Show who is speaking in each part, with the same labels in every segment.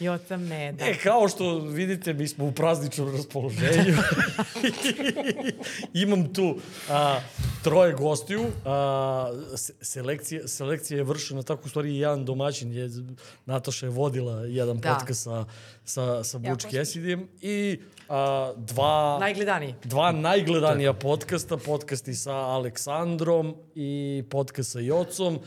Speaker 1: I otam ne da.
Speaker 2: E, kao što vidite, mi smo u prazničnom raspoloženju. Imam tu a, troje gostiju. A, se- selekcija, selekcija je vršena tako, u stvari, i jedan domaćin je, Nataša je vodila jedan
Speaker 1: Da.
Speaker 2: da. podcast sa, sa, sa Buč
Speaker 3: uspešno.
Speaker 2: Kesidijem i a, dva...
Speaker 1: Najgledaniji.
Speaker 2: Dva najgledanija podcasta, podcasti sa Aleksandrom i podcast sa Jocom.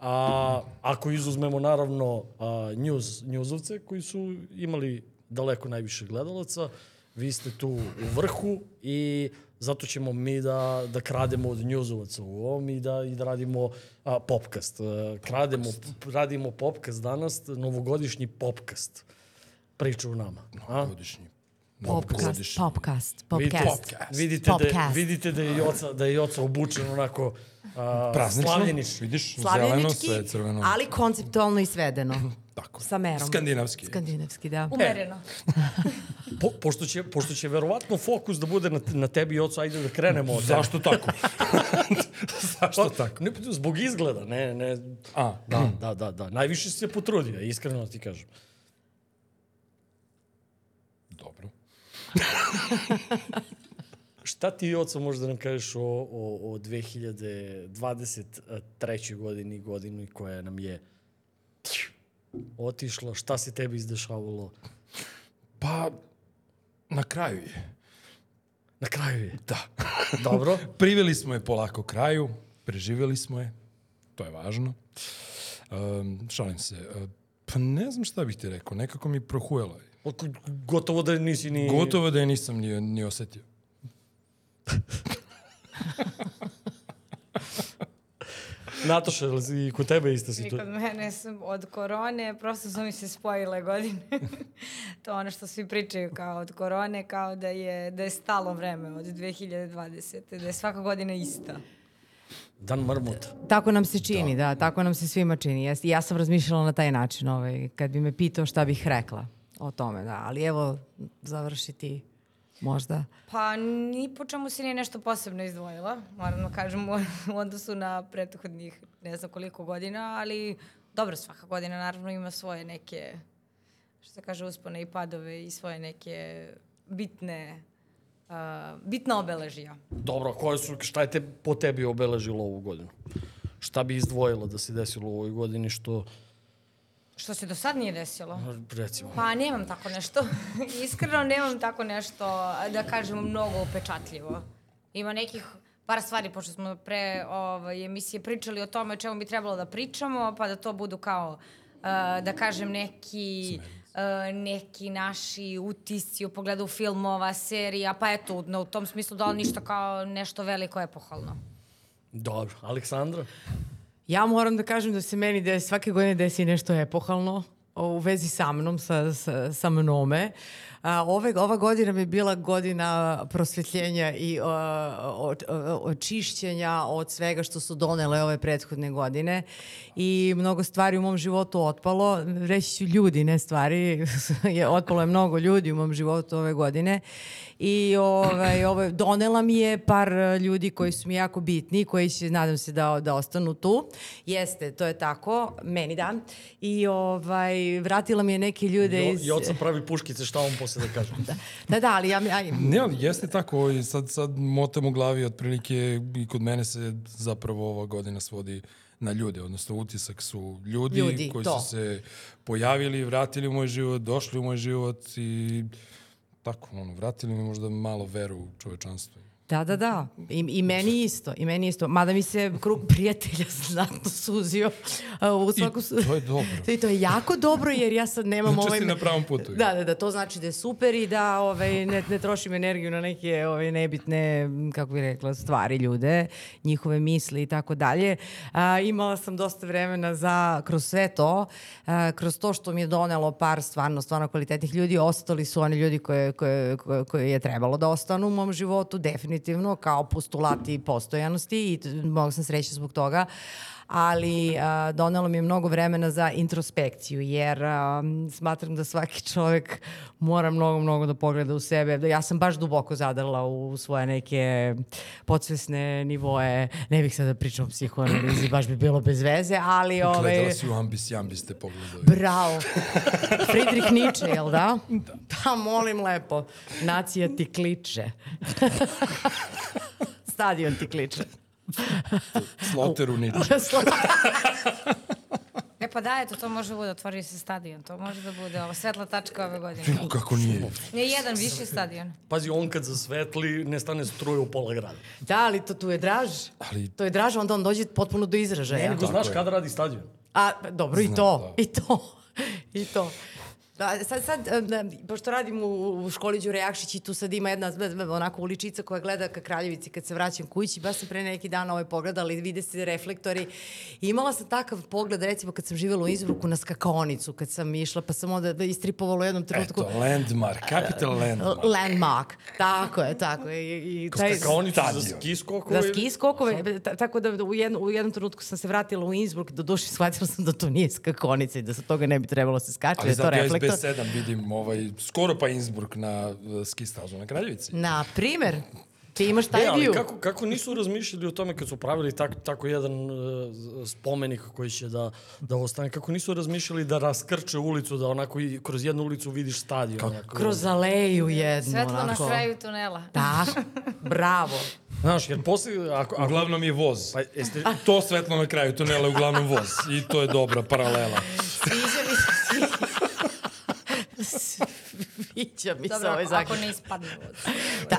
Speaker 2: A, ako izuzmemo naravno a, news, newsovce koji su imali daleko najviše gledalaca, vi ste tu u vrhu i zato ćemo mi da, da krademo od njuzovaca u ovom i da, i da radimo a, popcast. E, Krademo, radimo popcast danas, novogodišnji popcast. Priča u nama. A?
Speaker 4: Godišnji.
Speaker 3: Popcast,
Speaker 4: Novogodišnji.
Speaker 3: popcast,
Speaker 2: Vidite,
Speaker 3: popcast.
Speaker 4: Popcast.
Speaker 2: vidite, da je,
Speaker 3: Popcast.
Speaker 2: vidite da je Joca, da je Joca obučen onako a,
Speaker 4: Praznično.
Speaker 2: slavljenič.
Speaker 4: Vidiš, zeleno,
Speaker 3: Slavljenički,
Speaker 4: sve crveno.
Speaker 3: ali konceptualno i svedeno.
Speaker 4: Tako.
Speaker 3: Sa merom.
Speaker 4: Skandinavski.
Speaker 3: Skandinavski, da.
Speaker 2: Umereno.
Speaker 3: Umereno.
Speaker 2: Po, pošto, će, pošto će verovatno fokus da bude na, na tebi, Joco, ajde da krenemo od tebe.
Speaker 4: Zašto tako? Zašto
Speaker 2: Pa,
Speaker 4: tako?
Speaker 2: Ne, zbog izgleda, ne, ne.
Speaker 4: A,
Speaker 2: Da, da, da, da. Najviše si se potrudio, iskreno ti kažem.
Speaker 4: Dobro.
Speaker 2: Šta ti, Joco, možeš da nam kažeš o, o, o 2023. godini, godini koja nam je otišla, šta se tebi izdešavalo?
Speaker 4: Pa, na kraju je.
Speaker 2: Na kraju je.
Speaker 4: Da.
Speaker 2: Dobro.
Speaker 4: Priveli smo je polako kraju, preživeli smo je, to je važno. Um, šalim se. E, Pa ne znam šta bih ti rekao, nekako mi prohujelo je.
Speaker 2: Oko- Gotovo da nisi ni...
Speaker 4: Gotovo da je nisam ni, ni osetio.
Speaker 2: Nataša, je li si- i kod tebe ista
Speaker 3: I
Speaker 2: situacija?
Speaker 3: kod mene sam od korone, prosto su mi se spojile godine. to je ono što svi pričaju kao od korone, kao da je, da je stalo vreme od 2020. Da je svaka godina ista.
Speaker 2: Dan marmota.
Speaker 5: Tako nam se čini, da. tako nam se svima čini. Ja, ja sam razmišljala na taj način, ovaj, kad bi me pitao šta bih rekla o tome, da. Ali evo, završiti možda.
Speaker 3: Pa ni po čemu se nije nešto posebno izdvojila, moram da kažem, u u odnosu na prethodnih ne znam koliko godina, ali dobro, svaka godina naravno ima svoje neke, što se kaže, uspone i padove i svoje neke bitne, uh, bitna obeležija.
Speaker 2: Dobro, koje su, šta je te, po tebi obeležilo ovu godinu? Šta bi izdvojilo da se desilo u ovoj godini što,
Speaker 3: Što se do sad nije desilo?
Speaker 2: recimo...
Speaker 3: Pa nemam tako nešto. Iskreno nemam tako nešto, da kažem, mnogo upečatljivo. Ima nekih par stvari, pošto smo pre ovaj, emisije pričali o tome o čemu bi trebalo da pričamo, pa da to budu kao, uh, da kažem, neki, uh, neki naši utisci u pogledu filmova, serija, pa eto, no, u tom smislu da li ništa kao nešto veliko epohalno.
Speaker 2: Dobro, Aleksandra?
Speaker 5: Ja moram da kažem da se meni desi, svake godine desi nešto epohalno o, u vezi sa mnom, sa, sa, sa mnome. A, ove, ova godina mi je bila godina prosvetljenja i a, od- a, očišćenja od svega što su donele ove prethodne godine i mnogo stvari u mom životu otpalo. Reći ću ljudi, ne stvari. je, otpalo je mnogo ljudi u mom životu ove godine i ovaj, ovaj, donela mi je par e, ljudi koji su mi jako bitni, koji će, nadam se, da, da ostanu tu. Jeste, to je tako, meni da. I ovaj, vratila mi je neke ljude
Speaker 2: Jo,
Speaker 5: iz...
Speaker 2: Joca pravi puškice, šta on posle da kaže?
Speaker 5: Da, da, ali ja... ja
Speaker 4: Ne, ali jeste tako, i sad, sad motam u glavi, otprilike i kod mene se zapravo ova godina svodi na ljude, odnosno utisak su ljudi,
Speaker 5: Ljudi,
Speaker 4: koji
Speaker 5: to.
Speaker 4: su se pojavili, vratili u moj život, došli u moj život i tako, ono, vratili mi možda malo veru u čovečanstvo.
Speaker 5: Da, da, da. I, I meni isto, i meni isto. Mada mi se krug prijatelja znatno suzio. a, U
Speaker 4: I
Speaker 5: svaku... su-
Speaker 4: to je dobro.
Speaker 5: I to je jako dobro jer ja sad nemam
Speaker 4: Znači
Speaker 5: ovaj...
Speaker 4: si na pravom putu.
Speaker 5: Da, da, da, to znači da je super i da ovaj, ne, ne trošim energiju na neke ovaj, nebitne, m, kako bih rekla, stvari ljude, njihove misli i tako dalje. A, Imala sam dosta vremena za, kroz sve to, a, kroz to što mi je donelo par stvarno, stvarno kvalitetnih ljudi, ostali su oni ljudi koje, koje, koje, koje je trebalo da ostanu u mom životu, definitivno definitivno kao postulati postojanosti i t- mnogo sam srećna zbog toga, ali a, donelo mi je mnogo vremena za introspekciju, jer a, m, smatram da svaki čovek mora mnogo, mnogo da pogleda u sebe. Da Ja sam baš duboko zadrla u svoje neke podsvesne nivoe. Ne bih sada pričala o psihoanalizi, baš bi bilo bez veze, ali... Ovaj,
Speaker 4: Gledala si u Ambis i Ambis te pogledali.
Speaker 5: Da. Bravo. Friedrich Nietzsche, jel da? Da. Pa molim lepo, nacija ti kliče. Stadion ti kliče.
Speaker 4: Sloteru niče.
Speaker 3: E pa da, eto, to može da bude, otvorio se stadion, to može da bude ova svetla tačka ove godine.
Speaker 4: Kako nije?
Speaker 3: Ne jedan, više stadion.
Speaker 2: Pazi, on kad zasvetli, ne stane struja u pola grada.
Speaker 5: da, ali to tu je draž.
Speaker 4: Ali-
Speaker 5: To je draž, onda on dođe potpuno do izražaja.
Speaker 2: Nego znaš kada radi stadion.
Speaker 5: A, pa, dobro, i
Speaker 4: Znam,
Speaker 5: to, i to, i to. Da, sad, sad, em, em, pošto radim u, u školi Đure Jakšić i tu sad ima jedna zb- zb- onako uličica koja gleda ka Kraljevici kad se vraćam kući, baš sam pre neki dan ovaj pogledala i vide se reflektori. I imala sam takav pogled, recimo kad sam živjela u Izbruku na skakaonicu, kad sam išla, pa sam onda istripovala u jednom trenutku.
Speaker 4: Eto, landmark, capital landmark.
Speaker 5: L- Landmark. Tako je, tako je. I, i taj,
Speaker 2: Kao oni za
Speaker 4: stadion.
Speaker 2: ski skokove.
Speaker 5: za Da ski skokove, ta- tako da u, jedno, u jednom trenutku sam se vratila u Innsbruck, do duše shvatila sam da to nije skakonica i da sa toga ne bi trebalo se skače, da
Speaker 4: Ali
Speaker 5: je to
Speaker 4: zato ja
Speaker 5: reflektor.
Speaker 4: SB7 vidim ovaj, skoro pa Innsbruck na uh, ski stazu na Kraljevici.
Speaker 5: Na primer, ti imaš taj
Speaker 2: E, ali
Speaker 5: view.
Speaker 2: kako, kako nisu razmišljali o tome kad su pravili tak, tako jedan e, spomenik koji će da, da ostane, kako nisu razmišljali da raskrče ulicu, da onako i kroz jednu ulicu vidiš stadion. Onako.
Speaker 5: Kroz aleju jednu.
Speaker 3: Svetlo na
Speaker 5: onako.
Speaker 3: kraju tunela.
Speaker 5: Da, bravo.
Speaker 2: Znaš, jer posle... Ako, ako,
Speaker 4: Uglavnom je voz.
Speaker 2: pa, jeste,
Speaker 4: To svetlo na kraju tunela je uglavnom voz. I to je dobra paralela.
Speaker 5: Sviđa mi se. Sviđa mi se
Speaker 3: Dobro,
Speaker 5: ovaj
Speaker 3: ako, ako
Speaker 5: zakon.
Speaker 3: ne ispadne voda.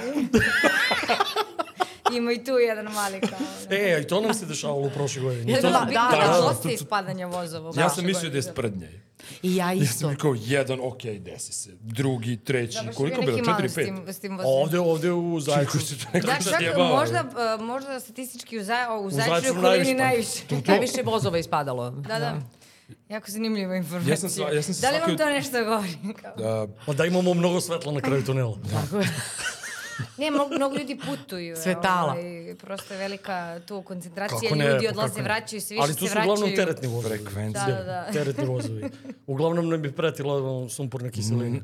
Speaker 3: Ima i tu jedan mali kao... ono.
Speaker 2: e, i to nam se dešavalo u prošle godine.
Speaker 5: Ja
Speaker 3: To je bilo
Speaker 5: Da,
Speaker 3: bitno
Speaker 5: da,
Speaker 3: da
Speaker 5: da.
Speaker 3: ostaje ispadanje vozova.
Speaker 4: Ja sam mislio da je sprdnje.
Speaker 5: I ja
Speaker 4: Ja sam
Speaker 5: isto.
Speaker 4: rekao jedan, ok, desi se. Drugi, treći, koliko bilo? Četiri,
Speaker 3: s
Speaker 4: pet.
Speaker 3: tim, s tim vozilima.
Speaker 2: Ovde, ovde u Zaječu.
Speaker 4: Kako se to neko
Speaker 3: Da, čak
Speaker 4: zajebao?
Speaker 3: možda, e, možda statistički u, zaj, o, u
Speaker 2: Zaječaru
Speaker 3: zajčnoj okolini
Speaker 4: pa.
Speaker 2: najviše.
Speaker 3: najviše.
Speaker 5: Najviše vozova ispadalo.
Speaker 3: Da, da. Jako zanimljiva informacija.
Speaker 4: Ja sam sva- ja sam se
Speaker 3: da li vam
Speaker 4: svaki-
Speaker 3: to nešto govori? Kao-
Speaker 4: Da,
Speaker 2: Pa da imamo mnogo svetla na kraju tunela.
Speaker 3: Da. Ne, mnogo, mnogo ljudi putuju.
Speaker 5: Svetala.
Speaker 3: Ovaj, prosto je velika tu koncentracija
Speaker 2: Kako ne,
Speaker 3: ljudi,
Speaker 2: pa kako
Speaker 3: odlaze,
Speaker 2: ne.
Speaker 3: vraćaju se, više
Speaker 2: Ali tu
Speaker 3: se
Speaker 2: su
Speaker 3: vraćaju.
Speaker 2: uglavnom teretni vozovi.
Speaker 4: frekvencija.
Speaker 3: Da, da, da.
Speaker 2: Teretni vozovi. Uglavnom nam bi pretila sumporna
Speaker 5: Mhm.
Speaker 2: kiselina.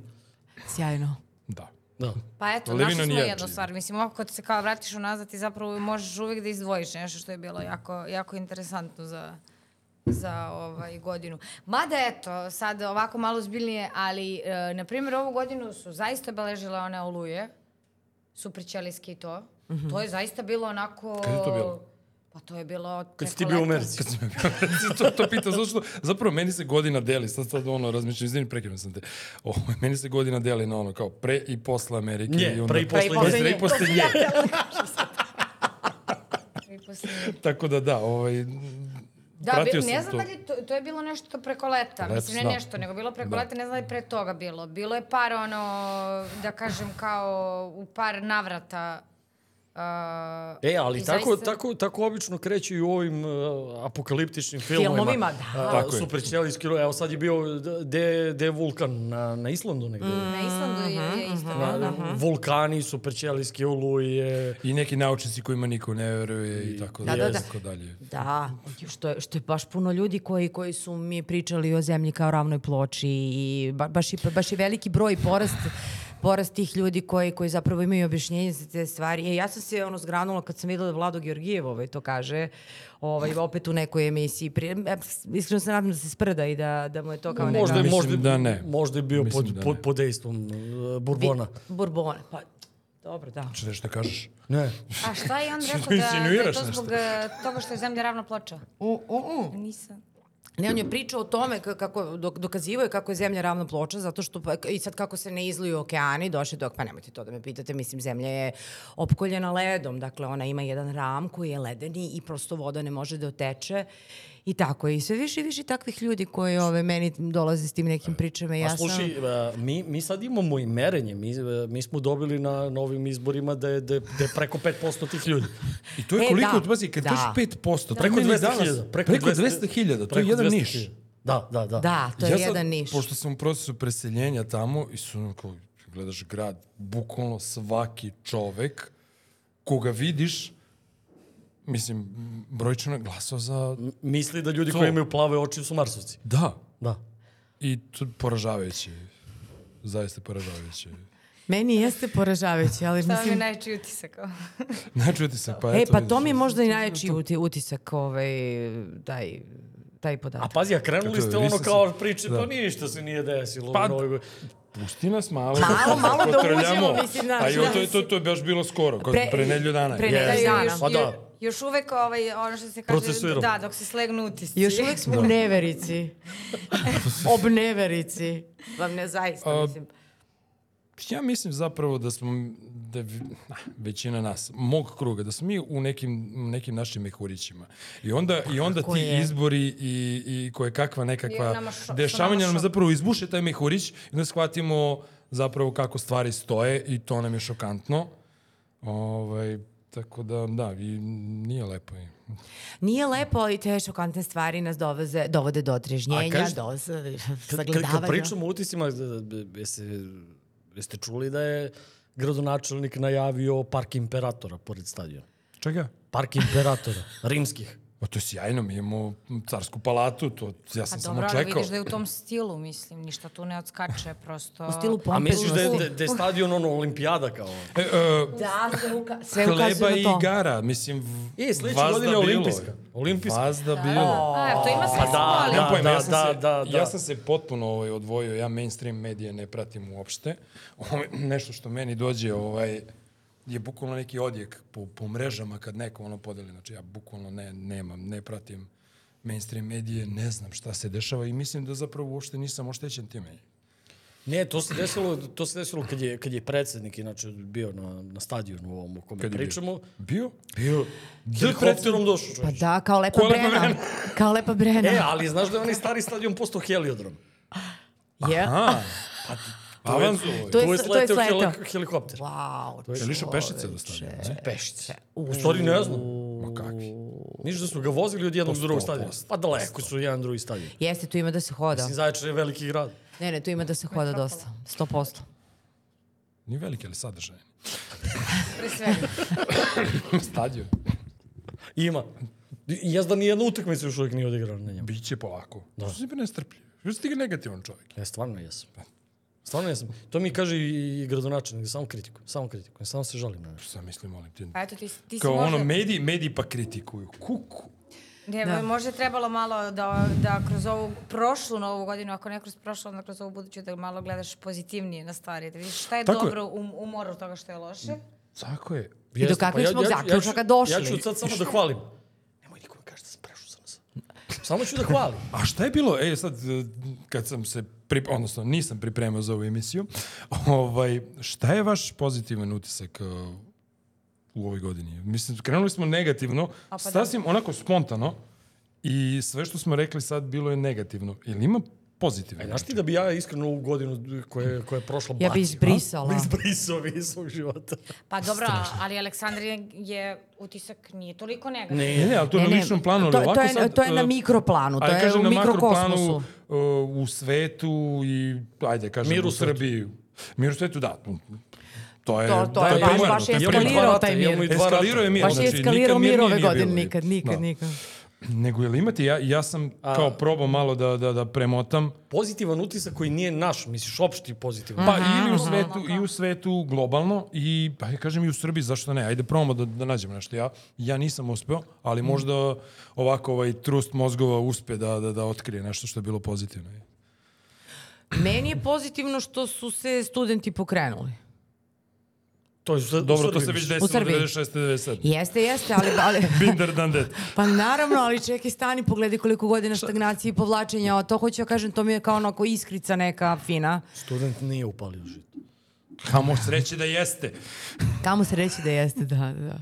Speaker 5: Sjajno.
Speaker 4: Da.
Speaker 2: Da.
Speaker 3: Pa eto,
Speaker 4: Levino
Speaker 3: našli smo
Speaker 4: nije
Speaker 3: jednu
Speaker 4: jači.
Speaker 3: stvar. Mislim, ovako kad se kao vratiš unazad ti zapravo možeš uvijek da izdvojiš nešto što je bilo
Speaker 2: Mm.
Speaker 3: jako, jako interesantno za, za ovaj godinu. Mada eto, sad ovako malo zbiljnije, ali e, na primjer ovu godinu su zaista obeležile one oluje, supričelijski i to.
Speaker 2: Mhm.
Speaker 3: To je zaista bilo onako...
Speaker 4: Kad je to bilo?
Speaker 3: Pa to je bilo...
Speaker 2: Kad
Speaker 3: preko
Speaker 2: si ti bio u
Speaker 3: leta.
Speaker 2: Americi.
Speaker 4: Kad sam to, to pitao, zato što zapravo meni se godina deli, sad sad ono razmišljam, izvini, prekinuo sam te. O, meni se godina deli na ono kao pre i posle Amerike.
Speaker 2: Nje,
Speaker 4: onda-
Speaker 2: pre i
Speaker 5: Pre i posle
Speaker 2: posle.
Speaker 4: Pre i posle nje.
Speaker 3: I posle-
Speaker 4: Tako da da, ovaj,
Speaker 3: Da,
Speaker 4: Pratio
Speaker 3: bi, ne
Speaker 4: sam
Speaker 3: znam
Speaker 4: to.
Speaker 3: da li je to, to je bilo nešto preko leta.
Speaker 4: Leto,
Speaker 3: Mislim, ne
Speaker 4: da.
Speaker 3: nešto, nego bilo preko
Speaker 4: Da.
Speaker 3: leta, ne znam da li je pre toga bilo. Bilo je par, ono, da kažem, kao u par navrata. Uh,
Speaker 2: E, ali
Speaker 3: i
Speaker 2: tako,
Speaker 3: zaista-
Speaker 2: tako, tako obično kreće i u ovim uh, apokaliptičnim filmovima.
Speaker 5: Filmovima, da.
Speaker 4: Tako je.
Speaker 2: Superćelijski, evo sad je bio, de, de vulkan na, na Islandu negde.
Speaker 5: Mm,
Speaker 3: Na Islandu je,
Speaker 5: Mhm,
Speaker 3: je isto.
Speaker 2: Na, Vulkani, superćelijski oluje.
Speaker 4: I neki naučnici kojima niko ne veruje i, tako
Speaker 5: Da,
Speaker 4: dalje.
Speaker 5: da,
Speaker 4: i
Speaker 5: da.
Speaker 4: Tako dalje.
Speaker 5: Da, što je, što je baš puno ljudi koji, koji su mi pričali o zemlji kao ravnoj ploči i ba, baš, i, baš i veliki broj porast, porast tih ljudi koji, koji zapravo imaju objašnjenje za te stvari. E, ja sam se ono zgranula kad sam videla da Vlado Georgijev ovaj, to kaže, ovaj, opet u nekoj emisiji. Pri, e, iskreno se nadam da se sprda i da, da mu je to kao neka...
Speaker 2: Možda, je-
Speaker 4: Mislim
Speaker 2: možda,
Speaker 4: da ne.
Speaker 2: možda je bio
Speaker 4: Mislim
Speaker 2: pod,
Speaker 4: da
Speaker 2: pod,
Speaker 4: ne.
Speaker 2: pod dejstvom uh, Bourbona.
Speaker 5: Borbona, pa dobro, da.
Speaker 4: Čete šta Znači, kažeš?
Speaker 2: Ne.
Speaker 5: mhm.
Speaker 3: A šta je on rekao da, da je
Speaker 4: insinuiraš
Speaker 3: to
Speaker 4: nešto?
Speaker 3: zbog eh, toga što je zemlja ravna ploča?
Speaker 5: U, u, u.
Speaker 3: Nisam.
Speaker 5: Ne, on je pričao o tome ka- kako dok- dokazivao je kako je zemlja ravna ploča zato što pa, i sad kako se ne izliju okeani, došli dok pa nemojte to da me pitate, mislim zemlja je opkoljena ledom, dakle ona ima jedan ram koji je ledeni i prosto voda ne može da oteče. I tako je. I sve više i više takvih ljudi koji ove, meni dolaze s tim nekim pričama. i Ja
Speaker 2: A slušaj,
Speaker 5: sam...
Speaker 2: uh, mi, mi sad imamo i merenje. Mi, uh, mi smo dobili na novim izborima da je, da je, da je preko 5% tih ljudi.
Speaker 4: I to je
Speaker 5: E,
Speaker 4: koliko,
Speaker 5: da.
Speaker 4: pazi, kad
Speaker 5: Da.
Speaker 4: kažeš 5%, to je
Speaker 2: Preko
Speaker 4: meni
Speaker 2: 200.000.
Speaker 4: danas- Preko 200.000, to je jedan
Speaker 2: 200.000.
Speaker 4: niš.
Speaker 2: Da, da, da.
Speaker 5: Da, to je
Speaker 4: ja sad,
Speaker 5: jedan niš.
Speaker 4: Pošto sam u procesu preseljenja tamo i su onako, gledaš grad, bukvalno svaki čovek koga vidiš, mislim, brojčano je glasao za...
Speaker 2: Misli da ljudi
Speaker 4: To.
Speaker 2: koji imaju plave oči su marsovci.
Speaker 4: Da.
Speaker 2: Da.
Speaker 4: I to je poražavajuće. Zaista poražavajuće.
Speaker 5: Meni jeste poražavajući, ali
Speaker 3: To vam je
Speaker 5: mislim...
Speaker 3: najčiji utisak. ovo.
Speaker 4: Načujete se, pa
Speaker 5: E,
Speaker 4: eto...
Speaker 5: pa to mi je možda i najveći uti- utisak, ovaj, taj, taj
Speaker 2: A
Speaker 5: podatak.
Speaker 2: pazi, a krenuli
Speaker 4: Kako je,
Speaker 2: ste ono
Speaker 4: nisam
Speaker 2: kao
Speaker 4: se-
Speaker 2: priče,
Speaker 4: da.
Speaker 2: pa ništa se nije desilo.
Speaker 4: Pa-
Speaker 2: u Novoj godini.
Speaker 4: Pusti nas malo.
Speaker 5: Malo, malo da uđemo,
Speaker 4: Kotrljamo.
Speaker 5: mislim, znaš,
Speaker 4: A jo,
Speaker 5: da.
Speaker 4: Pa to, je- to, to je baš bilo skoro, kod, pre,
Speaker 5: Pre-
Speaker 4: nedelju dana.
Speaker 5: pre
Speaker 4: je.
Speaker 5: nedelju.
Speaker 3: Da,
Speaker 5: Yes.
Speaker 3: još,
Speaker 2: Pa da.
Speaker 3: ju- još uvek ovaj, ono što se kaže,
Speaker 2: Procesuiramo.
Speaker 3: da, dok se slegnu utisci.
Speaker 5: Još uvijek
Speaker 4: Da.
Speaker 5: smo u neverici. Obneverici. Vam ne zaista,
Speaker 4: A,
Speaker 5: mislim.
Speaker 4: Ja mislim zapravo da smo, da je vi- ah, većina nas, mog kruga, da smo mi u nekim, nekim našim mehurićima. I onda, i onda ti
Speaker 5: je.
Speaker 4: izbori i, i koje kakva nekakva
Speaker 3: I nama šo- što
Speaker 4: dešavanja
Speaker 3: nama
Speaker 4: nam
Speaker 3: šo-
Speaker 4: zapravo izbuše taj mehurić i onda shvatimo zapravo kako stvari stoje i to nam je šokantno. Ovaj, tako da, da, i nije lepo.
Speaker 5: Nije lepo, ali te šokantne stvari nas doveze, dovode do
Speaker 2: A
Speaker 5: odrežnjenja,
Speaker 2: kažeš-
Speaker 5: do z-
Speaker 2: Kad, kad, kad
Speaker 5: sagledavanja.
Speaker 2: pričamo o utisima, da- da- jeste, jeste čuli da je gradonačelnik najavio park imperatora pored stadiona?
Speaker 4: Čega?
Speaker 2: Park imperatora, rimskih.
Speaker 4: Pa to je sjajno, mi imamo carsku palatu, to ja
Speaker 3: Pa
Speaker 4: sam
Speaker 3: dobro,
Speaker 4: samo
Speaker 3: ali
Speaker 4: čekao.
Speaker 3: vidiš da je u tom stilu, mislim, ništa tu ne odskače, prosto...
Speaker 5: U stilu
Speaker 2: A misliš da je, da,
Speaker 5: pompeznosti.
Speaker 2: da je stadion ono olimpijada kao?
Speaker 4: E, e,
Speaker 5: Da, sve, uka- sve
Speaker 4: Hleba
Speaker 5: ukazuje
Speaker 4: i
Speaker 5: na to.
Speaker 4: igara, mislim, v-
Speaker 2: E, sledeće
Speaker 4: vazda
Speaker 2: godine je
Speaker 4: bilo je.
Speaker 2: olimpijska. Olimpijska.
Speaker 4: Vazda bilo.
Speaker 3: A, to ima
Speaker 2: Pa
Speaker 3: smisla,
Speaker 2: da,
Speaker 3: Da. ali...
Speaker 4: Nemam pojma,
Speaker 2: da,
Speaker 4: ja sam
Speaker 2: da,
Speaker 4: se,
Speaker 2: da, da.
Speaker 4: Ja sam se potpuno ovaj, odvojio, ja mainstream medije ne pratim uopšte. Ovo je nešto što meni dođe ovaj, je bukvalno neki odjek po, po mrežama kad neko ono podeli. Znači ja bukvalno ne, nemam, ne pratim mainstream medije, ne znam šta se dešava i mislim da zapravo uopšte nisam oštećen time.
Speaker 2: Ne, to se desilo, to se desilo kad je, kad je predsednik inače bio na, na stadionu ovom o kome
Speaker 4: Kad je bio?
Speaker 2: pričamo.
Speaker 4: Bio?
Speaker 2: Bio. Helikopterom došao
Speaker 5: Pa
Speaker 2: čovječ.
Speaker 5: da, kao lepa
Speaker 4: Ko je lepa
Speaker 5: brena.
Speaker 4: Brena?
Speaker 5: Kao lepa brena.
Speaker 2: E, ali znaš da je onaj stari stadion postao heliodrom?
Speaker 5: Je.
Speaker 4: A, pa avanzovo je.
Speaker 5: To je
Speaker 2: Tu je
Speaker 5: s- to je
Speaker 2: sleteo
Speaker 5: sleteo.
Speaker 2: heli- helikopter.
Speaker 5: Wow,
Speaker 4: Je li išao pešice do stadiona?
Speaker 2: Pešice. U stvari ne znam.
Speaker 4: Ma kakvi?
Speaker 2: Niš da su ga vozili od jednog do drugog stadiona.
Speaker 4: 100%.
Speaker 2: Pa daleko su jedan drugi stadion.
Speaker 5: Jeste, tu ima da se hoda.
Speaker 2: Mislim, Zaječar je veliki grad.
Speaker 5: Ne, ne, tu ima da se hoda dosta. 100%.
Speaker 4: Nije veliki, ali sadržajan.
Speaker 3: Pre svega.
Speaker 4: Stadion.
Speaker 2: Ima. I jaz da nijedna utakmica još uvijek nije odigrana na njemu.
Speaker 4: Biće polako. Da. Što si bi nestrpljiv? Što si ti negativan čovjek?
Speaker 2: Ja stvarno jesam. Stvarno jesam. To mi kaže i, i gradonačelnik, samo kritikujem, samo kritikujem, samo se žalim na nešto.
Speaker 4: Šta mislim, molim te?
Speaker 3: Pa eto, ti, si- ti si
Speaker 4: Kao
Speaker 3: možda...
Speaker 4: ono, mediji, mediji pa kritikuju. Kuku.
Speaker 3: Ne,
Speaker 5: Da.
Speaker 3: možda je trebalo malo da, da kroz ovu prošlu novu godinu, ako ne kroz prošlu, onda kroz ovu buduću, da malo gledaš pozitivnije na stvari, da vidiš šta je
Speaker 4: Tako je. Mm.
Speaker 3: dobro u, u moru od toga što je loše.
Speaker 4: Tako je.
Speaker 5: do kakvih smo zaključaka došli?
Speaker 2: pa Ja ću sad samo da hvalim. Nemoj nikome kaži da sam prešao sam sad. Samo ću da hvalim.
Speaker 4: A šta je bilo? E, sad, e, kad sam se, pri... odnosno nisam pripremao za ovu emisiju, ovaj, šta je vaš pozitivan utisak e, u ovoj godini? Mislim, krenuli smo negativno,
Speaker 3: pa
Speaker 5: da.
Speaker 4: sasvim onako spontano, i sve što smo rekli sad bilo je negativno. Ili ima pozitivno?
Speaker 2: E, znaš ti da bi ja iskreno ovu godinu koja je, koja je prošla
Speaker 5: Ja bi
Speaker 2: bacio, a?
Speaker 5: izbrisala.
Speaker 2: Bi izbrisao bi iz svog života.
Speaker 3: Pa dobro, ali Aleksandrin je utisak nije toliko negativan.
Speaker 4: Ne, ne, ali to je
Speaker 5: Ne,
Speaker 4: na
Speaker 5: ne,
Speaker 4: ličnom planu. ali
Speaker 5: to- to
Speaker 4: ovako
Speaker 5: je-
Speaker 4: sad,
Speaker 5: to je na
Speaker 4: e,
Speaker 5: mikroplanu, to
Speaker 4: ajde,
Speaker 5: je
Speaker 4: kažem,
Speaker 5: u
Speaker 4: na
Speaker 5: mikrokosmosu.
Speaker 4: makroplanu, e, u svetu i, ajde, kažem,
Speaker 2: Mir u
Speaker 4: u
Speaker 2: svetu.
Speaker 4: Srbiji. Mir u svetu, da. E, To je,
Speaker 5: To- to je baš-
Speaker 4: primarno,
Speaker 5: baš
Speaker 4: to je
Speaker 5: eskalirao
Speaker 4: primarno.
Speaker 5: taj mir.
Speaker 2: imamo i dva rata.
Speaker 4: Eskalirao je mir.
Speaker 5: Baš je
Speaker 4: znači,
Speaker 5: Pa eskalirao
Speaker 4: nikad mirnije
Speaker 5: mir ove
Speaker 4: nije bilo.
Speaker 5: godine, nikad, nikad,
Speaker 4: Da.
Speaker 5: nikad.
Speaker 4: Nego je li imate, ja, ja sam kao probao malo da, da, da premotam,
Speaker 2: Pozitivan utisak koji nije naš, misliš opšti pozitivan.
Speaker 4: pa ili u svetu, i u svetu globalno, i pa ja kažem i u Srbiji, zašto ne, ajde probamo da, da nađemo nešto. Ja, ja nisam uspeo, ali možda ovako ovaj trust mozgova uspe da, da, da otkrije nešto što je bilo pozitivno.
Speaker 5: Meni je pozitivno što su se studenti pokrenuli.
Speaker 2: To je u sve- u
Speaker 4: Dobro, to
Speaker 2: Srbiji
Speaker 4: se već
Speaker 2: misliš.
Speaker 4: desilo
Speaker 5: U Srbiji.
Speaker 4: 96. 97.
Speaker 5: Jeste, jeste, ali, ali
Speaker 4: Binder dan det.
Speaker 5: pa naravno, ali čekaj, stani, pogledaj koliko godina stagnacije i povlačenja, a to hoću ja kažem, to mi je kao onako iskrica neka fina.
Speaker 2: Student nije upalio žito.
Speaker 4: Kamo sreće da jeste.
Speaker 5: Kamo se reći da jeste, da, da.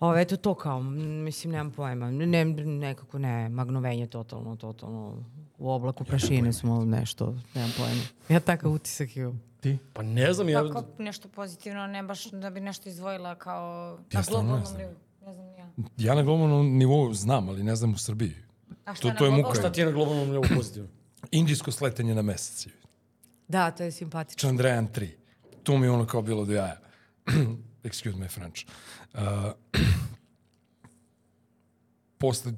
Speaker 5: O, eto to kao, m, mislim, nemam pojma. Ne, nekako ne, magnovenje totalno, totalno. U oblaku prašine smo ali nešto, nemam pojma. Ja takav utisak imam.
Speaker 4: Ti?
Speaker 2: Pa ne znam, ja...
Speaker 3: Pa kao nešto pozitivno, ne baš da bi nešto izdvojila kao
Speaker 4: Ja
Speaker 3: na
Speaker 4: stvarno ne
Speaker 3: globalnom
Speaker 4: znam.
Speaker 3: nivou. Ne znam ni ja.
Speaker 4: Ja na globalnom nivou znam, ali ne znam u Srbiji.
Speaker 3: A šta
Speaker 4: To,
Speaker 3: na
Speaker 4: to je
Speaker 3: globalnom?
Speaker 4: muka.
Speaker 2: Šta ti je na globalnom nivou pozitivno?
Speaker 4: Indijsko sletanje na mesec.
Speaker 5: Da, to je simpatično.
Speaker 4: Čandrajan 3. To mi je ono kao bilo do jaja. excuse my French, uh, posle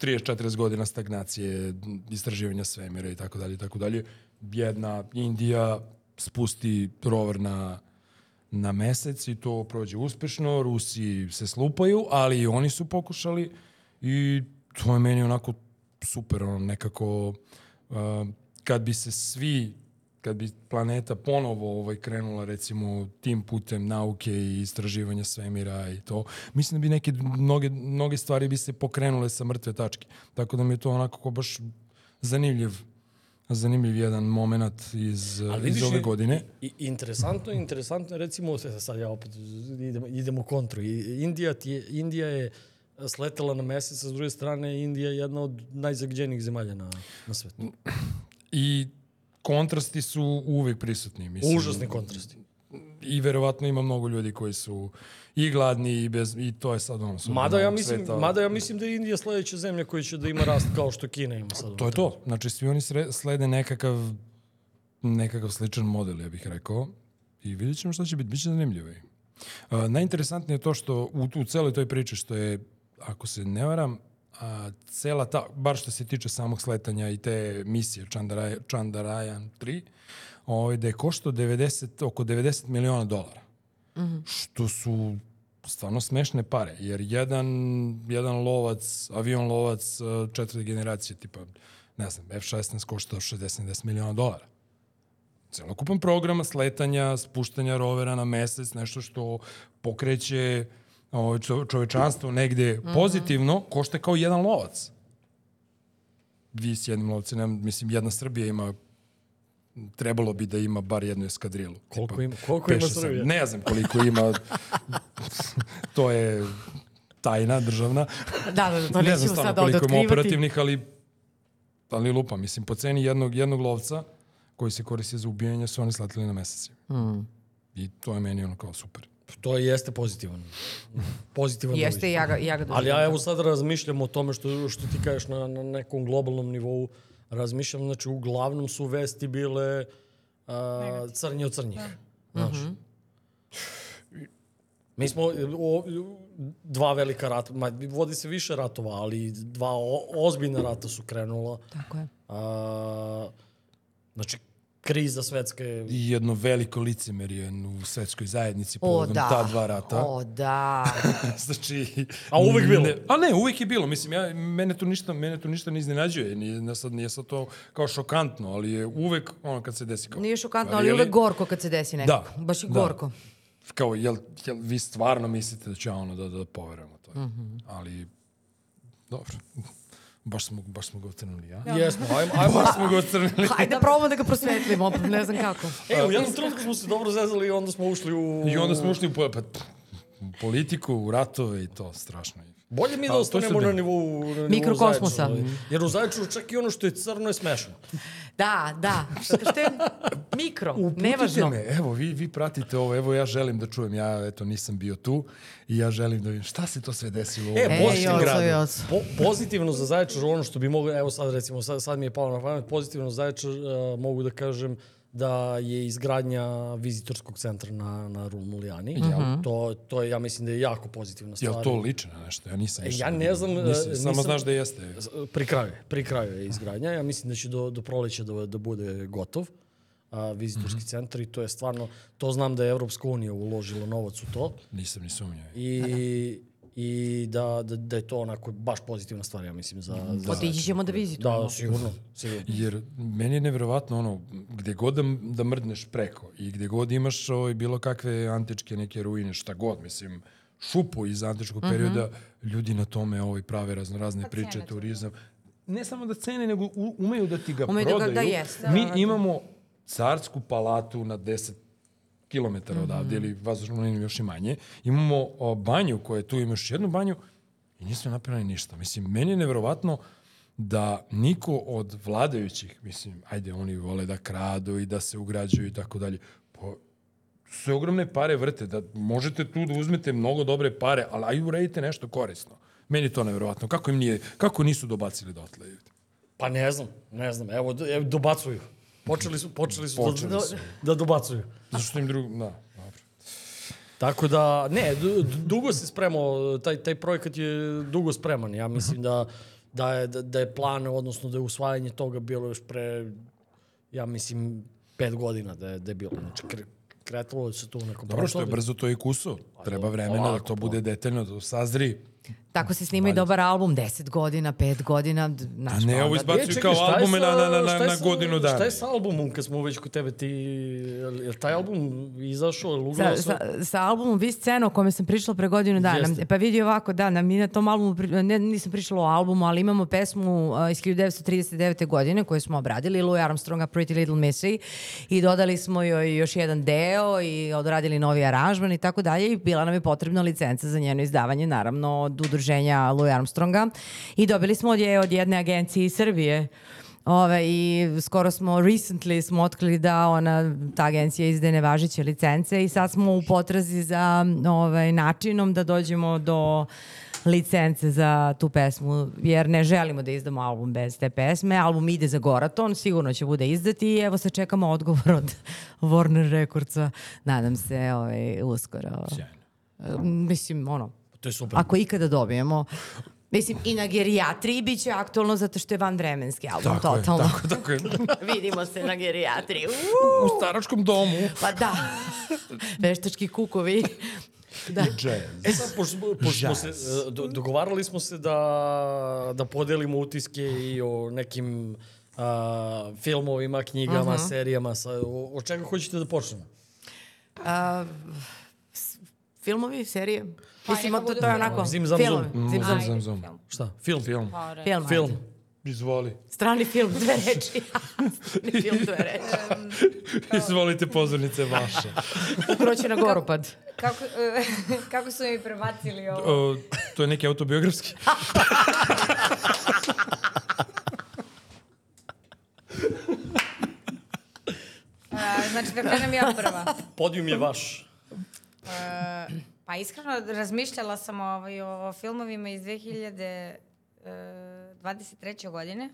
Speaker 4: 30-40 godina stagnacije, istraživanja svemira i tako dalje i tako dalje, jedna Indija spusti rover na na mesec i to prođe uspešno, Rusi se slupaju, ali i oni su pokušali i to je meni onako super, ono nekako uh, kad bi se svi kad bi planeta ponovo ovaj krenula recimo tim putem nauke i istraživanja svemira i to mislim da bi neke mnoge mnoge stvari bi se pokrenule sa mrtve tačke tako da mi je to onako ko baš zanimljiv zanimljiv jedan momenat iz
Speaker 2: Ali
Speaker 4: iz
Speaker 2: vidiš,
Speaker 4: ove
Speaker 2: i-
Speaker 4: godine
Speaker 2: I, interesantno, interesantno, je, recimo, sad ja opet idem, idem u kontru. I- Indija, ti je, Indija je sletela na mesec, a s druge strane Indija je jedna od najzagađenijih zemalja na, na svetu.
Speaker 4: i kontrasti su uvek prisutni mislim
Speaker 2: Užasni kontrasti.
Speaker 4: i verovatno ima mnogo ljudi koji su i gladni i bez i to je sad ono sudbina
Speaker 2: Mada ja,
Speaker 4: ovog
Speaker 2: mislim,
Speaker 4: sveta.
Speaker 2: mada ja mislim da je Indija sledeća zemlja koja će da ima rast kao što Kina ima sad.
Speaker 4: To je to. Znači, svi oni sre- slede nekakav, nekakav sličan model, ja bih rekao. I vidjet ćemo šta će biti. Biće zanimljivo. i. A, najinteresantnije je to što u, u celoj toj priči što je, ako se ne varam, a, cela ta, bar što se tiče samog sletanja i te misije Chandraya- Chandrayaan 3, ovaj, da je koštao 90, oko 90 miliona dolara. Što su stvarno smešne pare, jer jedan, jedan lovac, avion lovac e, četvrte generacije, tipa, ne znam, F-16 košta 60-70 miliona dolara. Celokupan program sletanja, spuštanja rovera na mesec, nešto što pokreće ovaj, čo- čovečanstvo negde pozitivno, košta kao jedan lovac. Vi s jednim lovcem, nemam- mislim, jedna Srbija ima trebalo bi da ima bar jednu eskadrilu.
Speaker 2: Koliko ima- koliko ima
Speaker 4: peš sam-
Speaker 2: Srbija?
Speaker 4: Ne znam koliko ima. to je tajna državna.
Speaker 5: Da, da, da, to
Speaker 4: ne
Speaker 5: nećemo
Speaker 4: znam
Speaker 5: sad
Speaker 4: stvarno
Speaker 5: ovde
Speaker 4: koliko ima
Speaker 5: otkrivati.
Speaker 4: operativnih, ali, ali lupa. Mislim, po ceni jednog, jednog lovca koji se koristi za ubijanje su oni sletili na meseci. Mm.
Speaker 5: Hmm.
Speaker 4: I to je meni ono kao super.
Speaker 2: To jeste pozitivan. Pozitivan
Speaker 5: Jeste, ja ga, ja ga
Speaker 2: Ali
Speaker 5: doživljam.
Speaker 2: ja evo sad razmišljam o tome što, što ti kažeš na, na nekom globalnom nivou. Razmišljam, znači uglavnom su vesti bile a, crnje od crnjih. Znaš. Mi smo o, dva velika rata, ma, vodi se više ratova, ali dva o, ozbiljna rata su krenula.
Speaker 5: Tako je.
Speaker 2: A, znači, kriza svetska je
Speaker 4: I jedno veliko licemerje u svetskoj zajednici
Speaker 5: O,
Speaker 4: povodom
Speaker 5: da.
Speaker 4: ta dva rata.
Speaker 5: O, da.
Speaker 4: znači...
Speaker 2: A uvek bilo?
Speaker 4: Ne, a ne, uvek je bilo. Mislim, ja, mene tu ništa, mene tu ništa ne iznenađuje. Nije, ne sad, nije sad to kao šokantno, ali je uvek ono kad se desi kao...
Speaker 5: Nije šokantno,
Speaker 4: je
Speaker 5: ali
Speaker 4: li-
Speaker 5: uvek gorko kad se desi nekako.
Speaker 4: Da,
Speaker 5: Baš je
Speaker 4: da.
Speaker 5: gorko.
Speaker 4: Kao, jel, jel vi stvarno mislite da će ja ono da, da poverujemo to? Mm
Speaker 5: Mhm.
Speaker 4: -hmm. Ali, dobro. Baš smo, baš smo ga utrnuli, ja?
Speaker 5: Da.
Speaker 2: Jesmo, ajmo, ajmo.
Speaker 4: Baš smo ga utrnuli.
Speaker 5: Hajde, probamo da ga prosvetlimo, opet ne znam kako.
Speaker 2: E, u jednom trenutku smo se dobro zezali i onda smo ušli u...
Speaker 4: I onda smo ušli u, po- pa, u politiku, u ratove i to, strašno je.
Speaker 2: Bolje mi
Speaker 4: A,
Speaker 2: da
Speaker 4: to
Speaker 2: ostanemo na
Speaker 4: su de-
Speaker 2: nivou, na nivou
Speaker 5: Mikrokosmosa.
Speaker 2: Zaječara, ali- Jer u Zaječaru čak i ono što je crno je smešno.
Speaker 5: Da, da. Zato što je mikro, nevažno.
Speaker 4: me, evo, vi, vi pratite ovo, evo ja želim da čujem, ja eto nisam bio tu i ja želim da vidim šta se to sve desilo u
Speaker 2: E,
Speaker 4: ovom
Speaker 2: bo-
Speaker 5: E,
Speaker 2: Boški
Speaker 5: joco,
Speaker 4: gradu.
Speaker 5: joco.
Speaker 2: Po, pozitivno za Zaječar ono što bi mogao, evo sad recimo, sad, sad mi je palo na pamet, pozitivno za Zaječar e, mogu da kažem da je izgradnja vizitorskog centra na, na Rumulijani. To, to je, ja mislim da je jako pozitivna stvar.
Speaker 4: Jel to liči na nešto? Ja nisam. išao
Speaker 2: ja
Speaker 4: da
Speaker 2: ne
Speaker 4: vidim.
Speaker 2: znam, e,
Speaker 4: Nisi, samo
Speaker 2: nisam-
Speaker 4: znaš da jeste.
Speaker 2: pri kraju, je, pri kraju je izgradnja. Ja mislim da će do, do proleća da, da bude gotov a, vizitorski mm -hmm. centar i to je stvarno, to znam da je Evropska unija uložila novac u to
Speaker 4: Nisam ni sumnjao.
Speaker 2: i, i da, da, da je to onako baš pozitivna stvar, ja mislim, za... za
Speaker 5: Otići ćemo da vizitujemo.
Speaker 2: da, sigurno, sigurno.
Speaker 4: Jer meni je nevjerovatno ono, gde god da, da mrdneš preko i gde god imaš ovaj, bilo kakve antičke neke ruine, šta god, mislim, šupu iz antičkog perioda, ljudi na tome ovaj, prave raznorazne priče,
Speaker 3: cene to, da.
Speaker 4: turizam. Ne samo da cene, nego u, umeju da ti ga
Speaker 5: Umeju da ga-
Speaker 4: prodaju.
Speaker 5: da jeste.
Speaker 4: Mi imamo carsku palatu na 10 kilometara odavde,
Speaker 5: Mhm.
Speaker 4: ili vazdušnu liniju još i manje. Imamo o, banju koja je tu, ima još jednu banju i nismo napravili ništa. Mislim, meni je nevjerovatno da niko od vladajućih, mislim, ajde, oni vole da kradu i da se ugrađuju i tako dalje, po, se ogromne pare vrte, da možete tu da uzmete mnogo dobre pare, ali aj uredite nešto korisno. Meni je to nevjerovatno. Kako im nije, kako nisu dobacili dotle?
Speaker 2: Pa ne znam, ne znam, evo, do- evo dobacuju. Počeli su, počeli su,
Speaker 4: Počeli
Speaker 2: da,
Speaker 4: su.
Speaker 2: da dobacuju.
Speaker 4: Zašto im drugo... Da, dobro.
Speaker 2: Tako da, ne, du- dugo se spremao, taj, taj projekat je dugo spreman. Ja
Speaker 4: Mhm.
Speaker 2: mislim da, da, je, da je plan, odnosno da je usvajanje toga bilo još pre, ja mislim, pet godina da je, da je bilo. Znači, kre, kretalo se tu u nekom
Speaker 4: Dobro što je
Speaker 2: prostoru.
Speaker 4: brzo to je i kuso. Treba vremena da to bude detaljno, da sazri.
Speaker 5: Tako se snima i dobar album, 10 godina, 5 godina, d-
Speaker 4: A
Speaker 5: znaš,
Speaker 4: ne, ovo
Speaker 5: onda-
Speaker 2: E,
Speaker 4: izbacuju
Speaker 2: čekaj,
Speaker 4: kao
Speaker 2: šta je
Speaker 4: albume na,
Speaker 2: sa-
Speaker 4: na, na, na,
Speaker 2: šta je
Speaker 4: na
Speaker 2: sa-
Speaker 4: godinu dana.
Speaker 2: Šta je sa albumom kad smo već kod tebe ti... Je li taj album izašao? Je li ugrao
Speaker 5: Sa,
Speaker 2: se?
Speaker 5: sa, sa albumom Vi scena o kome sam pričala pre godinu dana.
Speaker 2: Jeste.
Speaker 5: Pa vidi ovako, da, na, mi na tom albumu, pri- ne, nisam pričala o albumu, ali imamo pesmu a, iz 1939. godine koju smo obradili, Louis Armstronga Pretty Little Missy i dodali smo joj još jedan deo i odradili novi aranžman i tako dalje i bila nam je potrebna licenca za njeno izdavanje, naravno, od udruženja Louis Armstronga i dobili smo od, je, od jedne agencije iz Srbije. Ove, I skoro smo, recently smo otkrili da ona, ta agencija izdaje nevažeće licence i sad smo u potrazi za ovaj, načinom da dođemo do licence za tu pesmu, jer ne želimo da izdamo album bez te pesme. Album ide za Goraton, sigurno će bude izdati i evo se čekamo odgovor od Warner Recordsa. Nadam se ovaj, uskoro. E, Mislim, ono,
Speaker 2: To je
Speaker 4: Da.
Speaker 2: super.
Speaker 5: ako ikada dobijemo. Mislim, i na gerijatriji bit će aktualno zato što je vanvremenski album,
Speaker 4: Tako je,
Speaker 5: totalno.
Speaker 4: tako, tako je.
Speaker 5: Vidimo se na gerijatriji. Uuu,
Speaker 4: U staračkom domu.
Speaker 5: pa da. Veštački kukovi. Da.
Speaker 4: Jazz.
Speaker 2: E sad, pošto, smo- pošto smo se,
Speaker 4: Žas.
Speaker 2: e, do, dogovarali smo se da, da podelimo utiske i o nekim a, filmovima, knjigama, serijama. Sa, o, od čega hoćete da počnemo?
Speaker 5: Filmovi, serije.
Speaker 3: Pa,
Speaker 5: Mislim,
Speaker 3: neka
Speaker 5: to,
Speaker 3: budu
Speaker 5: to je
Speaker 3: filmovi.
Speaker 5: onako.
Speaker 2: Zim zam
Speaker 5: Filmovi.
Speaker 2: zum.
Speaker 5: Zim zam.
Speaker 4: Zam, zam, zam.
Speaker 3: film.
Speaker 2: Šta? Film?
Speaker 4: Mm. Film.
Speaker 3: Pa, re-
Speaker 5: Film.
Speaker 2: Film.
Speaker 4: Izvoli.
Speaker 5: Strani film, dve reči. Strani film, dve reči.
Speaker 4: Izvolite pozornice vaše.
Speaker 5: Proći na Goropad.
Speaker 3: Kako, kako su mi prebacili ovo?
Speaker 4: O, to je neki autobiografski.
Speaker 3: E, znači, da krenem ja prva.
Speaker 2: Podijum je vaš.
Speaker 3: E, pa iskreno razmišljala sam ovaj, o filmovima iz 2023. godine,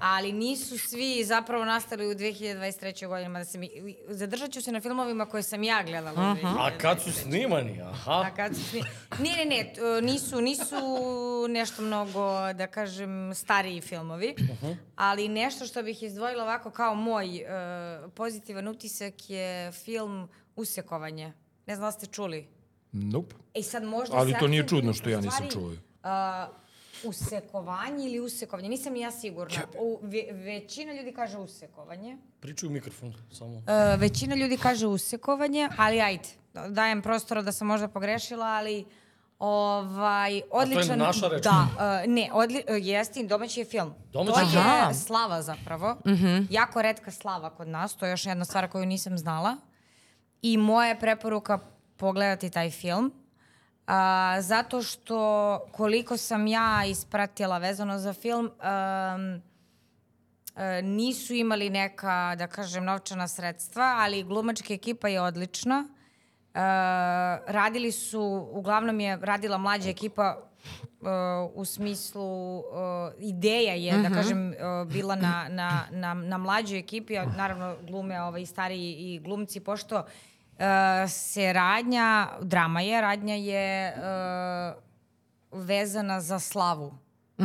Speaker 3: ali nisu svi zapravo nastali u 2023. godini. mada se mi, zadržat ću se na filmovima koje sam ja gledala. u 2023..
Speaker 2: A kad su snimani? Aha.
Speaker 3: A kad su sni- Ne, ne, ne, t- nisu, nisu nešto mnogo, da kažem, stariji filmovi, ali nešto što bih izdvojila ovako kao moj e, pozitivan utisak je film Usekovanje. Ne znam da li ste čuli.
Speaker 4: Nope.
Speaker 3: E sad možda
Speaker 4: Ali
Speaker 3: se
Speaker 4: to nije
Speaker 3: akcentujem
Speaker 4: čudno
Speaker 3: na
Speaker 4: što ja nisam
Speaker 3: stvari,
Speaker 4: čuo.
Speaker 3: a, usekovanje ili usekovanje, nisam ni ja sigurna. U, ve- većina ljudi kaže usekovanje.
Speaker 2: Pričuj u mikrofon samo.
Speaker 3: E, većina ljudi kaže usekovanje, ali ajde, dajem prostora da sam možda pogrešila, ali ovaj, odličan...
Speaker 2: naša reč.
Speaker 3: Da, e, ne, odli, e, jeste, i domaći je film.
Speaker 2: Domaći
Speaker 3: to je
Speaker 5: Aha.
Speaker 3: slava zapravo, jako redka slava kod nas, to je još jedna stvar koju nisam znala. I moja je preporuka pogledati taj film. A, zato što koliko sam ja ispratila vezano za film, em, e, nisu imali neka, da kažem, novčana sredstva, ali glumačka ekipa je odlična. E, radili su, uglavnom je radila mlađa ekipa e, u smislu, e, ideja je, da kažem, e, bila na, na, na, na mlađoj ekipi, a naravno glume ovaj, i stariji i glumci, pošto e, se radnja, drama je, radnja je e, vezana za slavu,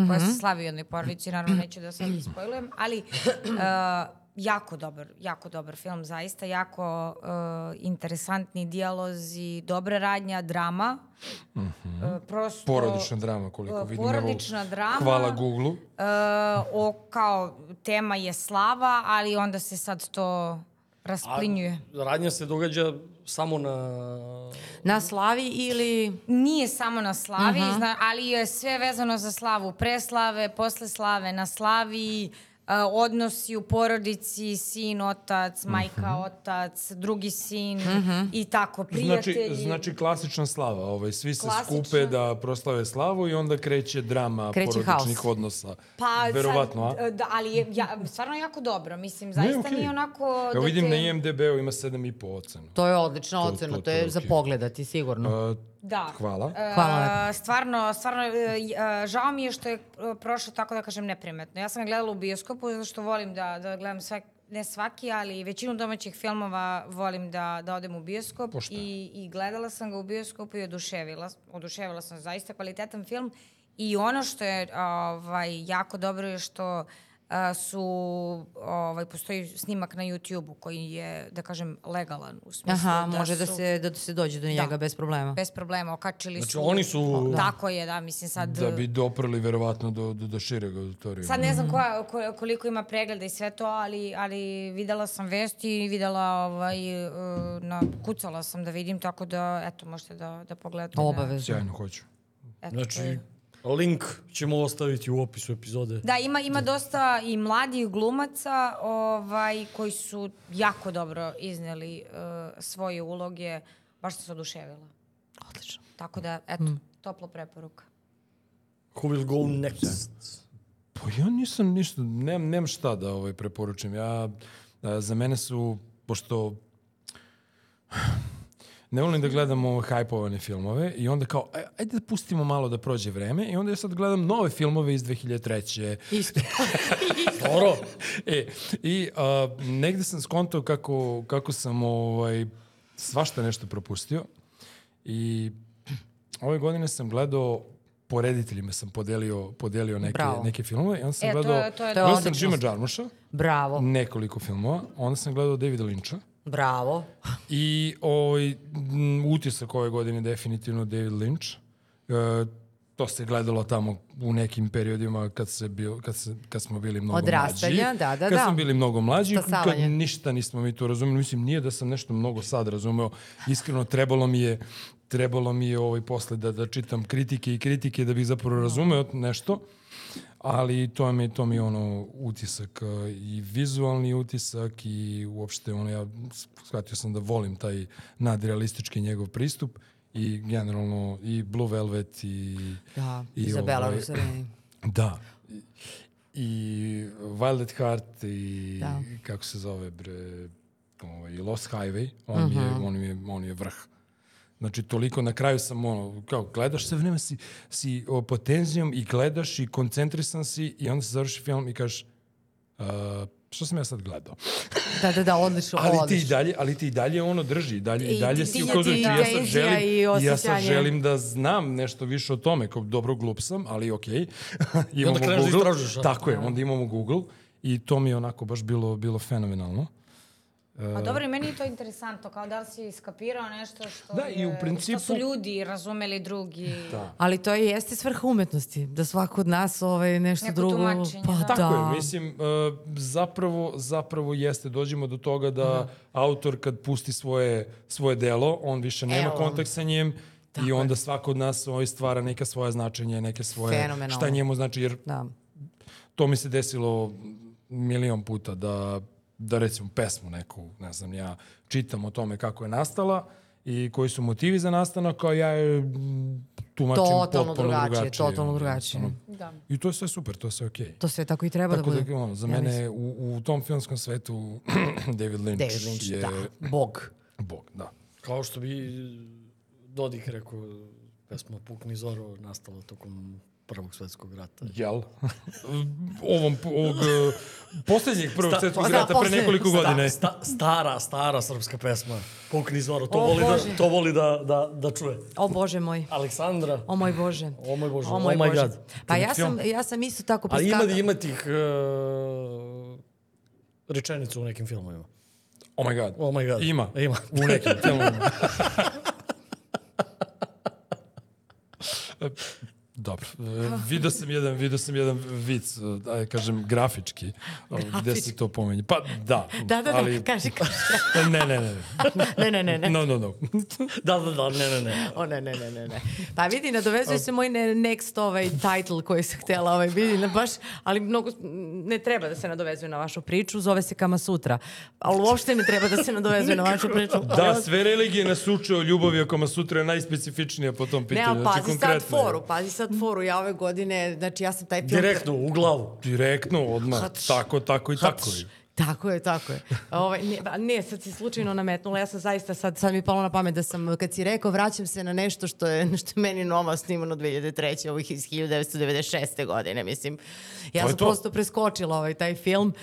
Speaker 3: koja se slavi u jednoj porodici, naravno neću da sad ispojlujem, ali e, jako dobar, jako dobar film zaista, jako e, interesantni dijalozi, dobra radnja, drama, E, prosto...
Speaker 4: Porodična drama, koliko
Speaker 3: e,
Speaker 4: vidim. evo,
Speaker 3: porodična drama.
Speaker 4: Hvala Google-u.
Speaker 3: E, o, kao, tema je slava, ali onda se sad to rasplinjuje.
Speaker 2: radnja se događa samo na...
Speaker 5: Na Slavi ili...
Speaker 3: Nije samo na slavi, zna, ali je sve vezano za slavu. Pre slave, posle slave, na slavi, e, odnosi u porodici, sin, otac, majka, otac, drugi sin i tako,
Speaker 4: Znači,
Speaker 3: prijatelji.
Speaker 4: znači klasična slava, ovaj, svi se
Speaker 3: Klasična.
Speaker 4: skupe da proslave slavu i onda kreće drama
Speaker 5: Kreće
Speaker 4: porodičnih
Speaker 5: haos.
Speaker 4: odnosa.
Speaker 3: Pa, sad,
Speaker 4: Verovatno, a?
Speaker 3: e, Da, ali je ja, stvarno jako dobro, mislim, zaista
Speaker 4: okej.
Speaker 3: nije onako...
Speaker 4: Evo
Speaker 3: da
Speaker 4: vidim
Speaker 3: te-
Speaker 4: na IMDB-u ima 7,5 ocenu.
Speaker 5: To je odlična
Speaker 4: to,
Speaker 5: ocena, to,
Speaker 4: to
Speaker 5: je
Speaker 4: je
Speaker 5: za
Speaker 4: okej.
Speaker 5: pogledati sigurno.
Speaker 4: Uh,
Speaker 3: Da.
Speaker 4: hvala.
Speaker 3: E,
Speaker 5: Hvala lepo.
Speaker 3: Stvarno, stvarno, e, j- e, žao mi je što je e, prošlo tako da kažem neprimetno. Ja sam ga gledala u bioskopu zato što volim da, da gledam sve ne svaki, ali većinu domaćih filmova volim da, da odem u bioskop.
Speaker 4: Pošto.
Speaker 3: I, I gledala sam ga u bioskopu i oduševila, oduševila sam zaista kvalitetan film. I ono što je ovaj, jako dobro je što a, su, ovaj, postoji snimak na YouTube-u koji je, da kažem, legalan u smislu
Speaker 1: Aha, može
Speaker 3: su-
Speaker 1: da se, da se dođe do njega bez problema.
Speaker 3: bez problema okačili
Speaker 2: Znači,
Speaker 3: su.
Speaker 2: oni su-
Speaker 3: Tako je, da, mislim sad...
Speaker 4: Da bi doprli verovatno do, do, do šireg auditorija.
Speaker 3: Sad ne znam koja, ko- koliko ima pregleda i sve to, ali, ali videla sam vesti i videla, ovaj, e, na, kucala sam da vidim, tako da, eto, možete da, da pogledate.
Speaker 1: Obavezno.
Speaker 4: Sjajno, hoću.
Speaker 3: Da, eto, to
Speaker 2: Znači,
Speaker 3: je.
Speaker 2: link ćemo ostaviti u opisu epizode.
Speaker 3: Da, ima, ima dosta i mladih glumaca ovaj, koji su jako dobro izneli e, svoje uloge. Baš sam se oduševila.
Speaker 1: Odlično.
Speaker 3: Tako da, eto, topla preporuka.
Speaker 2: Who will go next?
Speaker 4: Pa ja nisam ništa, nemam, nemam šta da ovaj, preporučim. Ja, a, za mene su, pošto ne volim da gledam ovo hajpovane filmove i onda kao, aj, ajde da pustimo malo da prođe vreme i onda ja sad gledam nove filmove iz 2003.
Speaker 5: Isto.
Speaker 2: Dobro.
Speaker 4: E, I a, negde sam skontao kako, kako sam ovaj, svašta nešto propustio i ove godine sam gledao po rediteljima sam podelio, podelio neke,
Speaker 1: Bravo.
Speaker 4: neke filmove i onda sam
Speaker 3: E, to je-
Speaker 4: gledao,
Speaker 3: to je
Speaker 4: gledao sam
Speaker 1: odlično.
Speaker 4: Jima Jarmusha,
Speaker 1: Bravo,
Speaker 4: nekoliko filmova, onda sam gledao Davida Lynča
Speaker 1: bravo.
Speaker 4: i ovaj, m, utisak ove godine definitivno David Lynch. E, to se gledalo tamo u nekim periodima kad, se bio, kad, se, kad smo bili mnogo
Speaker 1: Odrastanja,
Speaker 4: mlađi.
Speaker 1: da, da,
Speaker 4: kad
Speaker 1: da.
Speaker 4: smo bili mnogo mlađi, kad
Speaker 1: Stasavanje.
Speaker 4: ništa nismo mi to razumeli. Mislim, nije da sam nešto mnogo sad razumeo. Iskreno, trebalo mi je trebalo mi je ovaj posle da, da čitam kritike i kritike da bih zapravo razumeo nešto ali to mi to mi je ono utisak eh, i vizualni utisak i uopšte ono ja shvatio sam da volim taj nadrealistički njegov pristup i generalno i Blue Velvet i
Speaker 1: Da,
Speaker 4: i
Speaker 1: Izabela
Speaker 4: ovaj-
Speaker 1: ovaj...
Speaker 4: da i Wild at Heart i
Speaker 1: Da.
Speaker 4: kako se zove bre ovaj Lost Highway on uh -huh. je on mi je on je vrh Znači, toliko na kraju sam ono, kao, gledaš sve vreme, si, si o, pod tenzijom i gledaš i koncentrisan si i onda se završi film i kažeš, uh, što sam ja sad gledao?
Speaker 5: Da, da, da, odlično,
Speaker 4: Ali ti i
Speaker 5: odlično.
Speaker 4: dalje, ali ti i dalje ono drži, i dalje, i,
Speaker 1: I
Speaker 4: dalje
Speaker 1: ti-
Speaker 4: si
Speaker 1: ti-
Speaker 4: ukazuje,
Speaker 1: ti-
Speaker 4: ja
Speaker 5: tenzija
Speaker 4: sad želim,
Speaker 5: i
Speaker 4: i ja sad
Speaker 5: osjećanje.
Speaker 4: želim da znam nešto više o tome, kao dobro glup sam, ali okej. Okay. imamo
Speaker 2: kreneš da
Speaker 4: Google,
Speaker 2: istražuješ, a?
Speaker 4: Tako je, onda imamo Google i to mi je onako baš bilo, bilo fenomenalno.
Speaker 3: Pa dobro, i meni je to interesantno, kao da li si iskapirao nešto što,
Speaker 4: Da, i u
Speaker 3: je-
Speaker 4: principu-
Speaker 3: što su ljudi razumeli drugi. Da.
Speaker 5: Ali to i jeste svrha umetnosti, da svako od nas ovaj, nešto
Speaker 3: Neko
Speaker 5: drugo...
Speaker 3: tumačenje, da.
Speaker 5: Pa,
Speaker 4: Tako
Speaker 5: da.
Speaker 4: je, mislim, e, zapravo, zapravo jeste, dođemo do toga da autor kad pusti svoje, svoje delo, on više nema
Speaker 1: Evo.
Speaker 4: kontakt sa njim i onda svako od nas ovaj stvara neka svoje značenje, neke svoje,
Speaker 1: Fenomenalno.
Speaker 4: šta njemu znači, jer
Speaker 1: Da.
Speaker 4: to mi se desilo milion puta da, da recimo pesmu neku, ne znam, ja čitam o tome kako je nastala i koji su motivi za nastanak, a ja je mm, tumačim
Speaker 1: Totalno
Speaker 4: potpuno
Speaker 1: drugačije,
Speaker 4: drugačije.
Speaker 1: totalno
Speaker 4: ono,
Speaker 1: drugačije.
Speaker 4: jednostavno.
Speaker 5: Da.
Speaker 4: I to je sve super, to je sve okej.
Speaker 1: To sve tako i treba
Speaker 4: Tako
Speaker 1: da
Speaker 4: da,
Speaker 1: bude.
Speaker 4: ono, za
Speaker 1: Ja
Speaker 4: mene
Speaker 1: mislim.
Speaker 4: u, u tom filmskom svetu David Lynch,
Speaker 1: David Lynch,
Speaker 4: je
Speaker 1: da. Bog.
Speaker 4: bog, da.
Speaker 2: Kao što bi eh, Dodik rekao, pesma Pukni Zoro nastala tokom Prvog svetskog rata.
Speaker 4: Jel? Ovom, ovog, eh, poslednjeg prvog
Speaker 2: Sta-
Speaker 4: svetskog
Speaker 2: sta-
Speaker 4: rata pre
Speaker 1: poslednjeg,
Speaker 4: nekoliko godina.
Speaker 2: Sta, sta, stara, stara srpska pesma. Pukni Zoro, to
Speaker 1: O,
Speaker 2: voli,
Speaker 1: Bože.
Speaker 2: da, to voli da, da, da čuje.
Speaker 1: O Bože moj.
Speaker 2: Aleksandra,
Speaker 1: O moj Bože.
Speaker 2: O moj Bože, oh my god.
Speaker 1: Pa ja sam, ja sam isto tako
Speaker 2: Ali
Speaker 1: preskakala.
Speaker 2: ima, ima tih uh, rečenica u nekim filmovima.
Speaker 4: Oh my god.
Speaker 2: Oh my god.
Speaker 4: Ima.
Speaker 2: Ima.
Speaker 4: U nekim filmovima. Dobro. E, Video sam jedan, video sam jedan vic, e, da kažem grafički, grafički. gde se to pomenje. Pa da.
Speaker 5: Da, da, da,
Speaker 4: ali,
Speaker 5: kaži, kaži.
Speaker 4: Ne, ne, ne.
Speaker 5: Ne, ne, ne, ne.
Speaker 4: No, no, no.
Speaker 2: Da, da, da, ne, ne, ne.
Speaker 5: O, ne, ne, ne, ne, ne. Pa vidi, nadovezuje se moj ne, next ovaj title koji sam htjela ovaj, vidi, na baš, ali mnogo, ne treba da se nadovezuje na vašu priču, zove se Kama Sutra. Ali uopšte ne treba da se nadovezuje na vašu priču.
Speaker 4: Da, sve religije nas uče o ljubavi, ako sutra je najspecifičnija po tom
Speaker 5: Ne,
Speaker 4: pitanju. Znači,
Speaker 5: ali pazi sad
Speaker 4: konkretno je.
Speaker 5: foru, pazi sad foru. Ja ove godine, znači ja sam taj film...
Speaker 2: Direktno, u glavu.
Speaker 4: Direktno, odmah. Tako, tako i tako.
Speaker 2: Hatš.
Speaker 5: Tako je, tako je. Ovaj, ne, ba, ne, sad si slučajno nametnula, ja sam zaista sad, sad mi je palo na pamet da sam, kad si rekao, vraćam se na nešto što je, što je meni nova snimano 2003. ovih iz 1996. godine, mislim. Ja
Speaker 4: To je
Speaker 5: sam
Speaker 4: to.
Speaker 5: prosto preskočila ovaj taj film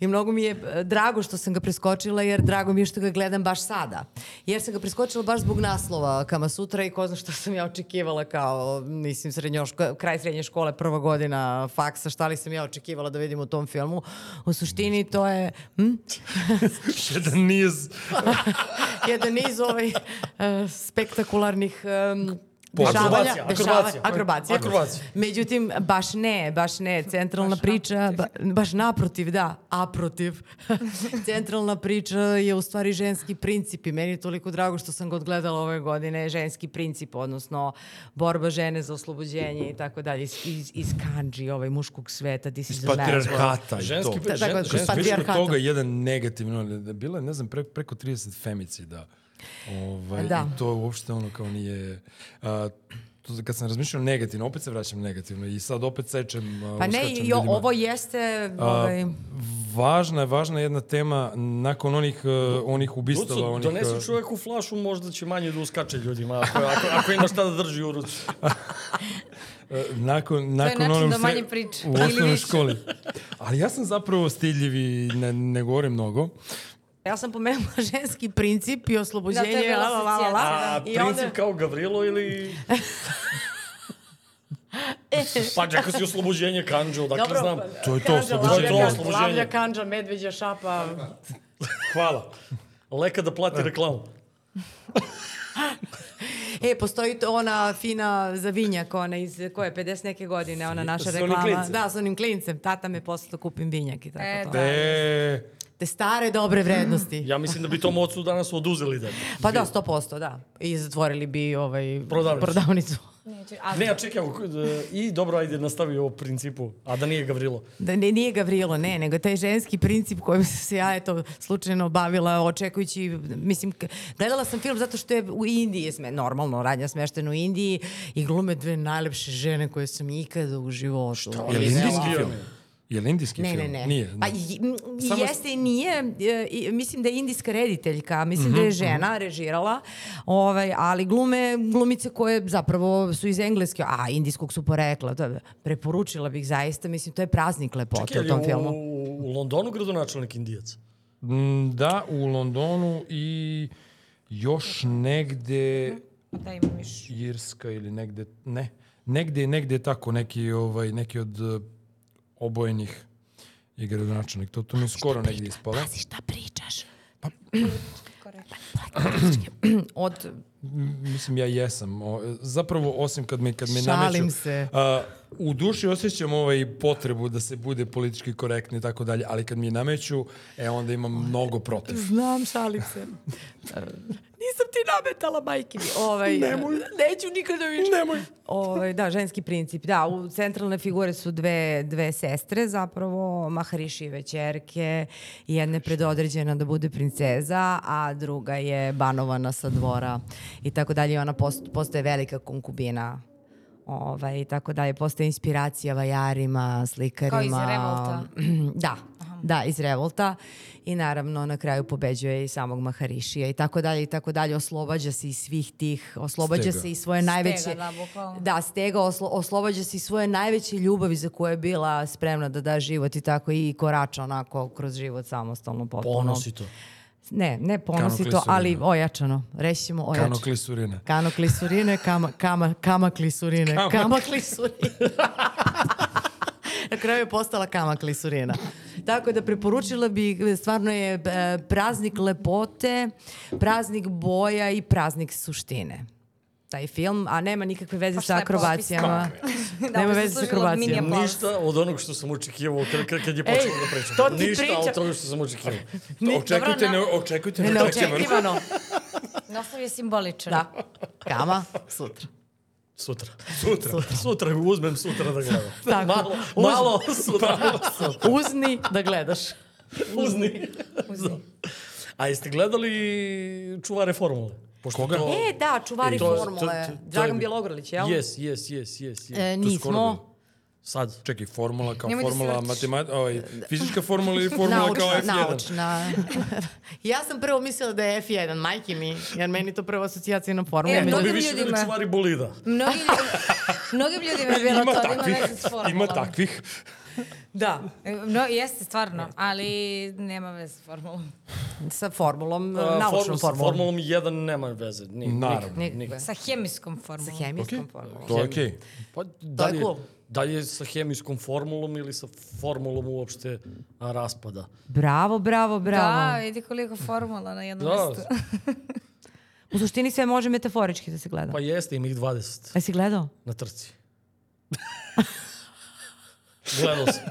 Speaker 5: i mnogo mi je e, drago što sam ga preskočila jer drago mi je što ga gledam baš sada. Jer sam ga preskočila baš zbog naslova Kama Sutra i ko zna što sam ja očekivala kao, mislim, srednjoško, kraj srednje škole, prva godina faksa, šta li sam ja očekivala da vidim u tom filmu. U suštini to je hm,
Speaker 4: Jedan niz
Speaker 5: jedan niz ovaj, e, spektakularnih em,
Speaker 2: Akrobacija,
Speaker 5: dešavanja, dešava-
Speaker 2: akrobacija.
Speaker 5: akrobacija.
Speaker 2: Akrobacija.
Speaker 5: Međutim, baš ne, baš ne. Centralna priča, ba- baš naprotiv, da, aprotiv. Centralna priča je u stvari ženski princip i meni je toliko drago što sam ga odgledala ove godine, ženski princip, odnosno borba žene za oslobođenje i tako dalje, iz, iz, iz kanđi, ovaj muškog sveta, this is
Speaker 4: iz
Speaker 5: the man's world.
Speaker 4: patrijarhata i
Speaker 2: Ženski
Speaker 4: to.
Speaker 2: pri-
Speaker 5: Tako je,
Speaker 2: žen-
Speaker 5: pa-
Speaker 2: ženski-
Speaker 4: Znači, Više od
Speaker 5: Patrijarhata.
Speaker 4: toga jedan negativno, da bila je, ne znam, pre, preko 30 femicida. Ovaj,
Speaker 5: Da.
Speaker 4: da. I to uopšte ono kao nije... A, to, kad sam razmišljao negativno, opet se vraćam negativno i sad opet sečem... a,
Speaker 5: Pa ne,
Speaker 4: uskačem
Speaker 5: jo,
Speaker 4: ljudima.
Speaker 5: ovo jeste...
Speaker 4: A,
Speaker 5: Ovaj,
Speaker 4: važna je, važna je jedna tema nakon onih, e, onih ubistava,
Speaker 2: Lucu,
Speaker 4: onih... e,
Speaker 2: donesi čoveku flašu, možda će manje da uskače ljudima, ako, ako, ako ima šta da drži u ruci.
Speaker 4: E, nakon, nakon
Speaker 3: način
Speaker 4: onom
Speaker 3: da
Speaker 4: sre-
Speaker 3: manje priča.
Speaker 4: U
Speaker 3: Ili
Speaker 4: osnovnoj
Speaker 3: više.
Speaker 4: školi. Ali ja sam zapravo stiljiv i ne, ne govorim mnogo.
Speaker 5: ja sam pomenula ženski princip i
Speaker 3: Da, to je
Speaker 5: oslobođenje,
Speaker 3: bila
Speaker 5: la, la, la, la, la.
Speaker 2: A
Speaker 5: I onda-
Speaker 2: princip kao Gavrilo ili... Pa čekaj si oslobođenje kanđe, odakle
Speaker 5: Dobro,
Speaker 2: znam.
Speaker 5: pa-
Speaker 4: To je to,
Speaker 5: kanđa,
Speaker 4: oslobođenje.
Speaker 2: To je to,
Speaker 5: kanđa,
Speaker 2: oslobođenje.
Speaker 5: Lavlja, kanđa, medveđa, šapa.
Speaker 2: Hvala. Leka da plati reklamu.
Speaker 5: E, postoji to ona fina zavinjak, ona iz koje, 50 neke godine, ona naša
Speaker 2: s onim
Speaker 5: reklama.
Speaker 2: klincem.
Speaker 5: Da, s onim klincem. Tata me poslao da kupim vinjak i tako
Speaker 3: E,
Speaker 5: to.
Speaker 3: da.
Speaker 4: E,
Speaker 5: Te stare dobre vrednosti.
Speaker 2: Ja mislim da bi tom ocu danas oduzeli da.
Speaker 5: Pa da, 100%, da. I zatvorili bi ovaj
Speaker 2: Prodavnicu.
Speaker 5: prodavnicu.
Speaker 3: Neću, ali,
Speaker 2: Ne, a čekaj, ako, e, i dobro, ajde, nastavi o principu, a da nije Gavrilo.
Speaker 5: Da ne, nije Gavrilo, ne, nego taj ženski princip kojim sam se ja eto slučajno bavila očekujući, mislim, k- gledala sam film zato što je u Indiji, sme, normalno radnja smeštena u Indiji i glume dve najlepše žene koje sam ikada u životu.
Speaker 4: je li
Speaker 5: videla.
Speaker 4: indijski film? Je li indijski
Speaker 5: Ne, ne,
Speaker 4: film?
Speaker 5: ne.
Speaker 4: Nije.
Speaker 5: Pa, i- m, i
Speaker 2: Samo-
Speaker 5: jeste i nije. e, i- mislim da je indijska rediteljka, mislim da je žena režirala, ovaj, ali glume, glumice koje zapravo su iz engleske, a indijskog su porekla. To je, preporučila bih zaista, mislim, to je praznik lepote
Speaker 2: Čekaj,
Speaker 5: u
Speaker 2: je
Speaker 5: tom
Speaker 2: li u,
Speaker 5: filmu.
Speaker 2: u Londonu gradonačelnik Indijac?
Speaker 4: Mm, Da, u Londonu i još negde
Speaker 3: Da imam još.
Speaker 4: Irska ili negde, ne, negde, negde je tako, neki, ovaj, neki od e, obojenih je gradonačelnik. To, to mi je skoro negde ispalo.
Speaker 5: Pazi šta pričaš.
Speaker 3: Korektno.
Speaker 5: Pa, Od,
Speaker 4: M, Mislim, ja jesam. O, zapravo, osim kad me, kad me
Speaker 5: Šalim
Speaker 4: nameću...
Speaker 5: se.
Speaker 4: A, u duši osjećam ovaj potrebu da se bude politički korektni i tako dalje, ali kad mi je nameću, e, onda imam mnogo protiv.
Speaker 5: znam, šalim se. E, Nisam ti nametala, majke mi. Ovaj, Nemoj. Neću nikada više. Nemoj. Ovaj, da, ženski princip. Da, u centralne figure su dve, dve sestre, zapravo Maharišijeve čerke. Jedna je predodređena da bude princeza, a druga je banovana sa dvora i tako dalje. I Ona post, postaje velika konkubina ovaj, i tako dalje. Postaje inspiracija vajarima, slikarima.
Speaker 3: Revolta.
Speaker 5: da, da, iz revolta i naravno na kraju pobeđuje i samog Maharišija i tako dalje i tako dalje, oslobađa se i svih tih, oslobađa
Speaker 4: Stega.
Speaker 5: se i svoje najveće...
Speaker 3: da, bukvalno.
Speaker 5: Da, stega, oslo, oslobađa se i svoje najveće ljubavi za koje je bila spremna da da život i tako i korača onako kroz život samostalno potpuno.
Speaker 2: Ponosi to.
Speaker 5: Ne, ne ponosi to,
Speaker 4: Kanoklisurina.
Speaker 5: ali ojačano, rećemo ojačano.
Speaker 4: Kano Klisurina.
Speaker 5: Kanoklisurine, kama, kama, kamaklisurine,
Speaker 4: Kamak-
Speaker 5: kamaklisurine. Na kraju je postala kamaklisurina. Tako da preporučila bi, stvarno je e, praznik lepote, praznik boja i praznik suštine taj film, a nema nikakve veze
Speaker 3: Pa
Speaker 5: sa
Speaker 3: šta je popis?
Speaker 5: akrobacijama.
Speaker 3: Da,
Speaker 5: Nema
Speaker 3: pa se
Speaker 5: veze sa
Speaker 3: služila od
Speaker 5: akrobacijama.
Speaker 3: mini aplauza.
Speaker 2: Ništa od onog što sam očekivao kad, kad, kad je počelo da pričam.
Speaker 5: to ti
Speaker 2: Ništa
Speaker 5: priča.
Speaker 2: od toga što sam očekivao.
Speaker 4: Očekujte, ne, očekujte,
Speaker 5: Ne,
Speaker 4: neočekivano.
Speaker 5: neočekivano.
Speaker 3: Naslov je simboličan.
Speaker 5: Da. Kama, sutra.
Speaker 2: Sutra. Sutra. Sutra. sutra uzmem sutra da gledam.
Speaker 5: Tako.
Speaker 2: Malo,
Speaker 5: Uz-
Speaker 2: malo sutra.
Speaker 5: Uzni da gledaš.
Speaker 2: Uzni. Da. A jeste gledali čuvare formule? Pošto
Speaker 4: Koga?
Speaker 2: to-
Speaker 5: E, da, čuvari
Speaker 2: To- to-
Speaker 5: formule.
Speaker 2: to- to je
Speaker 5: Dragan
Speaker 2: bi-
Speaker 5: Bjelogrlić, jel?
Speaker 2: Yes, yes, yes, yes. yes.
Speaker 5: E,
Speaker 4: To je skoro
Speaker 5: nismo.
Speaker 2: Sad.
Speaker 4: Čekaj, formula kao
Speaker 3: Nemoj da se
Speaker 4: formula,
Speaker 3: vrtiš.
Speaker 4: matematika, ovaj, fizička formula ili formula kao
Speaker 5: Naučna,
Speaker 4: F1?
Speaker 5: naučna. ja sam prvo mislila da je F1, majke mi, jer meni je to prva asocijacija na formu.
Speaker 3: E,
Speaker 5: Meni-
Speaker 2: To bi
Speaker 3: Mnogim
Speaker 2: više bili
Speaker 3: ljudima.
Speaker 2: čuvari bolida.
Speaker 3: Mnogi ljudi, mnogim ljudima je bilo
Speaker 4: Ima
Speaker 3: to, da
Speaker 4: takvih,
Speaker 3: ima veze s formulom. E,
Speaker 4: ima takvih.
Speaker 5: Da,
Speaker 3: No, jeste, stvarno, ali nema veze s formulom.
Speaker 5: sa formulom, e,
Speaker 2: A,
Speaker 5: naučnom
Speaker 2: s
Speaker 5: formulom.
Speaker 2: Formulom 1 nema veze. Ni,
Speaker 4: Naravno.
Speaker 2: nikakve.
Speaker 5: Nikakve.
Speaker 3: Sa hemijskom formulom.
Speaker 5: Sa hemijskom formulom.
Speaker 4: To je okej.
Speaker 2: Pa, da li,
Speaker 5: cool.
Speaker 2: da li je sa hemijskom formulom ili sa formulom uopšte a, raspada?
Speaker 1: Bravo, bravo, bravo.
Speaker 3: Da, vidi koliko formula na jednom
Speaker 2: Da.
Speaker 3: mestu.
Speaker 1: U suštini sve može metaforički da se gleda.
Speaker 2: Pa jeste, ima ih 20
Speaker 1: Pa si gledao?
Speaker 2: na trci. Gledao sam.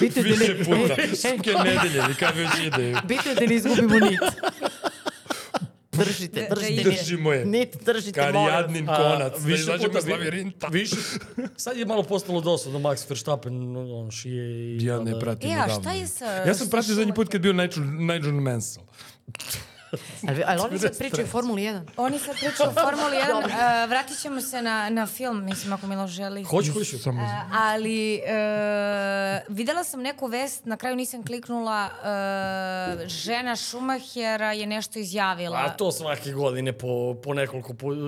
Speaker 5: Bitno je da
Speaker 4: Više
Speaker 5: ne-
Speaker 4: puta.
Speaker 5: E, e,
Speaker 4: Svake nedelje, ili kad već ide.
Speaker 5: Bitno je da ne izgubimo nit. Držite,
Speaker 3: Da- da
Speaker 5: držite.
Speaker 3: ide.
Speaker 4: Držimo je.
Speaker 5: Nit, držite, molim.
Speaker 4: Karijadnin
Speaker 2: A,
Speaker 4: konac. Više da izađemo iz
Speaker 2: vi-
Speaker 4: lavirinta.
Speaker 2: Više, sad je malo postalo dosadno Max Verstappen, on šije i...
Speaker 4: Ja ne
Speaker 2: tada-
Speaker 4: pratim
Speaker 3: E, a
Speaker 4: odavno.
Speaker 3: šta je sa...
Speaker 4: Ja sam
Speaker 3: sa
Speaker 4: pratio zadnji put
Speaker 3: Schumacherom?
Speaker 4: kad bio Nigel, Nigel Mansell.
Speaker 5: Ali, ali oni sad pričaju o Formuli 1.
Speaker 3: Oni sad pričaju o Formuli 1. Uh, vratit ćemo se na, na film, mislim, ako Miloš želi.
Speaker 2: Hoću, hoću.
Speaker 4: Samo
Speaker 3: E, ali e, videla sam neku vest, na kraju nisam kliknula, e, žena Šumahera je nešto izjavila.
Speaker 2: A to svake godine po, po nekoliko puta.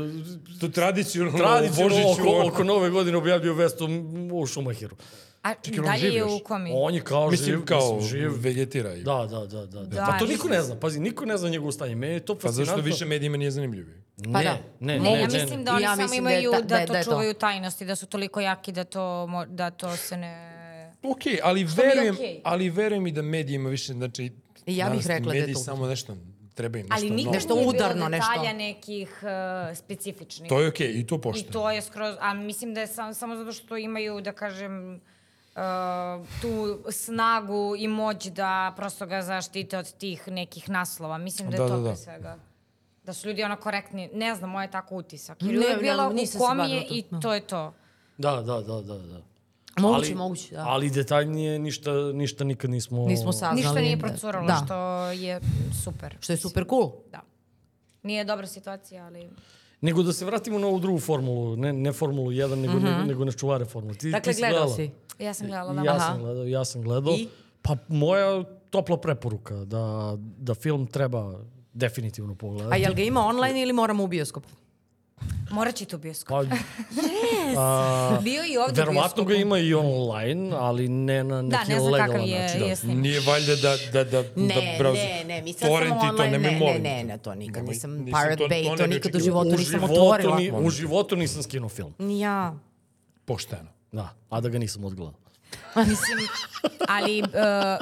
Speaker 4: To tradicionalno,
Speaker 2: Tradicionalno
Speaker 4: Božiću,
Speaker 2: oko, oko nove godine objavio vestu u Šumahiru.
Speaker 3: A
Speaker 4: on
Speaker 3: dalje
Speaker 4: živ
Speaker 3: je
Speaker 4: još?
Speaker 3: u komi.
Speaker 2: On je kao
Speaker 4: Mislim
Speaker 2: živ,
Speaker 4: kao
Speaker 2: mislim, živ.
Speaker 4: vegetira. i-
Speaker 2: Da, da, da, da.
Speaker 3: Da,
Speaker 2: da. Pa to
Speaker 3: mislim-
Speaker 2: niko ne zna. Pazi, niko ne zna njegovo stanje. Meni je to
Speaker 4: Pa
Speaker 2: fascinantno.
Speaker 4: zašto više medijima nije zanimljivi?
Speaker 2: Ne,
Speaker 5: Pa da.
Speaker 2: ne,
Speaker 3: Ne, ja
Speaker 2: ne, ne,
Speaker 3: mislim
Speaker 2: ne.
Speaker 3: da oni
Speaker 5: Ja
Speaker 3: samo
Speaker 5: mislim da je
Speaker 3: imaju da,
Speaker 5: ta- da je-
Speaker 3: to
Speaker 5: da je to.
Speaker 3: čuvaju tajnosti, da su toliko jaki da to, mo- da to se ne...
Speaker 4: Ok, ali
Speaker 3: mi je
Speaker 4: verujem,
Speaker 3: okej.
Speaker 4: ali verujem i da medijima više, znači,
Speaker 5: I ja bih
Speaker 4: danas ti
Speaker 5: rekla da je
Speaker 4: mediji
Speaker 5: to-
Speaker 4: samo nešto, treba im nešto
Speaker 3: Ali nikad
Speaker 4: novo.
Speaker 5: Nešto
Speaker 3: nije
Speaker 5: udarno,
Speaker 3: bilo
Speaker 5: nešto.
Speaker 3: detalja nekih e, specifičnih.
Speaker 4: To je okej, i to
Speaker 3: I
Speaker 4: pošteno.
Speaker 3: to je skroz, a mislim da je sam, samo zato što imaju, da kažem, e, tu snagu i moć da prosto ga zaštite od tih nekih naslova. Mislim da je
Speaker 4: Da,
Speaker 3: to
Speaker 4: da, da.
Speaker 3: pre svega. Da su ljudi ono korektni. Ne znam, moj je tako utisak. Jer
Speaker 5: Ne,
Speaker 3: ne, je
Speaker 5: ne,
Speaker 3: bila
Speaker 5: nisam
Speaker 3: u
Speaker 5: se
Speaker 3: kom
Speaker 5: bavila
Speaker 3: je
Speaker 5: tu,
Speaker 3: i
Speaker 5: da.
Speaker 3: to je to.
Speaker 2: Da, da, da, da, da.
Speaker 5: Moguće, moguće, da.
Speaker 2: Ali detaljnije ništa, ništa nikad nismo...
Speaker 5: Nismo saznali.
Speaker 3: Ništa nije
Speaker 5: da.
Speaker 3: procuralo,
Speaker 5: da.
Speaker 3: što je super.
Speaker 5: Što je super cool.
Speaker 3: Da. Nije dobra situacija, ali...
Speaker 2: Nego da se vratimo na ovu drugu formulu, ne, ne formulu 1, nego, nego, nego na čuvare formulu. Ti,
Speaker 5: Mhm. Dakle,
Speaker 2: ti
Speaker 5: gledao
Speaker 2: gledala?
Speaker 5: si.
Speaker 3: Ja sam gledala da.
Speaker 2: Ja sam gledao, ja sam gledao.
Speaker 5: I?
Speaker 2: Pa moja topla preporuka da, da film treba definitivno pogledati.
Speaker 5: A jel ga ima online ili moramo u bioskop?
Speaker 3: Morat će tu bioskop.
Speaker 2: Pa,
Speaker 3: Bio i ovdje
Speaker 2: verovatno
Speaker 3: u
Speaker 2: ga
Speaker 3: bioskopu.
Speaker 2: ima i online, ali ne na neki
Speaker 3: Da, ne znam
Speaker 2: legalan
Speaker 3: kakav je,
Speaker 2: način.
Speaker 3: je snimak.
Speaker 4: Nije valjda da, da, da, da browser- Torrenti to nemoj,
Speaker 5: ne, ne,
Speaker 4: molim
Speaker 5: ne,
Speaker 4: te.
Speaker 5: ne, to nikad
Speaker 4: Nemoj,
Speaker 5: nisam,
Speaker 4: nisam
Speaker 5: Pirate
Speaker 4: to- to
Speaker 5: Bay,
Speaker 4: ne
Speaker 5: to
Speaker 4: bi
Speaker 5: nikad u
Speaker 4: očekivao.
Speaker 5: životu
Speaker 2: U
Speaker 5: nisam
Speaker 2: životu,
Speaker 5: otvorila.
Speaker 2: ni- u životu nisam skinuo film.
Speaker 5: Ni ja.
Speaker 4: Pošteno.
Speaker 2: Da, a da ga nisam odgledao.
Speaker 3: Mislim, ali e,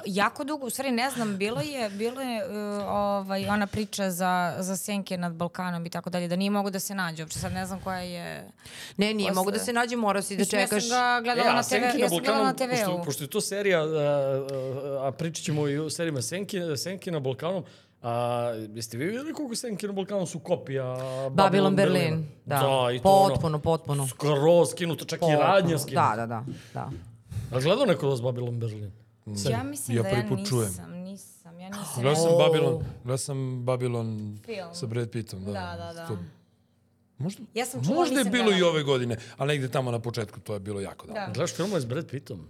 Speaker 3: jako dugo, u stvari ne znam, bilo je, bilo je e, ovaj, ona priča za, za senke nad Balkanom i tako dalje, da nije mogu da se nađe uopće, sad ne znam koja je...
Speaker 5: Ne, nije,
Speaker 3: Posle-
Speaker 5: mogu da se nađem, morao si da
Speaker 3: Mislim,
Speaker 5: čekaš.
Speaker 3: Ja sam ga gledala
Speaker 2: E, a
Speaker 3: na TV,
Speaker 2: Senki
Speaker 3: ja sam gledala na
Speaker 2: Balkanu, Pošto,
Speaker 3: TV-u.
Speaker 2: pošto je to serija, a, a, a pričat ćemo i o serijama Senki, Senki na Balkanu, a jeste vi vidjeli koliko Senki na Balkanu su kopija Babylon,
Speaker 5: Babylon
Speaker 2: Berlina?
Speaker 5: Berlin. Da,
Speaker 2: i to ono,
Speaker 5: potpuno, potpuno.
Speaker 2: skroz skinuto, čak i radnja
Speaker 5: Da,
Speaker 2: skinuta.
Speaker 5: da, da. da.
Speaker 2: A gledao neko vas Babylon Berlin?
Speaker 3: Ja mislim
Speaker 4: Ja
Speaker 3: da ja
Speaker 4: prvi put
Speaker 3: nisam,
Speaker 4: čujem.
Speaker 3: nisam, ja nisam.
Speaker 4: Gledao sam
Speaker 5: O.
Speaker 4: Babylon, gledao sam Babylon
Speaker 3: Film.
Speaker 4: sa Brad Pittom. Da,
Speaker 3: Da, da, da.
Speaker 4: To- Možda,
Speaker 3: Ja sam da- čula,
Speaker 4: možda je
Speaker 3: nisam
Speaker 4: bilo
Speaker 3: gledala.
Speaker 4: i ove godine, ali negde tamo na početku to je bilo jako da.
Speaker 3: Da.
Speaker 2: Gledaš filmove s Brad Pittom?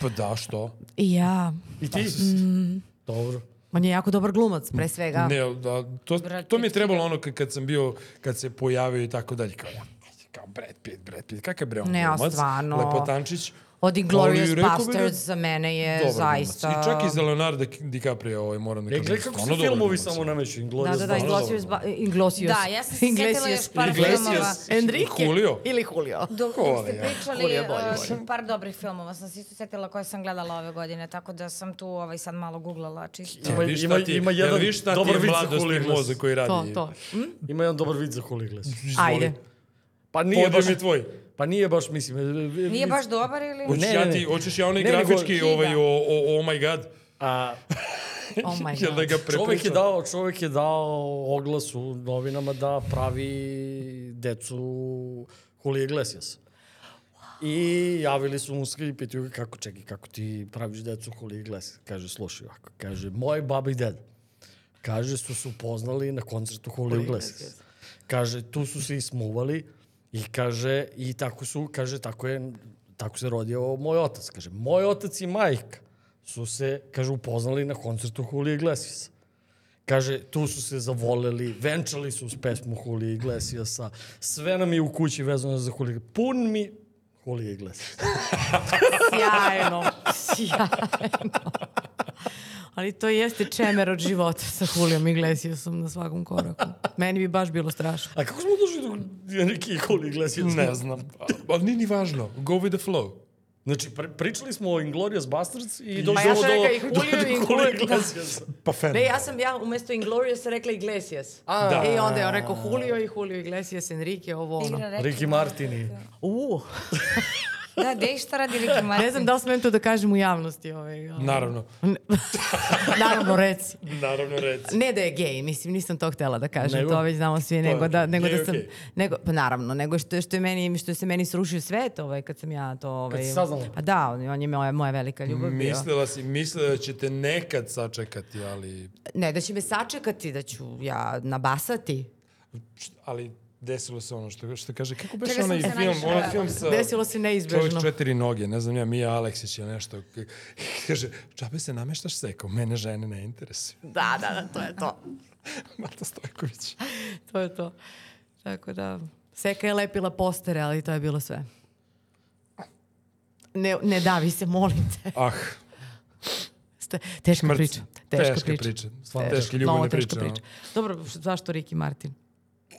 Speaker 4: Pa da, što?
Speaker 5: I ja.
Speaker 2: I ti?
Speaker 3: Mm.
Speaker 2: Dobro.
Speaker 5: On je jako dobar glumac, pre svega.
Speaker 4: Ne, da, to,
Speaker 3: Brad
Speaker 4: to mi je
Speaker 3: Pitt
Speaker 4: trebalo ono kad, kad sam bio, kad se pojavio i tako dalje, kao, ja, kao Brad Pitt, Brad Pitt, kakav je bre on
Speaker 5: Ne, a
Speaker 4: glumac,
Speaker 5: stvarno.
Speaker 4: lepotančić.
Speaker 5: Od
Speaker 4: Ali
Speaker 5: Inglourious
Speaker 4: rekao bi da-
Speaker 5: Basterds za mene je
Speaker 4: Dobar
Speaker 5: zaista...
Speaker 4: glumac. I čak i za Leonardo DiCaprio ovaj, moram da
Speaker 2: E,
Speaker 4: kažem.
Speaker 2: gledaj kako se
Speaker 4: stvarno dobar
Speaker 2: filmovi
Speaker 4: glumac.
Speaker 2: samo nameću.
Speaker 5: Da,
Speaker 2: Inglourious
Speaker 5: da, da,
Speaker 2: Basterds.
Speaker 5: Inglosius. Ba, Inglosius.
Speaker 3: Da, ja sam se sjetila još par
Speaker 4: Iglesias.
Speaker 3: filmova.
Speaker 5: Enrique.
Speaker 4: Julio.
Speaker 5: Ili Julio.
Speaker 3: Dok
Speaker 4: Ko
Speaker 3: ste
Speaker 4: je?
Speaker 3: pričali
Speaker 5: je bolji,
Speaker 3: uh, par dobrih filmova, sam se isto setila koje sam gledala ove godine, tako da sam tu ovaj, sad malo googlala čisto.
Speaker 2: Ima,
Speaker 4: Ja, viš
Speaker 2: ima,
Speaker 4: šta ti-
Speaker 2: ima
Speaker 4: ja,
Speaker 2: jedan
Speaker 4: viš šta ti je
Speaker 2: dobar vid za
Speaker 4: mladosti
Speaker 2: Holigles.
Speaker 4: mozak koji
Speaker 5: To,
Speaker 4: radi.
Speaker 5: to.
Speaker 2: Ima jedan dobar vid za Holigles.
Speaker 4: Izvoli.
Speaker 5: Ajde.
Speaker 2: Pa nije
Speaker 4: Podijem
Speaker 2: baš...
Speaker 4: je tvoj.
Speaker 2: Pa nije baš, mislim... e, e,
Speaker 3: Nije
Speaker 2: vid-
Speaker 3: baš dobar ili?
Speaker 4: Hoćeš
Speaker 2: Ne,
Speaker 4: ja
Speaker 2: ne,
Speaker 4: ti,
Speaker 2: ne.
Speaker 4: hoćeš ja onaj
Speaker 2: Ne, nego-
Speaker 4: grafički ovaj, o, o, oh my god,
Speaker 2: A,
Speaker 5: Oh my
Speaker 4: jel da
Speaker 5: god.
Speaker 4: ga
Speaker 2: čovjek je
Speaker 4: prepričam?
Speaker 2: dao, čovjek je dao oglas u novinama da pravi decu Julio Iglesias. I javili su mu se i pitaju ga kako čekaj, kako ti praviš decu Julio Iglesias. Kaže, slušaj ovako. Kaže, moj baba i deda. Kaže, su se upoznali na koncertu Julio Iglesias. Kaže, tu su se ismuvali i kaže, i tako su, kaže, tako je tako se rodio moj otac. Kaže, moj otac i majka su se, kaže, upoznali na koncertu Julija Iglesiasa. Kaže, tu su se zavoleli, venčali su s pesmu Julija Iglesiasa, sve nam je u kući vezano za Julija Pun mi Julija Iglesias.
Speaker 5: Sjajno, sjajno. Ali to jeste čemer od života sa Hulijom Iglesiasom na svakom koraku. Meni bi baš bilo strašno.
Speaker 2: A kako smo došli do neki Julija Iglesias?
Speaker 4: Ne znam. Ali nije ni važno. Go with the flow.
Speaker 2: Znači, pri, pričali smo o Inglourious Bastards i
Speaker 5: Pa
Speaker 2: došli do,
Speaker 5: ja
Speaker 2: do,
Speaker 5: sam rekla i
Speaker 2: do, do,
Speaker 5: Juliju i
Speaker 2: Julija
Speaker 5: Inglour-
Speaker 2: Iglesiasa.
Speaker 4: Pa fan.
Speaker 5: Ne, ja sam ja umesto Inglorious rekla Iglesias.
Speaker 4: Da.
Speaker 5: I onda je on rekao Julio i Julio Iglesias, Enrique, ovo ono.
Speaker 3: Igra Reki.
Speaker 2: Ricky Martini.
Speaker 5: Uh,
Speaker 3: Da, gde i šta radi Riki Martin?
Speaker 5: ne znam da li smem to da kažem u javnosti. Ovaj, ali-
Speaker 4: Naravno.
Speaker 5: Naravno, reci.
Speaker 4: Naravno, reci.
Speaker 5: Ne da je gej, mislim, nisam to htela da kažem,
Speaker 2: Nego?
Speaker 5: to već znamo svi,
Speaker 4: je
Speaker 5: nego da,
Speaker 4: okej.
Speaker 5: nego
Speaker 4: Gej
Speaker 5: da
Speaker 4: je
Speaker 5: sam,
Speaker 4: okej.
Speaker 5: nego, pa naravno, nego što, je- što je meni, što se meni srušio svet, ovaj, kad sam ja to, ovaj,
Speaker 2: si saznala?
Speaker 5: pa da, on, on je moja, moja velika ljubav bio.
Speaker 4: Mislila si, mislila da će te nekad sačekati, ali...
Speaker 5: Ne, da će me sačekati, da ću ja nabasati.
Speaker 4: Ali desilo se ono što, što kaže, kako beše
Speaker 3: Čega sam
Speaker 4: onaj
Speaker 3: se
Speaker 4: film,
Speaker 3: najviše
Speaker 4: onaj
Speaker 3: nadala?
Speaker 4: film sa...
Speaker 5: Desilo se
Speaker 4: Čovjek s
Speaker 5: neizbežno.
Speaker 4: četiri noge, ne znam ja, Mija Aleksić ili nešto. K- Kaže, čabe se nameštaš sekom, mene žene ne interesuju.
Speaker 5: Da, da, da, to je to.
Speaker 4: Marta Stojković.
Speaker 5: To je to. Tako da, Seka je lepila postere, ali to je bilo sve. Ne, ne davi se, molim te.
Speaker 4: Ah,
Speaker 5: Ste- Teška
Speaker 4: mrc.
Speaker 5: priča. Teška,
Speaker 4: Teška
Speaker 5: priča.
Speaker 4: priča. Stvarno teške ljubavne
Speaker 5: Malo teška
Speaker 4: priče. ono.
Speaker 5: Dobro, š- zašto Riki Martin?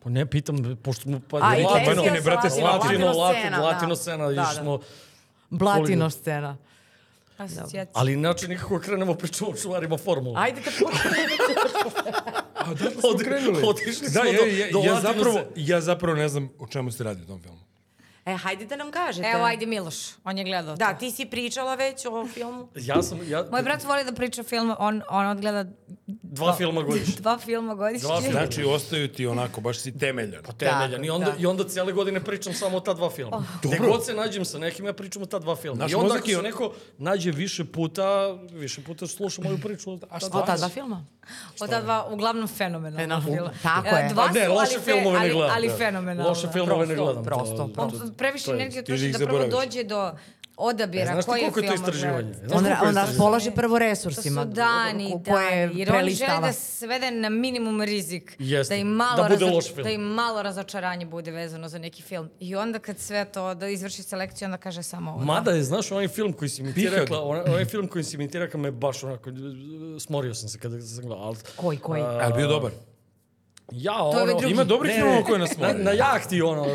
Speaker 2: Pa ne, pitam, pošto mu... Pa,
Speaker 5: A, Iglesias,
Speaker 4: Martini, brate,
Speaker 2: latino, latino, latino,
Speaker 5: da.
Speaker 2: latino scena,
Speaker 5: Da,
Speaker 2: da,
Speaker 5: da.
Speaker 2: smo...
Speaker 5: Blatino
Speaker 2: Hollywood.
Speaker 5: scena.
Speaker 3: Asocijacija.
Speaker 2: Ali inače nikako krenemo priču o čuvarima formula.
Speaker 5: Ajde da- te pokrenemo.
Speaker 4: A da smo
Speaker 2: Odi-
Speaker 4: krenuli.
Speaker 2: otišli smo
Speaker 4: da,
Speaker 2: do-
Speaker 4: ja, ja,
Speaker 2: do
Speaker 4: ja,
Speaker 2: Latino
Speaker 4: zapravo,
Speaker 2: se-
Speaker 4: ja zapravo ne znam o čemu se radi u tom filmu.
Speaker 5: E, hajde da nam kažete.
Speaker 3: Evo, ajde Miloš, on je gledao
Speaker 5: Da,
Speaker 3: to.
Speaker 5: ti si pričala već o ovom filmu.
Speaker 2: Ja sam... Ja,
Speaker 3: Moj brat voli da priča film, on, on odgleda
Speaker 2: Dva filma godišnje.
Speaker 3: dva filma godišnje.
Speaker 2: Dva filma.
Speaker 4: Znači, ostaju ti onako, baš si temeljan.
Speaker 2: Temeljan. I onda,
Speaker 5: da.
Speaker 2: I onda cijele godine pričam samo o ta dva
Speaker 3: Oh.
Speaker 2: filma. Gde
Speaker 4: Dobro.
Speaker 2: god se nađem sa nekim, ja pričam o ta dva filma.
Speaker 4: Naš
Speaker 2: I onda
Speaker 4: mozak
Speaker 2: ako
Speaker 4: je-
Speaker 2: se neko nađe više puta, više puta sluša moju priču. o ta
Speaker 5: O ta dva filma.
Speaker 3: Od ta dva uglavnom fenomenalna
Speaker 5: Fenomenalna.
Speaker 3: filma.
Speaker 5: Tako
Speaker 3: E,
Speaker 5: je.
Speaker 3: Dva
Speaker 2: A pa ne,
Speaker 3: su,
Speaker 2: loše
Speaker 3: ali fe-
Speaker 2: filmove ne
Speaker 3: ali-
Speaker 2: gledam.
Speaker 3: Ali
Speaker 2: da.
Speaker 3: fenomenalna.
Speaker 2: Loše filmove ne
Speaker 5: Prosto,
Speaker 2: gledam. to- da.
Speaker 5: prosto,
Speaker 2: to-
Speaker 5: prosto.
Speaker 3: On previše
Speaker 2: to je-
Speaker 3: energije
Speaker 4: ti ih
Speaker 3: troši da prvo
Speaker 4: zaboraviš.
Speaker 3: dođe do odabira.
Speaker 2: E, Znaš ti
Speaker 3: koji
Speaker 2: koliko je to
Speaker 3: film
Speaker 2: istraživanje?
Speaker 3: odgledati.
Speaker 2: Znaš
Speaker 5: On,
Speaker 2: koliko je
Speaker 5: on
Speaker 2: istraživanje?
Speaker 5: raspolaže prvo
Speaker 3: To
Speaker 5: resursima.
Speaker 3: su dani,
Speaker 5: ko- koje
Speaker 3: dani. Jer oni žele
Speaker 5: prelistava.
Speaker 3: da svede na minimum rizik.
Speaker 2: Jeste.
Speaker 3: Da im malo,
Speaker 2: Da bude
Speaker 3: razoč-
Speaker 2: loš film.
Speaker 3: da im malo razočaranje bude vezano za neki film. I onda kad sve to, da izvrši selekciju, onda kaže samo ovo.
Speaker 2: Mada je, znaš, onaj film koji si mi ti
Speaker 4: Pihad.
Speaker 2: rekla, onaj, onaj film koji si mi ti rekla me baš onako, e, smorio sam se kada sam gledao. ali-
Speaker 5: Koji, koji?
Speaker 2: A,
Speaker 4: Ali bio dobar.
Speaker 2: Ja,
Speaker 3: je ovaj
Speaker 2: ono...
Speaker 3: drugi.
Speaker 4: Ima dobrih
Speaker 2: Ne,
Speaker 4: filmova koje nas E,
Speaker 2: na,
Speaker 4: moraju.
Speaker 2: na jahti, ono,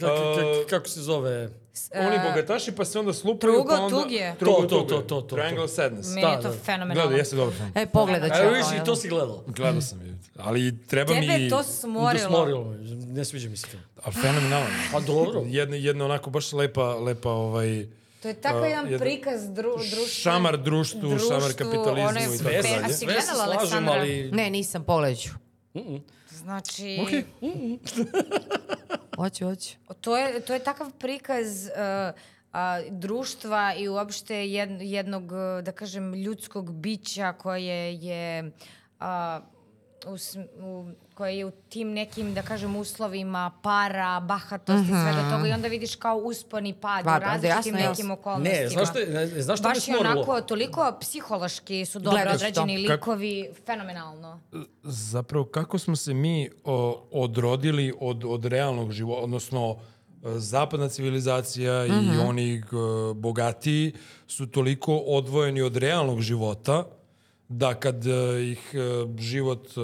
Speaker 2: kako,
Speaker 4: A-
Speaker 2: kako se zove?
Speaker 5: E,
Speaker 3: e,
Speaker 4: Oni bogataši pa se onda slupaju
Speaker 3: Trugo,
Speaker 4: pa onda...
Speaker 3: Tugije.
Speaker 4: Trugo,
Speaker 2: To, to,
Speaker 4: Tugije.
Speaker 2: to, to, to, to.
Speaker 4: Triangle Sadness.
Speaker 3: Meni je
Speaker 2: da,
Speaker 3: to
Speaker 2: da.
Speaker 3: fenomenalno.
Speaker 4: Gledaj, jeste dobar film.
Speaker 3: da
Speaker 5: E, pogledat ću.
Speaker 2: Evo viš i
Speaker 5: evo.
Speaker 2: to si gledao.
Speaker 4: Gledao sam je. Ali treba mi...
Speaker 3: Tebe je to
Speaker 2: Da
Speaker 3: smorilo.
Speaker 2: smorilo me, ne sviđa mi se film.
Speaker 4: Ali fenomenalan.
Speaker 2: Pa dobro.
Speaker 4: Jedna, jedna onako baš lepa, lepa ovaj...
Speaker 3: To je tako
Speaker 4: A,
Speaker 3: jedan
Speaker 4: jedan
Speaker 3: prikaz dru, društva.
Speaker 4: Šamar društvu, šamar kapitalizmu
Speaker 3: ono je
Speaker 4: i
Speaker 2: да,
Speaker 4: tako
Speaker 3: sve-
Speaker 4: dalje.
Speaker 3: A si
Speaker 2: sve se
Speaker 3: gledala
Speaker 2: slažem,
Speaker 3: Aleksandra?
Speaker 2: ali...
Speaker 5: Ne, nisam, pogledat ću.
Speaker 3: Znači,
Speaker 5: Hoću, hoću.
Speaker 3: to, je, to je takav prikaz uh, a, društva i uopšte jed- jednog, uh, da kažem, ljudskog bića koje je... a, u, sm- u, koje je u tim nekim, da kažem, uslovima para, bahatosti, svega toga i onda vidiš kao uspon i pad
Speaker 5: Mhm. Pa,
Speaker 3: u
Speaker 5: da,
Speaker 3: različitim
Speaker 5: jasno, jasno.
Speaker 3: nekim okolnostima.
Speaker 2: Ne, znaš što, je- ne, znaš što me
Speaker 3: Baš je
Speaker 2: smorilo?
Speaker 3: onako, toliko psihološki su dobro
Speaker 5: Gledaš to.
Speaker 3: odrađeni
Speaker 4: Kako-
Speaker 3: likovi, fenomenalno.
Speaker 4: Zapravo, kako smo se mi o, odrodili od, od realnog života, odnosno e, zapadna civilizacija
Speaker 3: Mhm.
Speaker 4: i oni g, bogatiji su toliko odvojeni od realnog života da kad e, ih e, život e,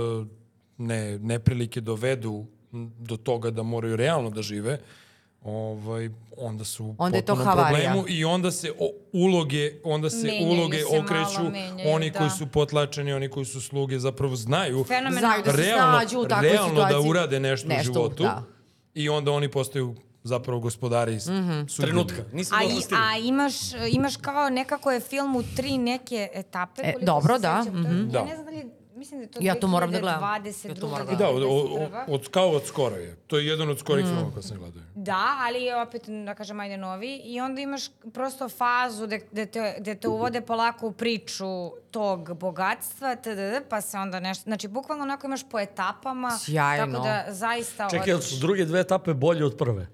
Speaker 4: ne, neprilike dovedu m, do toga da moraju realno da žive, ovaj, onda su u
Speaker 5: Onda je to
Speaker 4: potpunom
Speaker 5: havarija.
Speaker 4: problemu i onda se o, uloge, onda se
Speaker 3: Menjaju
Speaker 4: uloge
Speaker 3: se malo,
Speaker 4: okreću,
Speaker 3: menjaju,
Speaker 4: oni koji
Speaker 3: da.
Speaker 4: su potlačeni, oni koji su sluge zapravo znaju
Speaker 3: Fenomenalno.
Speaker 5: Znaju da se
Speaker 4: realno,
Speaker 5: snađu u takvoj
Speaker 4: realno da
Speaker 5: situaciji.
Speaker 4: urade nešto,
Speaker 5: Nešto,
Speaker 4: u životu
Speaker 5: da.
Speaker 4: i onda oni postaju zapravo gospodari mm -hmm.
Speaker 2: Trenutka, nisam
Speaker 3: A,
Speaker 2: dobro
Speaker 3: i,
Speaker 2: stigao.
Speaker 3: a imaš, imaš kao nekako je film u tri neke etape.
Speaker 5: E,
Speaker 3: koliko
Speaker 5: dobro,
Speaker 3: se
Speaker 5: da,
Speaker 3: sjećam, to je-
Speaker 4: Da.
Speaker 3: Ja ne znam da li, mislim da je to
Speaker 5: Ja to moram da gledam.
Speaker 3: 2022,
Speaker 5: Ja to moram
Speaker 4: Da, od, od, od, kao od skoro je. To je jedan od skorih filmova koje sam gledao.
Speaker 3: Da, ali je opet, da kažem, ajde novi. I onda imaš prosto fazu gde, gde, te, gde te uvode polako u priču tog bogatstva, tdd, pa se onda nešto... Znači, bukvalno onako imaš po etapama.
Speaker 5: Sjajno.
Speaker 3: Tako da zaista...
Speaker 2: Čekaj, jel su druge dve etape bolje od prve?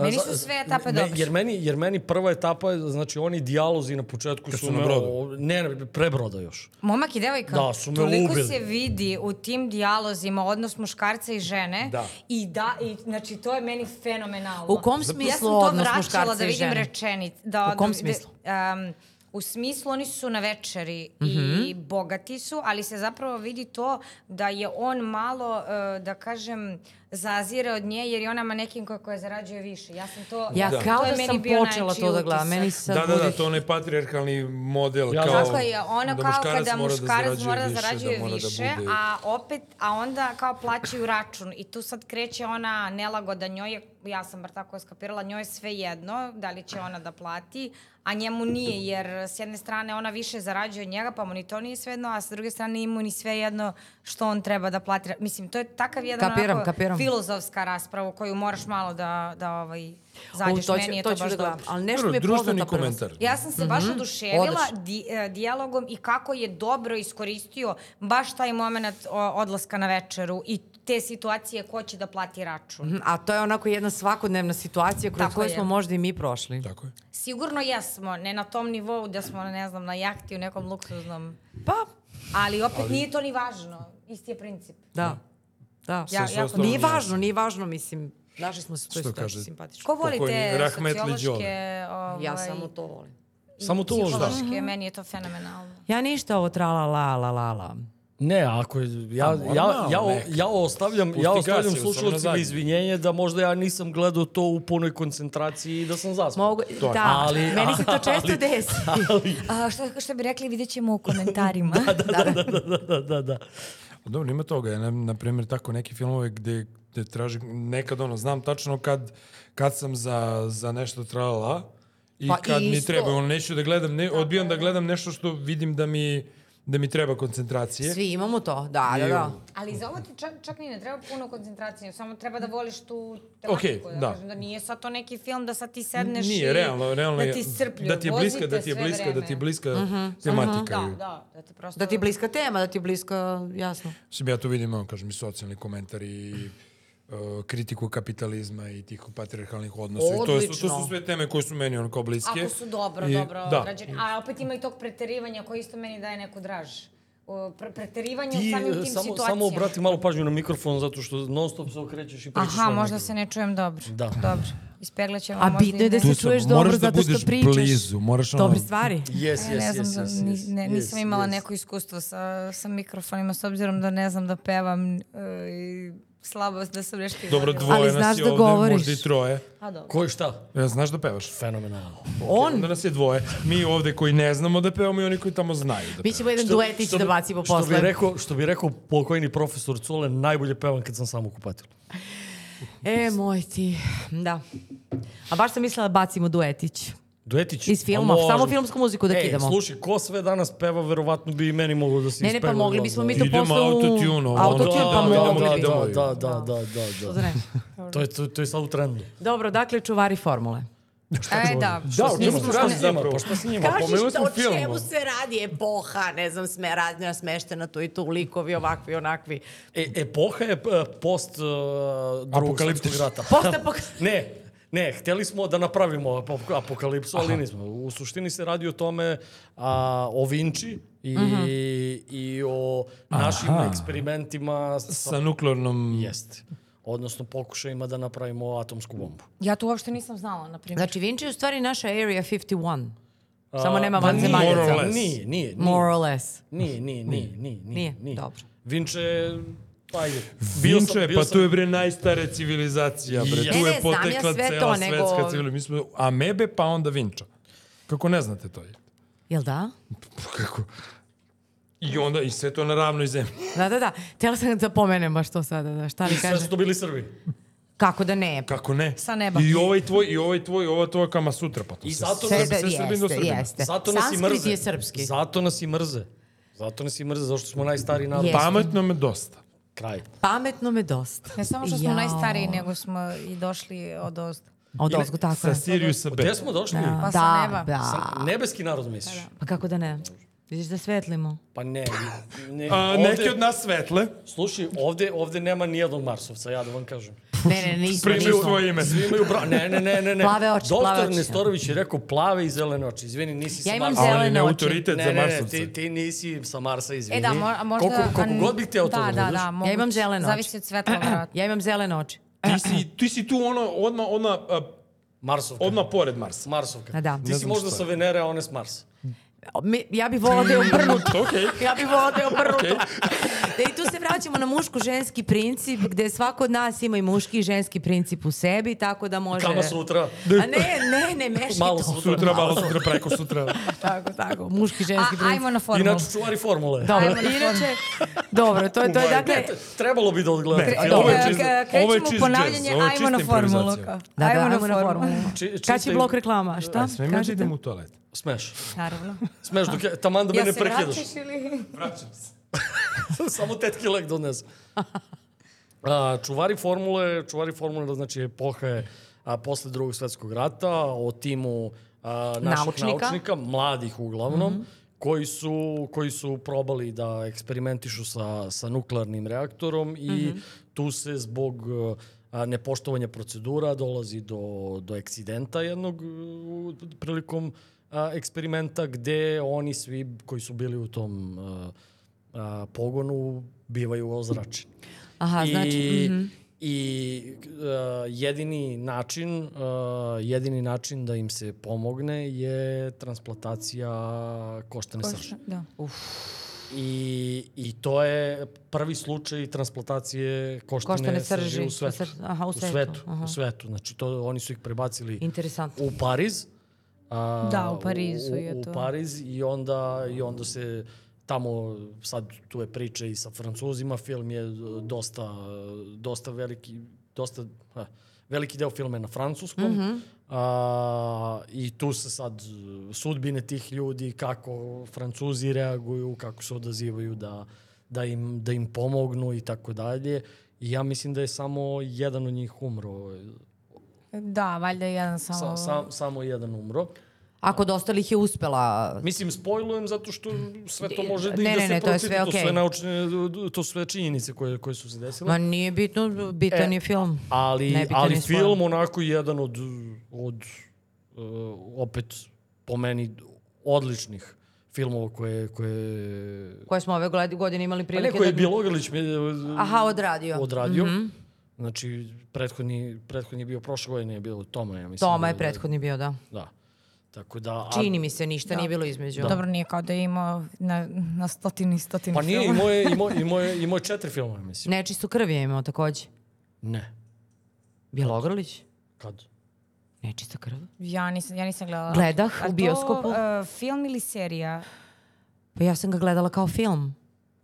Speaker 3: Meni
Speaker 2: za-
Speaker 3: su sve etape dobre.
Speaker 2: Jer meni, jer meni prva etapa, je, znači oni dijalozi na početku
Speaker 4: Kad
Speaker 2: su,
Speaker 4: su na
Speaker 2: me...
Speaker 4: brodu.
Speaker 2: o- Ne, ne, pre broda još.
Speaker 3: Momak i devojka,
Speaker 2: Da, su me
Speaker 3: toliko
Speaker 2: ubili.
Speaker 3: se vidi u tim dijalozima odnos muškarca i žene.
Speaker 4: Da.
Speaker 3: I da, i, znači to je meni fenomenalno.
Speaker 1: U kom
Speaker 3: ja sam
Speaker 1: smislu
Speaker 3: to
Speaker 1: odnos
Speaker 3: vraćala
Speaker 1: muškarca
Speaker 3: da
Speaker 1: i
Speaker 3: vidim
Speaker 1: žene?
Speaker 3: rečenic. Da,
Speaker 1: U kom
Speaker 3: da-
Speaker 1: smislu?
Speaker 3: Da, em, u smislu oni su na večeri i
Speaker 1: Mhm.
Speaker 3: bogati su, ali se zapravo vidi to da je on malo, eh, da kažem, zazire od nje jer je ona manekinka koja zarađuje više. Ja sam to...
Speaker 1: Ja
Speaker 3: to
Speaker 1: kao
Speaker 3: je
Speaker 1: da
Speaker 3: meni
Speaker 1: sam
Speaker 3: bio
Speaker 1: počela
Speaker 3: najjači
Speaker 1: to da gledam.
Speaker 3: utisak.
Speaker 1: Meni sad
Speaker 4: Da, da, da,
Speaker 1: budi-
Speaker 4: to je onaj patrijarhalni model.
Speaker 2: Ja
Speaker 4: kao,
Speaker 2: znam.
Speaker 3: Tako je, ono
Speaker 4: da
Speaker 3: kao
Speaker 4: muškarac
Speaker 3: kada
Speaker 4: mora da
Speaker 3: muškarac
Speaker 4: zarađuje
Speaker 3: mora da
Speaker 4: više,
Speaker 3: zarađuje
Speaker 4: mora da
Speaker 3: više,
Speaker 4: bude-
Speaker 3: a opet, a onda kao plaćaju račun i tu sad kreće ona nelagoda njoj, je, ja sam bar tako skapirala, njoj je sve jedno, da li će ona da plati, a njemu nije, jer s jedne strane ona više zarađuje od njega, pa mu ni to nije sve jedno, a s druge strane nije mu ni sve jedno što on treba da plati. Mislim, to je takav jedan
Speaker 1: Kapiram,
Speaker 3: onako
Speaker 1: kapiram.
Speaker 3: filozofska rasprava u koju moraš malo da, da ovaj,
Speaker 1: U,
Speaker 3: zađeš,
Speaker 1: to ću,
Speaker 3: meni je
Speaker 1: to
Speaker 3: to,
Speaker 1: ću
Speaker 3: baš
Speaker 1: da
Speaker 3: dobro.
Speaker 1: gledam. Ali nešto mi je poznato.
Speaker 4: društveni komentar.
Speaker 3: Ja sam se baš oduševila
Speaker 1: Odlično.
Speaker 3: di, e, dijalogom i kako je dobro iskoristio baš taj moment o, odlaska na večeru i te situacije ko će da plati račun.
Speaker 5: Mhm, A to je onako jedna svakodnevna situacija kroz
Speaker 3: Tako
Speaker 5: koju
Speaker 3: je.
Speaker 5: smo možda i mi prošli.
Speaker 4: Tako je.
Speaker 3: Sigurno jesmo, ne na tom nivou da smo, ne znam, na jahti u nekom luksuznom,
Speaker 5: Pa,
Speaker 3: ali opet nije to ni važno. Isti je princip.
Speaker 5: da. Da.
Speaker 3: Ja-
Speaker 4: sve
Speaker 3: jako-
Speaker 4: ostalo
Speaker 5: Nije
Speaker 4: nije važno.
Speaker 5: važno, nije važno, mislim. Našli smo se u toj
Speaker 4: Što
Speaker 5: situaciji
Speaker 4: kaže?
Speaker 5: simpatično.
Speaker 3: Ko voli
Speaker 4: Pokojni
Speaker 3: te
Speaker 4: Rahmetli
Speaker 3: sociološke... Ovaj,
Speaker 5: Ja samo to volim.
Speaker 3: i
Speaker 2: Samo to volim, da.
Speaker 3: psihološke, meni je to fenomenalno.
Speaker 1: Ja ništa ovo tra la la la la la.
Speaker 2: Ne, ako je, ja, ja, ja,
Speaker 4: normalno,
Speaker 2: ja, o-
Speaker 4: neka.
Speaker 2: ja ostavljam,
Speaker 4: Pusti
Speaker 2: ja ostavljam
Speaker 4: gasi, osobno
Speaker 2: slušalcima
Speaker 4: zadnji.
Speaker 2: izvinjenje da možda ja nisam gledao to u punoj koncentraciji i da sam zaspao.
Speaker 1: Mogu,
Speaker 4: To je-
Speaker 1: da,
Speaker 2: ali-
Speaker 1: meni se to često desi.
Speaker 3: A, što, što bi rekli, vidjet ćemo u komentarima.
Speaker 2: Da, da, da.
Speaker 4: Pa Dobro, ima toga. Ja, na, na primjer, tako neki filmove gde, gde tražim, nekad ono, znam tačno kad, kad sam za, za nešto trala i
Speaker 5: Pa
Speaker 4: kad mi
Speaker 5: isto.
Speaker 4: treba. Ono, neću da gledam, ne, odbijam da gledam nešto što vidim da mi, da mi treba koncentracije.
Speaker 5: Svi imamo to, da, da, da.
Speaker 3: Ali za ovo ti čak, čak ni ne treba puno koncentracije, samo treba da voliš tu
Speaker 4: Okej,
Speaker 3: tematiku. da.
Speaker 4: da.
Speaker 3: Kažem, da nije sad to neki film da sad ti sedneš
Speaker 4: Nije,
Speaker 3: i
Speaker 4: realno, realno
Speaker 3: da
Speaker 4: je-
Speaker 3: ti strplju.
Speaker 4: da ti je bliska, da ti je bliska, da ti je bliska tematika.
Speaker 3: Mhm, Da, da, da ti prosto...
Speaker 5: Da ti je bliska tema, da ti je bliska, jasno.
Speaker 4: Mislim, ja tu vidim, ono, kažem, i socijalni komentar i e, kritiku kapitalizma i tih patriarhalnih odnosa. I to, su, to
Speaker 5: Odlično.
Speaker 4: su sve teme koje su meni onako bliske.
Speaker 3: Ako su dobro,
Speaker 4: I-
Speaker 3: dobro
Speaker 4: da.
Speaker 3: odrađene. A opet ima i tog preterivanja koji isto meni daje neku draž. O, Pre preterivanje u
Speaker 2: Ti
Speaker 3: samim
Speaker 2: e,
Speaker 3: tim
Speaker 2: samo,
Speaker 3: situacijama.
Speaker 2: samo obrati malo pažnju na mikrofon zato što non stop se okrećeš i pričaš.
Speaker 3: Aha,
Speaker 2: o
Speaker 3: možda
Speaker 2: nekom.
Speaker 3: se ne čujem dobro.
Speaker 2: Da.
Speaker 3: Dobro. Ispeglat ćemo
Speaker 1: A
Speaker 3: možda i
Speaker 1: bitno je da
Speaker 3: ne-
Speaker 1: se
Speaker 4: sam,
Speaker 1: čuješ dobro
Speaker 4: moraš da
Speaker 1: zato što
Speaker 4: budeš
Speaker 1: pričaš.
Speaker 4: blizu, moraš ono-
Speaker 1: Dobre stvari.
Speaker 2: Yes, yes,
Speaker 3: ne znam,
Speaker 2: yes,
Speaker 3: za-
Speaker 2: yes,
Speaker 3: ni-
Speaker 2: yes,
Speaker 3: ne, nisam
Speaker 2: yes,
Speaker 3: imala
Speaker 2: yes.
Speaker 3: neko iskustvo sa, sa mikrofonima, s obzirom da ne znam da pevam e, i slabo da sam nešto
Speaker 4: Dobro,
Speaker 3: izvodila.
Speaker 4: dvoje
Speaker 1: znaš
Speaker 4: nas je
Speaker 1: da
Speaker 4: ovde,
Speaker 1: govoriš.
Speaker 4: možda i troje.
Speaker 3: A dobro.
Speaker 2: Ko i šta?
Speaker 4: Ja, znaš da pevaš?
Speaker 2: Fenomenalno.
Speaker 4: On? Onda nas je dvoje. Mi ovde koji ne znamo da pevamo i oni koji tamo znaju da
Speaker 5: Mi
Speaker 4: pevamo.
Speaker 5: ćemo jedan duetić da bacimo
Speaker 2: što bi,
Speaker 5: posle.
Speaker 2: rekao, što bi rekao pokojni profesor Cule, najbolje pevam kad sam sam u kupatilu.
Speaker 5: E, moj ti, da. A baš sam mislila da bacimo duetić.
Speaker 2: Duetić.
Speaker 1: Iz
Speaker 2: pa
Speaker 1: filma,
Speaker 2: možemo.
Speaker 1: samo filmsku muziku da
Speaker 5: да
Speaker 2: Ej,
Speaker 1: kidamo.
Speaker 2: slušaj, ko sve danas peva, verovatno bi i meni moglo da se
Speaker 5: па
Speaker 1: Ne, ne, pa
Speaker 2: ispeva
Speaker 1: mogli
Speaker 2: glas,
Speaker 1: bismo
Speaker 2: da.
Speaker 1: mi to
Speaker 4: Idemo
Speaker 1: posle u...
Speaker 4: autotune, ovo,
Speaker 2: Da,
Speaker 1: Autotune,
Speaker 4: ono,
Speaker 1: pa
Speaker 2: da, da,
Speaker 1: mogli
Speaker 2: da,
Speaker 1: bi.
Speaker 2: da, da, da, da, da,
Speaker 5: да
Speaker 1: Zar ne?
Speaker 2: da. To je, to, to je sad u trendu.
Speaker 5: Dobro, dakle, čuvari formule.
Speaker 3: E, da.
Speaker 2: Da, o čemu se
Speaker 4: smo šta
Speaker 2: radi
Speaker 4: si
Speaker 2: zapravo?
Speaker 4: zapravo?
Speaker 2: Pa šta s njima? Pomenuli
Speaker 5: da
Speaker 2: smo film.
Speaker 5: se radi epoha, ne znam, sme razne, smeštena tu i tu, likovi ovakvi, onakvi.
Speaker 2: E, epoha je e, post uh, drugog
Speaker 4: Apokaliptična.
Speaker 2: svetskog rata.
Speaker 5: Postapak...
Speaker 2: Ne, ne, hteli smo da napravimo ap- apokalipsu, ali nismo. U suštini se radi o tome a, o Vinči i,
Speaker 5: Mhm.
Speaker 2: i o našim
Speaker 4: Aha.
Speaker 2: eksperimentima sa,
Speaker 4: Sa nuklearnom...
Speaker 2: Jeste. Odnosno pokušajima da napravimo atomsku bombu.
Speaker 3: Ja to uopšte nisam znala, na primjer.
Speaker 5: Znači, Vinci je u stvari naša Area 51. Samo nema
Speaker 2: Pa nije,
Speaker 5: vanzemaljaca.
Speaker 4: More or less.
Speaker 2: Nije, nije, nije.
Speaker 5: More or less.
Speaker 2: Nije, nije, nije, nije,
Speaker 5: Nije,
Speaker 2: nije, nije.
Speaker 5: dobro.
Speaker 2: Vinče, pa ajde. Bio sam-
Speaker 4: Vinče,
Speaker 2: bio
Speaker 4: pa
Speaker 2: sam-
Speaker 4: tu je bre najstara civilizacija, bre.
Speaker 2: Ja.
Speaker 5: Ne,
Speaker 4: Tu je
Speaker 5: ne, znam ja
Speaker 4: potekla
Speaker 5: sve
Speaker 4: cela
Speaker 5: to,
Speaker 4: svetska
Speaker 5: nego-
Speaker 4: civilizacija. Mi smo amebe, pa onda Vinča. Kako ne znate to je?
Speaker 5: Jel da?
Speaker 4: Kako? I onda, i sve to na ravnoj zemlji.
Speaker 5: Da, da, da. Htjela sam da pomenem, a što sada, da, šta
Speaker 2: I
Speaker 5: li
Speaker 2: sve
Speaker 5: kaže?
Speaker 2: su to bili Srbi.
Speaker 5: Kako da ne?
Speaker 4: Kako ne?
Speaker 3: Sa neba.
Speaker 4: I ovaj tvoj, i ovaj tvoj, i ova tvoja kama sutra, pa to
Speaker 2: I
Speaker 4: se-
Speaker 2: zato
Speaker 4: sve-
Speaker 2: nas-
Speaker 4: sve Srbin do
Speaker 5: jeste,
Speaker 4: Srbina.
Speaker 5: jeste.
Speaker 2: Zato nas i
Speaker 5: Sanskrit
Speaker 2: mrze.
Speaker 5: je srpski.
Speaker 2: Zato nas i mrze. Zato nas i mrze, zašto smo najstariji narod.
Speaker 5: Je.
Speaker 4: Pametno me dosta.
Speaker 2: Kraj.
Speaker 5: Pametno me dosta.
Speaker 3: Ne samo što smo
Speaker 5: Jao.
Speaker 3: najstariji, nego smo i došli od ozda.
Speaker 5: Od ozgo, tako
Speaker 4: Sa
Speaker 5: je.
Speaker 4: Siriusa B.
Speaker 2: Gde smo došli?
Speaker 5: Da,
Speaker 3: Pa sa
Speaker 5: da,
Speaker 3: neba.
Speaker 5: da.
Speaker 2: Sam- Nebeski narod misliš?
Speaker 5: Pa kako da ne? Vidiš da svetlimo.
Speaker 2: Pa ne. ne
Speaker 4: A,
Speaker 2: ovde-
Speaker 4: neki od nas svetle.
Speaker 2: да Slušaj, ovde, ovde nema nijednog Marsovca, ja da vam kažem.
Speaker 5: Ne, ne, nismo,
Speaker 4: Pričaj
Speaker 5: nismo.
Speaker 4: svoje ime.
Speaker 2: Svi imaju bra... Ne, ne, ne, ne. ne.
Speaker 1: Plave oči,
Speaker 2: Doktor
Speaker 1: plave oči.
Speaker 2: Nestorović je rekao plave i zelene oči. Izvini, nisi sa
Speaker 1: Ja imam
Speaker 2: Marsa.
Speaker 4: A on je
Speaker 1: Zelene oči.
Speaker 4: autoritet
Speaker 2: Ne,
Speaker 4: za
Speaker 2: ne, ne,
Speaker 4: Marsovce.
Speaker 2: ti, ti nisi sa Marsa, izvini.
Speaker 3: E da, mo- a možda...
Speaker 2: Koliko, koliko
Speaker 3: an-
Speaker 2: god bih hteo to
Speaker 3: da, da, da, moguće.
Speaker 1: imam zeleno
Speaker 3: Zavisi od svetla, vjerojatno.
Speaker 1: Ja imam zelene oči.
Speaker 4: Ti si, ti si tu ono, odmah, odmah, a,
Speaker 2: Marsovka.
Speaker 4: odmah pored Marsa.
Speaker 2: Marsovka.
Speaker 1: A da.
Speaker 2: Ti
Speaker 1: Ne
Speaker 2: si
Speaker 4: znam
Speaker 2: možda
Speaker 4: šta
Speaker 2: sa
Speaker 4: je.
Speaker 2: Venere, a on je s Marsa.
Speaker 1: Mi- ja bih volao da je obrnuto.
Speaker 4: Okej.
Speaker 1: Ja bih volao da je obrnuto. Da i tu se vraćamo na muško-ženski princip gde svako od nas ima i muški i ženski princip u sebi, tako da može...
Speaker 5: да
Speaker 2: Kama sutra.
Speaker 1: A ne, ne, ne, meši
Speaker 2: Malo
Speaker 1: to.
Speaker 2: sutra.
Speaker 4: Sutra, malo sutra, preko sutra.
Speaker 1: Tako, tako, muški i
Speaker 3: A,
Speaker 1: ženski princip.
Speaker 3: ajmo na formulu.
Speaker 2: Inače, čuvari formule.
Speaker 5: Dobro,
Speaker 3: Ajmo na
Speaker 5: inače, dobro, to je, to je dakle,
Speaker 2: Te- Trebalo bi da odgledam.
Speaker 4: Ne,
Speaker 2: Ajde,
Speaker 4: dobro.
Speaker 2: ovo je
Speaker 4: K-
Speaker 2: čisto-
Speaker 4: ovo je
Speaker 3: Krećemo
Speaker 4: čist jazz,
Speaker 3: ponavljanje,
Speaker 4: ovo je
Speaker 3: ajmo na
Speaker 4: čista
Speaker 3: formulu.
Speaker 4: improvizacija.
Speaker 3: kao.
Speaker 1: Da, da, ajmo na formulu.
Speaker 2: či- čista
Speaker 1: Kad će
Speaker 2: im-
Speaker 1: blok reklama? Šta?
Speaker 4: Sve mi da idem u toalet.
Speaker 2: Smeš.
Speaker 3: Naravno.
Speaker 2: Smeš dok je, taman da
Speaker 3: Jel
Speaker 2: mene
Speaker 3: se
Speaker 2: prekidaš.
Speaker 3: vraćaš ili...
Speaker 4: Vraćam se.
Speaker 2: Samo tetki lek donesu. A, čuvari formule, čuvari formule, znači epoha je a, posle drugog svetskog rata, o timu a, naših
Speaker 1: Naučnika.
Speaker 2: naučnika, mladih uglavnom, koji, su, koji su probali da eksperimentišu sa, sa nuklearnim reaktorom i tu se zbog e, a, nepoštovanja procedura dolazi do, do eksidenta jednog e, u- prilikom a, eksperimenta gde oni svi koji su bili u tom a, a, pogonu bivaju ozračeni.
Speaker 1: Aha, znači...
Speaker 2: I, i uh, jedini način uh, jedini način da im se pomogne je transplantacija koštane srži.
Speaker 3: Da.
Speaker 2: I, I to je prvi slučaj transplantacije koštane,
Speaker 1: Koštane
Speaker 2: srži,
Speaker 1: srži
Speaker 2: u svetu.
Speaker 1: u sr- aha, u svetu,
Speaker 2: svetu,
Speaker 1: aha.
Speaker 2: u svetu. Znači to oni su ih prebacili
Speaker 1: Interesantno.
Speaker 2: u Pariz. A,
Speaker 3: Da, u Parizu je
Speaker 2: u,
Speaker 3: to.
Speaker 2: U Pariz i onda, i onda se tamo, sad tu je priča i sa francuzima, film je e, dosta, e, dosta veliki, dosta, ha, veliki deo filma je na francuskom.
Speaker 3: Mhm.
Speaker 2: a, I tu se sad e, sudbine tih ljudi, kako francuzi reaguju, kako se odazivaju da, da, im, da im pomognu i tako dalje. I ja mislim da je samo jedan od njih umro.
Speaker 3: Da, valjda je jedan samo...
Speaker 2: Sa, sam, samo jedan umro.
Speaker 1: Ako od ostalih je uspela...
Speaker 2: Mislim, spojlujem zato što sve to može da,
Speaker 1: Ne,
Speaker 2: i da
Speaker 1: ne,
Speaker 2: se
Speaker 1: ne, to je
Speaker 2: pročita,
Speaker 1: sve
Speaker 2: to
Speaker 1: okej.
Speaker 2: sve naučne, to su sve činjenice koje, koje su se desile.
Speaker 1: Ma nije bitno, bitan je film.
Speaker 2: ali
Speaker 1: nebitan
Speaker 2: ali
Speaker 1: je svoj.
Speaker 2: film onako jedan od, od uh, opet po meni odličnih filmova koje, koje
Speaker 1: Koje smo ove gled- godine imali
Speaker 2: Pa
Speaker 1: prilike
Speaker 2: neko je
Speaker 1: da- Ah,
Speaker 2: Bjelogrlić mi je
Speaker 1: Aha, odradio.
Speaker 2: odradio.
Speaker 1: Mhm.
Speaker 2: Znači, prethodni, prethodni je bio prošle godine, je bilo Toma, ja mislim.
Speaker 1: Toma je
Speaker 2: da-
Speaker 1: prethodni bio, da.
Speaker 2: Da. Tako da... a-
Speaker 1: Čini mi se, ništa nije bilo između.
Speaker 3: Dobro, nije kao da je imao na, na stotini i stotini
Speaker 2: Pa nije,
Speaker 3: filmova.
Speaker 2: imao je, imao, imao je, imao je četiri filma, ja mislim.
Speaker 1: Nečistu krv je imao takođe.
Speaker 2: Ne.
Speaker 1: Bjelogrlić?
Speaker 2: Kad?
Speaker 1: Nečista krv?
Speaker 3: Ja nisam, ja nisam gledala.
Speaker 1: Gledah u
Speaker 3: A to,
Speaker 1: bioskopu?
Speaker 3: e, film ili serija?
Speaker 1: Pa ja sam ga gledala kao film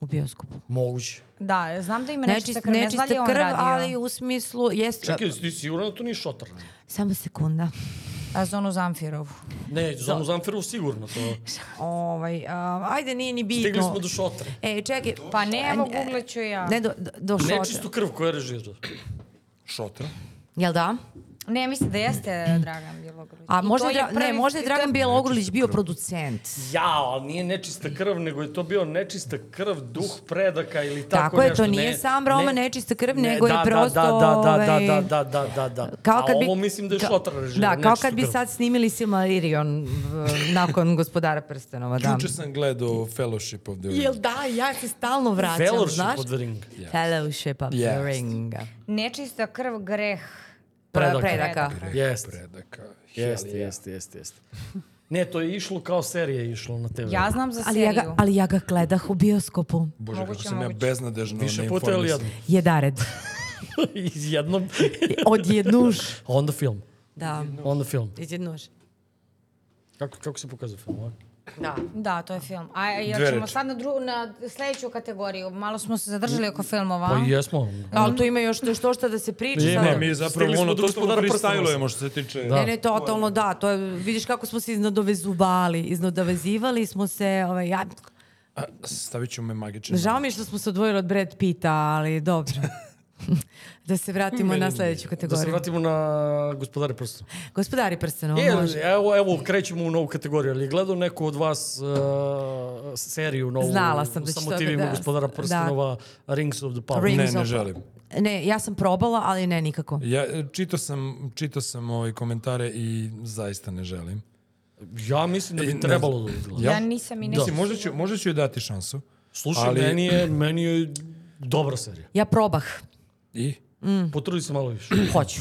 Speaker 1: u bioskopu.
Speaker 2: Moguće.
Speaker 3: Da, znam da ima
Speaker 1: Nečista,
Speaker 3: nečista krv, ne znam da li je
Speaker 1: nečista
Speaker 3: on
Speaker 1: krv,
Speaker 3: radio.
Speaker 1: ali u smislu... Jest,
Speaker 2: Čekaj, ti sigurno da to nije šotar?
Speaker 1: Samo sekunda.
Speaker 3: A Zonu Zamfirovu.
Speaker 2: Ne,
Speaker 1: Da.
Speaker 2: Zonu Zamfirovu sigurno to.
Speaker 1: Ovaj, a, ajde, nije ni bitno.
Speaker 2: Stigli smo do šotra.
Speaker 1: E, čekaj.
Speaker 3: Pa ne, evo,
Speaker 1: e,
Speaker 3: googlat ću ja.
Speaker 1: Ne, do, do, do šotra.
Speaker 2: Nečistu krv koja je režirao.
Speaker 4: Šotra.
Speaker 1: Jel da?
Speaker 3: Ne, mislim da jeste Dragan Bjelogrlić.
Speaker 1: A
Speaker 3: I
Speaker 1: možda,
Speaker 3: to
Speaker 1: je
Speaker 3: je
Speaker 1: Dra- ne,
Speaker 3: prvi-
Speaker 1: možda je Dragan Bjelogrlić
Speaker 4: Nečistu
Speaker 1: bio
Speaker 4: krv.
Speaker 1: producent.
Speaker 2: Ja, ali nije nečista krv, nego je to bio nečista krv, duh predaka ili tako,
Speaker 1: Tako je,
Speaker 2: Da, nešto.
Speaker 1: to nije
Speaker 2: ne,
Speaker 1: sam Roma nečista krv, nego je
Speaker 2: da, da,
Speaker 1: prosto,
Speaker 2: Da, da, da,
Speaker 1: ovaj,
Speaker 2: da, da, da, da, da.
Speaker 1: Kao kad
Speaker 2: A
Speaker 1: bi,
Speaker 2: ovo mislim da je
Speaker 1: ka-
Speaker 2: šotar režirao.
Speaker 1: Da, kao kad bi sad snimili Silmarillion v- nakon Gospodara prstenova. Da.
Speaker 4: Juče sam gledao Fellowship of the Ring.
Speaker 1: Jel da, ja se stalno vraćam,
Speaker 2: Fellowship
Speaker 1: znaš?
Speaker 2: od ring.
Speaker 1: Fellowship of the
Speaker 4: Yes.
Speaker 1: ring.
Speaker 3: Nečista krv greh.
Speaker 2: Predaka.
Speaker 1: Predaka.
Speaker 2: Jeste,
Speaker 4: Predaka.
Speaker 2: jeste, jeste, jeste, jeste. Ne, to je išlo kao serija je išlo na TV.
Speaker 3: Ja znam za
Speaker 1: Ali ja,
Speaker 3: seriju.
Speaker 1: ga, ali ja ga gledah u bioskopu.
Speaker 4: Bože,
Speaker 3: Moguće,
Speaker 4: kako sam ja
Speaker 3: moguće.
Speaker 4: beznadežno
Speaker 2: Više puta ili jednom?
Speaker 1: Jedared.
Speaker 2: Iz jednom.
Speaker 1: Odjednuš.
Speaker 2: Onda film.
Speaker 1: Da,
Speaker 2: Onda film.
Speaker 1: odjednuš.
Speaker 2: Kako, kako se pokazuje film? Ovako?
Speaker 1: Da.
Speaker 3: Da, to je film. A jel
Speaker 4: Dve
Speaker 3: ćemo
Speaker 4: reči.
Speaker 3: sad na, dru, na sledeću kategoriju? Malo smo se zadržali oko filmova.
Speaker 2: Pa jesmo.
Speaker 1: Ali tu ima još što šta da se priča.
Speaker 2: Ne,
Speaker 1: sad.
Speaker 4: Ne, mi zapravo
Speaker 2: Stigli smo
Speaker 4: ono,
Speaker 2: do
Speaker 4: to smo
Speaker 2: gospodara
Speaker 4: freestylujemo što se tiče...
Speaker 1: Ne, ne, totalno da. To je, vidiš kako smo se iznadovezuvali. Iznadovezivali smo se, ovaj, ja,
Speaker 4: A, Stavit ću me magično.
Speaker 1: žao mi je što smo se odvojili od Brad Pita, ali dobro.
Speaker 5: Da se vratimo na sledeću
Speaker 2: Da se
Speaker 5: kategoriju.
Speaker 2: vratimo na gospodare prstena.
Speaker 1: Gospodari prstenova
Speaker 2: E,
Speaker 1: može.
Speaker 2: evo, evo, krećemo u novu kategoriju. Ali gledao neko od vas uh, seriju novu?
Speaker 1: Znala sam da će
Speaker 2: sa
Speaker 1: to da-
Speaker 2: motivima
Speaker 1: da.
Speaker 2: gospodara
Speaker 1: Да.
Speaker 2: prstenova Rings of the Power.
Speaker 1: Ring-
Speaker 4: Ne,
Speaker 1: Zopet.
Speaker 4: ne želim.
Speaker 1: Ne, ja sam probala, ali ne nikako.
Speaker 4: Ja e, čitao sam, čitao sam ovaj komentare i zaista ne želim.
Speaker 2: Ja mislim da bi trebalo da izgleda.
Speaker 3: Ja nisam i
Speaker 4: Mislim,
Speaker 3: nisam.
Speaker 4: možda ću, možda ću joj dati šansu.
Speaker 2: Slušaj,
Speaker 4: Ali-
Speaker 2: meni, je, meni je dobra serija.
Speaker 1: Ja probah.
Speaker 4: I?
Speaker 2: Potrudi se malo više.
Speaker 1: Hoću.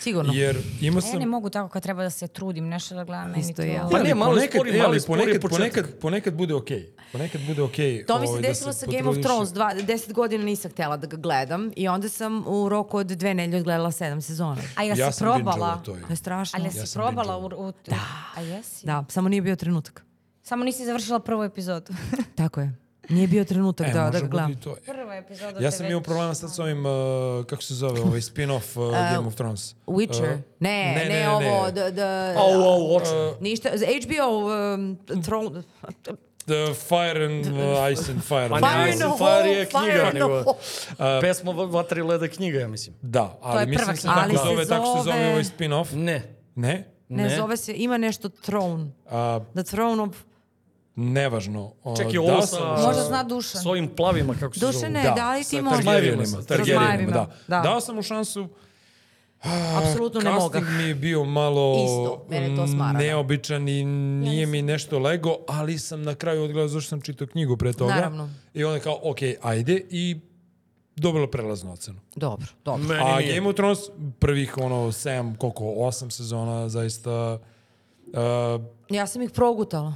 Speaker 1: Sigurno.
Speaker 4: Jer imao
Speaker 3: Ja ne
Speaker 4: sam...
Speaker 3: mogu tako kad treba da se trudim, nešto da gledam. meni
Speaker 1: Isto
Speaker 3: to...
Speaker 1: ja.
Speaker 2: Pa ne,
Speaker 4: ali
Speaker 2: malo je
Speaker 4: ponekad-
Speaker 2: spori,
Speaker 4: e,
Speaker 2: malo
Speaker 4: ali
Speaker 2: je spori
Speaker 4: ponekad,
Speaker 2: početak.
Speaker 4: ponekad, ponekad bude okej. Ponekad bude okej.
Speaker 1: To mi se
Speaker 4: ovaj, da
Speaker 1: desilo sa Game of
Speaker 4: potrudiš.
Speaker 1: Thrones, dva, deset godina nisam htjela da ga gledam i onda sam u roku od dve nedlje odgledala sedam sezona.
Speaker 3: A ja,
Speaker 4: Ja
Speaker 3: si
Speaker 4: sam bingeovao
Speaker 3: probala.
Speaker 4: to, ja.
Speaker 1: To je strašno.
Speaker 3: Ali ja
Speaker 4: Ja
Speaker 3: si
Speaker 4: sam
Speaker 3: probala u... u da. A jesi?
Speaker 1: Da, samo nije bio trenutak.
Speaker 3: Samo nisi završila prvu epizodu.
Speaker 1: Tako je. Nije bio trenutak
Speaker 4: E,
Speaker 1: da, da
Speaker 4: može
Speaker 1: ga
Speaker 4: bude
Speaker 1: gledam.
Speaker 4: i to.
Speaker 3: Prva epizoda
Speaker 4: Ja
Speaker 3: te
Speaker 4: sam imao
Speaker 3: već-
Speaker 4: problema sad s ovim, uh, kako se zove, ovaj spin-off uh, Game of Thrones.
Speaker 1: Witcher.
Speaker 4: Uh,
Speaker 1: ne, ne, ovo. Da, da,
Speaker 2: Au, au, oče.
Speaker 1: Ništa, za HBO um, Throne...
Speaker 4: The Fire and uh, Ice and Fire.
Speaker 2: Pa
Speaker 1: Fire
Speaker 2: ne,
Speaker 1: in the
Speaker 2: Ice and Fire
Speaker 1: Hole,
Speaker 2: je
Speaker 1: Fire
Speaker 2: knjiga,
Speaker 1: in the
Speaker 2: nego...
Speaker 1: Hole.
Speaker 2: A, Pesma Va- Vatra i leda je knjiga, ja mislim.
Speaker 4: Da, ali
Speaker 3: je prva
Speaker 4: mislim se
Speaker 3: knjiga.
Speaker 4: tako
Speaker 1: Ali se
Speaker 4: zove, tako se
Speaker 1: zove-
Speaker 4: zove ovaj spin-off.
Speaker 2: Ne.
Speaker 4: Ne?
Speaker 1: Ne,
Speaker 2: Ne.
Speaker 1: zove se, ima nešto Throne.
Speaker 4: A,
Speaker 1: The Throne of...
Speaker 4: nevažno. Uh,
Speaker 2: Čekaj, ovo
Speaker 4: li
Speaker 2: sa-
Speaker 4: sam-
Speaker 3: Možda zna Dušan.
Speaker 2: S ovim plavima, kako se zove.
Speaker 1: Dušane, da,
Speaker 4: Da,
Speaker 1: li ti
Speaker 4: sa
Speaker 1: možeš?
Speaker 2: Targaryenima,
Speaker 4: Targaryenima,
Speaker 1: Targaryenima,
Speaker 4: Targaryenima, da.
Speaker 1: da.
Speaker 4: Dao sam mu šansu,
Speaker 1: Apsolutno ne mogu.
Speaker 4: Casting mi je bio malo
Speaker 1: Isto, mene to smara, da.
Speaker 4: neobičan i nije mi nešto lego, ali sam na kraju odgledao zašto sam čitao knjigu pre toga.
Speaker 1: Naravno.
Speaker 4: I onda kao, ok, ajde i dobila prelaznu ocenu.
Speaker 1: Dobro, dobro.
Speaker 2: Meni
Speaker 4: A
Speaker 2: nije.
Speaker 4: Game of Thrones prvih ono 7, koliko, 8 sezona zaista uh,
Speaker 1: Ja sam ih progutala.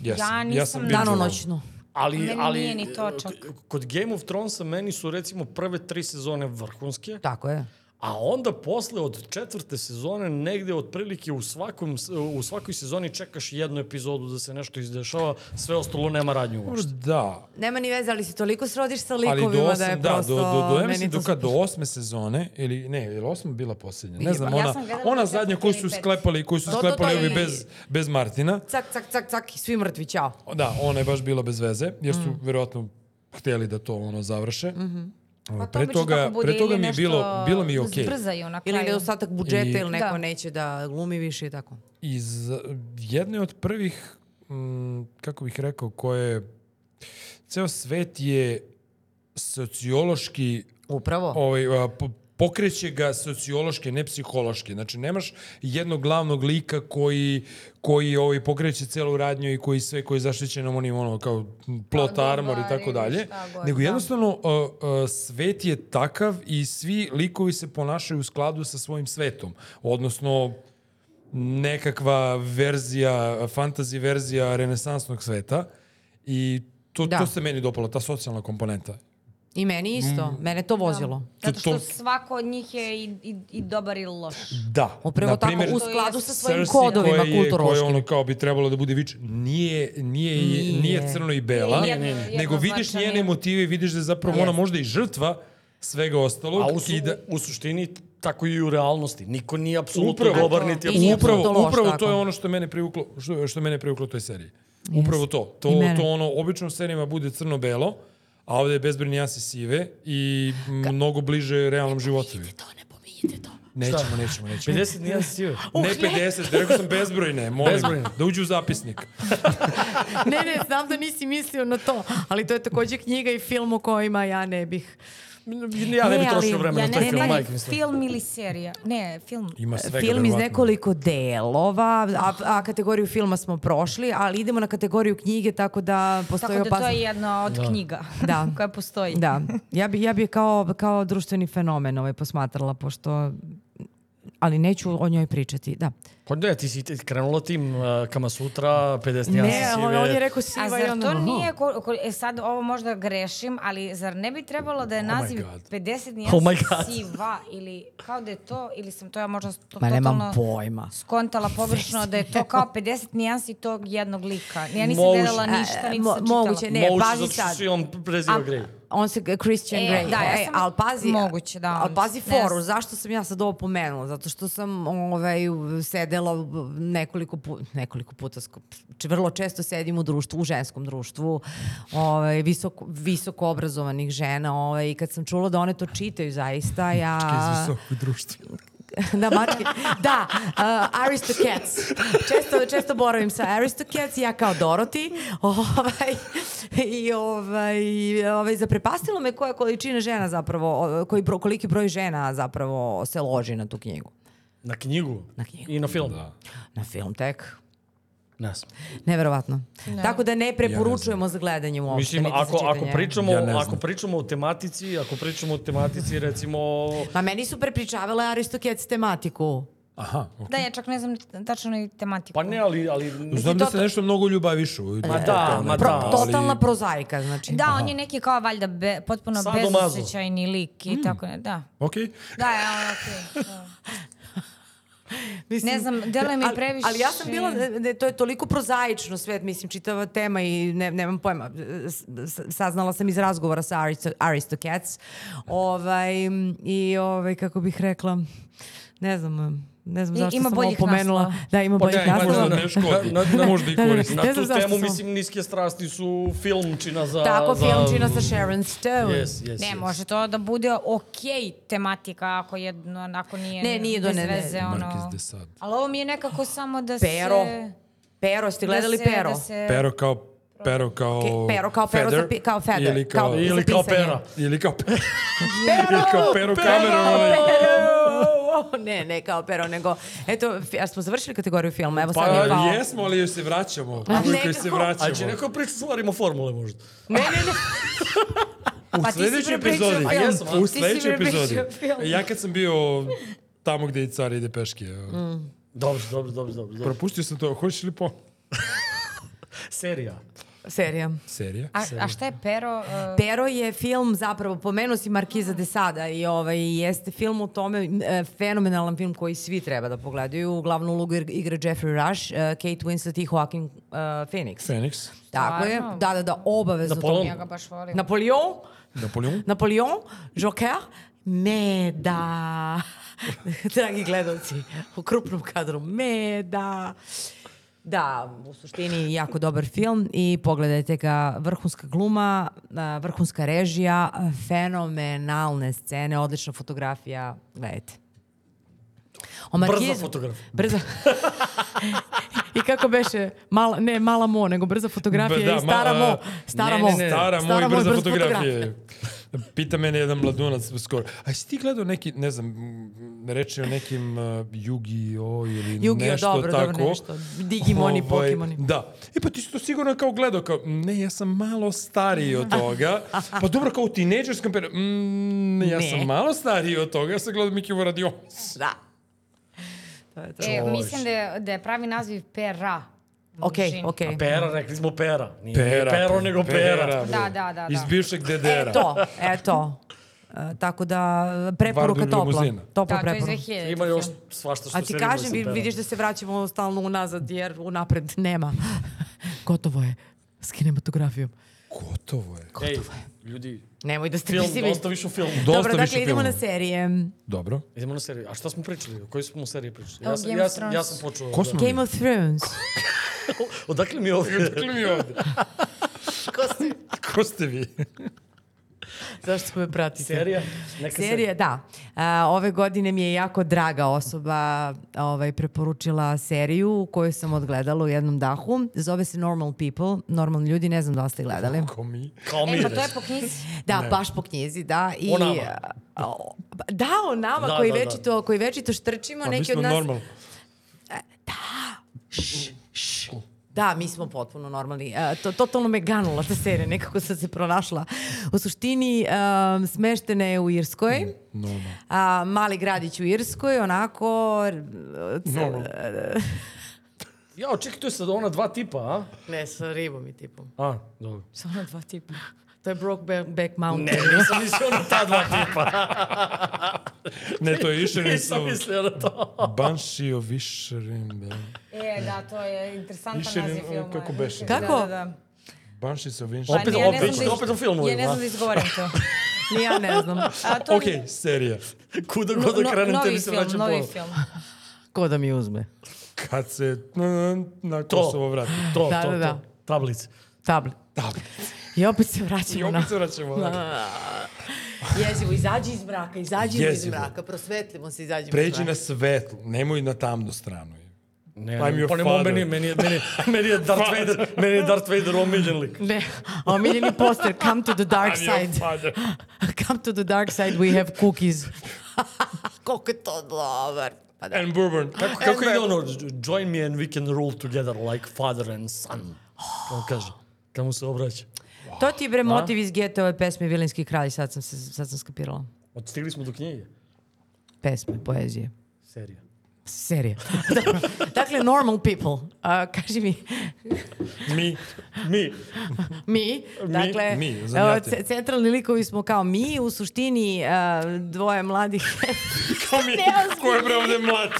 Speaker 4: jesam.
Speaker 3: Ja nisam
Speaker 4: sam bingeovao.
Speaker 1: Danonoćno.
Speaker 2: Ali,
Speaker 3: Meni
Speaker 2: ali,
Speaker 3: nije ni točak.
Speaker 2: k- Kod Game of Thronesa meni su recimo prve tri sezone vrhunske,
Speaker 1: Tako je.
Speaker 2: a onda posle od četvrte sezone negde otprilike u, svakom, s- u svakoj sezoni čekaš jednu epizodu da se nešto izdešava, sve ostalo nema radnju
Speaker 4: Dobro,
Speaker 2: uopšte.
Speaker 4: Da,
Speaker 1: Nema ni veze, ali se toliko srodiš sa
Speaker 4: ali do
Speaker 1: likovima
Speaker 4: osam,
Speaker 1: da je
Speaker 4: da,
Speaker 1: prosto...
Speaker 4: do, do, do, ja
Speaker 1: meni
Speaker 4: mislim,
Speaker 1: to
Speaker 4: do, kad,
Speaker 1: super.
Speaker 4: do osme sezone, ili ne, ili osma bila posljednja, ne znam,
Speaker 3: Ja
Speaker 4: ona,
Speaker 3: sam gledala da
Speaker 4: ona
Speaker 3: četvrtu
Speaker 4: zadnja koju
Speaker 3: ili
Speaker 4: su
Speaker 3: petu.
Speaker 4: sklepali, koju su
Speaker 1: To, to, to
Speaker 4: sklepali
Speaker 1: i-
Speaker 4: ovi bez, bez Martina,
Speaker 1: Cak, cak, cak, cak i svi mrtvi, ćao.
Speaker 4: Da, ona je baš bila bez veze, jer
Speaker 3: Mm.
Speaker 4: su verovatno hteli da to ono završe.
Speaker 3: Pa
Speaker 4: Ovaj,
Speaker 3: to
Speaker 4: Pre
Speaker 3: obično
Speaker 4: toga,
Speaker 3: tako bude,
Speaker 4: pre toga
Speaker 3: ili
Speaker 4: mi je bilo,
Speaker 3: nešto
Speaker 4: bilo mi je okej.
Speaker 3: Zbrzaju na kraju.
Speaker 1: Ili nedostatak budžeta
Speaker 4: I-
Speaker 1: ili neko
Speaker 3: Da.
Speaker 1: neće da glumi više i tako.
Speaker 4: Iz jedne od prvih, mm, kako bih rekao, koje... Ceo svet je sociološki
Speaker 1: Upravo.
Speaker 4: ovaj, a, po- pokreće ga sociološki, ne psihološki. Znači, nemaš jednog glavnog lika koji, koji ovaj, pokreće celu radnju i koji sve, koji je zaštićen onim, ono, kao plot
Speaker 3: dobar
Speaker 4: armor i tako
Speaker 3: ili
Speaker 4: dalje.
Speaker 3: šta god,
Speaker 4: Nego
Speaker 3: da.
Speaker 4: jednostavno, a, a, svet je takav i svi likovi se ponašaju u skladu sa svojim svetom. Odnosno, nekakva verzija, fantasy verzija renesansnog sveta i to,
Speaker 1: Da.
Speaker 4: to se meni dopalo, ta socijalna komponenta.
Speaker 1: I meni isto.
Speaker 4: Mm.
Speaker 1: Mene to vozilo.
Speaker 3: Zato
Speaker 4: To-
Speaker 3: što
Speaker 4: to-
Speaker 3: svako od njih je i, i, i dobar i loš.
Speaker 4: Da.
Speaker 1: Upravo tako,
Speaker 4: Naprimer,
Speaker 1: u skladu sa svojim
Speaker 4: Cersei
Speaker 1: kodovima
Speaker 4: koja je- Koja je
Speaker 1: kulturološkim.
Speaker 4: ono kao bi trebalo da bude vič, nije, nije,
Speaker 1: Nije.
Speaker 4: nije, nije crno i bela,
Speaker 3: Nije, nije, nije.
Speaker 4: nego vidiš
Speaker 3: Jednoznačno
Speaker 4: njene
Speaker 3: nije.
Speaker 4: motive i vidiš da je zapravo ona možda i žrtva svega ostalog.
Speaker 2: A u, su,
Speaker 4: i da,
Speaker 2: u suštini tako i u realnosti. Niko nije apsolutno
Speaker 4: Upravo.
Speaker 2: dobar, niti
Speaker 1: I nije
Speaker 2: apsolutno
Speaker 1: apsolutno
Speaker 4: upravo,
Speaker 1: loš,
Speaker 4: upravo
Speaker 1: tako.
Speaker 4: to je ono što je mene privuklo, što, što je mene privuklo toj seriji.
Speaker 1: Jeste.
Speaker 4: Upravo to. To,
Speaker 1: I mene.
Speaker 4: to ono, obično u serijama bude crno-belo, a ovde je bezbroj nijansi sive i mnogo bliže realnom životu.
Speaker 1: To ne pominjite to.
Speaker 4: Nećemo, nećemo, nećemo.
Speaker 2: 50 nijansi sive.
Speaker 1: Uh,
Speaker 4: Ne 50, rekao sam bezbrojne, molim,
Speaker 2: Bezbrojne.
Speaker 4: da uđu u zapisnik.
Speaker 5: ne, ne, znam da nisi mislio na to, ali to je takođe knjiga i film o kojima ja ne bih.
Speaker 2: Ja ne
Speaker 1: Ne,
Speaker 2: bi
Speaker 1: ali
Speaker 2: trošio vreme na
Speaker 3: Ja ne
Speaker 2: taj film,
Speaker 3: znam,
Speaker 2: majke mi sve.
Speaker 3: film ili serija. Ne, film.
Speaker 4: Ima svega,
Speaker 1: Film iz
Speaker 4: verovatno.
Speaker 1: nekoliko delova, a, a kategoriju filma smo prošli, ali idemo na kategoriju knjige, tako da
Speaker 3: Tako
Speaker 1: postoji
Speaker 3: da to
Speaker 1: opasnost.
Speaker 3: je jedna od knjiga
Speaker 1: Da.
Speaker 3: koja postoji.
Speaker 1: Da, ja bi, ja bi je kao, kao društveni fenomen ovaj posmatrala, pošto ali neću o njoj pričati, da.
Speaker 2: Pa ne, ti si te- krenula tim uh, Kama Sutra, 50 nijansi
Speaker 5: Ne,
Speaker 2: sive.
Speaker 5: on, on je rekao
Speaker 3: A
Speaker 5: siva i
Speaker 3: zar
Speaker 5: onda...
Speaker 3: to nije, ko, ko, e sad ovo možda grešim, ali zar ne bi trebalo
Speaker 1: Oh
Speaker 3: da je naziv
Speaker 4: God.
Speaker 3: 50
Speaker 2: Oh my
Speaker 3: nijansi
Speaker 2: God.
Speaker 3: siva ili kao da je to, ili sam to ja možda to,
Speaker 1: Ma nemam
Speaker 3: totalno
Speaker 1: pojma.
Speaker 3: skontala površno da je to kao 50 nijansi tog jednog lika. Ja nisam
Speaker 2: Moguće.
Speaker 3: gledala ništa,
Speaker 1: E,
Speaker 3: niti
Speaker 1: mo-
Speaker 3: sam čitala.
Speaker 1: moguće, Ne,
Speaker 2: Moguće,
Speaker 1: pazi
Speaker 2: zato što
Speaker 1: sad.
Speaker 2: si on prezio
Speaker 3: A-
Speaker 2: greju.
Speaker 1: on se eh, Christian
Speaker 3: E,
Speaker 1: Grey.
Speaker 3: da, ja
Speaker 1: e,
Speaker 3: sam-
Speaker 1: ali pazi,
Speaker 6: Moguće, da,
Speaker 1: ali
Speaker 6: on-
Speaker 1: pazi
Speaker 6: ne
Speaker 1: foru,
Speaker 6: znam.
Speaker 1: zašto sam ja sad ovo pomenula? Zato što sam ovaj, sedela nekoliko, pu, nekoliko puta, sko- č- vrlo često sedim u društvu, u ženskom društvu, ovaj, visoko, visoko obrazovanih žena ovaj, i kad sam čula da one to čitaju zaista, ja...
Speaker 4: Iz visokog društva.
Speaker 1: da, mačke. Da, uh, Aristocats. Često, često boravim sa Aristocats, ja kao Dorothy. Ovaj, I ovaj, ovaj, zaprepastilo me koja količina žena zapravo, o, koji, bro- koliki broj žena zapravo se loži na tu knjigu.
Speaker 2: Na knjigu.
Speaker 1: Na knjigu.
Speaker 2: I na film.
Speaker 4: Da.
Speaker 1: Na film tek.
Speaker 2: Ne znam.
Speaker 1: Neverovatno. Tako da ne preporučujemo za gledanje uopšte.
Speaker 2: Mislim,
Speaker 1: niti za
Speaker 2: ako, ako,
Speaker 1: čitanje.
Speaker 2: pričamo,
Speaker 4: Ja ne znam.
Speaker 2: ako pričamo o tematici, ako pričamo o tematici, recimo...
Speaker 1: Ma meni su prepričavale Aristocats tematiku.
Speaker 4: Aha,
Speaker 3: Da, ja čak ne znam ni- tačno ni tematiku.
Speaker 2: Pa ne, ali... ali
Speaker 4: Znam da se nešto mnogo ljubavišu.
Speaker 2: Ma da, ma
Speaker 1: Pro,
Speaker 2: da. ali-
Speaker 1: totalna prozaika, znači.
Speaker 3: Da, on je neki kao valjda be, potpuno
Speaker 2: Sadomazo.
Speaker 3: bezosećajni lik
Speaker 1: Mm.
Speaker 3: i tako ne, da.
Speaker 4: Ok,
Speaker 3: Da, ja, ono, okej, da.
Speaker 1: Mislim,
Speaker 3: Ne znam, deluje mi
Speaker 1: ali-
Speaker 3: previše-
Speaker 1: Ali ja sam bila, ne, ne, to je toliko prozaično sve, mislim, čitava tema i ne, nemam pojma. S- s- Saznala sam iz razgovora sa Aristo, Aristocats. Ovaj, I ovaj, kako bih rekla, ne znam, ne znam
Speaker 3: I-
Speaker 1: zašto
Speaker 3: ima
Speaker 1: sam ovo
Speaker 3: boljih
Speaker 1: pomenula.
Speaker 3: naslova.
Speaker 1: Da, ima boljih
Speaker 4: Pa ne, možda
Speaker 1: naslova.
Speaker 4: ne škodi.
Speaker 2: Na- na-
Speaker 4: možda i
Speaker 1: da, da.
Speaker 4: koristi.
Speaker 2: Na
Speaker 1: Ne
Speaker 2: tu
Speaker 1: znam zašto
Speaker 2: temu,
Speaker 1: sam-
Speaker 2: mislim, niske strasti su filmčina za...
Speaker 1: Tako,
Speaker 2: za...
Speaker 1: filmčina sa Sharon Stone.
Speaker 2: Da, Yes, yes,
Speaker 3: Ne,
Speaker 2: yes.
Speaker 3: može to da bude okej tematika ako jedno, ako nije
Speaker 1: Ne, nije do-
Speaker 3: bez
Speaker 1: ne, ne.
Speaker 3: veze,
Speaker 4: Markiz
Speaker 3: ono.
Speaker 4: de Sade.
Speaker 3: Ali ovo mi je nekako samo da
Speaker 1: Pero.
Speaker 3: se...
Speaker 1: Pero, ste
Speaker 3: da
Speaker 1: gledali
Speaker 3: se-
Speaker 1: Pero?
Speaker 3: Da se,
Speaker 4: Pero kao pero kao
Speaker 1: Ke- pero kao pero za
Speaker 4: feather,
Speaker 1: pi- kao feather,
Speaker 4: Ili kao,
Speaker 1: kao-
Speaker 2: Ili kao
Speaker 1: Zapisanje.
Speaker 2: pera.
Speaker 4: ili kao pero. ili kao pero, Cameron, ono-
Speaker 1: O, ne, ne kao Pero, nego... Eto, f- a smo završili kategoriju filma, evo
Speaker 2: Pa,
Speaker 1: sad mi je pao.
Speaker 4: Pa jesmo, ali još se vraćamo. Uvijek još se
Speaker 1: nekako.
Speaker 4: vraćamo.
Speaker 2: A će Znači, neko priča stvarimo formule možda.
Speaker 1: Ne, ne, ne.
Speaker 4: U
Speaker 1: Pa ti si
Speaker 4: sljedećoj
Speaker 1: prepričao
Speaker 4: epizodi.
Speaker 1: film.
Speaker 2: Jesam, a?
Speaker 4: U
Speaker 1: Ti si
Speaker 4: sljedećoj
Speaker 1: prepričao
Speaker 4: epizodi. E, Ja kad sam bio tamo gde i car ide peške.
Speaker 1: Mm.
Speaker 2: Dobro, dobro, dobro, dobro. dobro.
Speaker 4: Propustio sam to. Hoćeš li po?
Speaker 2: Serija.
Speaker 1: Serija.
Speaker 4: Serija.
Speaker 3: a, a šta je Pero? uh,
Speaker 1: Pero je film zapravo, pomenuo si Markiza de Sada i ovaj, jeste film u tome, m, e, fenomenalan film koji svi treba da pogledaju. U glavnu ulogu igra- igra Jeffrey Rush, e, Kate Winslet i Joaquin e, Phoenix.
Speaker 4: Fenix.
Speaker 1: Tako je,
Speaker 3: Stvarno?
Speaker 1: da, da, da, obavezno. to-
Speaker 2: Napoleon.
Speaker 3: ja ga baš volim.
Speaker 1: Napoleon,
Speaker 4: Napoleon.
Speaker 1: Napoleon, Joker, Meda. Dragi gledalci, u krupnom kadru, Meda. Da, u suštini jako dobar film i pogledajte ga. Vrhunska gluma, a, vrhunska režija, a, fenomenalne scene, odlična fotografija. Gledajte. O Markizu-
Speaker 2: fotografija.
Speaker 1: Brza. I kako beše, mala, ne mala mo, nego brza fotografija
Speaker 4: da, да,
Speaker 1: i stara mo. Stara mo.
Speaker 4: Stara mo
Speaker 1: Stara
Speaker 4: i
Speaker 1: Mo
Speaker 4: brza fotografije. Pita mene jedan mladunac skoro. A si ti gledao neki, ne znam, m, reči o nekim uh, Yu-Gi-Oh ili
Speaker 1: Yu-Gi-Oh,
Speaker 4: nešto
Speaker 1: dobro, dobro,
Speaker 4: tako.
Speaker 1: nešto. Digimoni, Pokemoni.
Speaker 4: Da. E pa ti si to sigurno kao gledao, kao, ne, ja sam malo stariji od toga. Pa dobro, kao u tineđerskom periodu, mm, ja
Speaker 1: Ne.
Speaker 4: sam malo stariji od toga, ja sam gledao Miki Voradionis.
Speaker 1: Da. To je to.
Speaker 3: E, mislim da je, da je pravi naziv Pera.
Speaker 1: Ok, ok.
Speaker 2: A pera, rekli smo pera. Nije
Speaker 4: Pera,
Speaker 2: pero, nego pera.
Speaker 4: bre.
Speaker 3: Da, da, da, da.
Speaker 4: Iz bivšeg
Speaker 1: E
Speaker 4: dedera.
Speaker 1: Eto, eto. E, tako da, preporuka
Speaker 4: Vardur
Speaker 1: topla.
Speaker 4: limuzina.
Speaker 1: Topla
Speaker 3: Da, to je iz
Speaker 1: preporuka.
Speaker 3: 2000.
Speaker 2: Ima još svašta što
Speaker 1: A
Speaker 2: se
Speaker 1: ti
Speaker 2: ne može
Speaker 1: kažem,
Speaker 2: sa
Speaker 1: vi-
Speaker 2: pera.
Speaker 1: vidiš da se vraćamo stalno unazad, jer unapred nema. Gotovo je s kinematografijom.
Speaker 4: Gotovo je.
Speaker 2: Ej, ljudi,
Speaker 1: Nemoj da ste
Speaker 2: film,
Speaker 1: pisili.
Speaker 2: dosta više u filmu.
Speaker 1: Dobro,
Speaker 4: više
Speaker 1: dakle, idemo
Speaker 4: filmova.
Speaker 1: na serije.
Speaker 4: Dobro.
Speaker 2: Idemo na seriju. A šta smo pričali? O kojoj smo seriji pričali?
Speaker 3: O
Speaker 2: Ja sam,
Speaker 3: Game
Speaker 2: ja
Speaker 3: of
Speaker 2: sam, ja sam počeo...
Speaker 4: Ko smo mi?
Speaker 1: Game of Thrones.
Speaker 2: Odakle mi ovo?
Speaker 4: Odakle mi ovde? Ko ste vi?
Speaker 5: Zašto me pratite?
Speaker 2: Serija? Neka
Speaker 1: Serija, da. A, ove godine mi je jako draga osoba ovaj, preporučila seriju koju sam odgledala u jednom dahu. Zove se Normal People, normalni ljudi, ne znam da li ste gledali.
Speaker 4: Ko mi?
Speaker 2: Kao mi.
Speaker 3: E, pa to je po knjizi.
Speaker 1: Da, baš po knjizi, da. I,
Speaker 2: O nama.
Speaker 1: a, o- pa- da, o nama
Speaker 2: Da,
Speaker 1: koji,
Speaker 2: da, Pa da.
Speaker 1: večito, koji večito štrčimo,
Speaker 4: A Pa mi
Speaker 1: neki
Speaker 4: smo
Speaker 1: od nas...
Speaker 4: normal.
Speaker 1: Da, mi smo potpuno normalni. E, to, totalno me ganula ta serija, nekako sam se pronašla. U suštini, um, smeštena je u Irskoj.
Speaker 2: Mm.
Speaker 4: Normal.
Speaker 1: A, mali gradić u Irskoj, onako... r- c-
Speaker 4: Normal.
Speaker 2: Ja, čekaj, to je sad ona dva tipa, a?
Speaker 5: Ne, sa ribom i tipom.
Speaker 2: A, dobro.
Speaker 5: Samo dva tipa. To je Brokeback Mountain.
Speaker 2: Ne, nisam mislio na ta dva tipa.
Speaker 4: Ne, to je Išerin.
Speaker 2: Nisam mislio na to.
Speaker 4: Banshee of Išerin.
Speaker 3: E, da, to je interesantan
Speaker 4: Više ne-
Speaker 3: naziv filma.
Speaker 4: kako beše?
Speaker 1: Kako?
Speaker 3: Da, da, da.
Speaker 4: Banshees of
Speaker 3: Pa
Speaker 4: Inisherin.
Speaker 2: Opet-
Speaker 3: ni, ja ne
Speaker 2: opet-
Speaker 3: znam da iz-
Speaker 2: opet o filmu,
Speaker 3: Ja ne
Speaker 2: da.
Speaker 3: znam da izgovorim to.
Speaker 5: Ni ja ne znam.
Speaker 3: A Pa to je
Speaker 4: Ok, serija.
Speaker 2: Kuda
Speaker 3: no-
Speaker 2: god
Speaker 3: no-
Speaker 2: da krenem,
Speaker 3: novi
Speaker 2: tebi se
Speaker 3: film,
Speaker 2: vraća
Speaker 3: novi
Speaker 2: pola.
Speaker 3: film.
Speaker 5: Ko da mi uzme?
Speaker 4: Kad se mm, na
Speaker 2: To.
Speaker 4: Kosovo vrati.
Speaker 2: To,
Speaker 3: Да,
Speaker 5: Da,
Speaker 2: to,
Speaker 5: da, da.
Speaker 2: to. Tablice.
Speaker 5: Tablet.
Speaker 4: Tablet.
Speaker 5: I opet se
Speaker 4: I
Speaker 5: vraćamo na...
Speaker 4: opet se vraćamo. Da.
Speaker 5: Jezivo, izađi iz mraka, izađi iz
Speaker 4: Jezivo.
Speaker 5: mraka, prosvetlimo se, izađimo iz
Speaker 4: Pređi
Speaker 5: mraka.
Speaker 4: na svetlo, nemoj na tamnu stranu.
Speaker 2: Ne,
Speaker 4: I'm your
Speaker 2: pa ne
Speaker 4: father.
Speaker 2: meni, meni, je- meni, meni je Darth Vader, meni je Darth Vader omiljen lik.
Speaker 5: Ne, omiljeni poster, come to the dark
Speaker 4: I'm your
Speaker 5: side.
Speaker 4: father.
Speaker 5: Come to the dark side, we have cookies. Koliko je to dobar. Pa da.
Speaker 4: And bourbon. Kako,
Speaker 2: Kako ide ono, join me and we can rule together like father and son. On kaže, tamo se obraća.
Speaker 1: To ti je
Speaker 5: Da.
Speaker 1: bre motiv iz Getove pesme Vilinski kralj, sad sam, se, sad sam skapirala.
Speaker 2: Odstigli smo do knjige.
Speaker 1: Pesme, poezije.
Speaker 2: Serija.
Speaker 1: Serija. Dobro. dakle, normal people. A, kaži mi,
Speaker 2: Mi, mi.
Speaker 1: mi, dakle,
Speaker 4: mi,
Speaker 1: evo,
Speaker 4: zanjate.
Speaker 1: ce- centralni likovi smo kao mi, u suštini a, dvoje mladih.
Speaker 4: Kako mi je, ko je bre ovde mlad?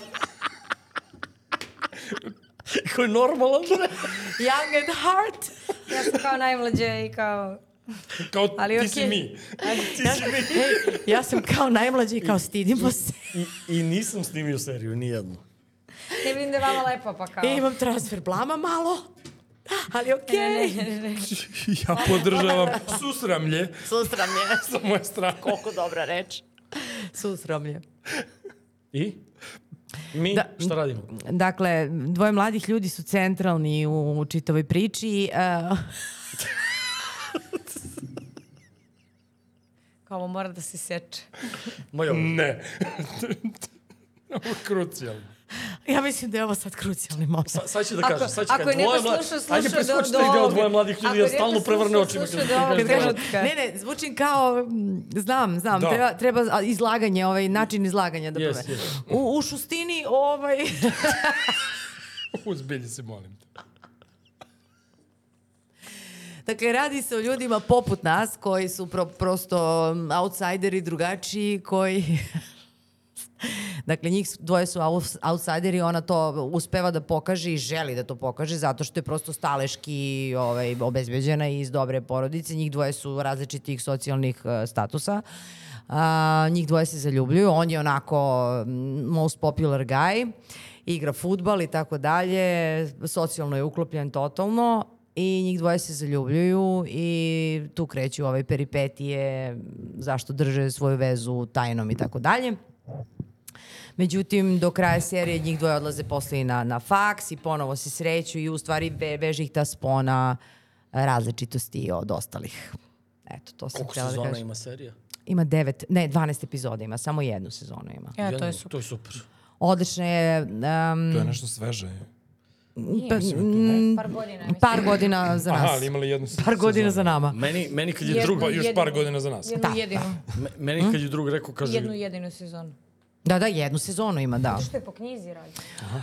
Speaker 2: Ko je normalan?
Speaker 1: Young at heart.
Speaker 3: Ja sam kao najmlađe i kao...
Speaker 4: Kao
Speaker 3: Ali
Speaker 4: ti
Speaker 3: okej.
Speaker 4: si mi.
Speaker 1: Ja sam kao najmlađi i kao stidimo se.
Speaker 2: I, I nisam snimio seriju, nijednu.
Speaker 3: Ne vidim da je vama lepo, pa kao...
Speaker 1: I imam transfer blama malo. Da, Ali okej.
Speaker 3: Ne, ne, ne, ne, ne.
Speaker 4: Ja podržavam susramlje
Speaker 5: Susram je,
Speaker 4: sa moje strane.
Speaker 5: koliko dobra reč. Susram je.
Speaker 2: I? Mi,
Speaker 1: Da.
Speaker 2: šta radimo?
Speaker 1: Dakle, dvoje mladih ljudi su centralni u, u čitavoj priči. Uh,
Speaker 3: Kao ovo mora da se seče.
Speaker 2: Ma jo,
Speaker 4: Ne. Ovo je krucijalno.
Speaker 1: ja mislim da je ovo sad krucijalni moment.
Speaker 2: sa, sad će da
Speaker 3: Ako-
Speaker 2: kažem, sad će
Speaker 3: ako je neko
Speaker 2: mla-
Speaker 3: slušao,
Speaker 2: Ajde,
Speaker 3: slušao do-
Speaker 2: preskoči
Speaker 3: do
Speaker 2: taj deo
Speaker 3: ovog.
Speaker 2: dvoje mladih
Speaker 3: Ako
Speaker 2: ljudi,
Speaker 3: je
Speaker 2: ja
Speaker 3: neko
Speaker 2: stalno
Speaker 3: slušao,
Speaker 2: prevrne očima.
Speaker 3: slušao do ovog
Speaker 1: Kad kažem,
Speaker 3: trenutka.
Speaker 1: ne, ne, zvučim kao, mm, znam, znam,
Speaker 4: Da.
Speaker 1: treba, treba a, izlaganje, ovaj način izlaganja da
Speaker 2: Jes,
Speaker 1: prove.
Speaker 2: jes.
Speaker 1: U, u šustini, ovaj,
Speaker 4: Uzbilji se, molim te.
Speaker 1: dakle, radi se o ljudima poput nas koji su pro, prosto mm, outsideri drugačiji, koji... Dakle, njih s- dvoje su aus- outsideri, ona to uspeva da pokaže i želi da to pokaže zato što je prosto staleški ovaj, obezbeđena i iz dobre porodice. Njih dvoje su različitih socijalnih eh, statusa. A, njih dvoje se zaljubljuju. On je onako mm, most popular guy, igra futbal i tako dalje, socijalno je uklopljen totalno i njih dvoje se zaljubljuju i tu kreću ove peripetije, zašto drže svoju vezu tajnom i tako dalje. Međutim, do kraja serije njih dvoje odlaze posle i na, na faks i ponovo se sreću i u stvari ve, veže ih ta spona eh, različitosti od ostalih. Eto, to sam
Speaker 2: Koliko
Speaker 1: htjela da
Speaker 2: sezona
Speaker 1: kažem. Ima?
Speaker 2: ima serija?
Speaker 1: ima devet, ne, 12 epizoda ima, samo jednu sezonu ima.
Speaker 3: Ja, to
Speaker 2: Jedno,
Speaker 3: je super.
Speaker 2: To je super.
Speaker 1: Odlična je, um,
Speaker 4: To je nešto sveže. je.
Speaker 1: pa, mm,
Speaker 3: Par godina, mislim.
Speaker 1: par godina za nas.
Speaker 4: Aha, ali imali jednu
Speaker 1: Par godina za nama.
Speaker 2: Meni, meni kad je
Speaker 3: Jer-
Speaker 2: drug,
Speaker 4: Pa još
Speaker 3: Jednu.
Speaker 4: par godina za nas. pa
Speaker 3: Jednu
Speaker 1: Da.
Speaker 3: jedinu.
Speaker 2: me- meni kad je drug rekao, kaže,
Speaker 3: Jednu jedinu sezonu.
Speaker 1: Da, da, jednu sezonu ima, da.
Speaker 3: Što je po knjizi radi.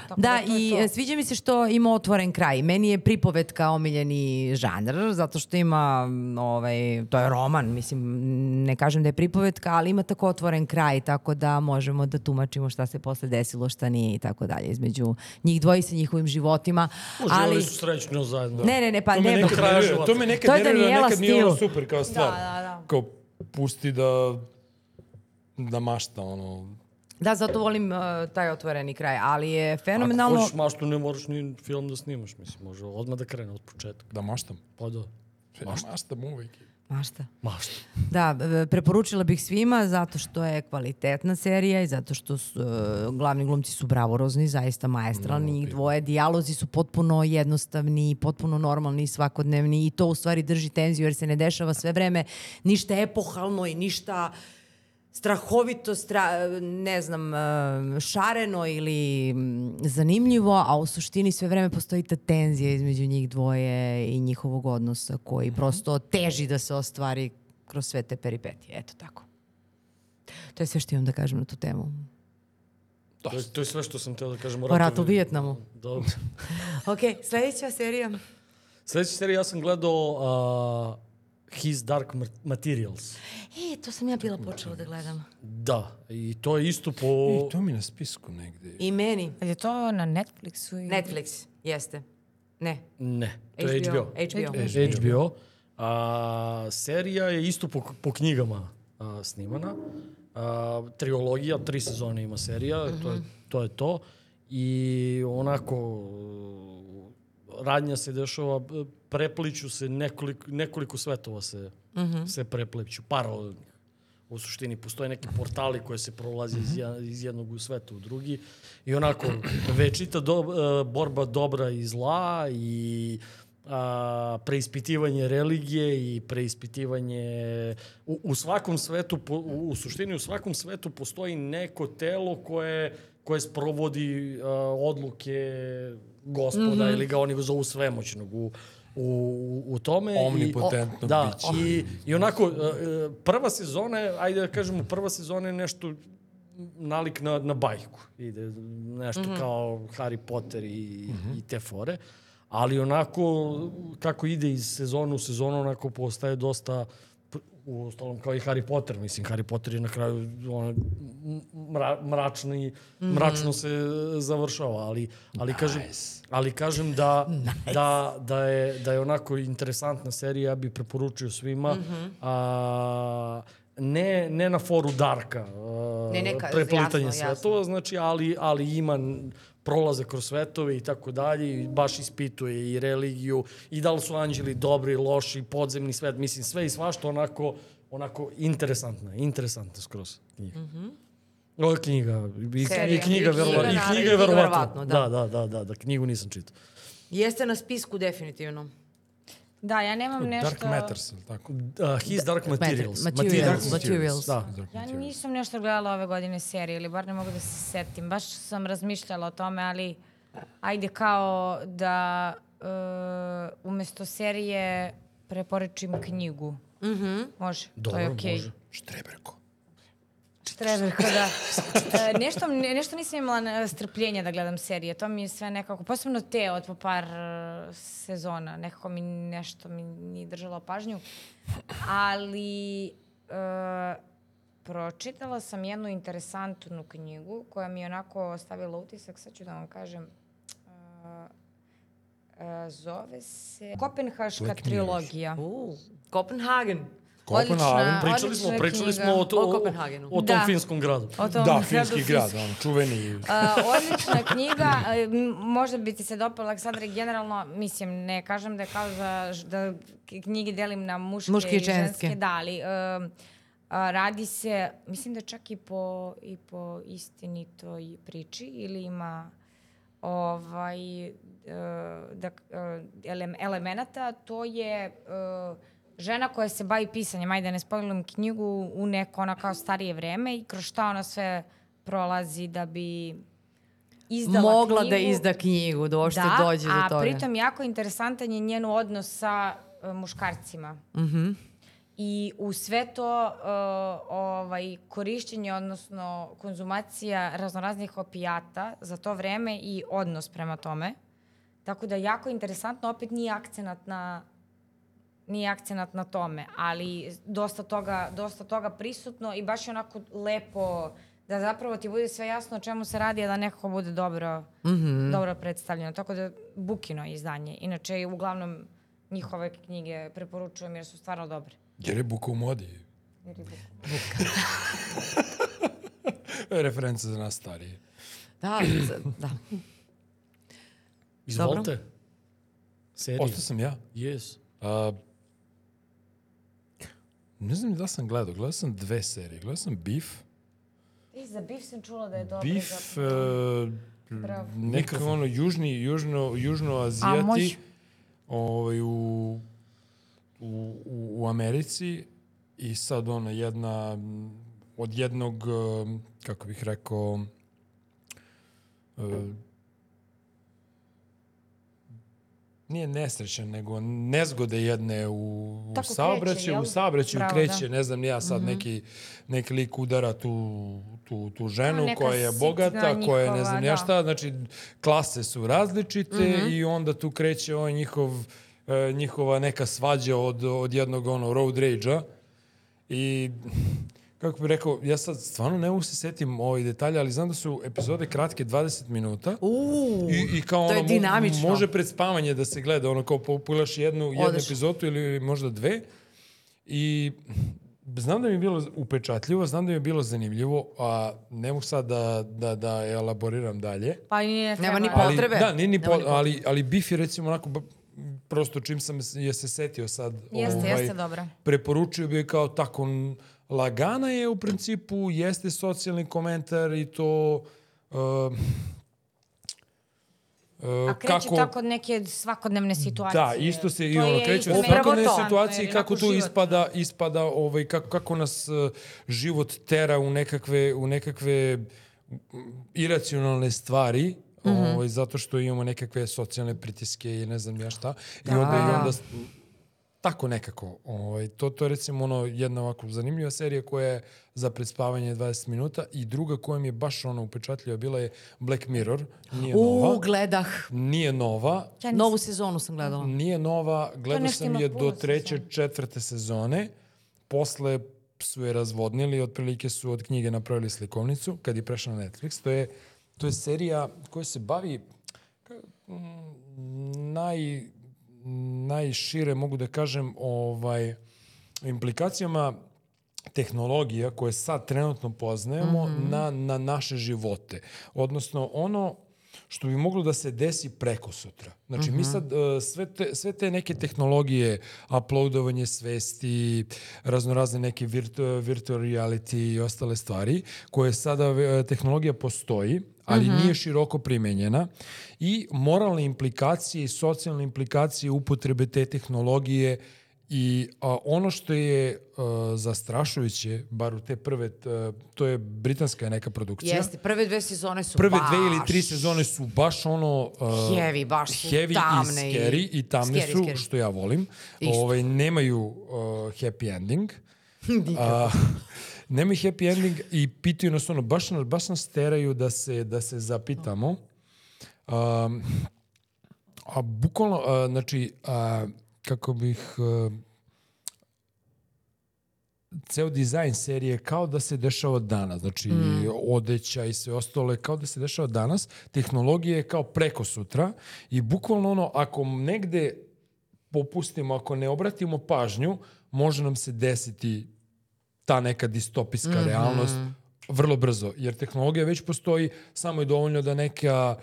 Speaker 3: Tako
Speaker 1: Da,
Speaker 3: to je
Speaker 1: i
Speaker 3: to.
Speaker 1: e, sviđa mi se što ima otvoren kraj. Meni je pripovetka omiljeni žanr, zato što ima, m, ovaj, to je roman, mislim, ne kažem da je pripovetka, ali ima tako otvoren kraj, tako da možemo da tumačimo šta se posle desilo, šta nije i tako dalje, između njih dvoji sa njihovim životima.
Speaker 2: ali...
Speaker 1: ali,
Speaker 2: su srećno zajedno.
Speaker 1: ne, ne, ne, pa
Speaker 4: To me
Speaker 1: ne,
Speaker 4: nekad
Speaker 1: dok-
Speaker 2: kraja
Speaker 4: nervira,
Speaker 2: života.
Speaker 4: to me
Speaker 1: To
Speaker 4: nekad
Speaker 1: je
Speaker 4: nervira,
Speaker 1: Danijela
Speaker 4: nekad nije ono
Speaker 1: stil.
Speaker 4: super kao stvar.
Speaker 3: da, da.
Speaker 4: Kao pusti da da mašta ono
Speaker 1: da, zato volim e, taj otvoreni kraj, ali je
Speaker 2: Ako
Speaker 1: fenomenalno...
Speaker 2: hoćeš maštu, ne moraš ni film da snimaš, mislim, može odmah da krene od početka.
Speaker 4: da maštam.
Speaker 2: Pa da.
Speaker 4: Maštam, maštam uvijek.
Speaker 1: Ma šta?
Speaker 2: Mašta.
Speaker 1: Da, e, preporučila bih svima zato što je kvalitetna serija i zato što su, e, glavni glumci su bravorozni, zaista maestralni, njih dvoje, dijalozi su potpuno jednostavni, potpuno normalni i svakodnevni i to u stvari drži tenziju jer se ne dešava sve vreme ništa epohalno i ništa strahovito, stra, ne znam, e, šareno ili mm, zanimljivo, a u suštini sve vreme postoji ta tenzija između njih dvoje i njihovog odnosa koji prosto teži da se ostvari kroz sve te peripetije. Eto tako. To je sve što imam da kažem na tu temu.
Speaker 2: To je, to je sve što sam teo da kažem o
Speaker 1: O ratu u Vijetnamu.
Speaker 2: Dobro.
Speaker 1: Ok, sledeća serija.
Speaker 2: Sljedeća serija ja sam gledao uh, His Dark Mat- Materials. Да,
Speaker 1: E, to sam ja bila počela da gledam.
Speaker 2: Da, i to je isto po...
Speaker 4: I to mi na spisku negde.
Speaker 1: I meni.
Speaker 3: Je to na Netflixu? I...
Speaker 1: Netflix, jeste. Ne,
Speaker 2: Ne, to je HBO.
Speaker 1: HBO.
Speaker 2: HBO. A, serija je isto po, po knjigama a, snimana. A, trilogija, tri sezone ima serija, to, je, to je to. I onako, e, radnja se dešava, e, prepliću se, nekoliko, nekoliko svetova se, se prepliću, paralelnih. U suštini postoje neki portali koje se prolazi iz, ja- iz jednog sveta u drugi i onako večita do, e, borba dobra i zla i a, preispitivanje religije i preispitivanje u, u svakom svetu po, u, u suštini u svakom svetu postoji neko telo koje koje sprovodi a, odluke gospoda ili ga oni ga zovu svemoćnog u u, u tome i-
Speaker 4: Omnipotentno
Speaker 2: da,
Speaker 4: biće.
Speaker 2: i, I onako, e, e, prva sezona, je, ajde da kažemo, prva sezona je nešto nalik na, na bajku. Ide nešto kao Harry Potter i, i te fore. Ali onako, kako ide iz sezonu u sezonu, onako postaje dosta pr- u ostalom kao i Harry Potter, mislim Harry Potter je na kraju ono, m- mra, mračni,
Speaker 1: Mhm.
Speaker 2: mračno se e, završava, ali ali kažem ali kažem da da da je da je onako interesantna serija, ja bih preporučio svima.
Speaker 1: Mhm.
Speaker 2: A, ne, ne na foru Darka, a,
Speaker 1: Ne, neka-
Speaker 2: preplitanje
Speaker 1: jasno, jasno.
Speaker 2: svetova, znači, ali, ali ima n- prolaze kroz svetove i tako dalje, i baš ispituje i religiju, i da li su anđeli dobri, loši, podzemni svet, mislim, sve i svašta onako, onako interesantno, je, interesantno skroz knjiga. Mm -hmm. Ovo je knjiga, i, i
Speaker 1: Serija.
Speaker 2: knjiga,
Speaker 1: I
Speaker 2: verovatno, i
Speaker 1: knjiga,
Speaker 2: knjiga je
Speaker 1: naravno, i knjiga
Speaker 2: verovatno.
Speaker 1: verovatno,
Speaker 2: Da,
Speaker 1: da.
Speaker 2: da, da, da, da, knjigu nisam čitao.
Speaker 1: Jeste na spisku definitivno.
Speaker 3: Da, ja nemam nešto...
Speaker 4: Dark Matters, ili tako?
Speaker 2: Uh, His Dark Materials.
Speaker 1: Materials. Materials.
Speaker 2: Da.
Speaker 4: Dark
Speaker 3: Ja
Speaker 4: Materials.
Speaker 3: nisam nešto gledala ove godine serije ili bar ne mogu da se setim. Baš sam razmišljala o tome, ali ajde kao da e, umesto serije preporučim knjigu. Može, to je
Speaker 2: Dobro,
Speaker 3: okej.
Speaker 2: može.
Speaker 4: Štreberko.
Speaker 3: Treberko, da. E, nešto, ne- nešto nisam imala na- strpljenja da gledam serije. To mi je sve nekako, posebno te od po par e, sezona. Nekako mi nešto mi nije držalo pažnju. Ali e, pročitala sam jednu interesantnu knjigu koja mi je onako ostavila utisak. Sad ću da vam kažem. E, e, zove se Kopenhaška
Speaker 4: knjiga još?
Speaker 3: trilogija.
Speaker 1: U, Kopenhagen.
Speaker 4: Kopenhagen.
Speaker 2: Pričali smo,
Speaker 3: odlična
Speaker 2: pričali
Speaker 3: knjiga.
Speaker 2: smo o, to,
Speaker 1: O
Speaker 2: o,
Speaker 1: Kopenhagenu.
Speaker 2: o tom
Speaker 3: Da.
Speaker 2: finskom gradu.
Speaker 3: O tom
Speaker 4: Da,
Speaker 3: gradu
Speaker 4: finski
Speaker 3: Fis-
Speaker 4: grad, on čuveni
Speaker 3: A, odlična knjiga, e, m, možda bi ti se dopala, Aleksandra, generalno, mislim, ne kažem da je kao za, ž- da k- knjige delim na muške,
Speaker 1: Muške i
Speaker 3: i ženske.
Speaker 1: ženske.
Speaker 3: Da, ali em, a, radi se, mislim da čak i po, i po istinitoj priči ili ima ovaj, e, da, k- e, elem- elemenata, to je e, žena koja se bavi pisanjem, ajde ne spojilim knjigu, u neko ona kao starije vreme i kroz šta ona sve prolazi da bi izdala
Speaker 5: Mogla
Speaker 3: knjigu
Speaker 5: da izda knjigu, da uopšte dođe do
Speaker 3: a
Speaker 5: toga.
Speaker 3: pritom jako interesantan je njen odnos sa e, muškarcima.
Speaker 5: Mhm.
Speaker 3: I u sve to e, ovaj, korišćenje, odnosno konzumacija raznoraznih opijata za to vreme i odnos prema tome. Tako da jako interesantno, opet nije akcenat na nije akcenat na tome, ali dosta toga, dosta toga prisutno i baš je onako lepo da zapravo ti bude sve jasno o čemu se radi, a da nekako bude dobro,
Speaker 1: Mhm.
Speaker 3: dobro predstavljeno. Tako da bukino izdanje. Inače, uglavnom njihove knjige preporučujem jer su stvarno dobre.
Speaker 4: Jer je buka u modi.
Speaker 3: Jer je bukino.
Speaker 4: Referenca za nas starije.
Speaker 1: Da, z- da.
Speaker 2: Izvolite. Serija.
Speaker 4: Ostao sam ja.
Speaker 2: Yes.
Speaker 4: A, ne znam ni da sam gledao. Gledao sam dve serije. Gledao sam Beef.
Speaker 3: I za Bif sam čula da je dobro.
Speaker 4: Beef, e,
Speaker 3: Bravo.
Speaker 4: neka ono južni, južno,
Speaker 3: A moj-
Speaker 4: južnoazijati ovaj, u, u, u, u Americi i sad ona jedna m, od jednog, em, kako bih rekao, e, em, nije nesrećan, nego nezgode jedne u, u
Speaker 3: Tako kreće,
Speaker 4: saobraćaju,
Speaker 3: jel?
Speaker 4: u saobraćaju
Speaker 3: Bravo, da.
Speaker 4: kreće, ne znam ni ja sad neki, neki lik udara tu, tu, tu ženu
Speaker 3: A, neka
Speaker 4: koja je
Speaker 3: sitna
Speaker 4: bogata, koja je ne znam ni ja
Speaker 1: da.
Speaker 3: njihova,
Speaker 4: šta, znači klase su različite
Speaker 1: Mhm.
Speaker 4: i onda tu kreće ovaj njihov, e, njihova neka svađa od, od jednog ono road rage-a i kako bih rekao, ja sad stvarno ne mogu se setim ovih detalja, ali znam da su epizode kratke 20 minuta.
Speaker 1: Uuu,
Speaker 4: I, i kao
Speaker 1: to
Speaker 4: ono,
Speaker 1: je
Speaker 4: mo-
Speaker 1: dinamično.
Speaker 4: Može pred spavanje da se gleda, ono kao populaš jednu, jednu
Speaker 1: Odeš.
Speaker 4: epizodu ili možda dve. I znam da mi je bilo upečatljivo, znam da mi je bilo zanimljivo, a ne mogu sad da, da, da elaboriram dalje.
Speaker 3: Pa i nije
Speaker 1: Nema
Speaker 3: treba.
Speaker 1: ni
Speaker 4: Ali,
Speaker 1: potrebe.
Speaker 4: Da, nije ni po,
Speaker 1: Nema ni potrebe.
Speaker 4: ali, ali Biff je recimo onako, ba- prosto čim sam se- je se setio sad.
Speaker 3: Jeste,
Speaker 4: ovaj,
Speaker 3: jeste dobra.
Speaker 4: Preporučio bi je kao tako, n- lagana je u principu, jeste socijalni komentar i to... Uh,
Speaker 1: pa-
Speaker 4: uh,
Speaker 3: A kreće tako od neke svakodnevne situacije.
Speaker 4: Da, isto se i
Speaker 3: Pa To
Speaker 4: ono
Speaker 3: je
Speaker 4: kreću
Speaker 3: isto
Speaker 4: od
Speaker 3: meni
Speaker 4: svakodnevne
Speaker 3: to.
Speaker 4: situacije
Speaker 3: Jer
Speaker 4: i kako
Speaker 3: onako
Speaker 4: tu
Speaker 3: život.
Speaker 4: ispada, ispada ovaj, kako, kako nas eh, život tera u nekakve, u nekakve iracionalne stvari,
Speaker 3: Mhm.
Speaker 4: ovaj, zato što imamo nekakve socijalne pritiske i ne znam ja šta. I
Speaker 3: Da,
Speaker 4: onda, i onda s- tako nekako. Ovaj, to, to je recimo ono, jedna ovako zanimljiva serija koja je za predspavanje 20 minuta i druga koja mi je baš ono upečatljiva bila je Black Mirror. Nije
Speaker 1: uuu,
Speaker 4: nova.
Speaker 1: gledah.
Speaker 4: Nije nova,
Speaker 3: Ja nisam-
Speaker 1: Da, Novu sezonu sam gledala.
Speaker 4: Nije nova, gledao
Speaker 3: nešto
Speaker 4: sam
Speaker 3: ima
Speaker 4: je do
Speaker 3: puno
Speaker 4: treće,
Speaker 3: sezona.
Speaker 4: četvrte sezone. Posle su je razvodnili, otprilike su od knjige napravili slikovnicu, kad je prešla na Netflix. To je, to je serija koja se bavi ka- m, naj, najšire, mogu da kažem, ovaj, implikacijama tehnologija koje sad trenutno poznajemo na, na naše živote. Odnosno, ono što bi moglo da se desi preko sutra. Znači, mi sad e, sve te, sve te neke tehnologije, uploadovanje svesti, raznorazne neke virtu, virtual reality i ostale stvari, koje sada e, tehnologija postoji, ali nije široko primenjena i moralne implikacije i socijalne implikacije upotrebe te tehnologije I a, ono što je a, zastrašujuće, bar u te prve, t- a, to je britanska neka produkcija.
Speaker 1: Jeste, prve dve sezone su
Speaker 4: Prve
Speaker 1: baš...
Speaker 4: dve ili tri sezone su baš ono... a,
Speaker 1: Heavy, baš su
Speaker 4: heavy
Speaker 1: tamne
Speaker 4: i
Speaker 1: i-
Speaker 4: scary i tamne
Speaker 1: Scary,
Speaker 4: su,
Speaker 1: scary.
Speaker 4: što ja volim.
Speaker 1: Isto.
Speaker 4: Ovaj, nemaju a, happy ending. A, nemaju happy ending i pitaju nas ono, baš, nas- baš nas teraju da se, da se zapitamo. Um, a bukvalno, a, znači, a, kako bih... uh, A, ceo dizajn serije kao da se dešava danas. Znači,
Speaker 2: Mm.
Speaker 4: odeća i sve ostalo je kao da se dešava danas. Tehnologija je kao preko sutra i bukvalno ono, ako negde popustimo, ako ne obratimo pažnju, može nam se desiti ta neka distopijska
Speaker 2: Mhm.
Speaker 4: realnost vrlo brzo. Jer tehnologija već postoji, samo je dovoljno da neka...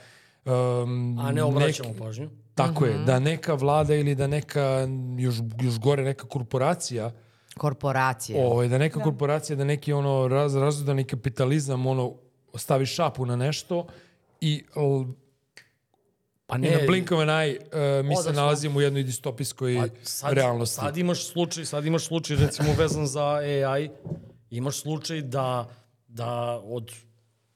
Speaker 4: Um,
Speaker 2: A ne Mhm. obraćamo pažnju.
Speaker 4: Tako je, da neka vlada ili da neka, još, još gore, neka korporacija
Speaker 1: Korporacije.
Speaker 4: Ovaj, da neka korporacija, da neki ono raz, razudani kapitalizam ono, stavi šapu na nešto i l,
Speaker 2: Pa
Speaker 4: i na blinkove naj e, mi se nalazimo u jednoj distopijskoj
Speaker 2: Pa sad,
Speaker 4: realnosti.
Speaker 2: Sad imaš slučaj, sad imaš slučaj recimo vezan za AI, imaš slučaj da, da od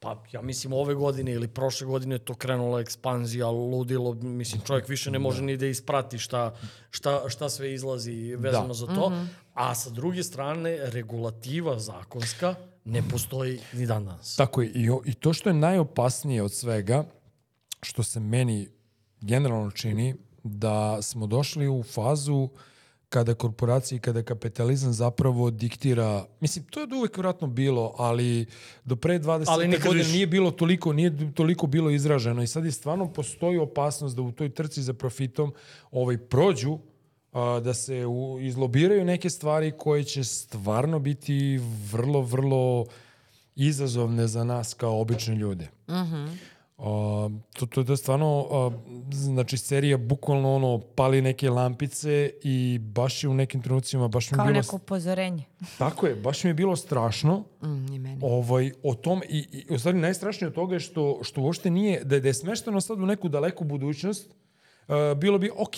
Speaker 2: pa ja mislim ove godine ili prošle godine je to krenula ekspanzija, ludilo, mislim čovjek više ne može ni da isprati šta, šta, šta sve izlazi vezano
Speaker 4: Da.
Speaker 2: za to, a sa druge strane regulativa zakonska ne postoji ni dan danas.
Speaker 4: Tako je, i, o- i to što je najopasnije od svega, što se meni generalno čini, da smo došli u fazu kada korporacije i kada kapitalizam zapravo diktira, mislim, to je od uvek vjerojatno bilo, ali do pre 20.
Speaker 2: Ali nikad
Speaker 4: godine
Speaker 2: više.
Speaker 4: nije bilo toliko, nije toliko bilo izraženo i sad je stvarno postoji opasnost da u toj trci za profitom ovaj, prođu a, da se u, izlobiraju neke stvari koje će stvarno biti vrlo, vrlo izazovne za nas kao obične ljude. A, to, to, to je da stvarno, a, znači serija bukvalno ono, pali neke lampice i baš je u nekim trenucima, baš mi je
Speaker 3: Kao
Speaker 4: bilo,
Speaker 3: neko upozorenje.
Speaker 4: tako je, baš mi je bilo strašno
Speaker 1: Mm, i meni.
Speaker 4: ovaj, o tom i, i u stvari najstrašnije od toga je što, što uopšte nije, da je, da je smešteno sad u neku daleku budućnost, Uh, bilo bi ok,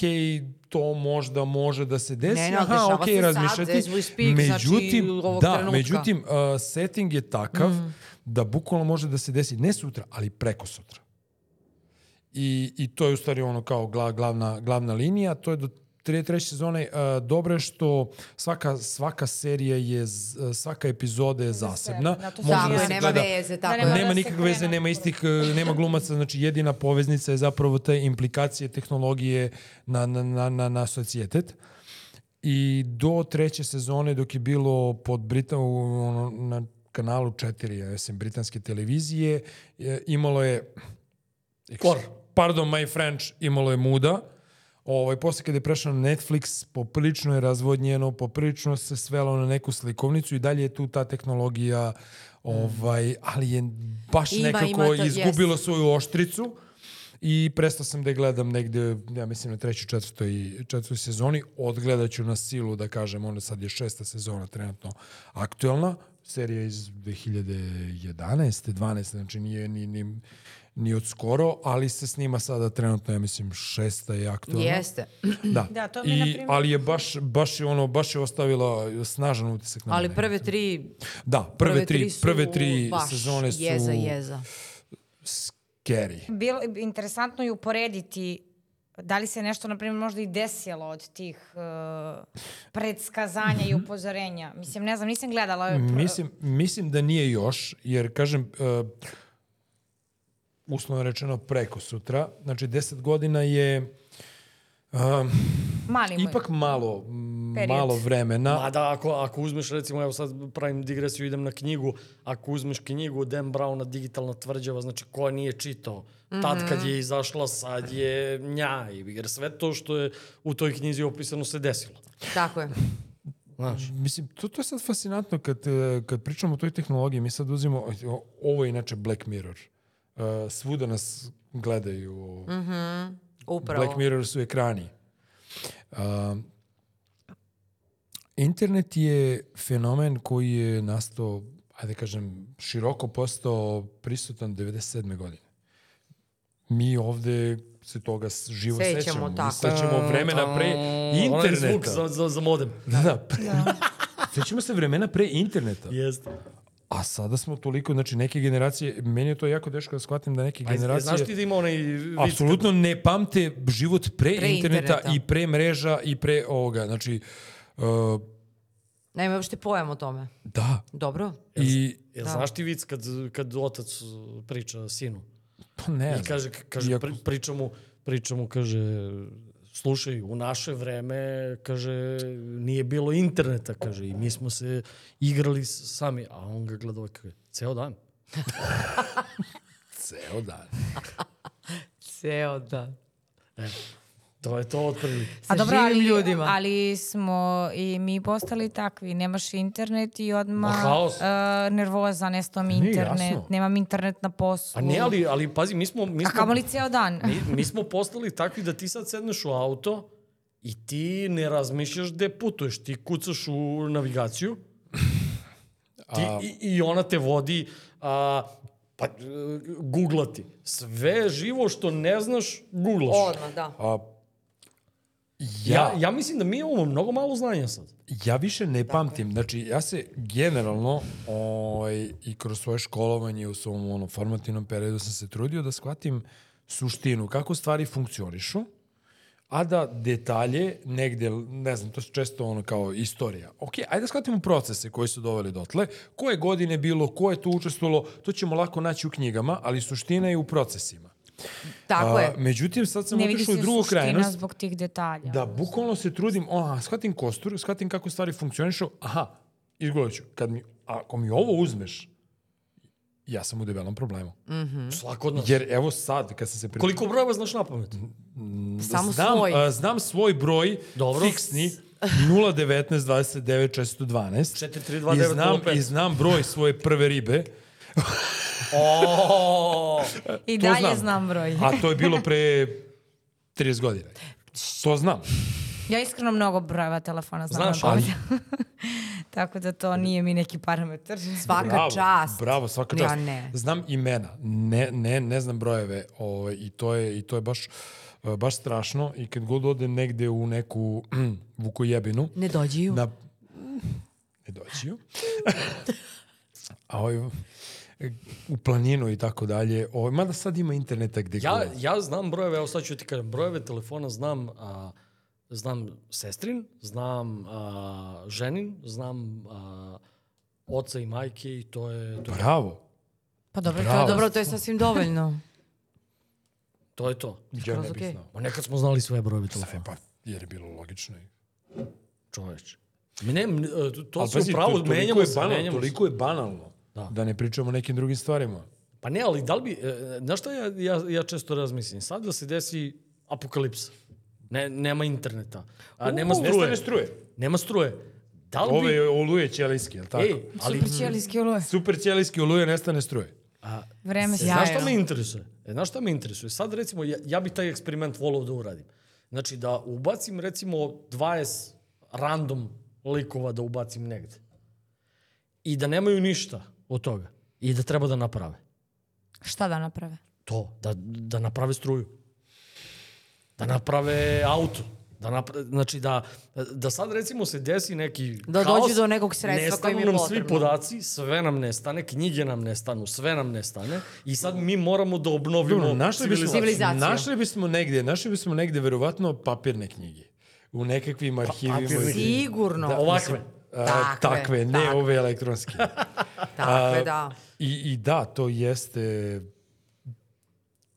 Speaker 4: to možda može da se desi,
Speaker 1: Ne, ne,
Speaker 4: aha,
Speaker 1: dešava
Speaker 4: ok,
Speaker 1: se sad,
Speaker 4: razmišljati.
Speaker 1: as we speak, znači,
Speaker 4: međutim,
Speaker 1: ovog
Speaker 4: da,
Speaker 1: trenutka. Mm.
Speaker 4: međutim, uh, setting je takav da bukvalno može da se desi ne sutra, ali preko sutra. I, i to je u stvari ono kao gla, glavna, glavna linija. To je do tre, treće sezone. Uh, dobro je što svaka, svaka serija je, z- svaka epizoda je zasebna.
Speaker 3: zato
Speaker 4: Može
Speaker 1: Tako
Speaker 4: da
Speaker 1: je,
Speaker 4: se
Speaker 1: nema
Speaker 4: gleda-
Speaker 1: veze,
Speaker 3: Da
Speaker 1: tako je.
Speaker 3: nema-
Speaker 4: Nema
Speaker 3: se
Speaker 4: nikakve
Speaker 3: krene
Speaker 4: veze, nema
Speaker 3: odmah.
Speaker 4: istih, e, nema glumaca, znači jedina poveznica je zapravo te implikacije tehnologije na, na, na, na, na socijetet. I do treće sezone dok je bilo pod Brita, u, ono, na kanalu 4, SM britanske televizije, je, imalo je
Speaker 2: Kor.
Speaker 4: Pardon, my French, imalo je muda. Ovaj, posle kada je prešao na Netflix, poprilično je razvodnjeno, poprilično se svelo na neku slikovnicu i dalje je tu ta tehnologija, ovaj, ali je baš
Speaker 1: Ima,
Speaker 4: nekako
Speaker 1: ima to,
Speaker 4: izgubila svoju oštricu i prestao sam da je gledam negde, ja mislim na trećoj, četvrtoj, četvrtoj sezoni, odgledat ću na silu, da kažem, ona sad je šesta sezona trenutno aktuelna, serija iz 2011. 12. znači nije ni, ni, ni od skoro, ali se snima sada trenutno, ja mislim, šesta je aktuelna.
Speaker 1: Jeste.
Speaker 4: Da,
Speaker 3: Da, to mi,
Speaker 4: I,
Speaker 3: na primjer-
Speaker 4: ali je baš, baš je ono, baš je ostavila snažan utisak na
Speaker 1: Ali
Speaker 4: mene.
Speaker 1: prve tri...
Speaker 4: da, prve, tri,
Speaker 1: su
Speaker 4: prve tri
Speaker 1: baš
Speaker 4: sezone su
Speaker 1: Jeza, jeza.
Speaker 4: scary.
Speaker 3: bilo, interesantno je uporediti da li se nešto, na primjer, možda i desilo od tih uh, predskazanja i upozorenja. Mislim, ne znam, nisam gledala. uh, pr-
Speaker 4: Mhm. Mislim, mislim da nije još, jer kažem, uh, uslovno rečeno preko sutra, znači 10 godina je
Speaker 3: Mali moj.
Speaker 4: ipak malo, m,
Speaker 3: Period.
Speaker 4: malo vremena.
Speaker 2: Mada ako, ako uzmeš recimo, evo sad pravim digresiju, idem na knjigu, ako uzmeš knjigu Dan Browna Digitalna tvrđava, znači ko nije čitao, tad
Speaker 4: Mhm.
Speaker 2: kad je izašla, sad je nja, jer sve to što je u toj knjizi opisano se desilo.
Speaker 1: Tako je.
Speaker 2: Znaš,
Speaker 4: Mislim, to, to je sad fascinantno kad, e, kad pričamo o toj tehnologiji, mi sad uzimo, o- ovo je inače Black Mirror. Uh, svuda nas gledaju
Speaker 1: Upravo.
Speaker 4: Black Mirror su ekrani. Um, internet je fenomen koji je nastao, ajde da kažem, široko postao prisutan 97. godine. Mi ovde se toga s- živo
Speaker 1: Sećamo,
Speaker 4: sećamo. sećamo. Mi
Speaker 1: tako.
Speaker 4: sećamo vremena pre
Speaker 2: Onaj
Speaker 4: interneta.
Speaker 2: zvuk za, za, za modem.
Speaker 4: Da, pre... Sećamo se vremena pre interneta.
Speaker 2: Jeste.
Speaker 4: A sada smo toliko, znači neke generacije, meni je to jako teško da shvatim da neke
Speaker 2: Pa,
Speaker 4: generacije...
Speaker 2: Znaš ti da ima onaj... vic kad-
Speaker 4: Apsolutno ne pamte život pre,
Speaker 1: Pre
Speaker 4: interneta,
Speaker 1: interneta.
Speaker 4: i pre mreža i pre ovoga. Znači, uh,
Speaker 1: Nema uopšte pojam o tome.
Speaker 4: da.
Speaker 1: Dobro.
Speaker 4: I,
Speaker 2: Jel
Speaker 1: Da.
Speaker 2: znaš ti vic kad, kad otac priča sinu?
Speaker 4: pa ne
Speaker 2: I
Speaker 4: znam.
Speaker 2: kaže, kaže
Speaker 4: Iako-
Speaker 2: pri, priča, mu, priča mu, kaže, slušaj, u naše vreme, kaže, nije bilo interneta, kaže, i mi smo se igrali s- sami, a on ga gleda ovako, kaže, ceo dan.
Speaker 4: Ceo dan.
Speaker 1: Ceo da.
Speaker 2: To je to otprilike.
Speaker 1: Sa živim ljudima.
Speaker 3: ali smo i mi postali takvi. Nemaš internet i odmah
Speaker 2: Ma, haos.
Speaker 3: uh, nervoza, nesto mi
Speaker 4: Nije
Speaker 3: internet,
Speaker 4: jasno.
Speaker 3: nemam internet na poslu.
Speaker 2: A ne, ali, ali pazi, mi smo... Mi
Speaker 3: A
Speaker 2: smo
Speaker 3: kamoli ceo dan.
Speaker 2: Mi, mi smo postali takvi da ti sad sedneš u auto i ti ne razmišljaš gde putuješ. Ti kucaš u navigaciju ti, i, i ona te vodi a, pa, e, googlati. Sve živo što ne znaš, googlaš.
Speaker 1: Odmah, da.
Speaker 4: A,
Speaker 2: Ja, ja mislim da mi imamo mnogo malo znanja sad.
Speaker 4: Ja više ne pamtim, znači ja se generalno ovaj, i kroz svoje školovanje u svom ono, formativnom periodu sam se trudio da shvatim suštinu, kako stvari funkcionišu, a da detalje negde, ne znam, to se često ono kao istorija. Ok, ajde da shvatimo procese koji su doveli dotle, koje godine bilo, ko je tu učestvovalo, to ćemo lako naći u knjigama, ali suština je u procesima.
Speaker 1: Tako
Speaker 4: A,
Speaker 1: je.
Speaker 4: Međutim, sad sam
Speaker 3: ne vidi
Speaker 4: otišao u
Speaker 3: se
Speaker 4: drugu
Speaker 3: suština
Speaker 4: krajnost.
Speaker 3: zbog tih detalja.
Speaker 4: Da, bukvalno se trudim, aha, shvatim kostur, shvatim kako stvari funkcionišu, aha, izgledat ću. Kad mi, ako mi ovo uzmeš, ja sam u debelom problemu.
Speaker 2: Svako od nas.
Speaker 4: Jer evo sad, kad sam se... Pri...
Speaker 2: Koliko brojeva znaš na pamet?
Speaker 1: Samo
Speaker 4: znam,
Speaker 1: svoj.
Speaker 4: a, znam svoj broj,
Speaker 2: Dobro.
Speaker 4: fiksni, 019 29 412.
Speaker 2: 4329
Speaker 4: I znam,
Speaker 2: 05.
Speaker 4: I znam broj svoje prve ribe,
Speaker 2: O,
Speaker 3: I
Speaker 4: to
Speaker 3: dalje
Speaker 4: znam.
Speaker 3: znam, broj.
Speaker 4: a to je bilo pre 30 godina. To znam.
Speaker 3: Ja iskreno mnogo brojeva telefona znam.
Speaker 2: Znaš,
Speaker 3: na pamet.
Speaker 2: ali-
Speaker 3: Tako da to nije mi neki parametar.
Speaker 1: Svaka čast.
Speaker 4: Bravo, svaka
Speaker 1: Ja
Speaker 4: čast.
Speaker 1: ne.
Speaker 4: Znam imena, ne, ne, ne znam brojeve ovaj, i, to je, i to je baš, e, baš strašno i kad god odem negde u neku vukojebinu,
Speaker 1: Ne dođi ju.
Speaker 4: na... Ne doći ju. A ovaj, u planinu i tako dalje. Ovaj, mada sad ima interneta gde
Speaker 2: Ja,
Speaker 4: god.
Speaker 2: ja znam brojeve, evo sad ću ti kažem, brojeve telefona znam, a, znam sestrin, znam a, ženin, znam a, oca i majke i to je to. Je,
Speaker 4: Bravo.
Speaker 1: Pa dobro, to,
Speaker 4: Bravo.
Speaker 1: dobro, to je sasvim dovoljno.
Speaker 2: to, je to.
Speaker 4: Ja ne
Speaker 1: Skroz
Speaker 4: bih
Speaker 1: okej.
Speaker 4: znao.
Speaker 2: Ma nekad smo znali sve brojeve telefona.
Speaker 4: E pa, jer je bilo logično. i-
Speaker 2: čoveč. Ne, m- e, to- to
Speaker 4: Ali
Speaker 2: su
Speaker 4: pazi,
Speaker 2: pravo,
Speaker 4: to- toliko
Speaker 2: menjamo
Speaker 4: je
Speaker 2: se,
Speaker 4: banalno,
Speaker 2: menjamo se.
Speaker 4: Toliko je banalno da. da ne pričamo o nekim drugim stvarima.
Speaker 2: Pa ne, ali da li bi, e, znaš šta ja, ja, ja često razmislim? Sad da se desi apokalipsa, ne, nema interneta, a nema struje,
Speaker 4: Nestane struje.
Speaker 2: nema struje. Da li bi,
Speaker 4: Ove oluje ćelijski, jel tako?
Speaker 2: ej,
Speaker 1: E.
Speaker 4: Ej.
Speaker 2: ali,
Speaker 3: Ćelijski oluje.
Speaker 4: Super ćelijski oluje nestane struje.
Speaker 2: a,
Speaker 3: Vreme se
Speaker 2: E, znaš šta me interesuje? E, znaš šta me interesuje? Sad recimo, ja, ja bi taj eksperiment volao da uradim. Znači da ubacim recimo 20 random likova da ubacim negde. I da nemaju ništa od toga. I da treba da naprave.
Speaker 3: Šta da naprave?
Speaker 2: to, da, da naprave struju. Da naprave auto. Da napra... Znači da, da sad recimo se desi neki
Speaker 1: Da
Speaker 2: haos,
Speaker 1: dođe do nekog sredstva koje im je
Speaker 2: nestanu nam svi
Speaker 1: potrebno.
Speaker 2: podaci, sve nam nestane, knjige nam nestanu, sve nam nestane i sad mi moramo da obnovimo
Speaker 4: Dobro, našli bismo,
Speaker 2: civilizaciju.
Speaker 1: Civilizaciju.
Speaker 4: našli bismo negde, našli bismo negde verovatno papirne knjige. U nekakvim arhivima.
Speaker 2: papirne knjige.
Speaker 1: Sigurno.
Speaker 2: Da, ovakve.
Speaker 4: A,
Speaker 1: Takve,
Speaker 4: takve, ne
Speaker 1: takve.
Speaker 4: ove elektronske.
Speaker 1: Takve, da.
Speaker 4: I, I da, to jeste...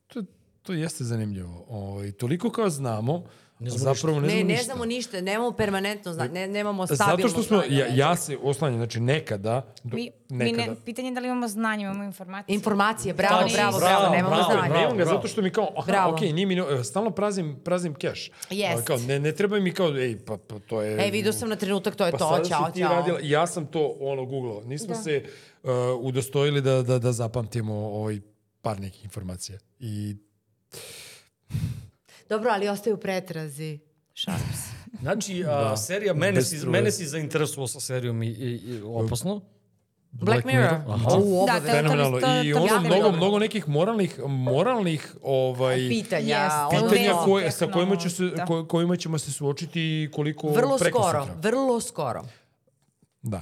Speaker 4: To, to jeste zanimljivo. Ovaj, toliko kao znamo, ne zapravo ne,
Speaker 1: Ne,
Speaker 4: znamo
Speaker 1: ne
Speaker 4: ništa.
Speaker 1: znamo ništa, nemamo permanentno znanje, ne, nemamo stabilno
Speaker 4: Zato što smo,
Speaker 1: znanje
Speaker 4: ja,
Speaker 1: o
Speaker 4: ja
Speaker 1: nečemu.
Speaker 4: se oslanjam, znači nekada, do,
Speaker 3: Mi, mi
Speaker 4: nekada.
Speaker 3: ne, pitanje je da li imamo znanje, imamo informacije.
Speaker 1: Informacije, bravo,
Speaker 2: Tačno,
Speaker 1: bravo, bravo,
Speaker 2: bravo,
Speaker 1: nemamo
Speaker 2: bravo,
Speaker 1: znanje.
Speaker 4: Nemam ga zato što mi kao, aha,
Speaker 1: Bravo.
Speaker 4: okej, nije mi, no- e, stalno prazim, prazim keš.
Speaker 1: Jest.
Speaker 4: Kao, ne, ne treba mi kao, ej, pa, pa to je...
Speaker 1: E, vidio sam na trenutak, to je
Speaker 4: Pa
Speaker 1: to,
Speaker 4: sada si
Speaker 1: čao,
Speaker 4: ti
Speaker 1: čao.
Speaker 4: radila, ja sam to ono googlao. Nismo da. se uh, udostojili da, da, da zapamtimo ovaj par nekih informacija. I
Speaker 5: Dobro, ali ostaju pretrazi.
Speaker 2: Znači,
Speaker 1: Да.
Speaker 2: a, serija, mene
Speaker 4: Bez
Speaker 2: si,
Speaker 4: struje.
Speaker 2: mene si zainteresuo sa serijom i, i, i opasno.
Speaker 1: Black Mirror.
Speaker 2: Aha.
Speaker 1: U
Speaker 3: Da,
Speaker 1: obave.
Speaker 3: te-
Speaker 4: fenomenalno.
Speaker 3: to- to-
Speaker 4: I
Speaker 3: to-
Speaker 4: ono
Speaker 3: jako
Speaker 4: mnogo,
Speaker 3: dobro.
Speaker 4: mnogo nekih moralnih, moralnih ovaj,
Speaker 1: Pitanja.
Speaker 3: Jest.
Speaker 1: E, ono-
Speaker 4: pitanja
Speaker 3: Ono-
Speaker 4: koje, sa kojima, će se,
Speaker 3: Da.
Speaker 4: ko, kojima ćemo se suočiti i koliko
Speaker 1: Vrlo
Speaker 4: prekosutra.
Speaker 1: skoro, vrlo skoro.
Speaker 4: Da.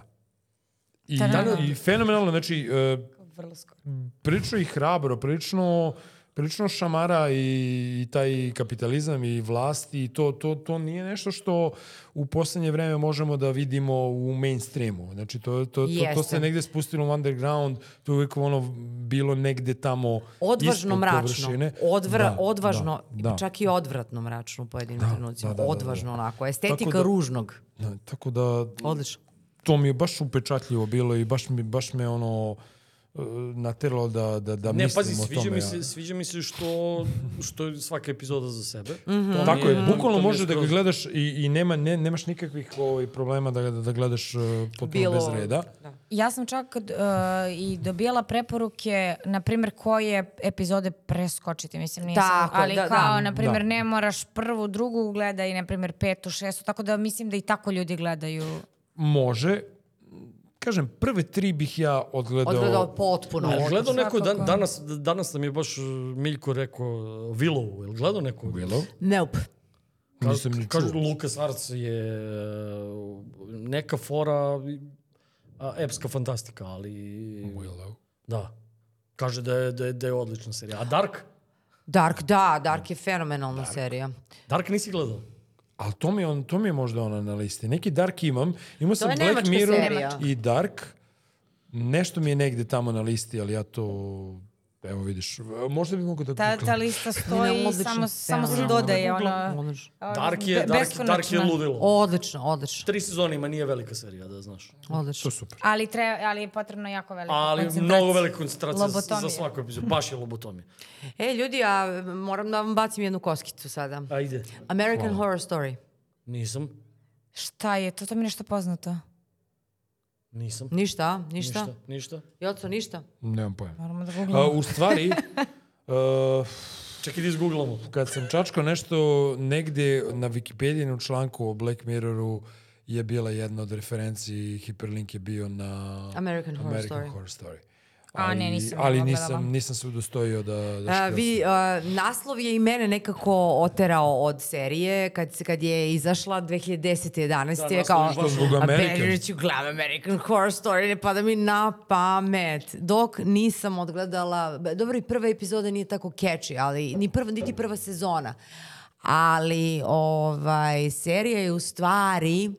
Speaker 4: I,
Speaker 3: Ta-da.
Speaker 4: i fenomenalno, znači, e,
Speaker 3: Vrlo skoro.
Speaker 4: prilično i hrabro, prilično, prilično šamara i, i taj kapitalizam i vlast i to, to, to nije nešto što u poslednje vreme možemo da vidimo u mainstreamu. Znači, to, to, to, to
Speaker 1: Jeste.
Speaker 4: se negde spustilo u underground, to je uvijek ono bilo negde tamo
Speaker 1: Odvažno
Speaker 4: ispod
Speaker 1: mračno.
Speaker 4: površine.
Speaker 1: Odvra,
Speaker 4: Da,
Speaker 1: odvažno,
Speaker 4: da, da.
Speaker 1: čak i odvratno mračno u pojedinim trenucima.
Speaker 4: da, da, da, da.
Speaker 1: odvažno onako. Estetika
Speaker 4: da-
Speaker 1: ružnog.
Speaker 4: Da, tako da
Speaker 1: Odlično.
Speaker 4: to mi je baš upečatljivo bilo i baš, mi, baš me ono e, nateralo da, da,
Speaker 1: да
Speaker 4: da
Speaker 2: Ne,
Speaker 4: mislim
Speaker 2: pazi,
Speaker 4: o tome.
Speaker 2: sviđa mi, se, sviđa mi se što, što je svaka epizoda za sebe. Mm -hmm.
Speaker 1: Така
Speaker 4: Tako je, bukvalno može
Speaker 1: да
Speaker 4: da ga
Speaker 2: gledaš.
Speaker 4: gledaš i, i nema, ne, nemaš nikakvih ovaj, problema da, da, da gledaš uh, potpuno
Speaker 1: Bilo-
Speaker 4: bez reda.
Speaker 1: Da.
Speaker 3: Ja sam čak uh, i dobijala preporuke, na primjer, koje epizode preskočiti, mislim, nisam.
Speaker 1: Tako je,
Speaker 3: ali
Speaker 1: da,
Speaker 3: kao,
Speaker 1: da.
Speaker 3: na primjer,
Speaker 4: Da.
Speaker 3: ne moraš prvu, drugu gleda i, na primjer, petu, šestu, tako da mislim da i tako ljudi gledaju.
Speaker 4: Može, kažem, prve tri bih ja odgledao...
Speaker 1: Odgledao potpuno.
Speaker 2: Jel
Speaker 1: odlično.
Speaker 2: gledao neko, dan,
Speaker 3: Svakako.
Speaker 2: danas, danas nam je baš uh, Miljko rekao uh, Willow, jel gledao neko?
Speaker 4: Willow?
Speaker 1: Nope.
Speaker 4: Nisam ni
Speaker 2: Kažu,
Speaker 4: čuo.
Speaker 2: Lukas Arts je uh, neka fora, a, epska fantastika, ali...
Speaker 4: Willow.
Speaker 2: Da. Kaže da je, da je, da je odlična serija. A Dark?
Speaker 1: Dark, da, Dark je fenomenalna serija.
Speaker 2: Dark nisi gledao?
Speaker 4: Ali to mi, je on, to mi je možda ona na listi. Neki Dark imam. Imao sam
Speaker 1: je
Speaker 4: Black
Speaker 1: nemačka
Speaker 4: Mirror
Speaker 1: serija.
Speaker 4: i Dark. Nešto mi je negde tamo na listi, ali ja to... Evo vidiš, možda bi mogu da
Speaker 3: Ta,
Speaker 4: googlam.
Speaker 3: ta lista stoji,
Speaker 1: odlično.
Speaker 3: samo, samo se
Speaker 1: Fenomenalno.
Speaker 3: dodaje ono...
Speaker 1: Odlično.
Speaker 3: ono,
Speaker 2: Dark je,
Speaker 3: be-
Speaker 2: Dark, Dark je
Speaker 3: beskonačna.
Speaker 2: ludilo.
Speaker 1: Odlično, odlično.
Speaker 2: Tri sezone ima, nije velika serija, da znaš.
Speaker 1: odlično.
Speaker 4: To je super.
Speaker 3: Ali, tre, ali je potrebno jako veliko
Speaker 2: Ali mnogo velika koncentracija za, za
Speaker 3: Lobotomija.
Speaker 2: svaku epizodu. Baš je lobotomija.
Speaker 1: E, ljudi, ja moram da vam bacim jednu koskicu sada.
Speaker 2: Ajde.
Speaker 1: American Horror Story.
Speaker 2: Nisam.
Speaker 3: Šta je? To, to mi je nešto poznato.
Speaker 2: Nisam.
Speaker 1: Ništa, a? ništa.
Speaker 2: Ništa.
Speaker 1: ništa.
Speaker 2: Ništa.
Speaker 1: Joco, ništa.
Speaker 4: Nemam pojma.
Speaker 3: Moramo da googlamo.
Speaker 4: A, u stvari, uh,
Speaker 2: Čekaj da izgooglamo.
Speaker 4: kad sam čačkao nešto negde na Wikipedijinu članku o Black Mirroru je bila jedna od referenciji, hiperlink je bio na
Speaker 1: American Horror
Speaker 4: American
Speaker 1: Story.
Speaker 4: Horror Story.
Speaker 3: A,
Speaker 4: Ali-
Speaker 3: ne, nisam
Speaker 4: Ali
Speaker 3: pogledala.
Speaker 4: nisam, nisam se udostojio da... da
Speaker 1: A,
Speaker 4: škrivam.
Speaker 1: E, vi, a, naslov je i mene nekako oterao od serije kad, se- kad je izašla 2010. 11.
Speaker 2: Da,
Speaker 1: je
Speaker 2: naslov
Speaker 1: kao
Speaker 2: je baš-
Speaker 4: Što zbog
Speaker 1: "A,
Speaker 4: American?"
Speaker 1: Benjamin ću gledam American Horror Story ne pada mi na pamet dok nisam odgledala b- dobro i prva epizoda nije tako catchy ali ni prva, niti prva sezona ali ovaj, serija je u stvari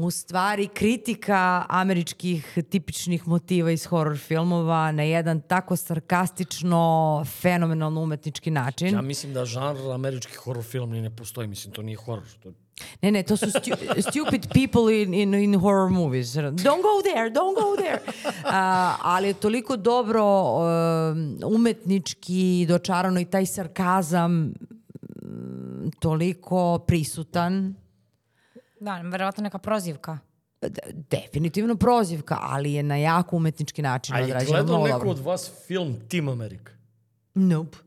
Speaker 1: u stvari kritika američkih tipičnih motiva iz horror filmova na jedan tako sarkastično, fenomenalno umetnički način.
Speaker 2: Ja mislim da žanr američki horror film ni ne postoji, mislim, to nije horror. To...
Speaker 1: Ne, ne, to su stu, stupid people in, in, in horror movies. Don't go there, don't go there. A, ali je toliko dobro um, umetnički dočarano i taj sarkazam mm, toliko prisutan.
Speaker 3: Da, verovatno neka prozivka.
Speaker 1: D- Definitivno prozivka, ali je na jako umetnički način
Speaker 2: A je
Speaker 1: odrađeno.
Speaker 2: gledao
Speaker 1: Mnogo
Speaker 2: neko
Speaker 1: dobro.
Speaker 2: od vas film Team America?
Speaker 1: Nope.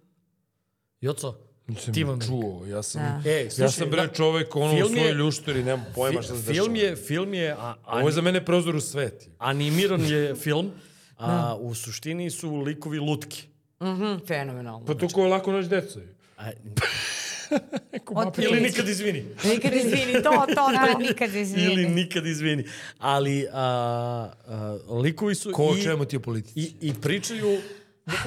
Speaker 2: Joco?
Speaker 4: Nisam
Speaker 2: Team America.
Speaker 4: čuo, ja sam...
Speaker 1: Da.
Speaker 2: E,
Speaker 4: Ja
Speaker 2: slušaj,
Speaker 4: sam
Speaker 2: da,
Speaker 4: bre čovek ono u
Speaker 2: film je-
Speaker 4: svojoj ljušturi, nemam pojma šta se
Speaker 2: fi-
Speaker 4: dešava.
Speaker 2: film je, film je a,
Speaker 4: Ovo je
Speaker 2: ani,
Speaker 4: za mene prozor u svet.
Speaker 2: animiran je film,
Speaker 1: Da.
Speaker 2: a u suštini su likovi lutki.
Speaker 1: Mhm, fenomenalno.
Speaker 4: Pa to
Speaker 2: Znači-
Speaker 4: ko lako naći decu.
Speaker 2: A,
Speaker 1: Otprilike.
Speaker 2: ili nikad izvini.
Speaker 1: Nikad izvini, to, to,
Speaker 3: Da,
Speaker 1: to.
Speaker 3: nikad izvini.
Speaker 2: Ili nikad izvini. Ali a, a, likovi su
Speaker 4: Ko o
Speaker 2: i,
Speaker 4: čemu ti je politici?
Speaker 2: i, i pričaju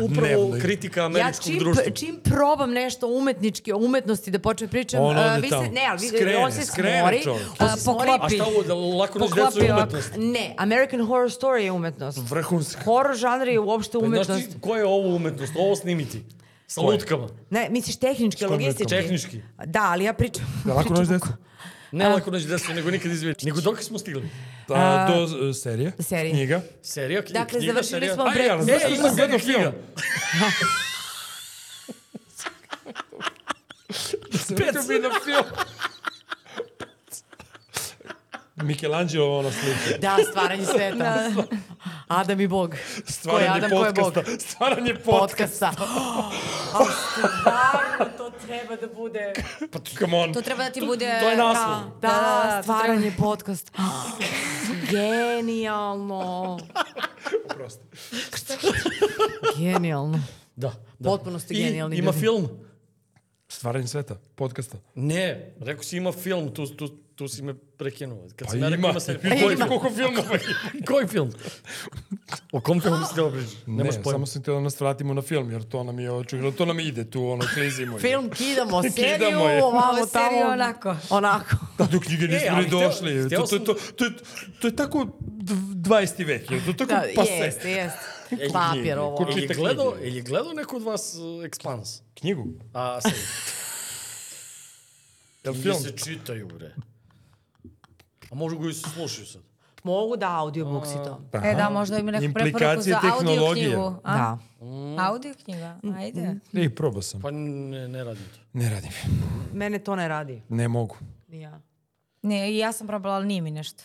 Speaker 2: upravo
Speaker 4: Nevno.
Speaker 2: kritika
Speaker 1: Ja
Speaker 2: američkog
Speaker 1: čim,
Speaker 2: društva.
Speaker 1: čim probam nešto umetnički, o umetnosti da počnem pričam,
Speaker 4: On
Speaker 1: a,
Speaker 4: ode
Speaker 1: vi
Speaker 4: tamo.
Speaker 1: se, ne, ali vi,
Speaker 4: Skrene,
Speaker 1: on se
Speaker 4: skrene
Speaker 1: smori,
Speaker 4: čovjek.
Speaker 1: a,
Speaker 4: On
Speaker 2: A
Speaker 1: poklopi.
Speaker 2: šta ovo, da lako naći decu
Speaker 1: Poklopi
Speaker 2: je
Speaker 1: ovako.
Speaker 2: umetnost? Mm.
Speaker 1: Ne, American Horror Story je umetnost.
Speaker 4: Vrhunska.
Speaker 1: Horror žanr je uopšte
Speaker 2: Znaš
Speaker 1: umetnost.
Speaker 2: ti, koja je ovo umetnost? Ovo snimiti. Sa lutkama.
Speaker 1: Ne, misliš tehnički, logistički.
Speaker 2: Tehnički.
Speaker 1: Da, ali ja pričam.
Speaker 4: Da lako naći decu.
Speaker 2: Ne lako naći desu, nego nikad izvini. Nego dok smo stigli?
Speaker 4: Da, do e, serije.
Speaker 1: serije.
Speaker 4: Knjiga.
Speaker 2: Serija, knjiga,
Speaker 1: Dakle,
Speaker 2: knjiga,
Speaker 1: završili
Speaker 2: serija.
Speaker 1: smo
Speaker 2: Aj,
Speaker 1: bre-
Speaker 2: ali
Speaker 1: E,
Speaker 2: znaš šta
Speaker 1: ima
Speaker 2: sam
Speaker 4: gledao
Speaker 2: serija,
Speaker 4: film.
Speaker 2: Pet
Speaker 4: bi na film. Michelangelo ona slika.
Speaker 5: Da, stvaranje sveta.
Speaker 2: Da.
Speaker 5: Adam i Bog.
Speaker 4: Stvaranje
Speaker 5: Adam, ko je Bog?
Speaker 4: podcasta. Stvaranje podcasta.
Speaker 5: Podcasta.
Speaker 1: Stvarno, to treba da bude.
Speaker 4: Pa, come on.
Speaker 3: To treba da ti bude...
Speaker 2: to je naslov.
Speaker 1: Da,
Speaker 3: da,
Speaker 1: da
Speaker 3: to
Speaker 1: stvaranje podcast. Genijalno.
Speaker 4: Prosto.
Speaker 5: Genijalno.
Speaker 2: Da, da.
Speaker 5: Potpuno ste
Speaker 2: I
Speaker 5: genijalni
Speaker 2: Ima
Speaker 5: ljudi.
Speaker 2: film?
Speaker 4: Stvaranje sveta. Podcasta.
Speaker 2: Pa Ne, rekao si ima film, tu, tu, tu si me prekinuo. Kad
Speaker 4: Pa
Speaker 2: sam ja rekao
Speaker 4: ima.
Speaker 2: E, ima serija.
Speaker 4: Ima.
Speaker 2: Koji film? Koliko filmova ima? Koji film? O kom filmu si teo pričati?
Speaker 4: Ne,
Speaker 2: Nemaš pojma.
Speaker 4: samo sam htio da nas vratimo na film, jer to nam je očigledno, to nam ide tu, ono, klizimo. i-
Speaker 5: Film kidamo, seriju,
Speaker 4: je.
Speaker 5: ovamo
Speaker 3: Ovo seriju
Speaker 5: tamo.
Speaker 3: onako.
Speaker 5: Onako.
Speaker 4: Da, do knjige
Speaker 2: E,
Speaker 4: nismo
Speaker 2: ali
Speaker 4: ni
Speaker 2: hteo-
Speaker 4: došli.
Speaker 2: hteo
Speaker 4: To, to,
Speaker 2: sam-
Speaker 4: to, to, je- to je tako dv- 20. vek, je to tako pa
Speaker 5: Da,
Speaker 1: Pa
Speaker 4: pase.
Speaker 5: jeste, jeste.
Speaker 4: E,
Speaker 2: knjige.
Speaker 5: Papir ovo.
Speaker 4: Ko-
Speaker 2: Jel je
Speaker 4: Čita
Speaker 2: gledao,
Speaker 4: knjige.
Speaker 2: jel je gledao neko od vas uh, Expanse?
Speaker 4: Knjigu?
Speaker 2: A, seriju.
Speaker 4: Jel
Speaker 2: Knjige
Speaker 4: film?
Speaker 2: se čitaju, bre. A možda ga i slušaju sad.
Speaker 1: Mogu da audiobooks i to.
Speaker 4: Aha.
Speaker 3: E da, možda ima neku preporuku
Speaker 4: Implikacije
Speaker 3: za audio
Speaker 4: tehnologije.
Speaker 3: knjigu. Mm.
Speaker 1: Da.
Speaker 3: Audio knjiga, ajde.
Speaker 4: Ne, probao sam.
Speaker 2: Pa ne, ne radim to.
Speaker 4: Ne radim.
Speaker 1: Mene to ne radi.
Speaker 4: Ne mogu.
Speaker 1: Ni ja.
Speaker 3: Ne, i ja sam probala, ali nije mi nešto.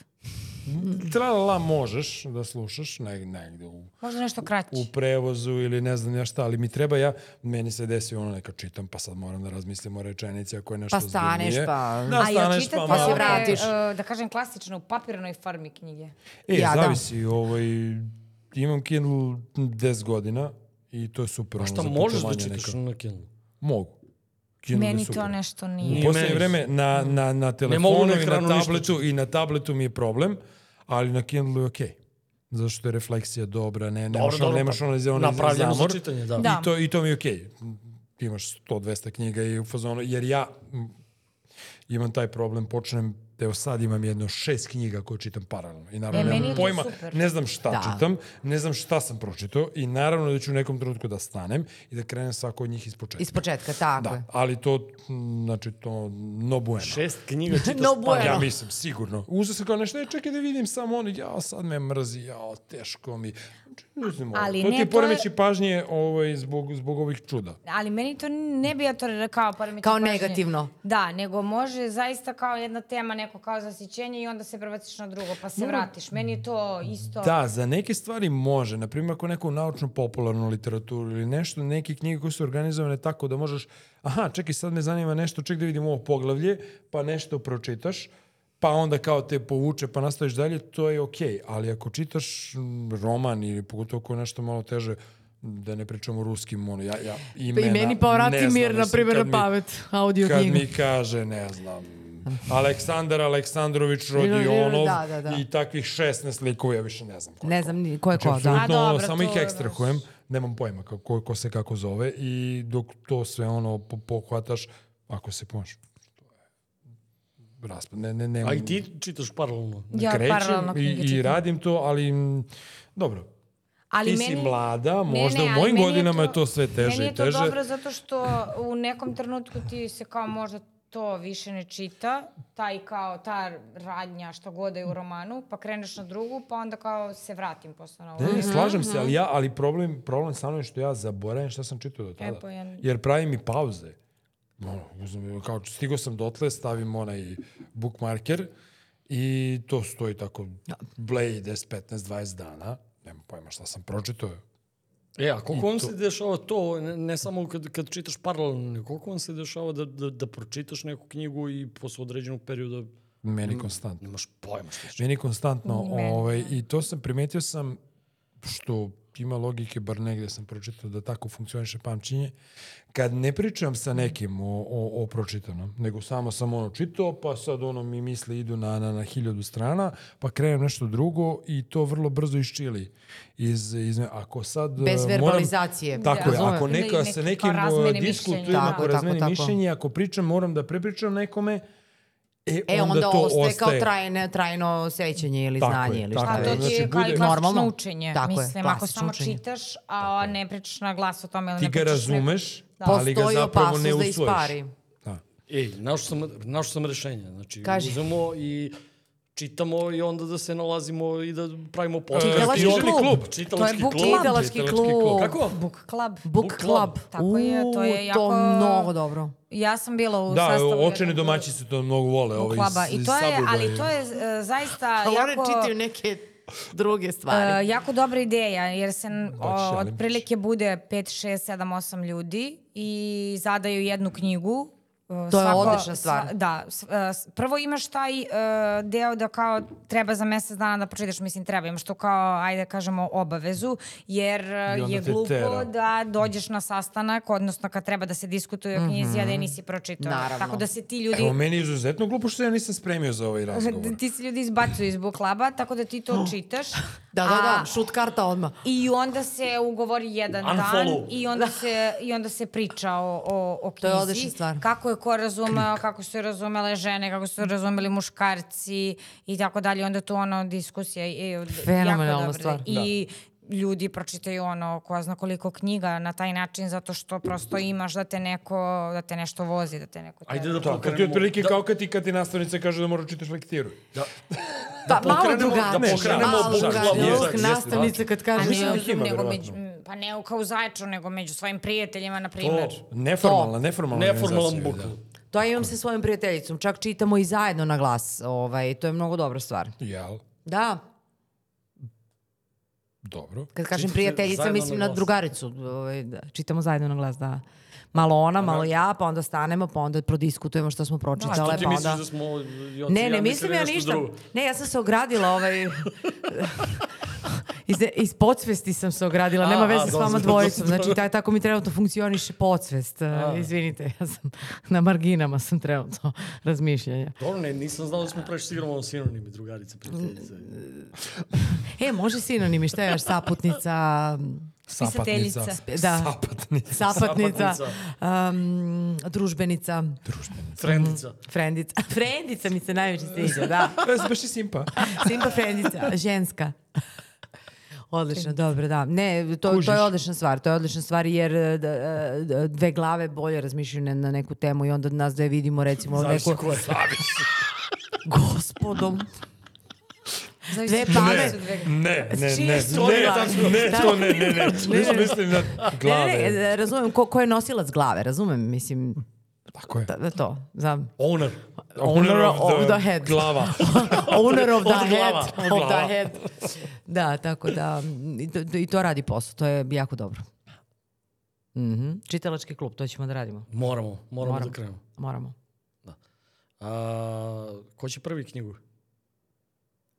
Speaker 4: Tralala možeš da slušaš neg, negde u,
Speaker 3: Možda nešto kraće.
Speaker 4: u prevozu ili ne znam ja šta, ali mi treba ja, meni se desi ono neka čitam, pa sad moram da razmislim o rečenici ako je nešto
Speaker 1: Pa staneš,
Speaker 4: ozbiljnije.
Speaker 1: pa-
Speaker 4: Da,
Speaker 3: A ja
Speaker 4: staneš
Speaker 3: čitam
Speaker 4: pa
Speaker 3: pa
Speaker 4: malo.
Speaker 1: se vratiš.
Speaker 3: da kažem klasično, u papirnoj formi knjige.
Speaker 4: E,
Speaker 1: Ja,
Speaker 4: ja,
Speaker 1: da.
Speaker 4: zavisi, ovaj, imam Kindle 10 godina i to je super.
Speaker 2: A šta možeš da čitaš na Kindle?
Speaker 4: Mogu. Kindle je
Speaker 3: Meni
Speaker 4: super.
Speaker 3: to nešto
Speaker 4: U
Speaker 3: nije.
Speaker 2: Nije
Speaker 4: poslednje
Speaker 2: meni.
Speaker 4: vreme na, na, na
Speaker 2: mogu
Speaker 4: telefonu
Speaker 2: na
Speaker 4: i
Speaker 2: ekranu
Speaker 4: na
Speaker 2: ništa
Speaker 4: tabletu i na tabletu mi je problem, ali na Kindlu je okej. Okay. Zašto je refleksija dobra, ne, nemaš, dobro,
Speaker 2: dobro,
Speaker 4: nemaš
Speaker 2: pa
Speaker 4: ono za ono
Speaker 2: Napravljeno za
Speaker 4: zamor.
Speaker 2: čitanje, da.
Speaker 3: Da.
Speaker 4: Pa I to, I to mi je okej. Okay. Imaš 100-200 knjiga i u fazonu, jer ja m, imam taj problem, počnem, evo sad imam jedno šest knjiga koje čitam paralelno. I
Speaker 3: E,
Speaker 4: naravno,
Speaker 3: meni je
Speaker 4: nemam
Speaker 3: to
Speaker 4: pojma,
Speaker 3: super.
Speaker 4: ne znam šta
Speaker 1: Da.
Speaker 4: da. čitam, ne znam šta sam pročitao i naravno da ću u nekom trenutku da stanem i da krenem svako od njih iz početka.
Speaker 1: Iz početka, tako
Speaker 4: Da,
Speaker 1: je.
Speaker 4: ali to, m, znači to no bueno.
Speaker 2: Šest knjiga čitaš.
Speaker 1: No
Speaker 2: pa-
Speaker 1: bueno.
Speaker 4: Ja mislim, sigurno. Uzeo sam kao nešto, e, čekaj da vidim samo ono, ja sad me mrzi, ja, teško mi. Znači, ne znam, ovo.
Speaker 3: Ali
Speaker 4: to
Speaker 3: ne,
Speaker 4: ti je
Speaker 3: to
Speaker 4: poremeći pažnje ovaj, zbog, zbog ovih čuda.
Speaker 3: Ali meni to ne bi ja to rekao poremećaj
Speaker 1: Kao
Speaker 3: pažnje.
Speaker 1: negativno.
Speaker 3: Da, nego može zaista kao jedna tema, neko kao zasićenje i onda se prebaciš na drugo pa se vratiš. Meni je to isto...
Speaker 4: Da, za neke stvari može. Naprimjer, ako neku naučno-popularnu literaturu ili nešto, neke knjige koje su organizovane tako da možeš, aha, čekaj, sad me zanima nešto, čekaj da vidim ovo poglavlje, pa nešto pročitaš, pa onda kao te povuče, pa nastaviš dalje, to je okej. Ali ako čitaš m, roman ili pogotovo ako je nešto malo teže, da ne pričamo ruskim, ono, ja, ja imena,
Speaker 5: I meni pa vrati
Speaker 4: ne znam,
Speaker 5: mir, na
Speaker 4: mislim,
Speaker 5: primjer,
Speaker 4: kad
Speaker 5: na
Speaker 4: mi-
Speaker 5: pamet. Audio
Speaker 4: kad
Speaker 5: knjigu.
Speaker 4: mi kaže, ne znam, Aleksandar Aleksandrović Rodionov
Speaker 1: Da, da, da.
Speaker 4: i takvih 16 likova, ja više ne znam ko je
Speaker 1: Ne znam ni ko je ko,
Speaker 4: Znači,
Speaker 1: da.
Speaker 3: A
Speaker 4: apsolutno,
Speaker 3: dobro,
Speaker 4: ono, samo
Speaker 3: to
Speaker 4: ih
Speaker 3: je
Speaker 4: ekstrahujem, nemam pojma kako, ko, ko se kako zove i dok to sve ono po, pohvataš, ako se pomaš, raspad. Ne, ne, ne,
Speaker 2: A i ti čitaš paralelno.
Speaker 3: Ja
Speaker 4: krećem
Speaker 3: paralelno
Speaker 4: i,
Speaker 3: knjige
Speaker 4: i
Speaker 3: čitam.
Speaker 4: radim to, ali mm, dobro.
Speaker 3: Ali
Speaker 4: ti si mlada, možda u mojim godinama je to sve teže
Speaker 3: Meni
Speaker 4: i
Speaker 3: je to
Speaker 4: teže.
Speaker 3: dobro zato što u nekom trenutku ti se kao možda to više ne čita, taj kao ta radnja što god je u romanu, pa kreneš na drugu, pa onda kao se vratim posle na ovu.
Speaker 4: Ne, slažem se, ali, ja, ali problem, problem sa mnom je što ja zaboravim šta sam čitao do tada.
Speaker 3: pa ja-
Speaker 4: Jer pravi mi pauze. Ono, uzmem, kao, stigo sam dotle, stavim onaj bookmarker i to stoji tako bleji 10, 15, 20 dana. Nema pojma šta sam pročitao.
Speaker 2: E, a koliko vam se dešava to, ne, ne samo kad, kad čitaš paralelno, nego koliko vam se dešava da, da, da pročitaš neku knjigu i posle određenog perioda
Speaker 4: Meni konstantno.
Speaker 2: nemaš pojma što
Speaker 4: Meni konstantno.
Speaker 3: Ni meni,
Speaker 4: Ovaj, I to sam primetio sam što ima logike, bar negde sam pročitao da tako funkcioniše pamćenje, kad ne pričam sa nekim o, o, o pročitanom, nego samo sam ono čitao, pa sad ono mi misli idu na, na, na hiljadu strana, pa krenem nešto drugo i to vrlo brzo iščili. Iz, iz, ako sad...
Speaker 1: Bez
Speaker 4: e,
Speaker 1: verbalizacije. da,
Speaker 4: Moram, tako je,
Speaker 1: Razumem.
Speaker 4: ako
Speaker 3: Ne,
Speaker 4: neka
Speaker 3: neki
Speaker 4: sa
Speaker 3: kao
Speaker 4: nekim
Speaker 3: razmene
Speaker 4: e,
Speaker 3: mišljenja.
Speaker 4: diskutujem,
Speaker 3: Tako,
Speaker 4: ako
Speaker 1: tako,
Speaker 4: razmenim
Speaker 1: tako.
Speaker 4: mišljenje, ako pričam, moram da prepričam nekome, E,
Speaker 1: E, onda,
Speaker 4: to
Speaker 1: ostaje, kao
Speaker 4: ostaje.
Speaker 1: trajne, trajno sećanje ili
Speaker 4: Tako je,
Speaker 1: znanje ili
Speaker 4: tako
Speaker 1: šta
Speaker 3: A
Speaker 4: je.
Speaker 1: već.
Speaker 3: to ti
Speaker 4: Znači,
Speaker 3: je kao i
Speaker 4: bude-
Speaker 3: klasično
Speaker 1: Normalno.
Speaker 3: učenje,
Speaker 1: Tako je,
Speaker 3: mislim, ako
Speaker 1: klasično
Speaker 3: samo
Speaker 1: učenje.
Speaker 3: čitaš, a ne pričaš na glas o tome ili
Speaker 4: Ti
Speaker 3: ne
Speaker 4: ga
Speaker 3: pričaš neko-
Speaker 4: razumeš, ali ga
Speaker 1: Postoji
Speaker 4: zapravo
Speaker 1: opasnost
Speaker 4: ne
Speaker 1: da
Speaker 4: usvojiš.
Speaker 1: ispari.
Speaker 4: Da.
Speaker 2: Ej, našao sam, našao sam rešenje. Znači,
Speaker 1: Kaži.
Speaker 2: uzmemo i čitamo i onda da se nalazimo i da pravimo podcast.
Speaker 1: Čitalački
Speaker 2: I onda-
Speaker 1: klub.
Speaker 2: Čitalački
Speaker 3: To je book
Speaker 2: klub.
Speaker 3: club.
Speaker 1: Čitalački
Speaker 4: Čitalački
Speaker 1: klub.
Speaker 4: klub.
Speaker 2: Kako?
Speaker 3: Book club.
Speaker 1: Book club.
Speaker 3: Tako je, to je
Speaker 1: U,
Speaker 3: jako-
Speaker 1: To mnogo dobro.
Speaker 3: Ja sam bila u
Speaker 4: Da,
Speaker 3: sastavu...
Speaker 4: očeni
Speaker 3: jednog-
Speaker 4: domaći se to mnogo vole.
Speaker 3: book
Speaker 4: Ovi
Speaker 3: cluba.
Speaker 4: iz-
Speaker 3: I
Speaker 4: iz
Speaker 3: to je, ali
Speaker 4: Suburba
Speaker 3: to je e, zaista
Speaker 1: Ali one
Speaker 3: jako...
Speaker 1: čitaju neke druge stvari.
Speaker 3: E, jako dobra ideja, jer se n- o,
Speaker 4: šalim se.
Speaker 3: otprilike bude 5, 6, 7, 8 ljudi i zadaju jednu knjigu. E,
Speaker 1: To je odlična stvar.
Speaker 3: sva- da, s- e, s- prvo imaš taj e, deo da kao treba za mesec dana da pročitaš, mislim treba, imaš to kao, ajde da kažemo, obavezu, jer e,
Speaker 4: I onda
Speaker 3: je
Speaker 4: te
Speaker 3: glupo
Speaker 4: tera.
Speaker 3: da dođeš na sastanak, odnosno kad treba da se diskutuje o knjizi, a da je nisi pročitao.
Speaker 1: Mhm. Naravno.
Speaker 3: Tako da se ti
Speaker 4: je-
Speaker 3: ljudi...
Speaker 4: Evo, meni je izuzetno glupo što se ja nisam spremio za ovaj razgovor.
Speaker 3: Ti se ljudi izbacuju iz buklaba, tako da ti to čitaš.
Speaker 1: Da, da,
Speaker 3: a-
Speaker 1: da, šut karta odmah.
Speaker 3: I onda se ugovori jedan dan
Speaker 2: Unfollow.
Speaker 3: i onda
Speaker 4: Da.
Speaker 3: se, i onda se priča o, o, o knjizi.
Speaker 1: je odlična stvar.
Speaker 3: Kako je ko razumeo, kako su je razumele žene, kako su je razumeli muškarci i tako dalje. Onda tu ono diskusija i jako
Speaker 1: Fenomenalna
Speaker 3: dobra.
Speaker 1: stvar.
Speaker 3: I
Speaker 4: Da.
Speaker 3: ljudi pročitaju ono koja zna koliko knjiga na taj način zato što prosto imaš da te neko, da te nešto vozi, da te neko... tera.
Speaker 2: Ajde da
Speaker 4: Da, kad ti
Speaker 2: pokrenemo.
Speaker 4: otprilike
Speaker 2: da,
Speaker 4: kao kad ti, kad ti nastavnica kaže da mora čitaš lektiru.
Speaker 2: da,
Speaker 1: Pa, malo
Speaker 2: pokrenemo- da
Speaker 1: drugačije.
Speaker 2: pokrenemo
Speaker 1: malo
Speaker 2: book club.
Speaker 1: drugačije.
Speaker 2: Jeste,
Speaker 1: Ovog
Speaker 2: jeste,
Speaker 1: nastavnica kad
Speaker 3: A
Speaker 1: kaže...
Speaker 3: ne,
Speaker 4: Mislim da ih ima,
Speaker 3: nego među,
Speaker 4: verovatno.
Speaker 3: pa ne kao u Zaječaru, nego među svojim prijateljima, na primjer.
Speaker 2: to,
Speaker 4: Neformalna, neformalna
Speaker 2: neformalan
Speaker 4: organizacija,
Speaker 2: book
Speaker 4: da.
Speaker 2: club.
Speaker 1: To ja imam sa svojom prijateljicom. Čak čitamo i zajedno na glas. Ovaj, to je mnogo dobra stvar.
Speaker 4: Jel,
Speaker 1: Da,
Speaker 4: dobro.
Speaker 1: kad kažem
Speaker 2: Čitate
Speaker 1: prijateljica,
Speaker 2: zajedno
Speaker 1: mislim
Speaker 2: na
Speaker 1: na
Speaker 2: glas.
Speaker 1: drugaricu. Ovaj, da, čitamo zajedno na glas, da. Malo ona, malo ja, pa onda stanemo, pa onda prodiskutujemo što smo pročitale,
Speaker 2: Što ti
Speaker 1: pa
Speaker 2: misliš
Speaker 1: onda...
Speaker 2: da smo... Joci i
Speaker 1: Ne, ne
Speaker 2: ja
Speaker 1: mislim
Speaker 2: mislili
Speaker 1: ja
Speaker 2: nešto
Speaker 1: ništa.
Speaker 2: drugo?
Speaker 1: Ne, ja sam se ogradila ovaj... Iz, iz podsvesti sam se ogradila, nema
Speaker 2: A, a,
Speaker 1: veze s vama
Speaker 2: dobro,
Speaker 1: dvojicom.
Speaker 2: dobro.
Speaker 1: Znači, taj, tako mi trenutno funkcioniše podsvest. e, Izvinite, ja sam na marginama sam trenutno razmišljanja.
Speaker 2: Dobro, ne, nisam znao da smo prešli sigurno ono sinonimi, drugarice, prijateljice.
Speaker 1: Mm, E, može sinonimi, šta je još saputnica,
Speaker 4: Sapatnica.
Speaker 1: Da.
Speaker 4: Sapatnica.
Speaker 1: sapatnica,
Speaker 2: Sapatnica.
Speaker 1: um, družbenica,
Speaker 2: Frendica.
Speaker 1: Mm, frendica. Frendica mi se najviše sviđa, da.
Speaker 4: E, Baš i simpa.
Speaker 1: Simba frendica, ženska. Odlično, dobro, da. Ne, to, to je odlična stvar, to je odlična stvar jer e, d- e, d- dve glave bolje razmišljaju na- na neku temu i onda nas dve vidimo recimo
Speaker 2: Zavisi
Speaker 1: neku...
Speaker 2: da ko je.
Speaker 1: Gospodom.
Speaker 3: Zavisi
Speaker 1: Dve
Speaker 3: čije
Speaker 1: pame-
Speaker 3: su dve glave.
Speaker 4: Ne, ne,
Speaker 1: čije
Speaker 4: ne,
Speaker 1: su
Speaker 4: ne,
Speaker 1: glave?
Speaker 4: ne,
Speaker 1: Da.
Speaker 4: to ne, ne, ne.
Speaker 1: ne.
Speaker 4: Mislim, mislim na glave.
Speaker 1: Ne, ne, ne, razumem, ko, ko je nosilac glave, razumem, mislim,
Speaker 4: Tako je.
Speaker 1: da, to, znam.
Speaker 2: Owner.
Speaker 1: Owner of the head.
Speaker 4: da Glava.
Speaker 1: Owner
Speaker 5: da,
Speaker 1: of the
Speaker 2: Od glava,
Speaker 1: head.
Speaker 2: od
Speaker 1: Of
Speaker 2: glava.
Speaker 1: the head. Da, tako da, mm, i to, i to radi posao, to je jako dobro. Mhm. Čitalački klub, to ćemo da radimo.
Speaker 2: Moramo, moramo,
Speaker 1: Moramo.
Speaker 2: da krenemo.
Speaker 1: Moramo.
Speaker 2: A, ko će prvi knjigu?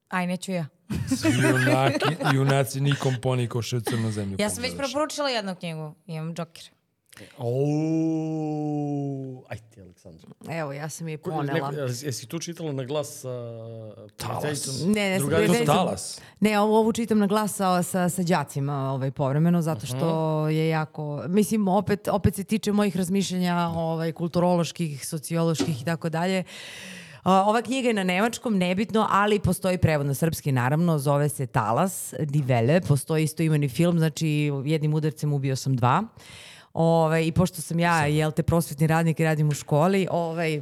Speaker 3: Aj, neću ja.
Speaker 4: Junaki, junaci nikom ponikoše u crnu zemlju.
Speaker 3: Ja sam već
Speaker 4: pogledaš.
Speaker 3: preporučila jednu knjigu. Imam Joker.
Speaker 2: Oooo, ajde, Aleksandar.
Speaker 1: Evo, ja sam je
Speaker 2: Ko-
Speaker 1: ponela.
Speaker 2: neko- jes- Jesi tu čitala na glas sa prijateljicom?
Speaker 1: Ne, ne, s
Speaker 2: Drugari-
Speaker 1: prijateljicom.
Speaker 2: To su
Speaker 4: Talas.
Speaker 1: Ne, ovu, ovu čitam na glas sa, sa, sa đacima ovaj, povremeno, zato što je jako... Mislim, opet, opet se tiče mojih razmišljanja ovaj, kulturoloških, socioloških i tako dalje. A, Ova knjiga je na nemačkom, nebitno, ali postoji prevod na srpski, naravno, zove se Talas, Divele, postoji isto imeni film, znači jednim udarcem ubio sam dva. Ove, I pošto sam ja, jel te, prosvetni radnik i radim u školi, ovaj, e,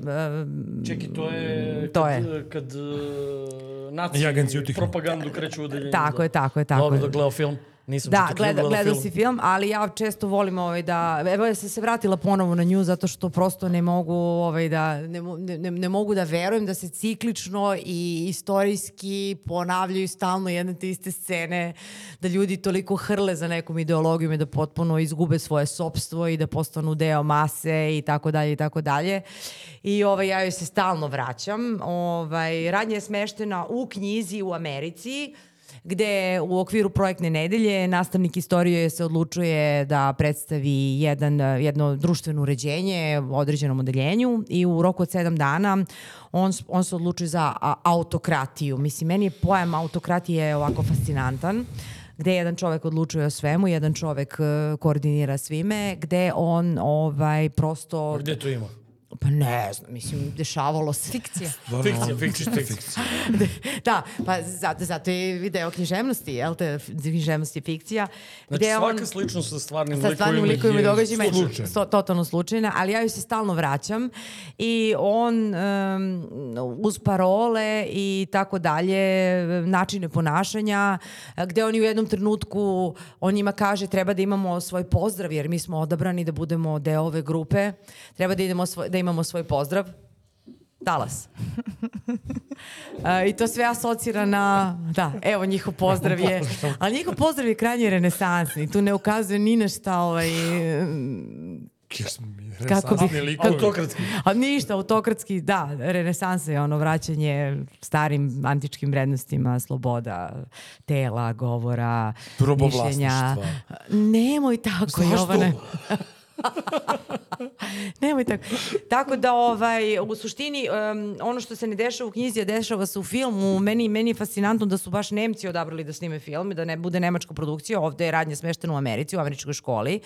Speaker 2: Čeki, to je
Speaker 1: Mm, To
Speaker 2: kad,
Speaker 1: je.
Speaker 2: kad uh, naci
Speaker 4: Ja ga si utihnu.
Speaker 2: propagandu kreću u udeljenju.
Speaker 1: Tako je, tako je, tako
Speaker 2: Dobro
Speaker 1: je.
Speaker 2: da gledao film. Nisam
Speaker 1: Da,
Speaker 2: čitav film,
Speaker 1: gleda, gledao si film, ali ja često volim ovaj da, evo ja sam se vratila ponovo na nju zato što prosto ne mogu ovaj da, ne, mo- ne, ne- ne mogu da verujem da se ciklično i istorijski ponavljaju stalno jedne te iste scene, da ljudi toliko hrle za nekom ideologijom i da potpuno izgube svoje sopstvo i da postanu deo mase i tako dalje i tako dalje. I ovaj, ja joj se stalno vraćam. Ovaj, radnja je smeštena u knjizi u Americi gde u okviru projektne nedelje nastavnik istorije se odlučuje da predstavi jedan, eh, jedno društveno uređenje u određenom odeljenju i u roku od sedam dana on, s- on se odlučuje za a, autokratiju. Mislim, meni je pojam autokratije ovako fascinantan gde jedan čovek odlučuje o svemu, jedan čovek eh, koordinira svime, gde on ovaj prosto
Speaker 2: Gde to ima?
Speaker 1: pa ne znam, mislim dešavalo se. Fikcija.
Speaker 2: Fikcija, fikcija, fikcija.
Speaker 1: da, pa zato, zato je i deo književnosti, jel te, F- književnost je fikcija.
Speaker 2: Znači
Speaker 1: gde
Speaker 2: svaka sličnost sa stvarnim
Speaker 1: sa stvarnim
Speaker 2: likovima
Speaker 1: likovima i
Speaker 2: je
Speaker 1: događajima je
Speaker 2: slučajna.
Speaker 1: sto, totalno slučajna, ali ja joj se stalno vraćam i on um, uz parole i tako dalje, načine ponašanja, a, gde on i u jednom trenutku, on njima kaže treba da imamo svoj pozdrav jer mi smo odabrani da budemo deo ove grupe, treba da, idemo svoj, da imamo svoj pozdrav. Talas. A, I to sve asocira na, da, evo njihov pozdrav je, ali njihov pozdrav je krajnje renesansni, tu ne ukazuje ni na šta ovaj,
Speaker 4: Kje smo mi
Speaker 1: Kako bi-
Speaker 4: resansni likovi.
Speaker 2: Autokratski.
Speaker 1: a ništa, autokratski, da, renesansa je ono vraćanje starim antičkim vrednostima, sloboda tela, govora, mišljenja.
Speaker 4: Robovlasništva.
Speaker 1: Nemoj tako, Jovane. Nemoj tako. Tako da ovaj u suštini em, ono što se ne dešava u knjizi, a dešava se u filmu. Meni meni je fascinantno da su baš Nemci odabrali da snime film i da ne bude nemačka produkcija. Ovde je radnja smeštena u Americi, u američkoj školi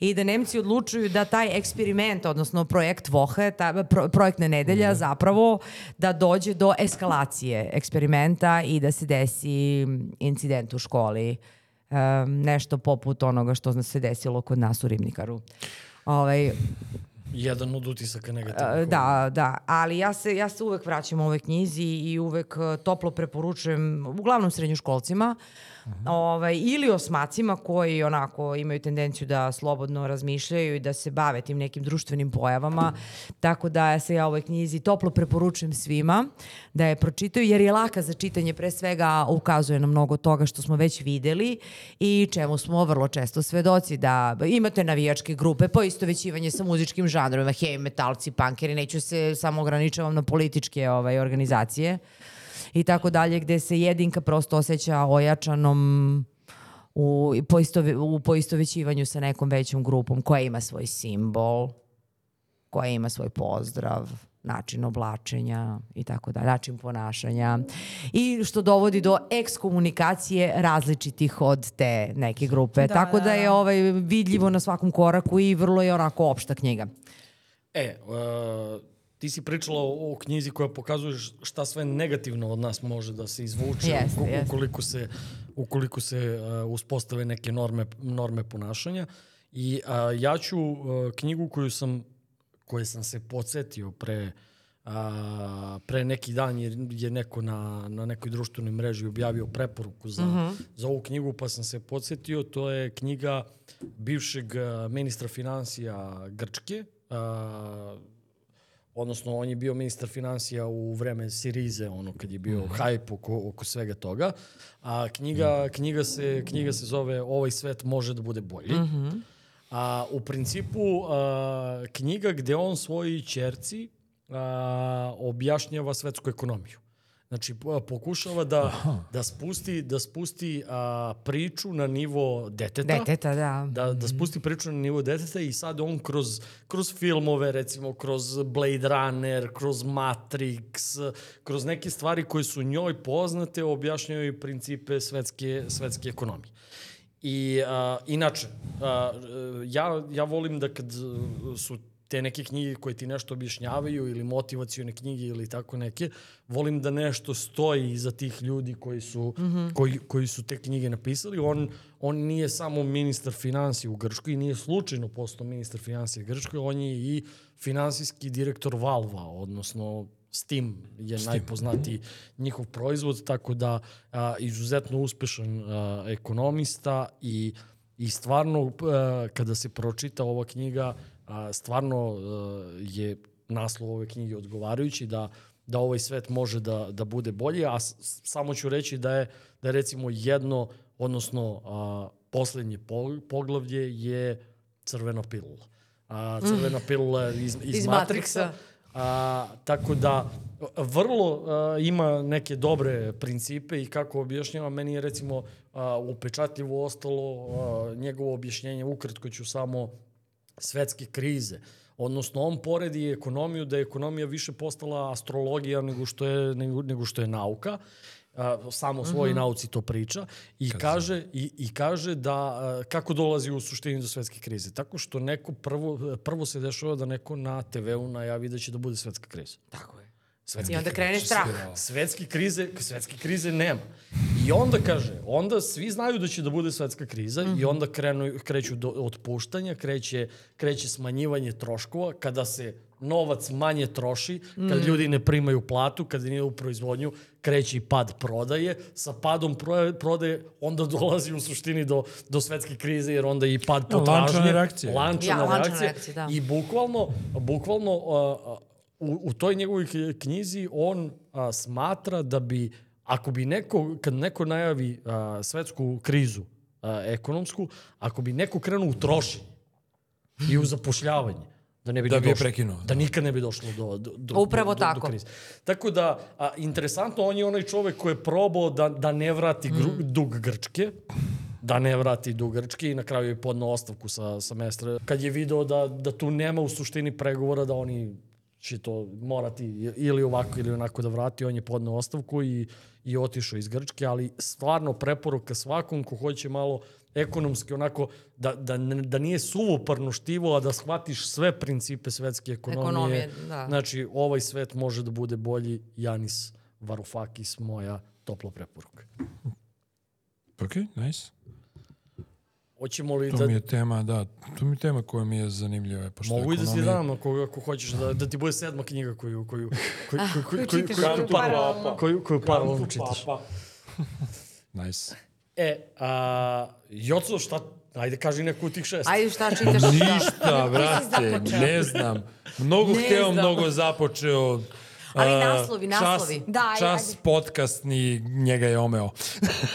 Speaker 1: i da Nemci odlučuju da taj eksperiment, odnosno projekt Vohe, ta pro, projektne nedelja zapravo da dođe do eskalacije eksperimenta i da se desi incident u školi. Em, nešto poput onoga što se desilo kod nas u Ribnikaru. Ovaj,
Speaker 2: Jedan od utisaka negativnih.
Speaker 1: E, Da, da, ali ja se, ja se uvek vraćam ovoj knjizi i uvek e, toplo preporučujem uglavnom srednjoškolcima ovaj, ili osmacima koji onako imaju tendenciju da slobodno razmišljaju i da se bave tim nekim društvenim pojavama. Tako da ja se ja ovoj knjizi toplo preporučujem svima da je pročitaju jer je laka za čitanje pre svega a ukazuje na mnogo toga što smo već videli i čemu smo vrlo često svedoci da imate navijačke grupe, poistovećivanje sa muzičkim žanrovima, heavy metalci, punkeri, neću se samo ograničavam na političke ovaj, organizacije i tako dalje, gde se jedinka prosto osjeća ojačanom u, poistove, u poistovećivanju sa nekom većom grupom koja ima svoj simbol, koja ima svoj pozdrav, način oblačenja i tako dalje, način ponašanja i što dovodi do ekskomunikacije različitih od te neke grupe.
Speaker 3: Da,
Speaker 1: tako
Speaker 3: da,
Speaker 1: da je
Speaker 3: da.
Speaker 1: ovaj vidljivo na svakom koraku i vrlo je onako opšta knjiga.
Speaker 2: E, e, ti si pričala o, o knjizi koja pokazuje š- šta sve negativno od nas može da se izvuče
Speaker 1: Jeste,
Speaker 2: uko-
Speaker 1: jeste.
Speaker 2: ukoliko se, ukoliko se e, uspostave neke norme, norme ponašanja. I a, ja ću e, knjigu koju sam, koje sam se podsetio pre, a, pre neki dan jer je neko na, na nekoj društvenoj mreži objavio preporuku za, za ovu knjigu pa sam se podsetio. To je knjiga bivšeg e, ministra financija Grčke, uh, a, odnosno on je bio ministar financija u vreme Sirize, ono kad je bio hajp oko, oko svega toga. A knjiga, knjiga, se, knjiga se zove Ovaj svet može da bude bolji. A, u principu a, knjiga gde on svojoj čerci a, objašnjava svetsku ekonomiju. Znači, po- pokušava da, da spusti, da spusti a, priču na nivo deteta
Speaker 1: Deteta, da.
Speaker 2: da, da spusti priču na nivo deteta i sad on kroz, kroz filmove, recimo kroz Blade Runner, kroz Matrix, kroz neke stvari koje su njoj poznate, objašnjaju i principe svetske, svetske ekonomije. I a, inače, a, ja, ja volim da kad e, su te neke knjige koje ti nešto objašnjavaju ili motivacione knjige ili tako neke, volim da nešto stoji iza tih ljudi koji su, mm -hmm. koji, koji su te knjige napisali. On, on nije samo ministar financija u Grčkoj i nije slučajno postao ministar financija u Grčkoj, on je i finansijski direktor Valva, odnosno Steam je Steam. najpoznatiji njihov proizvod, tako da a, izuzetno uspešan a, ekonomista i, i stvarno a, kada se pročita ova knjiga, a, stvarno a, je naslov ove knjige odgovarajući da da ovaj svet može da, da bude bolji, a s, samo ću reći da je, da je recimo jedno, odnosno a, poslednje po, poglavlje je crvena pilula. A, crvena mm. pilula iz, iz, iz Matrixa. Matrixa. A, tako da, vrlo a, ima neke dobre principe i kako objašnjava, meni je recimo a, upečatljivo ostalo a, njegovo objašnjenje, ukratko ću samo svetske krize. Odnosno, on poredi ekonomiju da je ekonomija više postala astrologija nego što je, nego, nego što je nauka a, samo
Speaker 1: Mhm.
Speaker 2: svoj mm -hmm. nauci to priča i Kada kaže i, i kaže da a, kako dolazi u suštini do svetske krize tako što neko prvo prvo se dešava da neko na TV-u najavi da će da bude svetska kriza
Speaker 1: Tako je.
Speaker 2: svetski
Speaker 1: I onda krene strah.
Speaker 2: svetske krize svetske krize nema i onda kaže onda svi znaju da će da bude svetska kriza mm -hmm. i onda krenu kreću do otpuštanja kreće kreće smanjivanje troškova kada se novac manje troši, kad mm. ljudi ne primaju platu, kad nije u proizvodnju, kreće i pad prodaje. Sa padom pro, prodaje onda dolazi u suštini do, do svetske krize, jer onda je i pad potražnje.
Speaker 4: lančana reakcija.
Speaker 2: Lančana
Speaker 1: Ja, lančana
Speaker 2: reakcija.
Speaker 1: reakcija, da.
Speaker 2: I bukvalno, bukvalno uh, u, u toj njegovoj knjizi on a, smatra da bi, ako bi neko, kad neko najavi a, svetsku krizu a, ekonomsku, ako bi neko krenuo u trošenje i u zapošljavanje, Da ne bi
Speaker 4: Da
Speaker 2: ni
Speaker 4: bi je
Speaker 2: došlo.
Speaker 4: prekinuo.
Speaker 2: Da nikad ne bi došlo do, do, do,
Speaker 1: Upravo
Speaker 2: do, do,
Speaker 1: tako.
Speaker 2: do krize. Tako da, a, interesantno, on je onaj čovek koji je probao da, da ne vrati gru,
Speaker 1: Mm.
Speaker 2: dug Grčke, da ne vrati dug Grčke i na kraju je podnao ostavku sa, sa mestra. Kad je video da, da tu nema u suštini pregovora, da oni će to morati ili ovako ili onako da vrati, on je podnao ostavku i, i otišao iz Grčke, ali stvarno preporuka svakom ko hoće malo ekonomski onako, da, da, ne- da nije suvoparno štivo, a da shvatiš sve principe svetske ekonomije.
Speaker 1: Ekonomije, da.
Speaker 2: Znači, ovaj svet može da bude bolji. Janis Varoufakis, moja topla preporuka.
Speaker 4: Ok, Pa nice.
Speaker 2: Hoćemo li
Speaker 4: To
Speaker 2: da...
Speaker 4: mi je tema, da, to mi je tema koja mi je zanimljiva. Pošto
Speaker 2: Mogu i da si
Speaker 4: ekonomija-
Speaker 2: dam ako, ako hoćeš da, da ti bude sedma knjiga koju, koju, koju, koju, koju, koju,
Speaker 3: čitaš
Speaker 2: koju,
Speaker 3: paralelno.
Speaker 2: koju, koju, koju paralelno
Speaker 4: pa,
Speaker 2: čitaš.
Speaker 4: Nice.
Speaker 2: E, a, Joco, šta, ajde kaži neku od tih šest.
Speaker 1: Ajde, šta čitaš?
Speaker 4: Ništa, brate, ne znam. Mnogo
Speaker 1: Ne
Speaker 4: hteo,
Speaker 1: znam.
Speaker 4: mnogo započeo.
Speaker 1: Ali
Speaker 4: A,
Speaker 1: naslovi, naslovi.
Speaker 4: Čas,
Speaker 3: Da, ajde,
Speaker 4: čas
Speaker 3: ajde.
Speaker 4: podcastni njega je omeo.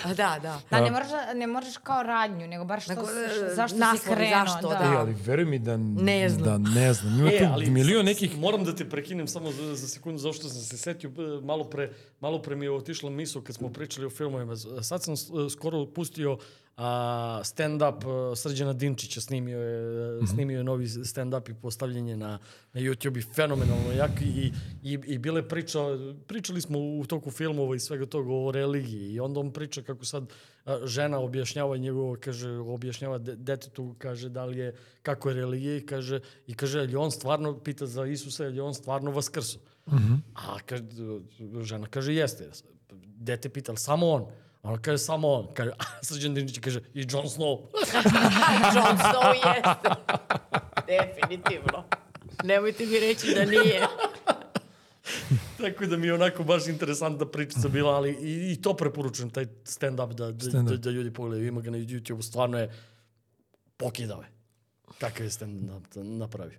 Speaker 1: A, Da, da.
Speaker 3: Da,
Speaker 4: Um,
Speaker 3: ne moraš, da- ne moraš kao radnju, nego bar što,
Speaker 1: Nego,
Speaker 3: š-
Speaker 1: e,
Speaker 3: zašto si
Speaker 1: naslovi,
Speaker 3: krenuo.
Speaker 1: zašto,
Speaker 3: da.
Speaker 1: da.
Speaker 4: E, ali veruj mi da
Speaker 1: Ne znam.
Speaker 4: Da ne znam. Ima
Speaker 2: E,
Speaker 4: tu
Speaker 2: ali
Speaker 4: milion
Speaker 2: s- s-
Speaker 4: nekih...
Speaker 2: Moram da te prekinem samo za, za sekundu, zašto sam se setio, b- malo pre, malo pre mi je otišla misl kad smo pričali o filmovima. Z- Sad sam s- skoro pustio a, stand-up a, Srđana Dinčića, snimio je,
Speaker 4: Mhm.
Speaker 2: snimio je novi stand-up i postavljen je na, na YouTube i fenomenalno jak i, i, i bile priča, pričali smo u toku filmova i svega toga o religiji i onda on priča kako sad a, žena objašnjava njegovo, kaže, objašnjava de, detetu, kaže da li je, kako je religija i kaže, i kaže, je li on stvarno, pita za Isusa, je li on stvarno vaskrso? Mm -hmm. A kaže, žena kaže, jeste. Dete pita, "Jel samo on? A ona kaže, samo on. Kaže, a Srđan Dinić kaže, i Jon Snow.
Speaker 5: John Snow jeste. Definitivno. Nemojte mi reći da nije.
Speaker 2: Tako da mi je onako baš interesantna pričica bila, ali i, i to preporučujem, taj stand-up da, da,
Speaker 4: Stand-up.
Speaker 2: da, da ljudi pogledaju. Ima ga na YouTube, stvarno je pokidao je. Kakav je stand-up napravio.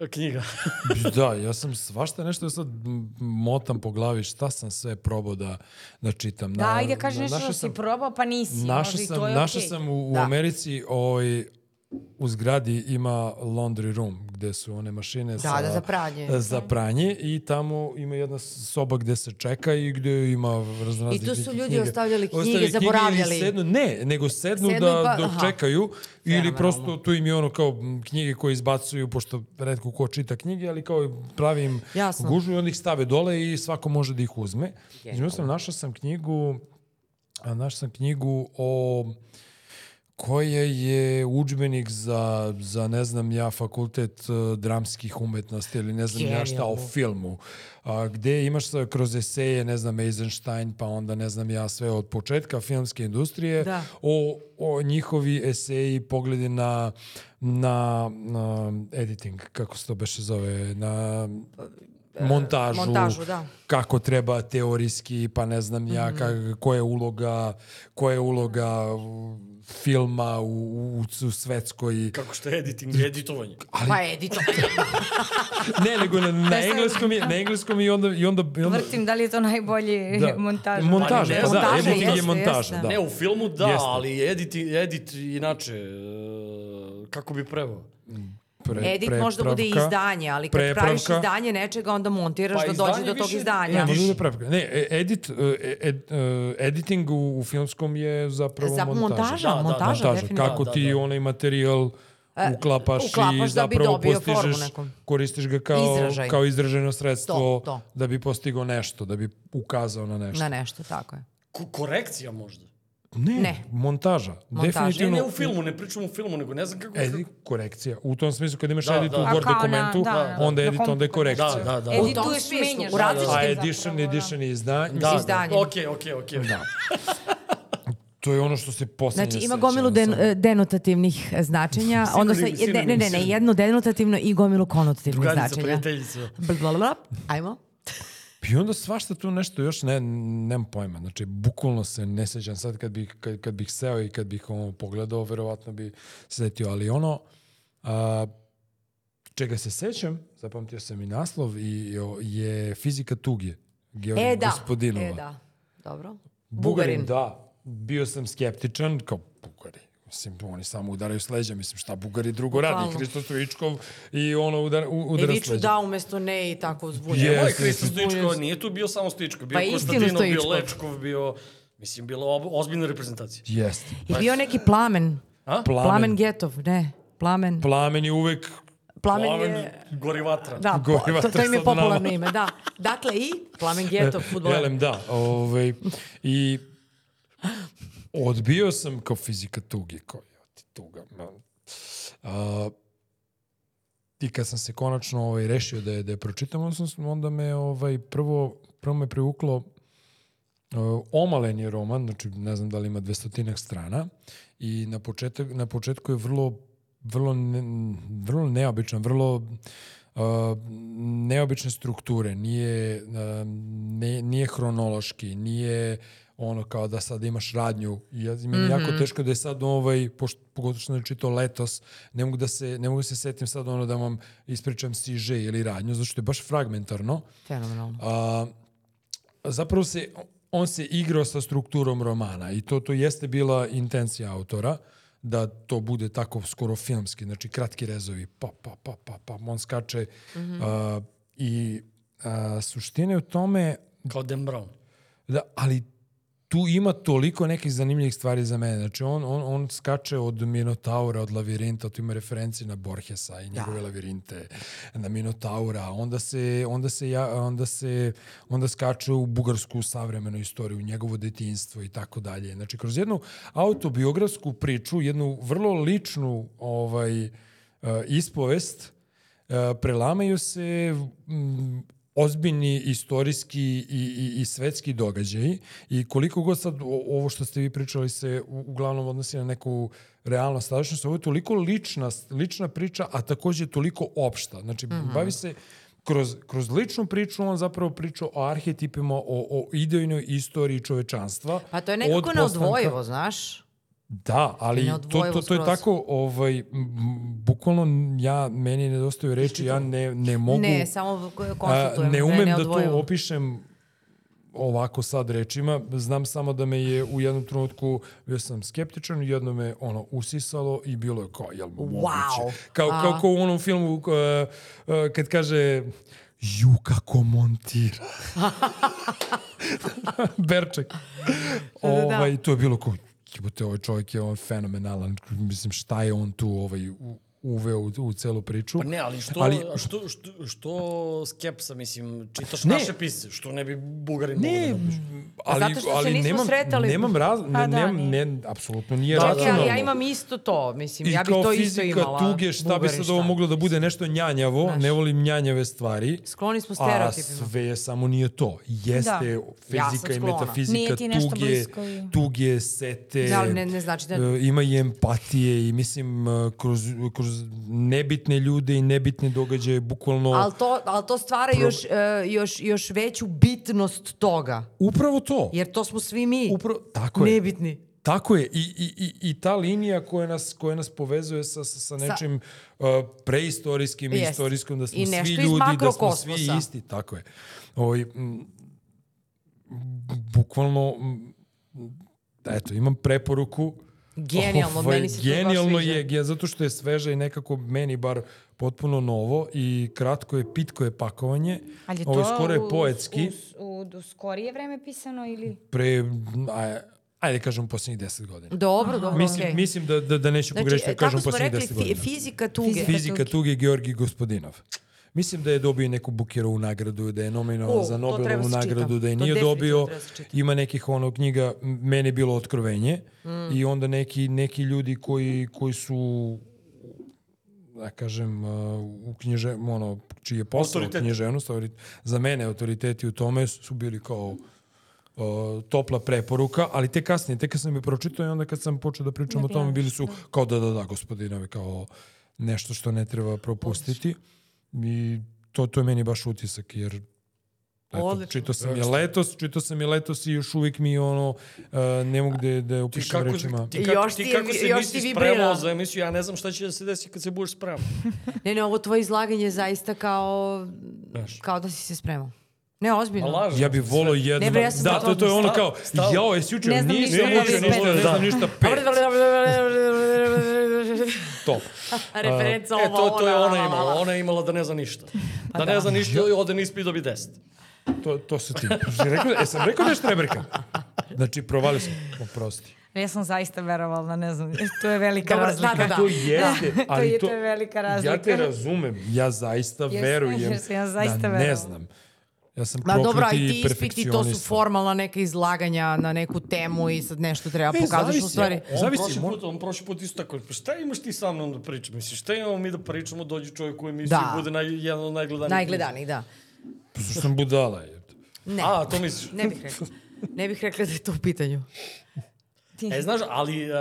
Speaker 2: E, Knjiga.
Speaker 4: Da, ja sam svašta nešto sad m- motam po glavi šta sam sve probao da, da čitam.
Speaker 3: Da, ajde, kaži
Speaker 4: na-
Speaker 3: nešto
Speaker 4: našao
Speaker 3: što si probao, pa nisi.
Speaker 4: Našao
Speaker 3: možda i
Speaker 4: sam,
Speaker 3: to je
Speaker 4: našao
Speaker 3: okej.
Speaker 4: sam u, u
Speaker 1: Da.
Speaker 4: Americi ovaj, u zgradi ima laundry room gde su one mašine
Speaker 1: Da, da, za pranje.
Speaker 4: E, za pranje i tamo ima jedna soba gde se čeka i gde ima razne
Speaker 1: I tu su ljudi ostavljali knjige, zaboravljali.
Speaker 4: Ili sednu, ne, nego sednu,
Speaker 1: Sednu
Speaker 4: sednu
Speaker 1: i
Speaker 4: da,
Speaker 1: pa-
Speaker 4: pa, dok
Speaker 1: aha.
Speaker 4: čekaju ili
Speaker 1: Fenomenalno.
Speaker 4: prosto tu im je ono kao m, knjige koje izbacuju pošto redko ko čita knjige, ali kao pravi im
Speaker 1: Jasno.
Speaker 4: gužu i onda ih stave dole i svako može da ih uzme. Znači, našao sam knjigu A našao sam knjigu o koje je udžbenik za, za, ne znam ja, fakultet eh, dramskih umetnosti ili ne znam ja šta o filmu, a, gde imaš sa- kroz eseje, ne znam, Eisenstein, pa onda ne znam ja sve od početka filmske industrije,
Speaker 5: Da.
Speaker 4: o, o njihovi eseji, pogledi na, na, na editing, kako se to beše zove, na montažu,
Speaker 1: E, montažu, da.
Speaker 4: kako treba teorijski, pa ne znam ja,
Speaker 1: Mhm.
Speaker 4: ka, koja je uloga, koja je uloga u- filma u, u, u svetskoj...
Speaker 2: Kako što je editing,
Speaker 4: Da.
Speaker 2: editovanje.
Speaker 1: Pa edito.
Speaker 4: Ne, nego na, na engleskom je, na engleskom je i onda... I onda, i onda
Speaker 3: Vrtim da li je to najbolji
Speaker 4: da.
Speaker 3: montaž.
Speaker 4: Montaž,
Speaker 2: Ali ne
Speaker 4: pa da,
Speaker 2: znam.
Speaker 4: editing je
Speaker 1: Jeste,
Speaker 4: montaža,
Speaker 1: jeste.
Speaker 4: da.
Speaker 2: Ne, u filmu da,
Speaker 4: Jeste.
Speaker 2: ali edit, edit inače, e, kako bi prevao?
Speaker 4: Pre-
Speaker 1: Edit možda bude i
Speaker 4: prepravka.
Speaker 1: izdanje, ali kad praviš
Speaker 4: Prepravka.
Speaker 1: izdanje nečega, onda montiraš
Speaker 2: Pa
Speaker 1: da dođe
Speaker 2: izdanje
Speaker 1: do tog
Speaker 2: više-
Speaker 1: izdanja.
Speaker 4: Ne, može da prepravka. Ne, e- edit, e, ed, e, editing u, u filmskom je zapravo
Speaker 1: Za montaža,
Speaker 2: Da, da,
Speaker 1: montaža,
Speaker 4: montaža,
Speaker 1: definitivno.
Speaker 4: kako
Speaker 2: Da, da,
Speaker 4: ti
Speaker 2: da.
Speaker 4: onaj materijal uklapaš,
Speaker 1: uklapaš
Speaker 4: i
Speaker 1: da bi
Speaker 4: zapravo
Speaker 1: dobio formu
Speaker 4: postižeš,
Speaker 1: neku.
Speaker 4: koristiš ga kao,
Speaker 1: Izražaj.
Speaker 4: kao izraženo sredstvo
Speaker 1: To, to.
Speaker 4: da bi postigao nešto, da bi ukazao na nešto.
Speaker 1: Na nešto, tako je.
Speaker 2: Ko- korekcija možda.
Speaker 4: Ne,
Speaker 1: Ne.
Speaker 4: montaža.
Speaker 2: Ne,
Speaker 4: Definitivno
Speaker 2: ne u filmu, ne pričam u filmu, nego ne znam kako...
Speaker 4: edit, e, korekcija. U tom smislu kad imaš
Speaker 2: Da,
Speaker 4: edit
Speaker 2: da.
Speaker 4: u
Speaker 2: A
Speaker 4: Word
Speaker 3: kao na-
Speaker 4: dokumentu, pa
Speaker 3: da,
Speaker 4: onda
Speaker 3: na
Speaker 4: edit, onda je
Speaker 3: kompjuteru.
Speaker 4: korekcija.
Speaker 2: Da, da, da.
Speaker 1: U tom
Speaker 3: Edituješ,
Speaker 1: smislu,
Speaker 3: menjaš.
Speaker 1: u različitim-
Speaker 4: da, A
Speaker 1: zapravo,
Speaker 4: edition,
Speaker 3: da.
Speaker 4: edition i izdanje.
Speaker 2: Da, da,
Speaker 1: izdanjem.
Speaker 2: okej, okej, okej.
Speaker 4: Da. To je ono što se posljednje
Speaker 1: Znači, ima
Speaker 4: sećam
Speaker 1: gomilu den,
Speaker 4: samo.
Speaker 1: denotativnih e, značenja, odnosno,
Speaker 2: Sinonim,
Speaker 1: je- ne, ne, ne, ne,
Speaker 2: sinonim.
Speaker 1: jedno denotativno i gomilu konotativnih
Speaker 2: Drugarica,
Speaker 1: značenja.
Speaker 2: prijateljica.
Speaker 1: Blablabla. Ajmo.
Speaker 4: I onda svašta tu nešto još ne, nemam pojma. Znači, bukvalno se ne sjećam sad kad bih, kad, kad bih seo i kad bih ovo pogledao, verovatno bi se setio. Ali ono, a, čega se sećam, zapamtio sam i naslov, i, i o- je fizika tuge. Georgija
Speaker 1: E, da.
Speaker 4: Gospodinova.
Speaker 1: E, da. Dobro.
Speaker 4: Bugarin, da. Bio sam skeptičan, kao Bugari. Mislim, oni samo udaraju s leđa, mislim, šta Bugari drugo radi?
Speaker 1: Bukvalno.
Speaker 4: Hristo Stojičkov i ono udara, u,
Speaker 5: I
Speaker 1: E,
Speaker 4: udara s
Speaker 5: viču
Speaker 4: leđa.
Speaker 5: da umesto ne i tako uzbunjeno.
Speaker 4: Je.
Speaker 2: Ovo je
Speaker 4: Jeste,
Speaker 2: Hristo
Speaker 4: jeste.
Speaker 2: Stojičkov, nije tu bio samo Stojičkov, bio
Speaker 1: Pa istinu
Speaker 2: Konstantinov, bio
Speaker 1: Stojičkov.
Speaker 2: Lečkov, bio... Mislim, bila ob- ozbiljna reprezentacija.
Speaker 4: Jeste.
Speaker 1: I bio neki plamen.
Speaker 2: A?
Speaker 1: Plamen. Getov, ne. Plamen.
Speaker 4: Plamen je uvek
Speaker 1: Plamen,
Speaker 2: Plamen
Speaker 1: Pa je...
Speaker 2: gori vatra.
Speaker 1: Da, po-
Speaker 4: Goriva
Speaker 1: to, to im je
Speaker 4: Trstadnova.
Speaker 1: popularno ime, da. Dakle, i Plamen Getov, futboler.
Speaker 4: Elem, da. Ovaj, I odbio sam kao fizika tuge, kao ja ti tuga. ma. A, I kad sam se konačno ovaj, rešio da je, da je pročitam, onda, sam, onda me ovaj, prvo, prvo me privuklo uh, omalen je roman, znači ne znam da li ima dvestotinak strana i na, početak, na početku je vrlo vrlo, ne, vrlo neobičan, vrlo uh, neobične strukture, nije, uh, ne, nije hronološki, nije ono kao da sad imaš radnju. I Ja, meni je jako teško da je sad ovaj, pošto, pogotovo što sam čitao letos, ne mogu da se, ne mogu da se setim sad ono da vam ispričam siže ili radnju, zato što je baš fragmentarno.
Speaker 1: Fenomenalno.
Speaker 4: A, zapravo se, on se igrao sa strukturom romana i to, to jeste bila intencija autora da to bude tako skoro filmski, znači kratki rezovi, pa, pa, pa, pa, pa, on skače. a, I a, suština je u tome,
Speaker 2: Kao Dan Brown.
Speaker 4: da, ali tu ima toliko nekih zanimljivih stvari za mene. Znači, on, on, on skače od Minotaura, od Lavirinta, tu ima referenci na Borgesa i njegove Lavirinte, na Minotaura, onda se, onda se, ja, onda se onda skače u bugarsku savremenu istoriju, u njegovo detinjstvo i tako dalje. Znači, kroz jednu autobiografsku priču, jednu vrlo ličnu ovaj, eh, ispovest, E, prelamaju se mm, ozbiljni istorijski i, i, i svetski događaji i koliko god sad o- ovo što ste vi pričali se u- uglavnom odnosi na neku realnost sadašnjost, ovo je toliko lična, lična priča, a takođe toliko opšta. Znači,
Speaker 1: Mhm.
Speaker 4: bavi se kroz, kroz ličnu priču on zapravo priča o arhetipima, o, o idejnoj istoriji čovečanstva.
Speaker 1: Pa to je
Speaker 4: od
Speaker 1: nekako
Speaker 4: postanka-
Speaker 1: neodvojivo, znaš?
Speaker 4: Da, ali to,
Speaker 1: Neodvojivo
Speaker 4: to, to je
Speaker 1: skroz.
Speaker 4: tako, ovaj, m, m, bukvalno ja, meni nedostaju reči, ja ne, ne mogu...
Speaker 1: Ne, samo
Speaker 4: A,
Speaker 1: konstatujem
Speaker 4: ne
Speaker 1: da je
Speaker 4: umem da
Speaker 1: neodvojivo.
Speaker 4: to opišem ovako sad rečima. Znam samo da me je u jednom trenutku, bio sam skeptičan, jedno me ono usisalo i bilo je kao, jel moguće? Kao, kao, kao u onom filmu uh, uh, kad kaže ju kako montira. Berček.
Speaker 1: Da,
Speaker 4: ovaj, to je bilo kao, jebote, ovaj čovjek je on fenomenalan. Mislim, šta je on tu ovaj, u- uveo u, u celu priču.
Speaker 2: Pa ne, ali što, ali...
Speaker 4: Ali-
Speaker 2: što, što, što skepsa, mislim, čitaš
Speaker 4: Ne.
Speaker 2: naše pisce, što ne bi bugari mogli da
Speaker 4: Ne,
Speaker 2: napišu?
Speaker 4: ali,
Speaker 1: zato što se
Speaker 4: ali
Speaker 1: nismo
Speaker 4: nemam,
Speaker 1: sretali.
Speaker 4: Nemam razlog,
Speaker 1: Pa
Speaker 4: ne,
Speaker 1: da,
Speaker 4: nemam, ne, apsolutno nije
Speaker 2: Da,
Speaker 1: Čekaj, ali ja
Speaker 2: racionalno.
Speaker 1: imam isto to, mislim,
Speaker 4: I
Speaker 1: ja bih
Speaker 4: kao
Speaker 1: to isto
Speaker 4: fizika,
Speaker 1: imala.
Speaker 4: tuge, šta bi
Speaker 1: Bugari,
Speaker 4: sad
Speaker 1: šta?
Speaker 4: ovo moglo da bude nešto njanjavo, ne volim njanjave stvari.
Speaker 1: Skloni smo
Speaker 4: A
Speaker 1: stereotipima.
Speaker 4: sve je samo nije to. Jeste
Speaker 1: Da. Ja sam
Speaker 4: fizika i
Speaker 1: sklona.
Speaker 4: metafizika,
Speaker 3: Nije ti nešto
Speaker 4: tuge,
Speaker 3: blisko i-
Speaker 4: tuge, sete.
Speaker 1: Da, ali ne- ne znači da-
Speaker 4: e, Ima i empatije i mislim e, kroz, kroz nebitne ljude i nebitne događaje bukvalno...
Speaker 1: Ali to, al to stvara još, e, još, još veću bitnost toga.
Speaker 4: Upravo to.
Speaker 1: Jer to smo svi mi.
Speaker 4: Upravo, tako je.
Speaker 1: Nebitni.
Speaker 4: Tako je, i, i, i, i ta linija koja nas, koja nas povezuje sa, sa, sa nečim uh, preistorijskim i
Speaker 1: Jest.
Speaker 4: istorijskim, da
Speaker 1: I
Speaker 4: smo
Speaker 1: nešto
Speaker 4: svi
Speaker 1: iz
Speaker 4: ljudi, da smo
Speaker 1: makrokosmosa.
Speaker 4: svi isti, tako je. Ovo, bukvalno, m, eto, imam preporuku.
Speaker 1: Genijalno, meni se to baš
Speaker 4: Ovaj, Genijalno
Speaker 1: sviđa.
Speaker 4: je, je, zato što je sveže i nekako meni bar potpuno novo i kratko je, pitko je pakovanje.
Speaker 3: Ali je to
Speaker 4: Ovo je skoro
Speaker 3: u-
Speaker 4: je poetski,
Speaker 3: U, u, u skorije vreme pisano ili...
Speaker 4: pre, aj, ajde kažem, posljednjih deset godina.
Speaker 1: Dobro, dobro,
Speaker 4: Mislim,
Speaker 1: okej.
Speaker 4: mislim da, da, da neću pogrešiti
Speaker 1: e,
Speaker 4: da kažem
Speaker 1: kako smo
Speaker 4: poslednjih
Speaker 1: rekli,
Speaker 4: 10
Speaker 1: fi- da
Speaker 4: godina.
Speaker 1: fizika tuge.
Speaker 4: Fizika tuge Georgi Gospodinov. Mislim da je dobio neku Bukerovu nagradu, da je nominovan
Speaker 1: O,
Speaker 4: za
Speaker 1: to treba
Speaker 4: Nobelovu
Speaker 1: se
Speaker 4: nagradu,
Speaker 1: čita.
Speaker 4: da je
Speaker 1: To
Speaker 4: nije
Speaker 1: definitivno
Speaker 4: dobio.
Speaker 1: treba se čita.
Speaker 4: Ima nekih ono knjiga, m- meni je bilo otkrovenje.
Speaker 1: Mm.
Speaker 4: I onda neki, neki ljudi koji, koji su da kažem, uh, u knjiže, ono, čiji je posao
Speaker 2: Autoritet.
Speaker 4: književnost, autori- za mene autoriteti u tome su su bili kao uh, topla preporuka, ali te kasnije, te kad sam je pročitao i onda kad sam počeo da pričam o tome, bili su kao da, da, da, gospodinovi, kao nešto što ne treba propustiti. I to, to je meni baš utisak, jer Eto,
Speaker 5: Odlično.
Speaker 4: čitao sam je letos, čitao sam je letos i još uvijek mi ono, uh, ne mogu da, da je
Speaker 2: Ti
Speaker 4: upišem
Speaker 2: kako,
Speaker 4: rečima.
Speaker 2: ti kako,
Speaker 1: Još
Speaker 2: ti
Speaker 1: ti je
Speaker 2: kako
Speaker 1: vi-
Speaker 2: se
Speaker 1: još
Speaker 2: nisi
Speaker 1: ti vibrira.
Speaker 2: spremao za emisiju, ja ne znam šta će da se desi kad se budeš spremao.
Speaker 1: Ne, ne, ovo tvoje izlaganje je zaista kao,
Speaker 2: Znaš.
Speaker 1: kao da si se spremao. Ne,
Speaker 2: Pa
Speaker 1: ozbiljno.
Speaker 2: lažno.
Speaker 4: Ja bi volio jedno...
Speaker 1: bre, ja sam
Speaker 4: da, to, to je
Speaker 1: zatvorena.
Speaker 4: ono kao,
Speaker 2: Stalo, stalo.
Speaker 4: jao, jesi učio?
Speaker 3: Ne znam
Speaker 4: Nisam
Speaker 3: ništa,
Speaker 4: učio
Speaker 3: ali
Speaker 4: ništa,
Speaker 2: pet.
Speaker 4: ne znam ništa, pet. Top.
Speaker 5: Referenca
Speaker 2: E,
Speaker 5: ova,
Speaker 2: to, to je
Speaker 5: ona, la,
Speaker 2: ona
Speaker 5: la, la.
Speaker 2: imala. Ona je imala da ne zna ništa.
Speaker 1: Pa
Speaker 2: Da ne zna ništa, ode nispi i dobi 10.
Speaker 4: To, to si ti. Rekao, e, sam rekao nešto rebrka? Znači, provali smo. Oprosti.
Speaker 3: Ja sam zaista verovala, ne znam, e, to je velika
Speaker 5: Dobro,
Speaker 3: razlika.
Speaker 5: da, da, da.
Speaker 4: To jeste, ali
Speaker 3: je-
Speaker 4: to,
Speaker 3: to je velika
Speaker 4: Ja
Speaker 3: razlika.
Speaker 4: te razumem. Ja zaista
Speaker 3: Jesam,
Speaker 4: verujem.
Speaker 3: jesam, ja zaista
Speaker 4: da, ne
Speaker 3: verovala.
Speaker 4: znam. Ja sam
Speaker 5: Ma
Speaker 4: prokruti
Speaker 5: Da, dobro, a i ti
Speaker 4: perfekcionista.
Speaker 5: ispiti, to su formalna neka izlaganja na neku temu i sad nešto treba pokazati u
Speaker 4: zavisi,
Speaker 5: stvari.
Speaker 2: On
Speaker 4: Zavisi,
Speaker 2: prošli
Speaker 4: mo-
Speaker 2: put, on prošli put isto tako, "Pa šta imaš ti sa mnom da pričam? Misliš, šta imamo mi da pričamo, dođe čovjek u emisiju
Speaker 5: Da.
Speaker 2: i bude naj, jedan od najgledanijih.
Speaker 5: Najgledanih, da.
Speaker 4: Zašto sam budala. jebote.
Speaker 5: Ne,
Speaker 2: A, to misliš?
Speaker 5: ne bih rekla. Ne bih rekla da je to u pitanju.
Speaker 1: Znači,
Speaker 2: E, znaš, ali uh,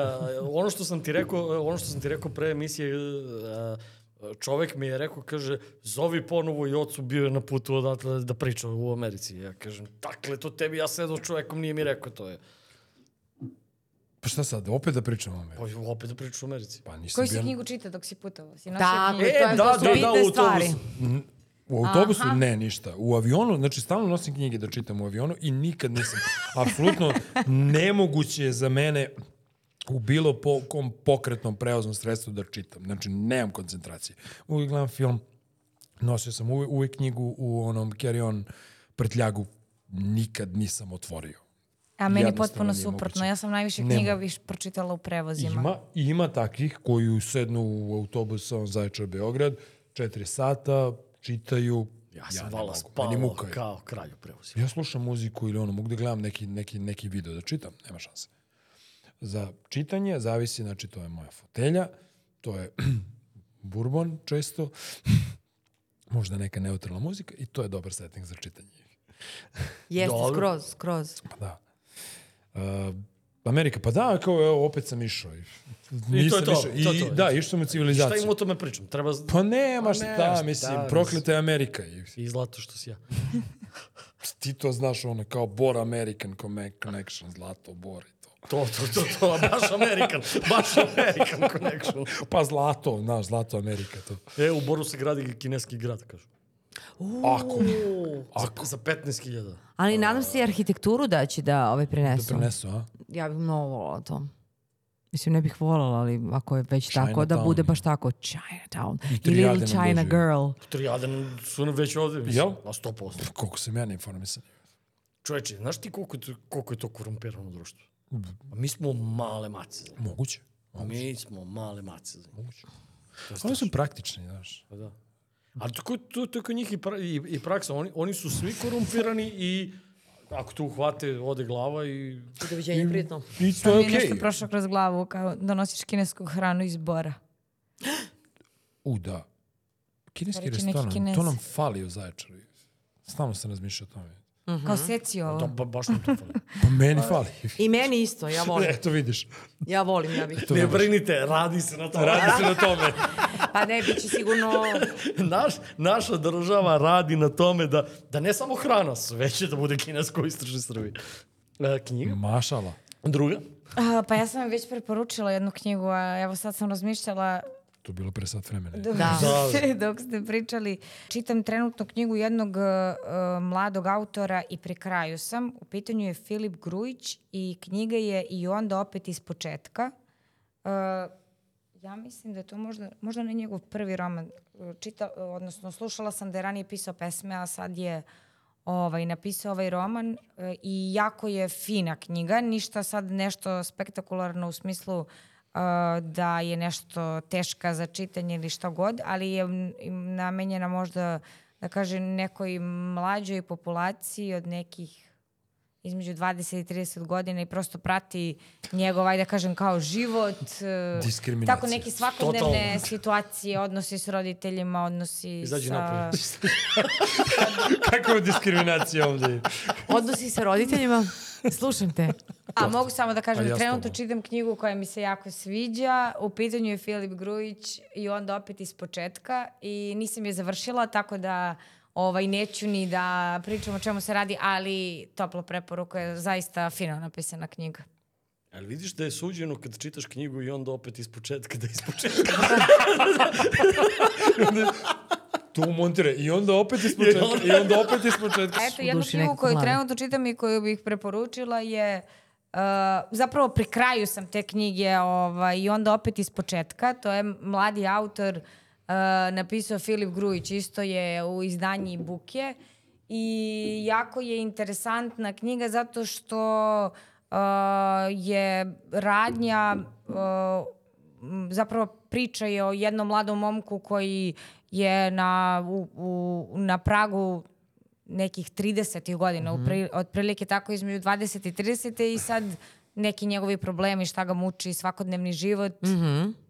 Speaker 2: ono što sam ti rekao, uh, ono što sam ti rekao pre emisije, uh, čovek mi je rekao, kaže, zovi ponovo i ocu bio je na putu odatle da priča u Americi. Ja kažem, dakle, to tebi ja sedao s čovekom, nije mi rekao to je.
Speaker 4: Pa šta sad, opet da pričam o
Speaker 2: Pa
Speaker 4: meni?
Speaker 2: opet da pričaš u Americi.
Speaker 4: Pa nisam
Speaker 3: Koju si
Speaker 4: bio...
Speaker 3: knjigu čita dok si putovao? Si
Speaker 5: Tako,
Speaker 3: našao
Speaker 5: je,
Speaker 3: knjigu?
Speaker 1: e,
Speaker 5: to, je,
Speaker 2: da,
Speaker 5: to su
Speaker 2: da, da, u
Speaker 5: bitne
Speaker 2: autobusu.
Speaker 5: stvari.
Speaker 4: U autobusu ne ništa. U avionu, znači stalno nosim knjige da čitam u avionu i nikad nisam. Apsolutno nemoguće je za mene u bilo po, kom pokretnom prevoznom sredstvu da čitam. Znači, nemam koncentracije. Uvijek gledam film, nosio sam uvijek, uvijek knjigu u onom carry-on prtljagu. Nikad nisam otvorio.
Speaker 3: A meni
Speaker 4: Jednostavno
Speaker 3: potpuno
Speaker 4: nije
Speaker 3: suprotno.
Speaker 4: moguće.
Speaker 3: Ja sam najviše
Speaker 4: Nema.
Speaker 3: knjiga viš pročitala u prevozima.
Speaker 4: Ima, ima takvih koji sednu u autobus sa Zaječar Beograd, četiri sata, čitaju,
Speaker 2: Ja sam
Speaker 4: ne
Speaker 2: vala
Speaker 4: mogu,
Speaker 2: spavao
Speaker 4: meni muka je.
Speaker 2: kao kralj u prevozi.
Speaker 4: Ja slušam muziku ili ono, mogu da gledam neki, neki, neki video da čitam, nema šanse. Za čitanje zavisi, znači to je moja fotelja, to je bourbon često, možda neka neutralna muzika i to je dobar setting za čitanje.
Speaker 5: Jeste,
Speaker 2: Dobro.
Speaker 5: skroz, skroz.
Speaker 4: Pa da. Uh, Amerika, pa da, kao evo, opet sam išao. I,
Speaker 2: to,
Speaker 4: išao.
Speaker 2: to je to.
Speaker 4: I, da, išao sam u
Speaker 2: Šta
Speaker 4: civilizaciju.
Speaker 2: im o tome pričam? Treba... z-
Speaker 4: Pa nema
Speaker 2: Pa
Speaker 4: šta,
Speaker 2: nema šta,
Speaker 4: mislim,
Speaker 2: mislim.
Speaker 4: prokleta je Amerika. I
Speaker 2: I zlato što si ja.
Speaker 4: ti to znaš, ono, kao Bor American Come- Connection, Zlato, Bor i to.
Speaker 2: To, to, to, to, baš Amerikan, baš Amerikan connection.
Speaker 4: Pa Zlato, znaš, Zlato Amerika, to.
Speaker 2: E, u Boru se gradi kineski grad, kažu.
Speaker 4: Ako,
Speaker 2: Ako? Za, za 15.000.
Speaker 1: Ali nadam se i arhitekturu da će da ovaj prenesu.
Speaker 4: prenesu, a?
Speaker 1: Ja bih mnogo volala to. Mislim, ne bih volala, ali ako je već tako, da
Speaker 4: Chinatown.
Speaker 1: bude baš tako Chinatown. I
Speaker 4: Trijade
Speaker 1: Little
Speaker 4: nam
Speaker 1: China
Speaker 4: doživi.
Speaker 1: Girl.
Speaker 2: Trijadan Pa su nam već ovde, mislim.
Speaker 4: Jel?
Speaker 2: Na 100%.
Speaker 4: Pa Koliko sam ja neinformisan.
Speaker 2: Čoveče, znaš ti koliko je to, koliko je to korumpirano društvo? A mi smo male mace. za njih.
Speaker 4: Moguće.
Speaker 2: Mi smo male mace. za njih.
Speaker 4: Oni su praktični, znaš.
Speaker 2: Pa da. Ali to, kod- to, to je kod njih i, pra, i, i praksa. Oni, oni su svi korumpirani i ako tu uhvate, ode glava i...
Speaker 1: Doviđenje prijatno.
Speaker 4: I to je
Speaker 3: Mi je nešto
Speaker 4: okej.
Speaker 3: prošlo kroz glavu kao da nosiš kinesku hranu iz bora.
Speaker 4: U, da. Kineski
Speaker 3: Reći neki
Speaker 4: restoran,
Speaker 3: Kinez.
Speaker 4: to nam fali u Zaječaru. Stalno sam razmišljao o tome.
Speaker 3: Kao seci ovo.
Speaker 2: Da, ba, baš nam to fali.
Speaker 4: Pa meni fali.
Speaker 1: I meni isto, ja volim.
Speaker 4: Eto vidiš.
Speaker 1: Ja volim, ja bih.
Speaker 4: To
Speaker 2: Ne
Speaker 4: vidiš.
Speaker 2: brinite, radi se na tome. Radi se na tome.
Speaker 1: Pa ne, bit će sigurno...
Speaker 2: Naš, naša država radi na tome da, da ne samo hrana, sve će da bude kinesko u istočnoj Srbiji. E, knjiga?
Speaker 4: Mašala.
Speaker 2: Druga?
Speaker 3: A, pa ja sam vam već preporučila jednu knjigu, a evo sad sam razmišljala
Speaker 4: To je bilo pre sat vremena.
Speaker 3: dok,
Speaker 1: Da.
Speaker 3: ste, dok ste pričali. Čitam trenutno knjigu jednog e, e, mladog autora i pri kraju sam. U pitanju je Filip Grujić i knjiga je i onda opet iz početka. E, ja mislim da je to možda, možda ne njegov prvi roman. E, Čita, e, odnosno, slušala sam da je ranije pisao pesme, a sad je ovaj, napisao ovaj roman e, i jako je fina knjiga, ništa sad nešto spektakularno u smislu e, da je nešto teška za čitanje ili šta god, ali je m, im namenjena možda, da kažem, nekoj mlađoj populaciji od nekih između 20 i 30 godina i prosto prati njegov, ajde da kažem, kao život. e,
Speaker 4: Diskriminacija.
Speaker 3: Tako neke svakodnevne
Speaker 2: Totalno.
Speaker 3: situacije, odnosi s roditeljima, odnosi
Speaker 2: Izađi
Speaker 3: sa...
Speaker 2: napolje.
Speaker 4: Kako je diskriminacija ovdje?
Speaker 1: Odnosi sa roditeljima, slušam te.
Speaker 3: A mogu samo da kažem
Speaker 4: A
Speaker 3: da
Speaker 4: ja s
Speaker 3: trenutno
Speaker 4: tobom.
Speaker 3: čitam knjigu koja mi se jako sviđa. U pitanju je Filip Grujić i onda opet iz početka i nisam je završila tako da ovaj, neću ni da pričam o čemu se radi, ali toplo preporuka je zaista fino napisana knjiga.
Speaker 2: Ali vidiš da je suđeno kad čitaš knjigu i onda opet iz početka da iz početka.
Speaker 4: Tu montire. I onda opet iz početka. I onda opet iz početka.
Speaker 3: A
Speaker 1: su
Speaker 3: eto,
Speaker 1: u
Speaker 3: jednu
Speaker 1: duši
Speaker 3: knjigu
Speaker 1: nekako
Speaker 3: koju
Speaker 1: mlade.
Speaker 3: trenutno čitam i koju bih preporučila je... Uh, zapravo pri kraju sam te knjige ovaj, i onda opet iz početka. To je mladi autor uh, napisao Filip Grujić, isto je u izdanji Buke. I jako je interesantna knjiga zato što uh, je radnja uh, m, zapravo priča je o jednom mladom momku koji je na, u, u, na pragu nekih 30 godina, upri- otprilike tako između 20 i 30 i sad neki njegovi problemi, šta ga muči, svakodnevni život,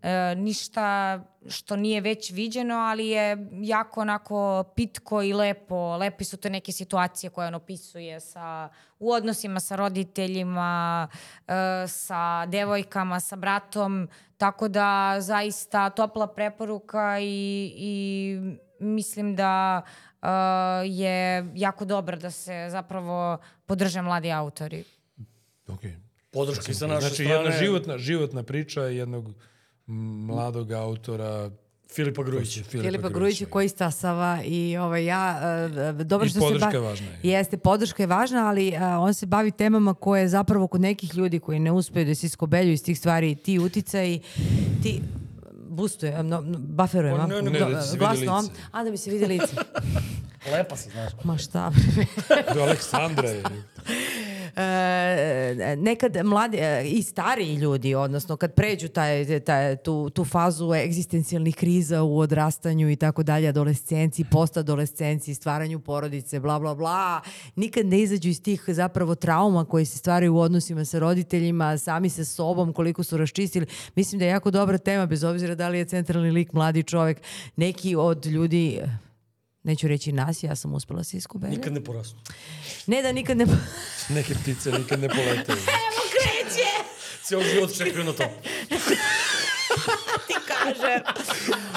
Speaker 3: e, ništa što nije već viđeno, ali je jako onako pitko i lepo. Lepi su to neke situacije koje on opisuje sa, u odnosima sa roditeljima, e, sa devojkama, sa bratom, tako da zaista topla preporuka i, i mislim da e, je jako dobro da se zapravo podrže mladi autori.
Speaker 4: Okej.
Speaker 2: Podrška i sa naše
Speaker 4: Znači,
Speaker 2: strane.
Speaker 4: jedna životna, životna priča jednog mladog autora
Speaker 2: Filipa Grujića.
Speaker 4: Filipa,
Speaker 1: Filipa Grujića koji stasava i ovaj, ja, e, e, dobro
Speaker 4: I
Speaker 1: što se
Speaker 4: podrška
Speaker 1: ba-
Speaker 4: je važna.
Speaker 1: Jeste, podrška je važna, ali e, on se bavi temama koje zapravo kod nekih ljudi koji ne uspeju da se iskobelju iz tih stvari, ti uticaj, ti boostuje, no, no, buferujem,
Speaker 4: Pa
Speaker 1: a?
Speaker 4: ne, ne,
Speaker 1: Do-
Speaker 4: da se vidi
Speaker 1: glasno, a?
Speaker 4: lice.
Speaker 1: a da mi se vidi lice.
Speaker 2: Lepa si, znaš.
Speaker 1: Ma šta?
Speaker 4: Do Aleksandra je.
Speaker 1: E, nekad mladi e, i stariji ljudi, odnosno kad pređu taj, taj, tu, tu fazu egzistencijalnih kriza u odrastanju i tako dalje, adolescenciji, postadolescenciji, stvaranju porodice, bla, bla, bla, nikad ne izađu iz tih zapravo trauma koje se stvaraju u odnosima sa roditeljima, sami sa sobom, koliko su raščistili. Mislim da je jako dobra tema, bez obzira da li je centralni lik mladi čovek, neki od ljudi eh, neću reći nas, ja sam uspela se iskubelja.
Speaker 2: Nikad ne porastu.
Speaker 1: Ne da nikad ne...
Speaker 4: Neke ptice nikad ne poletaju.
Speaker 2: Cijel život čekaju na to.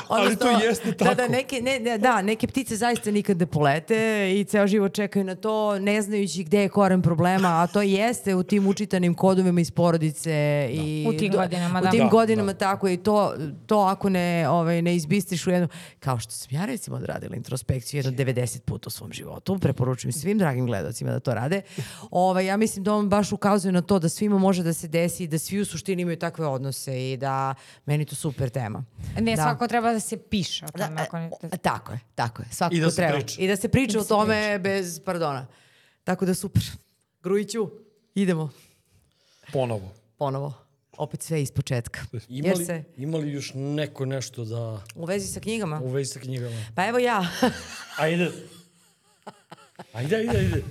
Speaker 4: Ali to
Speaker 1: Odnosno,
Speaker 4: jeste
Speaker 1: Da, da,
Speaker 4: tako.
Speaker 1: neke, ne, ne, da, neke ptice zaista nikad ne polete i ceo život čekaju na to, ne znajući gde je koren problema, a to jeste u tim učitanim kodovima iz porodice. I
Speaker 3: U tim
Speaker 1: do-
Speaker 3: godinama, da.
Speaker 1: U tim
Speaker 3: Da,
Speaker 1: godinama, tako je. I to, to ako ne, ovaj, ne izbistiš u jednu... Kao što sam ja recimo odradila introspekciju jedno 90 puta u svom životu, preporučujem svim dragim gledalcima da to rade. Ovaj, ja mislim da on baš ukazuje na to da svima može da se desi i da svi u suštini imaju takve odnose i da meni je to super tema.
Speaker 3: Ne,
Speaker 1: Da. e,
Speaker 3: svako treba da e, se piše o tome. ako ne-
Speaker 1: O, Tako je, tako je. Svakako
Speaker 2: I da se
Speaker 1: treba.
Speaker 2: priča.
Speaker 1: I da se priča o tome bez pardona. Tako da super. Grujiću, idemo
Speaker 4: Ponovo.
Speaker 1: ponovo. opet sve iz početka.
Speaker 2: Ima
Speaker 1: Jer
Speaker 2: li,
Speaker 1: se
Speaker 2: ima li još neko nešto da
Speaker 1: u vezi sa knjigama.
Speaker 2: u vezi sa knjigama?
Speaker 1: Pa evo ja,
Speaker 2: Ajde. Ajde, ajde, ajde.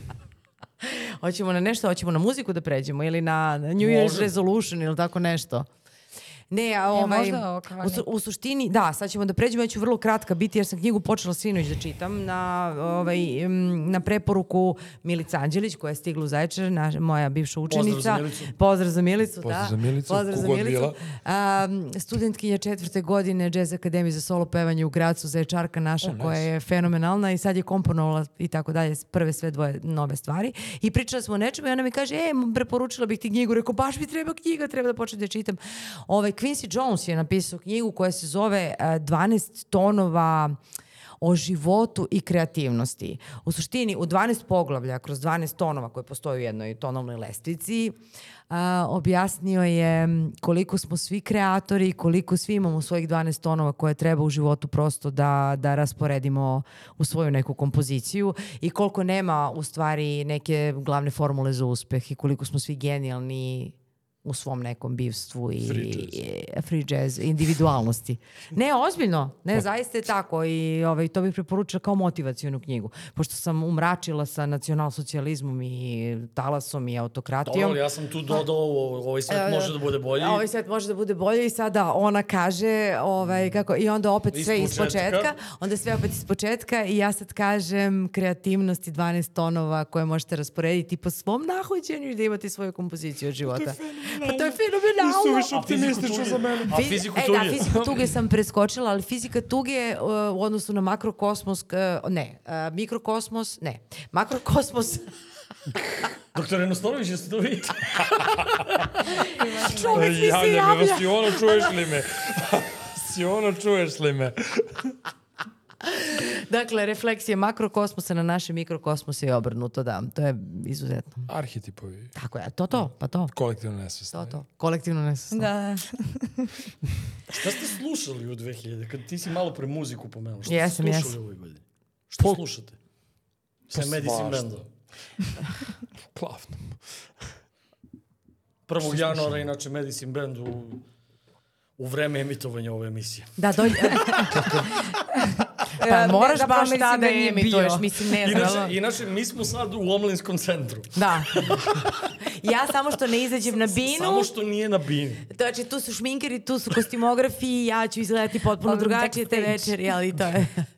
Speaker 1: hoćemo na nešto, hoćemo na muziku da pređemo ili na na New Year's
Speaker 2: Može.
Speaker 1: Resolution ili tako nešto. Ne, a
Speaker 3: E,
Speaker 1: ovaj,
Speaker 3: možda ovo kao
Speaker 1: u, su- u suštini, da, sad ćemo da pređemo, ja ću vrlo kratka biti jer sam knjigu počela sinoć da čitam na, ovaj, em, na preporuku Milica Anđelić koja je stigla u Zaječar, naša, moja bivša
Speaker 2: za
Speaker 1: učenica.
Speaker 2: Milicu.
Speaker 1: Pozdrav za Milicu. da.
Speaker 4: Pozdrav za Milicu,
Speaker 1: Pozdrav za
Speaker 4: kogod
Speaker 1: Milicu.
Speaker 4: bila.
Speaker 1: Um, studentkinja četvrte godine Jazz Akademije za solo pevanje u Gracu, zaječarka naša koja je fenomenalna i sad je komponovala i tako dalje, prve sve dvoje nove stvari. I pričala smo o nečemu i ona mi kaže, e, m, preporučila bih ti knjigu. Rekao, baš mi treba knjiga, treba da počnem da je čitam. Ovaj, Quincy Jones je napisao knjigu koja se zove eh, 12 tonova o životu i kreativnosti. U suštini, u 12 poglavlja, kroz 12 tonova koje postoje u jednoj tonalnoj lestvici, a, objasnio je koliko smo svi kreatori, koliko svi imamo svojih 12 tonova koje treba u životu prosto da, da rasporedimo u svoju neku kompoziciju i koliko nema u stvari neke glavne formule za uspeh i koliko smo svi genijalni u svom nekom bivstvu i
Speaker 4: Free jazz.
Speaker 1: i- free jazz, individualnosti. Ne, ozbiljno,
Speaker 2: Pa.
Speaker 1: ne, zaista je tako i ovaj, to bih preporučila kao motivacionu knjigu, pošto sam umračila sa nacionalsocijalizmom i talasom i autokratijom.
Speaker 2: Dobro, ali ja sam tu dodao ovo, ovaj svet može da bude bolji.
Speaker 1: Ovaj svet može da bude bolji i sada ona kaže ovaj, kako, i onda opet
Speaker 2: Iz
Speaker 1: sve iz
Speaker 2: početka.
Speaker 1: početka. Onda sve opet iz početka i ja sad kažem kreativnosti 12 tonova koje možete rasporediti po svom nahođenju i da imate svoju kompoziciju od života. Pa to je fenomenalno.
Speaker 4: Suviše optimistično za mene.
Speaker 2: A fiziku
Speaker 1: e,
Speaker 2: tuge.
Speaker 1: da, fiziku tuge sam preskočila, ali fizika tuge uh, u odnosu na makrokosmos, uh, ne, uh, mikrokosmos, ne, makrokosmos,
Speaker 2: Doktor Enostorović, jeste to vi?
Speaker 1: čovek mi se
Speaker 4: Javljam me,
Speaker 1: javlja.
Speaker 4: Siona, čuješ li me? Siona, čuješ li me?
Speaker 1: Dakle, refleksije makrokosmosa na naše mikrokosmose i obrnuto, da. To je izuzetno.
Speaker 4: Arhetipovi,
Speaker 1: Tako je, to to, pa to.
Speaker 4: kolektivno
Speaker 1: To
Speaker 4: nesvesno.
Speaker 1: to. Kolektivno nesvesno.
Speaker 3: Da.
Speaker 2: Šta ste slušali u 2000? Kad ti si malo pre muziku pomenuo. Šta
Speaker 1: Jesam,
Speaker 2: ste slušali
Speaker 1: jesam.
Speaker 2: u ovoj godini? Šta slušate? Sve Medicine
Speaker 4: svašta.
Speaker 2: Banda.
Speaker 4: Klavno.
Speaker 2: 1. januara, inače, Medicine Band u, u vreme emitovanja ove emisije.
Speaker 1: Da, dolje... pa moraš
Speaker 3: zapravo
Speaker 1: baš
Speaker 3: mislim
Speaker 1: tada
Speaker 3: da
Speaker 1: da
Speaker 3: nije
Speaker 1: imituješ,
Speaker 3: bio.
Speaker 1: mislim ne znam.
Speaker 2: Inače, inače, mi smo sad u Omlinskom centru.
Speaker 1: Da. Ja samo što ne izađem na binu,
Speaker 2: Samo što nije na bini.
Speaker 1: znači tu su šminkeri, tu su kostimografi, ja ću izgledati potpuno
Speaker 3: Odem
Speaker 1: drugačije te
Speaker 3: backstage.
Speaker 1: večeri, ali to je... Pa,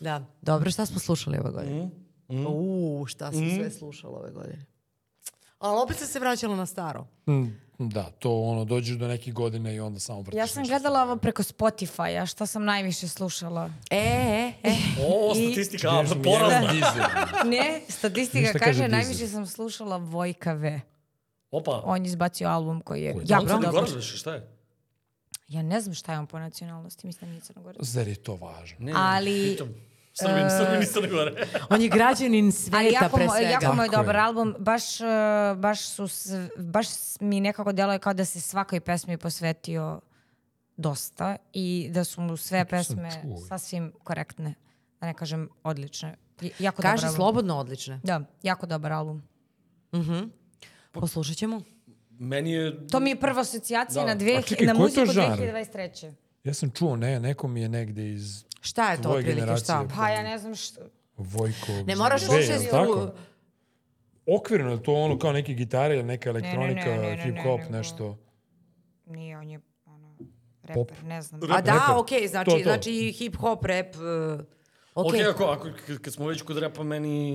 Speaker 1: Da. Dobro, šta smo slušali ove godine?
Speaker 4: Mm,
Speaker 1: Uuu, šta sam sve slušala ove godine. Ali opet sam se vraćala na staro.
Speaker 4: Da, to ono, dođeš do nekih godina i onda samo vrtiš.
Speaker 3: Ja sam
Speaker 4: nešto.
Speaker 3: gledala ovo preko Spotify-a, šta sam najviše slušala.
Speaker 1: E, e, e.
Speaker 2: O,
Speaker 1: I-
Speaker 2: statistika,
Speaker 4: Nešto mi je
Speaker 2: porazna.
Speaker 4: dizel.
Speaker 3: Ne, statistika
Speaker 4: Ništa
Speaker 3: kaže,
Speaker 4: kaže Deezer.
Speaker 3: najviše sam slušala Vojka V.
Speaker 2: Opa,
Speaker 3: On je izbacio album koji je
Speaker 2: ja
Speaker 3: jako
Speaker 2: bro.
Speaker 3: dobar.
Speaker 2: Crnogorac, više, šta je?
Speaker 3: Ja ne znam šta je on po nacionalnosti, mislim da nije Crnogorac.
Speaker 4: Zar je to važno?
Speaker 2: Ne,
Speaker 3: Ali-
Speaker 2: pitam. Srbin, Srbin iz Crne Gore.
Speaker 1: On je građanin sveta
Speaker 3: Ali jako,
Speaker 1: pre
Speaker 3: mo-
Speaker 1: svega.
Speaker 3: jako mu je
Speaker 4: Tako je.
Speaker 3: dobar album, baš, e, baš, su, s- baš s- mi nekako deluje kao da se svakoj pesmi posvetio dosta i da su mu sve
Speaker 4: sam
Speaker 3: pesme
Speaker 4: čuo.
Speaker 3: sasvim korektne, da ne kažem odlične. I- Jako dobar
Speaker 1: Kaže
Speaker 3: album.
Speaker 1: slobodno odlične.
Speaker 3: Da, jako dobar album.
Speaker 1: Poslušat ćemo.
Speaker 2: Meni je...
Speaker 3: To mi je prva asocijacija
Speaker 2: Da.
Speaker 3: na, dve,
Speaker 4: A čekaj,
Speaker 3: na
Speaker 4: koji je
Speaker 3: muziku
Speaker 4: to žanr?
Speaker 3: 2023.
Speaker 4: Ja sam čuo, ne, neko mi je negde iz
Speaker 1: Šta je to
Speaker 4: Tvoje
Speaker 1: otprilike? Šta?
Speaker 4: generacije.
Speaker 3: Pa ja ne znam što...
Speaker 4: Vojko...
Speaker 1: Ne moraš
Speaker 4: Ve,
Speaker 1: uopšte
Speaker 4: jel
Speaker 1: s-
Speaker 4: tako? Okvirno, je to ono kao neke gitare ili neka
Speaker 3: ne,
Speaker 4: elektronika,
Speaker 3: ne, ne, ne,
Speaker 4: hip-hop,
Speaker 3: nego-
Speaker 4: nešto.
Speaker 3: Nije, on je ono, reper, ne znam.
Speaker 1: A da,
Speaker 4: Reper.
Speaker 1: okej, znači,
Speaker 4: To, to.
Speaker 1: znači hip-hop, rap, uh,
Speaker 2: Ok,
Speaker 1: okej.
Speaker 2: ako, ako, k- kad smo već kod repa, meni,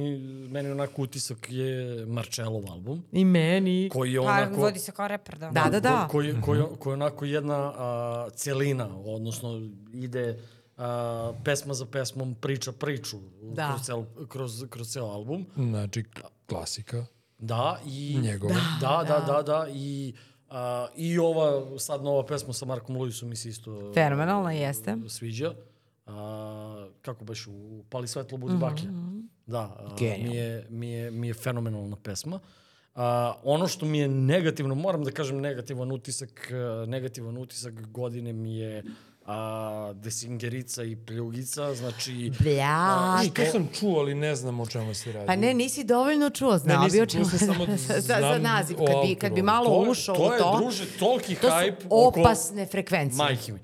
Speaker 2: meni onako utisak je Marcelov album,
Speaker 1: I meni.
Speaker 2: koji je
Speaker 3: Pa
Speaker 2: onako...
Speaker 3: vodi se kao reper, da.
Speaker 1: Da, da, da.
Speaker 2: Ko- Koji, koji, koji je onako jedna a, celina, odnosno ide a, pesma za pesmom, priča priču
Speaker 1: Da.
Speaker 2: kroz, cel, kroz, kroz ceo album.
Speaker 4: Znači, klasika.
Speaker 2: Da, i...
Speaker 4: Njegova.
Speaker 2: Da, da, da, da. i, a, I ova sad nova pesma sa Markom Luisom mi se isto... e,
Speaker 1: Fenomenalna jeste.
Speaker 2: Sviđa. A, kako baš, u Pali svetlo budi
Speaker 1: Mhm,
Speaker 2: baklja. Da, a, mi, je, mi, je, mi je fenomenalna pesma. A, ono što mi je negativno, moram da kažem negativan utisak, e, negativan utisak godine mi je a, desingerica i pljugica, znači...
Speaker 1: Bla.
Speaker 4: I to sam čuo, ali ne znam o čemu se radi.
Speaker 1: Pa ne, nisi dovoljno čuo, znao bi
Speaker 4: nisam,
Speaker 1: o čemu.
Speaker 4: nisam, samo
Speaker 1: za, za
Speaker 4: znam
Speaker 1: naziv,
Speaker 4: o
Speaker 1: kad bi, kad bi
Speaker 4: autoru.
Speaker 1: malo
Speaker 2: je-
Speaker 1: ušao
Speaker 2: to
Speaker 1: u
Speaker 2: je,
Speaker 1: to.
Speaker 2: druže, toliki
Speaker 1: to
Speaker 2: hype
Speaker 1: su
Speaker 2: oko...
Speaker 1: opasne frekvencije.
Speaker 2: Majke mi.